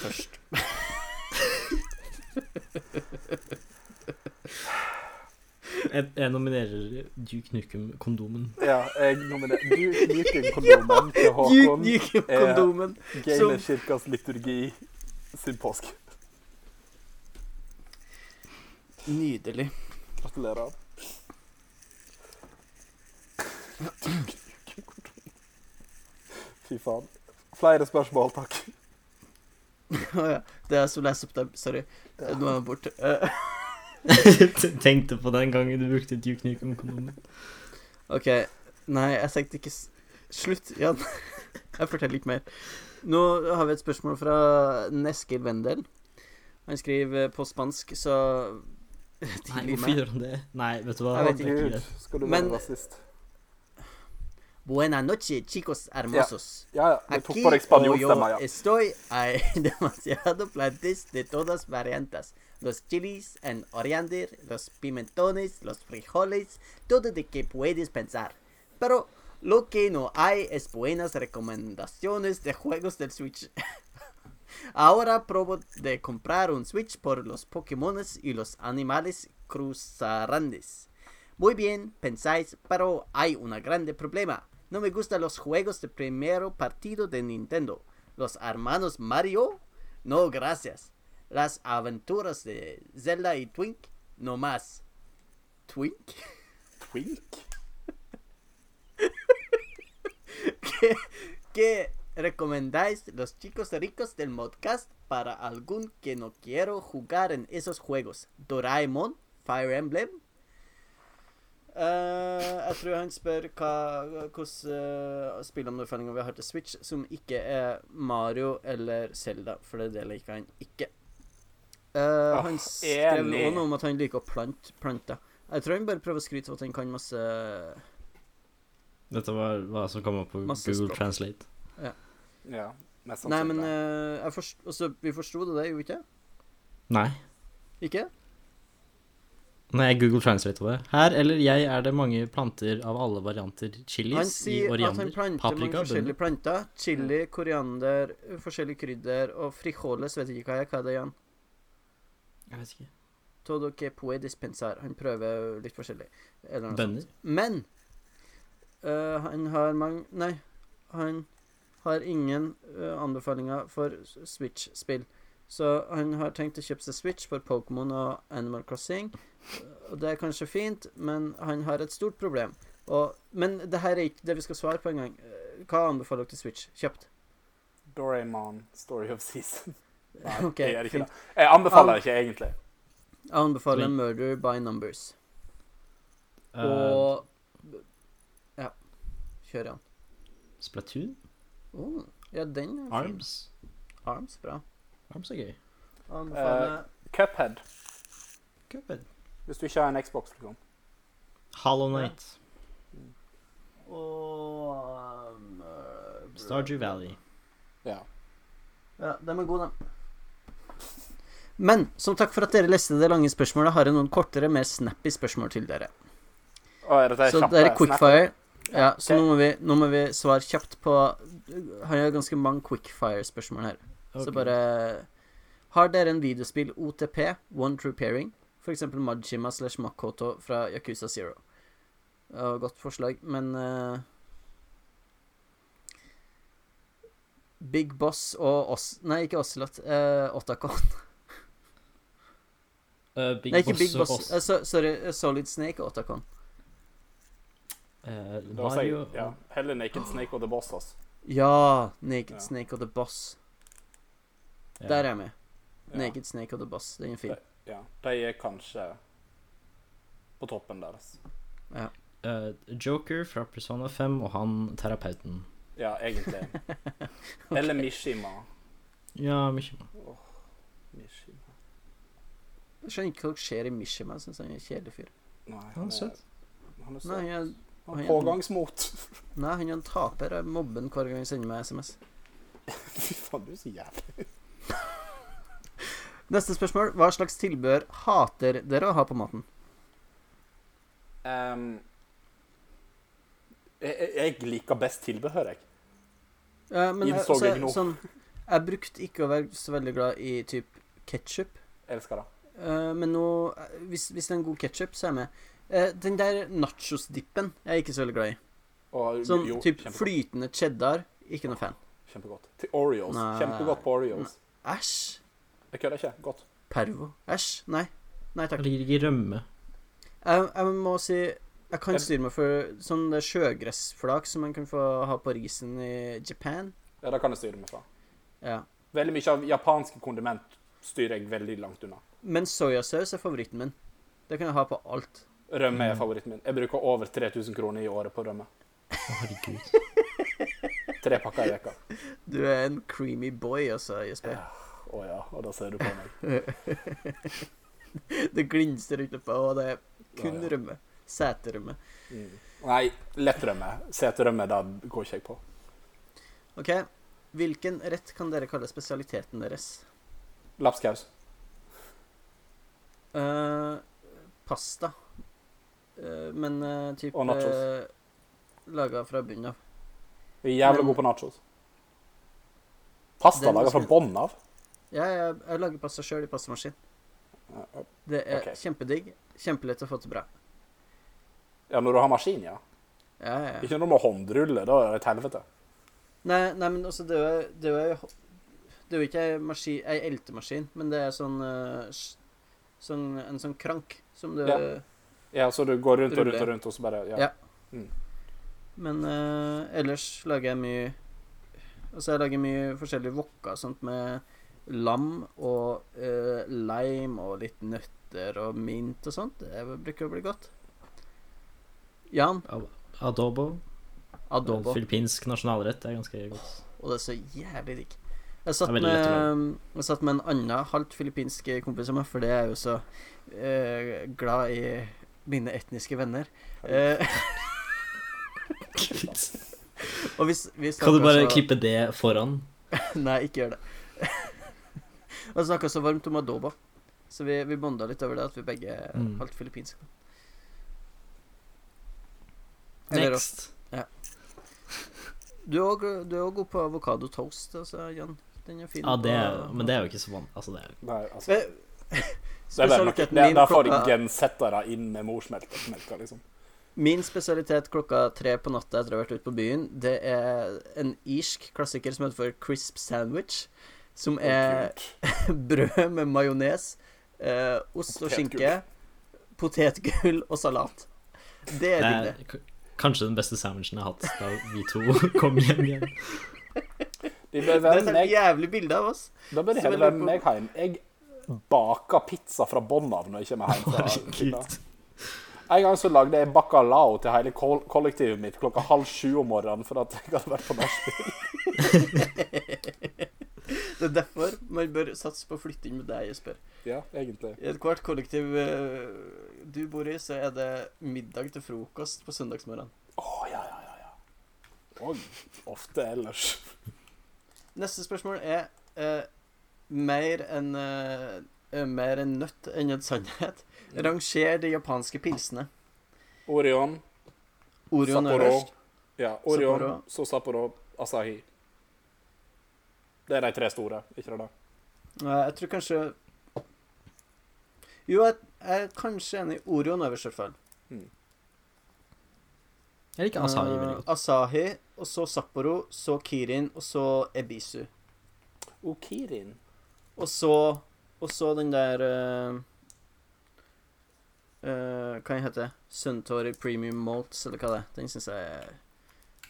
[SPEAKER 1] Først.
[SPEAKER 3] Jeg, jeg nominerer Duke Nukem-kondomen.
[SPEAKER 2] Ja, jeg nominerer Duke Nukem-kondomen til
[SPEAKER 1] Duke
[SPEAKER 2] Håkon.
[SPEAKER 1] Nukem-kondomen.
[SPEAKER 2] Gamerkirkas liturgi sin påske.
[SPEAKER 1] Nydelig.
[SPEAKER 2] Gratulerer. Fy faen. Flere spørsmål, takk.
[SPEAKER 1] Å ja. Det er jeg som leser opp dem. Sorry. Nå er jeg borte. Eh,
[SPEAKER 3] Tenkte på den gangen du brukte Duke Nukem-kondomen.
[SPEAKER 1] OK. Nei, jeg tenkte ikke s- Slutt, Jan. Jeg forteller ikke mer. Nå har vi et spørsmål fra Neskil Wendel. Han skriver på spansk, så
[SPEAKER 3] Nei,
[SPEAKER 1] tilgi
[SPEAKER 3] hvorfor
[SPEAKER 1] meg.
[SPEAKER 3] gjør han det? Nei, vet du hva?
[SPEAKER 1] Jeg vet
[SPEAKER 3] Det er
[SPEAKER 2] Gud,
[SPEAKER 3] greit.
[SPEAKER 2] skal du være
[SPEAKER 1] Men-
[SPEAKER 2] rasist?
[SPEAKER 1] Buena noche, chicos hermosos.
[SPEAKER 2] Ja, ja. Du tok
[SPEAKER 1] Aquí
[SPEAKER 2] på deg
[SPEAKER 1] o
[SPEAKER 2] spanjolstemma,
[SPEAKER 1] yo
[SPEAKER 2] ja.
[SPEAKER 1] estoy hay demasiado plantes de todas variantes. Los chilis en oriander, los pimentones, los frijoles, todo de que puedes pensar. Pero lo que no hay es buenas recomendaciones de juegos del Switch. Ahora probo de comprar un Switch por los Pokémones y los animales cruzarandes. Muy bien, pensáis, pero hay un grande problema. No me gustan los juegos de primero partido de Nintendo. Los hermanos Mario? No, gracias. Las aventuras de Zelda y Twink? No más. ¿Twink?
[SPEAKER 2] Twink?
[SPEAKER 1] ¿Qué, qué recomendáis los chicos ricos del podcast para algún que no quiero jugar en esos juegos? ¿Doraemon? ¿Fire Emblem? Eh, Eh, jeg tror han spør hva, hvordan eh, spillomdelinga vi har til Switch, som ikke er Mario eller Zelda, for det deler ikke han ikke. Eh,
[SPEAKER 2] Ah,
[SPEAKER 1] han skrev
[SPEAKER 2] enig.
[SPEAKER 1] også noe om at han liker å plante planter. Jeg tror han bare prøver å skryte av at han kan masse
[SPEAKER 3] Dette var hva som kom opp på
[SPEAKER 1] Masse
[SPEAKER 3] Google
[SPEAKER 1] språk.
[SPEAKER 3] Translate.
[SPEAKER 2] Sånn Ja, mest
[SPEAKER 1] Nei, men
[SPEAKER 2] sannsynlig.
[SPEAKER 1] eh, jeg forst... altså, vi forsto det, det gjorde vi ikke?
[SPEAKER 3] Nei.
[SPEAKER 1] Ikke?
[SPEAKER 3] Nei, jeg Google Translate det. Her eller jeg er det mange planter av alle varianter.
[SPEAKER 1] Han
[SPEAKER 3] Chilis i
[SPEAKER 1] sier at han
[SPEAKER 3] oriander,
[SPEAKER 1] planter mange
[SPEAKER 3] paprika,
[SPEAKER 1] forskjellige
[SPEAKER 3] bønner.
[SPEAKER 1] planter. Chili, koriander, forskjellige krydder og frijoles, vet ikke hva jeg hva er det igjen.
[SPEAKER 3] Jeg vet ikke.
[SPEAKER 1] Todo que puedes pensar. Han prøver litt forskjellig. Eller noe
[SPEAKER 3] Bønner.
[SPEAKER 1] sånt. Men øh, han har mange Nei, han har ingen øh, anbefalinger for s- Switch-spill. Så han har tenkt å kjøpe seg Switch for Pokémon og Animal Crossing. Og det er kanskje fint, men han har et stort problem. Og, men det her er ikke det vi skal svare på engang. Eh, Hva anbefaler dere til Switch? Kjapt.
[SPEAKER 2] Doraemon, Story of Season. Nei,
[SPEAKER 1] Ok,
[SPEAKER 2] jeg gjør ikke
[SPEAKER 1] fint.
[SPEAKER 2] det. Jeg anbefaler
[SPEAKER 1] Al-
[SPEAKER 2] det ikke, egentlig.
[SPEAKER 1] Jeg anbefaler
[SPEAKER 3] Men-
[SPEAKER 1] Murder by Numbers.
[SPEAKER 3] Eh,
[SPEAKER 1] Og Ja. Kjør igjen.
[SPEAKER 3] Splatoon?
[SPEAKER 1] Oh, ja, den er fin.
[SPEAKER 3] Arms?
[SPEAKER 1] Arms, bra. Eh,
[SPEAKER 3] Arms er gøy.
[SPEAKER 1] Anbefaler
[SPEAKER 2] Cuphead,
[SPEAKER 3] Cuphead.
[SPEAKER 2] hvis du ikke har en Xbox. Liksom.
[SPEAKER 3] Hollow Knight.
[SPEAKER 1] og um, eh,
[SPEAKER 3] Stardew Valley.
[SPEAKER 2] Ja.
[SPEAKER 1] Ja, de er gode, de. Men som takk for at dere leste det lange spørsmålet, har jeg noen kortere, mer snappy spørsmål til dere.
[SPEAKER 2] Å, er dette
[SPEAKER 1] Så
[SPEAKER 2] kjappe?
[SPEAKER 1] det er
[SPEAKER 2] Snap?
[SPEAKER 1] quickfire. Ja, så
[SPEAKER 2] Ok.
[SPEAKER 1] nå, må vi, nå må vi svare kjapt på Han har ganske mange quickfire-spørsmål her. Så
[SPEAKER 3] Ok.
[SPEAKER 1] bare Har dere en videospill OTP, One True Pairing? For eksempel Majima slash Makoto fra Yakuza Zero. Ja, godt forslag, men eh, Big Boss og Oss... Nei, ikke Ocelot. Uh, Otakon.
[SPEAKER 3] Eh, Big
[SPEAKER 1] Nei, ikke Big
[SPEAKER 3] og
[SPEAKER 1] Boss.
[SPEAKER 3] Boss.
[SPEAKER 1] eh, so, sorry, eh, Solid Snake og Otakon.
[SPEAKER 2] Da
[SPEAKER 3] Eh,
[SPEAKER 2] sier
[SPEAKER 3] Mario
[SPEAKER 2] jeg- ja. Heller Naked Snake og The Boss, ass.
[SPEAKER 1] Ja! Naked
[SPEAKER 2] Ja.
[SPEAKER 1] Snake og The Boss.
[SPEAKER 3] Ja.
[SPEAKER 1] Der er jeg med.
[SPEAKER 2] Ja.
[SPEAKER 1] Naked Snake og The Boss. Den er fin.
[SPEAKER 2] Ja. De er kanskje på toppen deres.
[SPEAKER 3] Eh, Joker fra Persona 5 og han terapeuten.
[SPEAKER 2] Ja, egentlig. Eller Mishima.
[SPEAKER 3] Ja, mye bra.
[SPEAKER 2] Mishima.
[SPEAKER 1] Jeg skjønner ikke hva som skjer i Mishima. Jeg syns han er en kjedelig fyr.
[SPEAKER 2] Nei,
[SPEAKER 3] Han er søt.
[SPEAKER 2] Han er søt.
[SPEAKER 1] Nei, jeg,
[SPEAKER 2] han
[SPEAKER 1] han er-
[SPEAKER 2] har pågangsmot.
[SPEAKER 1] nei, han er en taper. Jeg mobber han hver gang han sender meg SMS.
[SPEAKER 2] Fy faen, du er så jævlig.
[SPEAKER 1] Neste spørsmål. Hva slags tilbehør hater dere å ha på maten?
[SPEAKER 2] Ehm, jeg, jeg- jeg liker best tilbehør, jeg.
[SPEAKER 1] Ja, Eh, men jeg,
[SPEAKER 2] Innså
[SPEAKER 1] så jeg,
[SPEAKER 2] jeg nå.
[SPEAKER 1] sånn, jeg brukte ikke å være så veldig glad i typ ketsjup,
[SPEAKER 2] Elsker det.
[SPEAKER 1] men nå eh, hvis, hvis det er en god ketsjup, så er jeg med. Eh, den der nachosdippen er jeg ikke så veldig glad i.
[SPEAKER 2] Og,
[SPEAKER 1] Sånn
[SPEAKER 2] jo,
[SPEAKER 1] typ
[SPEAKER 2] kjempegodt.
[SPEAKER 1] flytende cheddar. Ikke noe fan.
[SPEAKER 2] Kjempegodt. Til Oreos.
[SPEAKER 1] Nei.
[SPEAKER 2] Kjempegodt på Oreos.
[SPEAKER 1] Æsj.
[SPEAKER 2] Jeg kødder ikke. Godt.
[SPEAKER 1] Pervo. Æsj. Nei. Nei takk.
[SPEAKER 3] Jeg liker ikke rømme.
[SPEAKER 1] Jeg, jeg må si Jeg kan
[SPEAKER 2] Er-
[SPEAKER 1] styre meg for sånn det sjøgressflak som man kan få ha på risen i Japan.
[SPEAKER 2] Ja, det kan jeg styre meg fra.
[SPEAKER 1] Ja.
[SPEAKER 2] Veldig mye av japanske kondiment styrer jeg veldig langt unna.
[SPEAKER 1] Men soyasaus er favoritten min. Det kan jeg ha på alt.
[SPEAKER 2] Rømme
[SPEAKER 1] Mm.
[SPEAKER 2] er favoritten min. Jeg bruker over 3000 kroner i året på rømme.
[SPEAKER 3] Å, herregud.
[SPEAKER 2] Tre pakker i veka.
[SPEAKER 1] Du er en creamy boy, altså, Jesper.
[SPEAKER 2] Ja. Å ja, og da ser du på meg.
[SPEAKER 1] Det glinser utenpå, og det er kun
[SPEAKER 2] Ja, ja.
[SPEAKER 1] rømme. Seterømme.
[SPEAKER 2] Mm. Nei, lett rømme. Seterømme, det går ikke jeg på.
[SPEAKER 1] OK. Hvilken rett kan dere kalle spesialiteten deres?
[SPEAKER 2] Lapskaus.
[SPEAKER 1] Eh, pasta. Eh, men eh, typ
[SPEAKER 2] Og nachos.
[SPEAKER 1] eh, Laga fra bunnen av.
[SPEAKER 2] Jeg er jævlig
[SPEAKER 1] Men-
[SPEAKER 2] god på nachos. Pasta
[SPEAKER 1] Den
[SPEAKER 2] laga fra
[SPEAKER 1] skal-
[SPEAKER 2] bånn av?
[SPEAKER 1] Ja, jeg, jeg lager pasta sjøl i pastamaskin. Det er
[SPEAKER 2] Ok.
[SPEAKER 1] kjempedigg. Kjempelett å få til bra.
[SPEAKER 2] Ja, når du har maskin, ja.
[SPEAKER 1] Ja, ja, ja.
[SPEAKER 2] Ikke når du må håndrulle. Da er det et helvete.
[SPEAKER 1] Nei, nei, men altså, det er jo- det er jo Det er jo ikke ei maskin, ei eltemaskin, men det er sånn, eh, s- sånn En sånn krank som du
[SPEAKER 2] Ja. Ja, så du går rundt og rundt og
[SPEAKER 1] Rulle.
[SPEAKER 2] rundt, og så bare
[SPEAKER 1] Ja.
[SPEAKER 2] Ja.
[SPEAKER 1] Men eh, ellers lager jeg mye Altså, jeg lager mye forskjellige wokker og sånt med lam og eh, lime og litt nøtter og mint og sånt. Det bruker å bli godt. Jan,
[SPEAKER 3] Adobo.
[SPEAKER 1] adobo.
[SPEAKER 3] Filippinsk nasjonalrett er ganske godt.
[SPEAKER 1] Og det er så jævlig digg. Jeg satt,
[SPEAKER 3] Det er
[SPEAKER 1] med, eh,
[SPEAKER 3] veldig lett å
[SPEAKER 1] jeg satt med en annen halvt filippinsk kompis av meg, for det er jo så eh, glad i mine etniske venner. Eh, og hvis, hvis
[SPEAKER 3] Kan du
[SPEAKER 1] dere
[SPEAKER 3] bare
[SPEAKER 1] også-
[SPEAKER 3] klippe det foran?
[SPEAKER 1] Nei, ikke gjør det. Han snakka så varmt om adoba, så vi, vi bonda litt over det at vi begge er
[SPEAKER 3] Mm.
[SPEAKER 1] halvt filippinske. Eller-
[SPEAKER 3] Next.
[SPEAKER 1] Du er også- du er òg god på avokado toast, altså, Jan. Den er fin.
[SPEAKER 3] Ja, det er,
[SPEAKER 1] på-
[SPEAKER 3] men det er jo ikke så vanlig. Altså, det er
[SPEAKER 2] Nei, altså.
[SPEAKER 1] Eh,
[SPEAKER 2] Det er bare noe,
[SPEAKER 1] Spesialiteten
[SPEAKER 2] det,
[SPEAKER 1] min
[SPEAKER 2] der får
[SPEAKER 1] klokka-
[SPEAKER 2] gensettere inn med morsmelka, liksom.
[SPEAKER 1] Min spesialitet klokka tre på natta etter å ha vært ute på byen, det er en irsk klassiker som heter for crisp sandwich. Som er
[SPEAKER 2] Kult.
[SPEAKER 1] brød med majones, eh, ost og
[SPEAKER 2] Potetgull.
[SPEAKER 1] skinke, potetgull og salat. Det er
[SPEAKER 3] Det
[SPEAKER 1] digg, det.
[SPEAKER 3] er k- kanskje den beste sandwichen jeg har hatt da vi to kom hjem igjen.
[SPEAKER 2] De bør
[SPEAKER 1] Det er
[SPEAKER 2] være
[SPEAKER 1] et
[SPEAKER 2] med
[SPEAKER 1] helt jævlig bilde av oss.
[SPEAKER 2] Da bør de
[SPEAKER 1] Så
[SPEAKER 2] heller
[SPEAKER 1] veldig
[SPEAKER 2] være
[SPEAKER 1] på-
[SPEAKER 2] med meg hjem. Jeg baker pizza fra bånn av når jeg kommer hjem. Fra Kina.
[SPEAKER 3] Herregud.
[SPEAKER 2] en gang så lagde jeg bacalao til hele kol- kollektivet mitt klokka halv sju om morgenen for at jeg hadde vært på nachspiel.
[SPEAKER 1] Det er derfor man bør satse på å flytte inn med deg, Jesper.
[SPEAKER 2] Ja, egentlig.
[SPEAKER 1] I ethvert kollektiv eh, du bor i, så er det middag til frokost på søndagsmorgenen.
[SPEAKER 2] Å, ja, ja, ja, ja. Og ofte ellers.
[SPEAKER 1] Neste spørsmål er eh, mer enn eh, eh, mer en nøtt enn en sannhet. Ranger de japanske pilsene.
[SPEAKER 2] Orion,
[SPEAKER 1] Orion
[SPEAKER 2] Sapporo.
[SPEAKER 1] øverst.
[SPEAKER 2] ja, Orion,
[SPEAKER 1] Sapporo.
[SPEAKER 2] så Sapporo, Asahi. Det er de tre store, ikke det? da?
[SPEAKER 1] Eh, Jeg tror kanskje Jo, jeg, jeg er kanskje enig i Orion øverst, i hvert fall.
[SPEAKER 2] Hmm.
[SPEAKER 3] Jeg liker Asahi veldig
[SPEAKER 1] Eh,
[SPEAKER 3] godt.
[SPEAKER 1] Asahi, og så Sapporo, så Kirin, og så Ebisu.
[SPEAKER 2] Okirin.
[SPEAKER 1] Og så Og så den der eh, eh, Hva den heter det? Suntory Premium Malts, eller hva det er. Den syns jeg er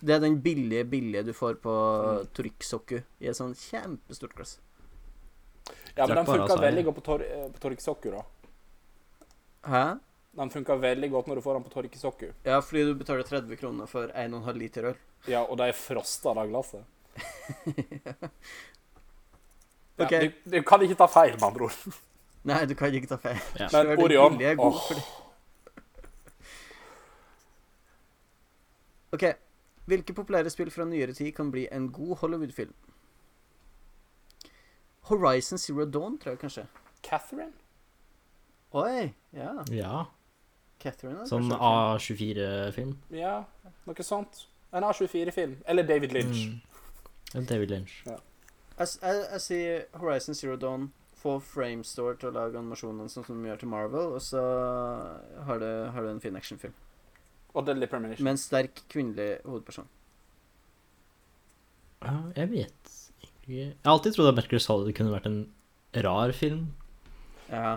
[SPEAKER 1] Det er den billige, billige du får på mm. Toriksoku i et sånn kjempestort glass.
[SPEAKER 2] Ja,
[SPEAKER 3] Drakk
[SPEAKER 2] men den
[SPEAKER 3] bare
[SPEAKER 2] funker
[SPEAKER 3] Asahi.
[SPEAKER 2] veldig godt på, tor eh, på Torikisokku, da.
[SPEAKER 1] Hæ?
[SPEAKER 2] Den funker veldig godt når du får den på Torikisokku.
[SPEAKER 1] Ja, fordi du betaler 30 kroner for 1,5 liter øl.
[SPEAKER 2] Ja, og de er frosta, det glasset. Ja,
[SPEAKER 1] Ok.
[SPEAKER 2] du, du kan ikke ta feil, med andre ord.
[SPEAKER 1] Nei, du kan ikke ta feil.
[SPEAKER 3] Ja.
[SPEAKER 1] Så er
[SPEAKER 2] Men
[SPEAKER 1] den
[SPEAKER 2] Orion
[SPEAKER 1] billige god
[SPEAKER 2] åh,
[SPEAKER 1] for det. OK. Hvilke populære spill fra nyere tid kan bli en god Hollywood-film? Horizon Zero Dawn, tror jeg kanskje.
[SPEAKER 2] Catherine?
[SPEAKER 1] Oi! ah. Ja.
[SPEAKER 3] Ja.
[SPEAKER 1] Catherine. er
[SPEAKER 3] Sånn
[SPEAKER 1] kanskje-
[SPEAKER 3] A24-film.
[SPEAKER 2] Ja, noe sånt. En A24-film. Eller David Lynch.
[SPEAKER 3] Mm. Ja, David Lynch.
[SPEAKER 1] Jeg, s- jeg, jeg sier Horizon Zero Dawn. Få Framestore til å lage animasjonene sånn som de gjør til Marvel, og så har du, har du en fin actionfilm.
[SPEAKER 2] Og Deadly Premonition.
[SPEAKER 1] Med en sterk kvinnelig hovedperson.
[SPEAKER 3] Ja, jeg vet ikke Jeg har alltid trodd at Berkler Solid kunne vært en rar film,
[SPEAKER 1] Ja.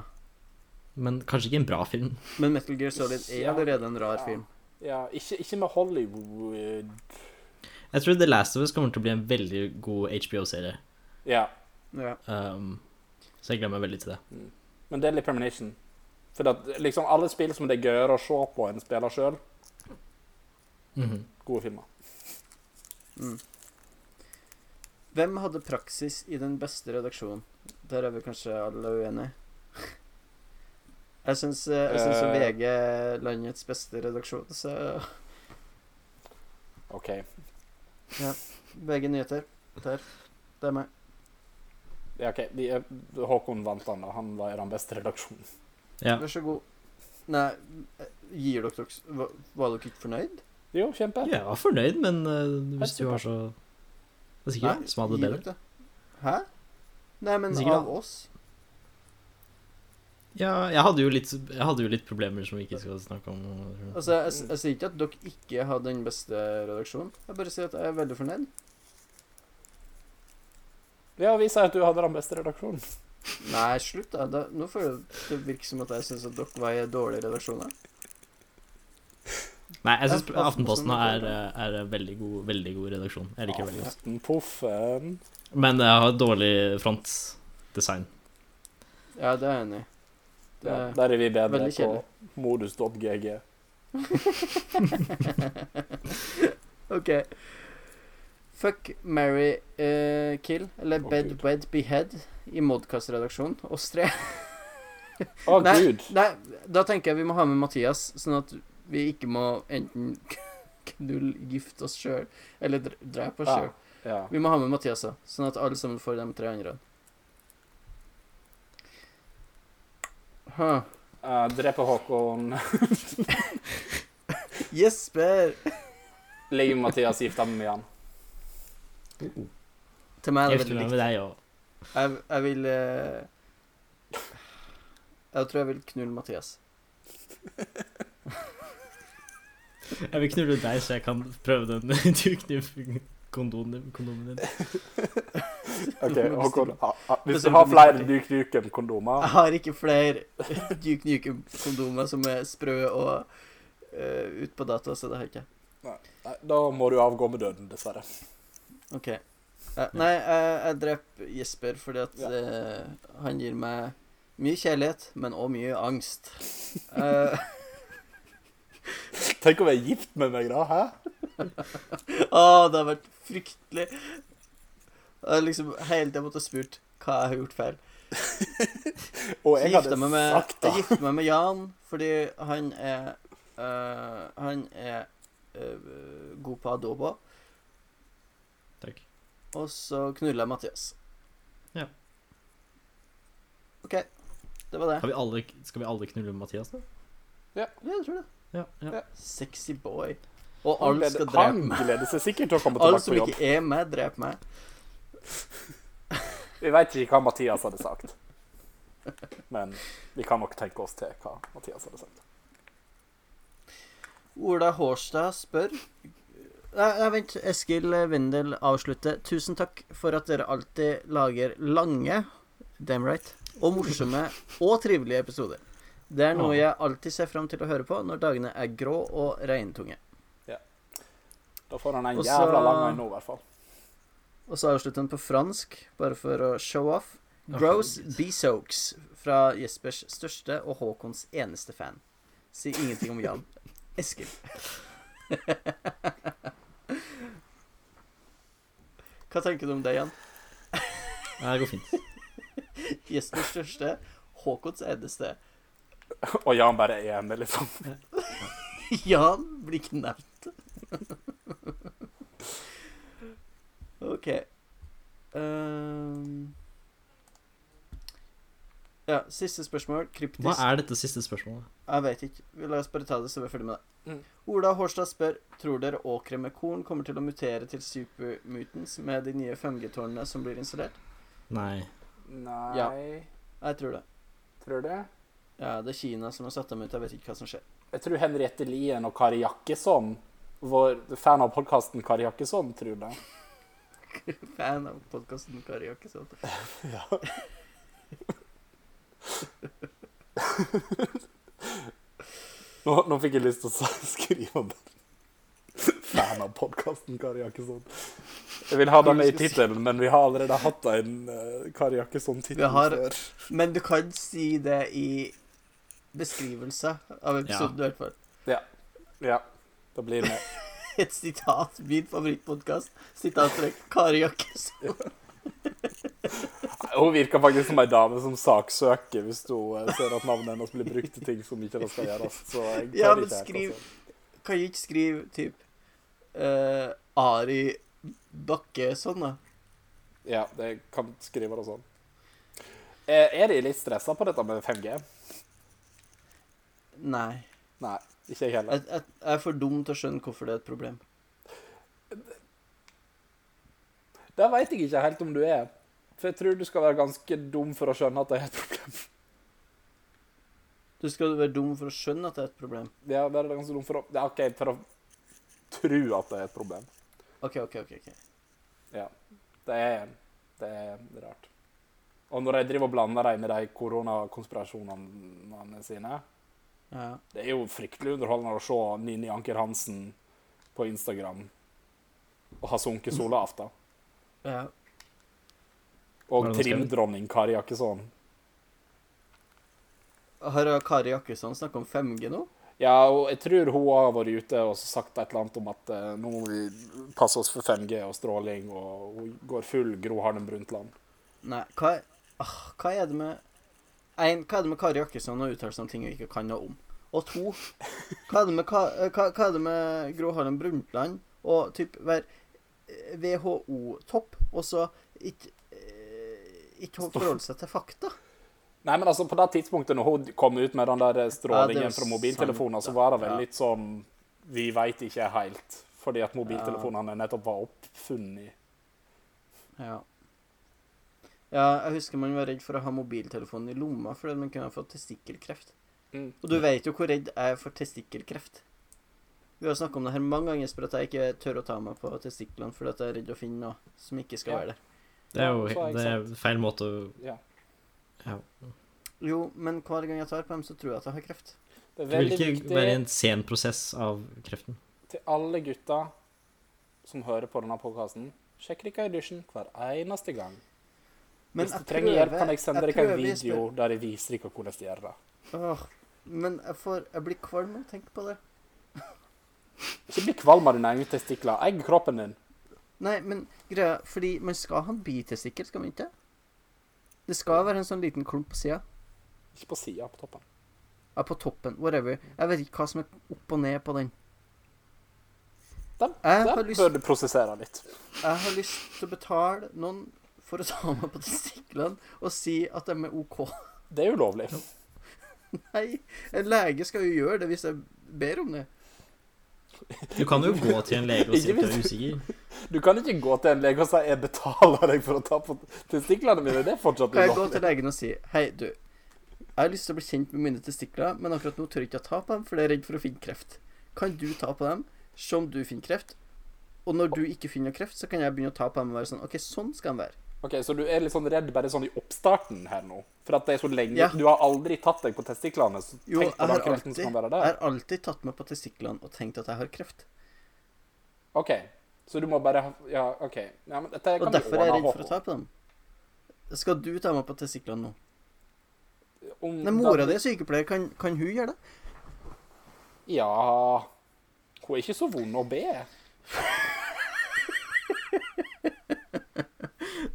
[SPEAKER 3] men kanskje ikke en bra film.
[SPEAKER 1] Men Metal Gear Solid er
[SPEAKER 2] Ja.
[SPEAKER 1] allerede en rar film.
[SPEAKER 2] Ja, ikke, ikke med Hollywood eh,
[SPEAKER 3] Jeg tror The Last of Us kommer til å bli en veldig god HBO-serie.
[SPEAKER 2] Ja,
[SPEAKER 1] Ja.
[SPEAKER 3] Um, så jeg gleder meg veldig til det.
[SPEAKER 2] Mm. men Deadly Premonition. For at, liksom, alle spill som det er gøyere å se på enn spiller sjøl,
[SPEAKER 3] Mhm.
[SPEAKER 2] gode filmer.
[SPEAKER 1] Hvem hadde praksis i den beste redaksjonen? Der er vi kanskje alle uenige. Jeg syns, eh, jeg syns jo
[SPEAKER 2] Eh.
[SPEAKER 1] VG er landets beste redaksjon, så eh,
[SPEAKER 2] OK.
[SPEAKER 1] VG Nyheter. Der. Det er meg.
[SPEAKER 2] Ja, ok, Vi er, Håkon vant han, da. Han var i den beste redaksjonen.
[SPEAKER 3] Ja.
[SPEAKER 1] Vær så god. Nei, eh, gir dere dere s- Var var dere ikke fornøyd?
[SPEAKER 2] Jo, kjempe.
[SPEAKER 3] Jeg var fornøyd, men eh, hvis du var så Det er sikkert
[SPEAKER 1] Nei,
[SPEAKER 3] jeg som hadde det
[SPEAKER 1] gir
[SPEAKER 3] bedre.
[SPEAKER 1] dere det? Hæ? Nei, men
[SPEAKER 3] Sikkert
[SPEAKER 1] av
[SPEAKER 3] da.
[SPEAKER 1] oss?
[SPEAKER 3] Ja, jeg hadde jo litt, jeg hadde jo litt problemer som vi ikke skal snakke om.
[SPEAKER 1] Altså, jeg, s- jeg sier ikke at dere ikke hadde den beste redaksjonen. Jeg bare sier at jeg er veldig fornøyd.
[SPEAKER 2] Ja, vi sier at du hadde den beste redaksjonen.
[SPEAKER 1] Nei, slutt, da. da nå får det virke som at jeg syns at dere var i dårlige redaksjoner.
[SPEAKER 3] Nei, jeg syns
[SPEAKER 1] Ja, Aftenposten
[SPEAKER 3] Aftenposten
[SPEAKER 1] er
[SPEAKER 3] er, eh, er en veldig god, veldig god redaksjon. Jeg liker det veldig godt.
[SPEAKER 2] Aftenpoffen.
[SPEAKER 3] Men jeg har dårlig frontdesign.
[SPEAKER 1] Ja, det er jeg enig i. Det
[SPEAKER 2] Ja,
[SPEAKER 1] er
[SPEAKER 2] der er vi bedre
[SPEAKER 1] veldig
[SPEAKER 2] på modus.gg.
[SPEAKER 1] Eh, OK. Fuck, marry, eh, kill, eller
[SPEAKER 2] Å,
[SPEAKER 1] bed,
[SPEAKER 2] Gud.
[SPEAKER 1] wed, behead i Modcast-redaksjonen. Oss tre.
[SPEAKER 2] Å,
[SPEAKER 1] Nei.
[SPEAKER 2] gud!
[SPEAKER 1] Nei, da tenker jeg vi må ha med Mathias, sånn at vi ikke må enten knulle, gifte oss sjøl, eller dr- drepe oss
[SPEAKER 2] Ja,
[SPEAKER 1] sjøl.
[SPEAKER 2] ja.
[SPEAKER 1] Vi må ha med Mathias, da, sånn at alle sammen får de tre andre. Huh.
[SPEAKER 2] Eh, drepe Håkon.
[SPEAKER 1] Jesper!
[SPEAKER 2] Ligge med Mathias, gifte meg med Jan.
[SPEAKER 1] Til meg er det
[SPEAKER 3] Gift
[SPEAKER 1] veldig
[SPEAKER 3] meg
[SPEAKER 1] likt.
[SPEAKER 3] med deg og
[SPEAKER 1] Jeg, jeg vil eh, Jeg tror jeg vil knulle Mathias.
[SPEAKER 3] Jeg vil knulle deg, så jeg kan prøve den duknivkondomen kondomen din.
[SPEAKER 2] Ok,
[SPEAKER 1] Du må
[SPEAKER 2] Håkon,
[SPEAKER 1] bestemme.
[SPEAKER 2] ah, ah, Hvis du
[SPEAKER 1] Bestemme
[SPEAKER 2] har
[SPEAKER 1] du
[SPEAKER 2] flere
[SPEAKER 1] selv.
[SPEAKER 2] Duke Nukem-kondomer
[SPEAKER 1] Jeg har ikke flere Duke Nukem-kondomer som er sprø og eh, ut på dato, så det har jeg ikke.
[SPEAKER 2] Nei, eh, Da må du avgå med døden, dessverre.
[SPEAKER 1] OK. Eh, nei, jeg, jeg dreper Jesper fordi at
[SPEAKER 2] Ja.
[SPEAKER 1] eh, han gir meg mye kjærlighet, men òg mye angst. Eh,
[SPEAKER 2] Tenk å være gift med meg, da. Hæ?
[SPEAKER 1] Å, det har vært fryktelig. Jeg har liksom hele tiden måtte spurt hva jeg har gjort feil.
[SPEAKER 2] Og
[SPEAKER 1] Så
[SPEAKER 2] jeg
[SPEAKER 1] gifta
[SPEAKER 2] hadde
[SPEAKER 1] jeg meg med,
[SPEAKER 2] sagt det.
[SPEAKER 1] jeg gifta meg med Jan fordi han er øh, Han er øh, god på adobo.
[SPEAKER 3] Takk.
[SPEAKER 1] Og så knulla jeg Mathias.
[SPEAKER 3] Ja.
[SPEAKER 1] OK. Det var det.
[SPEAKER 3] Har vi alle, skal vi alle knulle Mathias, da?
[SPEAKER 1] Ja, jeg tror det.
[SPEAKER 3] Ja. ja.
[SPEAKER 1] Sexy boy. Og
[SPEAKER 2] Han
[SPEAKER 1] alle
[SPEAKER 2] gleder-
[SPEAKER 1] skal
[SPEAKER 2] Han
[SPEAKER 1] drepe meg.
[SPEAKER 2] gleder seg sikkert til å komme
[SPEAKER 1] Alle
[SPEAKER 2] tilbake
[SPEAKER 1] som
[SPEAKER 2] på jobb.
[SPEAKER 1] ikke er meg, dreper meg.
[SPEAKER 2] Vi vet ikke hva Mathias hadde sagt. Men vi kan nok tenke oss til hva Mathias hadde sagt.
[SPEAKER 1] Ola Hårstad spør Nei, nei, vent. Eskil Wendel avslutter. Tusen takk for at dere alltid lager lange damn right, og morsomme og trivelige episoder. Det er noe
[SPEAKER 3] Ah.
[SPEAKER 1] jeg alltid ser fram til å høre på når dagene er grå og regntunge.
[SPEAKER 2] Da får han en
[SPEAKER 1] Og så-
[SPEAKER 2] jævla lang en nå, i hvert fall.
[SPEAKER 1] Og så avslutter han på fransk, bare for å show off.
[SPEAKER 3] Ah,
[SPEAKER 1] Gross
[SPEAKER 3] herregud.
[SPEAKER 1] Besoaks fra Jespers største og Håkons eneste fan. Si ingenting om Jan. Eskil. Hva tenker du om det, Jan?
[SPEAKER 3] Ja, Det går fint.
[SPEAKER 1] Jespers største, Håkons eneste.
[SPEAKER 2] Og Jan bare er med, liksom.
[SPEAKER 1] Jan blir ikke nevnt. OK. Ehm. ja, siste spørsmål. Kryptisk.
[SPEAKER 3] Hva er dette siste spørsmålet?
[SPEAKER 1] Jeg vet ikke. Vi La oss bare ta det så vi er ferdig med det.
[SPEAKER 2] Mm.
[SPEAKER 1] Ola Hårstad spør Tror dere åkre med korn kommer til å mutere til supermutants med de nye 5G-tårnene som blir installert?
[SPEAKER 3] Nei.
[SPEAKER 2] Nei
[SPEAKER 1] Jeg tror det.
[SPEAKER 2] Tror du det?
[SPEAKER 1] Ja, det er Kina som har satt dem ut. Jeg vet ikke hva som skjer.
[SPEAKER 2] Jeg tror Henriette Lien og Kari Jakkesson, vår fan av podkasten Kari Jakkesson, tror det.
[SPEAKER 1] Fan av podkasten Kari Jakkesson.
[SPEAKER 2] Nå, nå fikk jeg lyst til å s- skrive om den. Fan av podkasten Kari Jakkesson. Jeg vil ha den med i tittelen, men vi har allerede hatt en eh, Kari Jakkesson-tittel
[SPEAKER 1] Vi har-
[SPEAKER 2] før.
[SPEAKER 1] Men du kan si det i beskrivelse av episoden, i hvert fall.
[SPEAKER 2] Ja, da blir det med.
[SPEAKER 1] Et sitat. Min favorittpodkast. Sitattrekk Kari Jakkesson.
[SPEAKER 2] Hun virker faktisk som ei dame som saksøker hvis hun eh, ser at navnet hennes blir brukt til ting som ikke det skal gjøres. Så jeg tar
[SPEAKER 1] Ja, men
[SPEAKER 2] ikke helt,
[SPEAKER 1] skriv-
[SPEAKER 2] altså.
[SPEAKER 1] Kan jeg ikke skrive typ eh, Ari Bakkesson, da?
[SPEAKER 2] Ja, det kan skrive det sånn. Eh, Er de litt stressa på dette med 5G?
[SPEAKER 1] Nei.
[SPEAKER 2] Nei, ikke jeg heller.
[SPEAKER 1] Jeg, jeg, jeg er for dum til å skjønne hvorfor det er et problem.
[SPEAKER 2] Da veit jeg ikke helt om du er. For jeg tror du skal være ganske dum for å skjønne at det er et problem.
[SPEAKER 1] Du skal være dum for å skjønne at det er et problem.
[SPEAKER 2] Ja, være ganske dum for å Ja, OK, for å tro at det er et problem.
[SPEAKER 1] OK, OK, OK. ok.
[SPEAKER 2] Ja. Det er, det er rart. Og når jeg driver og blander dem med de koronakonspirasjonene sine
[SPEAKER 1] Ja.
[SPEAKER 2] Det er jo fryktelig underholdende å se Nini Anker Hansen på Instagram og ha sunket solaften.
[SPEAKER 1] ja.
[SPEAKER 2] Og
[SPEAKER 3] Hva er det hun skrev?
[SPEAKER 2] trimdronning Kari Jakkesson.
[SPEAKER 1] Har Kari Jakkesson snakka om 5G nå?
[SPEAKER 2] Ja, og jeg tror hun har vært ute og så sagt et eller annet om at eh, nå må vi passe oss for 5G og stråling, og hun går full Gro Harlem Brundtland.
[SPEAKER 1] Nei, hva, ah, hva er det med En, hva er det med Kari Jakkesson å uttale seg om ting hun ikke kan noe om? Og to, hva er det med, Ka- eh, hva, hva er det med Gro Harlem Brundtland og typ være eh, WHO-topp, og så ikke eh, ikke forholde seg til fakta?
[SPEAKER 2] Nei, men altså, på det tidspunktet når hun kom ut med den der eh,
[SPEAKER 1] Ja,
[SPEAKER 2] strålingen
[SPEAKER 1] det er
[SPEAKER 3] sånn-
[SPEAKER 2] fra mobiltelefoner,
[SPEAKER 1] sant,
[SPEAKER 2] så var det
[SPEAKER 1] ja.
[SPEAKER 2] vel litt sånn Vi veit ikke helt, fordi at mobiltelefonene nettopp var oppfunnet.
[SPEAKER 1] Ja. ja. Jeg husker man var redd for å ha mobiltelefonen i lomma fordi man kunne få testikkelkreft.
[SPEAKER 2] Mm.
[SPEAKER 1] Og du vet jo hvor redd jeg er for testikkelkreft. Vi har snakka om det her mange ganger, Espen, at jeg ikke tør å ta meg på testiklene fordi at jeg er redd å finne noe som ikke skal
[SPEAKER 2] Ja.
[SPEAKER 1] være der.
[SPEAKER 3] Det er
[SPEAKER 2] Ja, så
[SPEAKER 3] jo
[SPEAKER 2] er det
[SPEAKER 3] det er feil måte å
[SPEAKER 2] Ja.
[SPEAKER 3] ja.
[SPEAKER 1] Jo, men hver gang jeg tar på dem, så tror jeg at jeg har kreft.
[SPEAKER 2] Det er
[SPEAKER 3] Det vil
[SPEAKER 2] veldig
[SPEAKER 3] ikke
[SPEAKER 2] viktig
[SPEAKER 3] være en sen prosess av kreften.
[SPEAKER 2] til alle gutta som hører på denne podkasten. Sjekk dere i dusjen hver eneste gang.
[SPEAKER 1] Men
[SPEAKER 2] Hvis
[SPEAKER 1] jeg
[SPEAKER 2] du trenger hjelp, kan jeg sende
[SPEAKER 1] prøver-
[SPEAKER 2] dere en
[SPEAKER 1] prøver, Espen.
[SPEAKER 2] video der jeg viser dere hvordan de gjør det.
[SPEAKER 1] Åh, men jeg, får, jeg blir kvalm av å tenke på det.
[SPEAKER 2] Ikke bli kvalm av dine egne testikler. Egg kroppen din.
[SPEAKER 1] Nei, men greia Fordi man skal ha en bitestikkel, skal man ikke? Det skal være en sånn liten klump på sida.
[SPEAKER 2] Ikke på sida, på toppen.
[SPEAKER 1] Ja, på toppen. Whatever. Jeg vet ikke hva som er opp og ned på den.
[SPEAKER 2] Den,
[SPEAKER 1] Jeg har
[SPEAKER 2] den
[SPEAKER 1] lyst-
[SPEAKER 2] bør du prosessere litt.
[SPEAKER 1] Jeg har lyst til å betale noen for å ta meg på testiklene og si at de er OK.
[SPEAKER 2] Det er ulovlig.
[SPEAKER 1] Nei, en lege skal jo gjøre det hvis jeg ber om det.
[SPEAKER 3] Du kan jo gå til en lege og si
[SPEAKER 2] Ikke
[SPEAKER 3] at du er
[SPEAKER 2] hvis-
[SPEAKER 3] usikker.
[SPEAKER 2] Du kan ikke gå til en lege og si 'jeg betaler deg for å ta på testiklene mine'. Det er fortsatt
[SPEAKER 1] Kan jeg gå
[SPEAKER 2] ulovlig.
[SPEAKER 1] til legen og si Hei, du. Jeg har lyst til å bli kjent med mine testikler, men akkurat nå tør jeg ikke å ta på dem, for jeg er redd for å finne kreft. Kan du ta på dem, se om du finner kreft? Og når du ikke finner noe kreft, så kan jeg begynne å ta på dem og være sånn OK, sånn skal de være.
[SPEAKER 2] Ok, Så du er litt sånn redd bare sånn i oppstarten her nå? For at det er så lenge
[SPEAKER 1] Ja.
[SPEAKER 2] Du har aldri tatt deg på testiklene, så
[SPEAKER 1] Jo, jeg
[SPEAKER 2] tenk på
[SPEAKER 1] har,
[SPEAKER 2] den kreften
[SPEAKER 1] alltid,
[SPEAKER 2] som
[SPEAKER 1] jeg
[SPEAKER 2] kan være der.
[SPEAKER 1] har alltid tatt meg på testiklene og tenkt at jeg har kreft.
[SPEAKER 2] Ok, Så du må bare ha- Ja, OK. Ja, men dette
[SPEAKER 1] Og
[SPEAKER 2] kan
[SPEAKER 1] derfor er
[SPEAKER 2] vi
[SPEAKER 1] jeg
[SPEAKER 2] ordne
[SPEAKER 1] redd for å
[SPEAKER 2] håp
[SPEAKER 1] ta på dem. Skal du ta meg på testiklene nå?
[SPEAKER 2] om.
[SPEAKER 1] Nei, mora di er sykepleier. Kan, kan hun gjøre det?
[SPEAKER 2] Ja Hun er ikke så vond å be.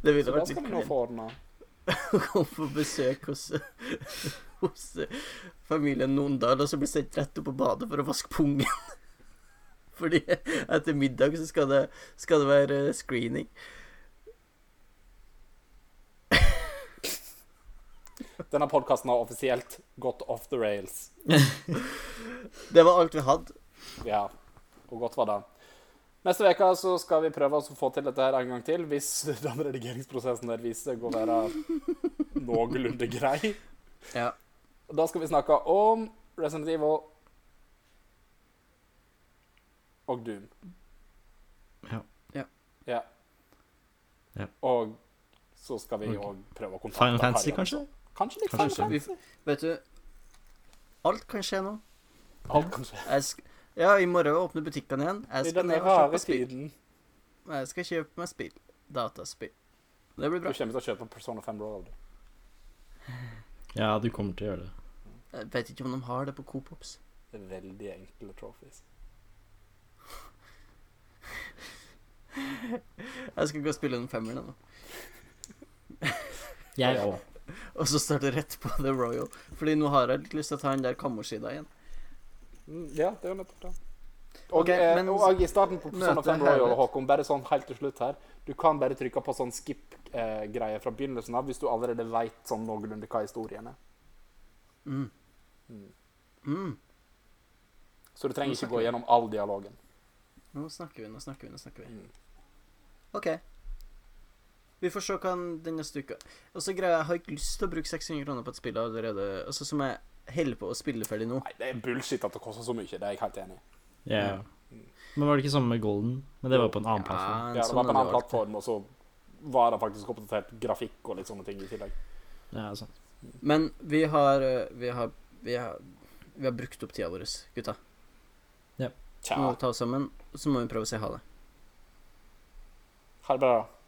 [SPEAKER 1] Det ville
[SPEAKER 2] Så da
[SPEAKER 1] vært
[SPEAKER 2] skal
[SPEAKER 1] litt
[SPEAKER 2] vi nå
[SPEAKER 1] kleint
[SPEAKER 2] få ordna.
[SPEAKER 1] å komme på besøk hos, hos eh, familien Nondal, og så bli sendt rett opp på badet for å vaske pungen. Fordi etter middag så skal det, skal det være eh, screening.
[SPEAKER 2] Denne podkasten har offisielt gått off the rails.
[SPEAKER 1] Det var alt vi hadde.
[SPEAKER 2] Ja, og godt var det. Neste uke så skal vi prøve oss å få til dette her en gang til, hvis den redigeringsprosessen der viser seg å være noenlunde grei.
[SPEAKER 1] Ja.
[SPEAKER 2] Og Da skal vi snakke om Resident Evil og Doom.
[SPEAKER 3] Ja.
[SPEAKER 1] Ja.
[SPEAKER 2] Ja.
[SPEAKER 3] Ja.
[SPEAKER 2] Og så skal vi
[SPEAKER 3] Og
[SPEAKER 2] òg prøve å kontakte
[SPEAKER 3] Final Fantasy,
[SPEAKER 2] Harry
[SPEAKER 3] kanskje?
[SPEAKER 2] også. Kanskje litt
[SPEAKER 3] Kanskje
[SPEAKER 2] Final
[SPEAKER 1] vi-
[SPEAKER 2] Fantasy.
[SPEAKER 1] Vet du, alt kan skje nå.
[SPEAKER 2] Alt kan skje.
[SPEAKER 1] Jeg sk ja, i morgen åpner butikkene igjen. Jeg
[SPEAKER 2] I
[SPEAKER 1] skal,
[SPEAKER 2] denne
[SPEAKER 1] ned og kjøpe
[SPEAKER 2] rare
[SPEAKER 1] spill.
[SPEAKER 2] tiden
[SPEAKER 1] jeg skal kjøpe meg spill. Dataspill. Det blir
[SPEAKER 2] du
[SPEAKER 1] bra.
[SPEAKER 2] kommer til å kjøpe Persona 5 Royal. du.
[SPEAKER 3] Ja, du kommer til å gjøre det.
[SPEAKER 1] Jeg vet ikke om de har det på Coop Ops.
[SPEAKER 2] Det er veldig enkle trophies.
[SPEAKER 1] Jeg skal gå og spille den femmeren nå.
[SPEAKER 3] Jeg òg.
[SPEAKER 1] Og så starte rett på The Royal. Fordi nå har jeg litt lyst til å ta den der Kamoshida igjen.
[SPEAKER 2] Mm, Ja, det er jo nettopp det. Og,
[SPEAKER 1] Ok,
[SPEAKER 2] eh,
[SPEAKER 1] men-
[SPEAKER 2] og i starten på Persona
[SPEAKER 1] Møte
[SPEAKER 2] 5 Royal,
[SPEAKER 1] Herbert.
[SPEAKER 2] Håkon, bare sånn helt til slutt her Du kan bare trykke på sånn skip-greie fra begynnelsen av hvis du allerede veit sånn noenlunde hva historien er.
[SPEAKER 1] Mm.
[SPEAKER 2] Mm.
[SPEAKER 1] Mm.
[SPEAKER 2] Så du trenger
[SPEAKER 1] Nå
[SPEAKER 2] ikke
[SPEAKER 1] snakker
[SPEAKER 2] gå
[SPEAKER 1] vi.
[SPEAKER 2] gjennom all dialogen.
[SPEAKER 1] Nå snakker vi, nå snakker vi, nå snakker vi.
[SPEAKER 2] Mm.
[SPEAKER 1] OK. Vi får se hva den- den neste uka Og så greier jeg, jeg har ikke lyst til å bruke 600 kroner på et spill allerede. Altså som jeg holder på å spille ferdig nå.
[SPEAKER 2] Nei, det er bullshit at det koster så mye. Det er jeg helt enig i.
[SPEAKER 3] Ja. Men var det ikke samme med Golden? Men det var på en annen plattform.
[SPEAKER 2] Ja,
[SPEAKER 1] sånn
[SPEAKER 2] det var på en annen plattform, og så var det faktisk oppdatert grafikk og litt sånne ting i tillegg.
[SPEAKER 3] Ja, sånn. sant.
[SPEAKER 1] Men vi har, eh, vi har Vi har vi har brukt opp tida vår, gutta. Nå
[SPEAKER 2] Tja.
[SPEAKER 1] Mm. må vi ta oss sammen, og så må vi prøve å si ha det.
[SPEAKER 2] Ha det bra.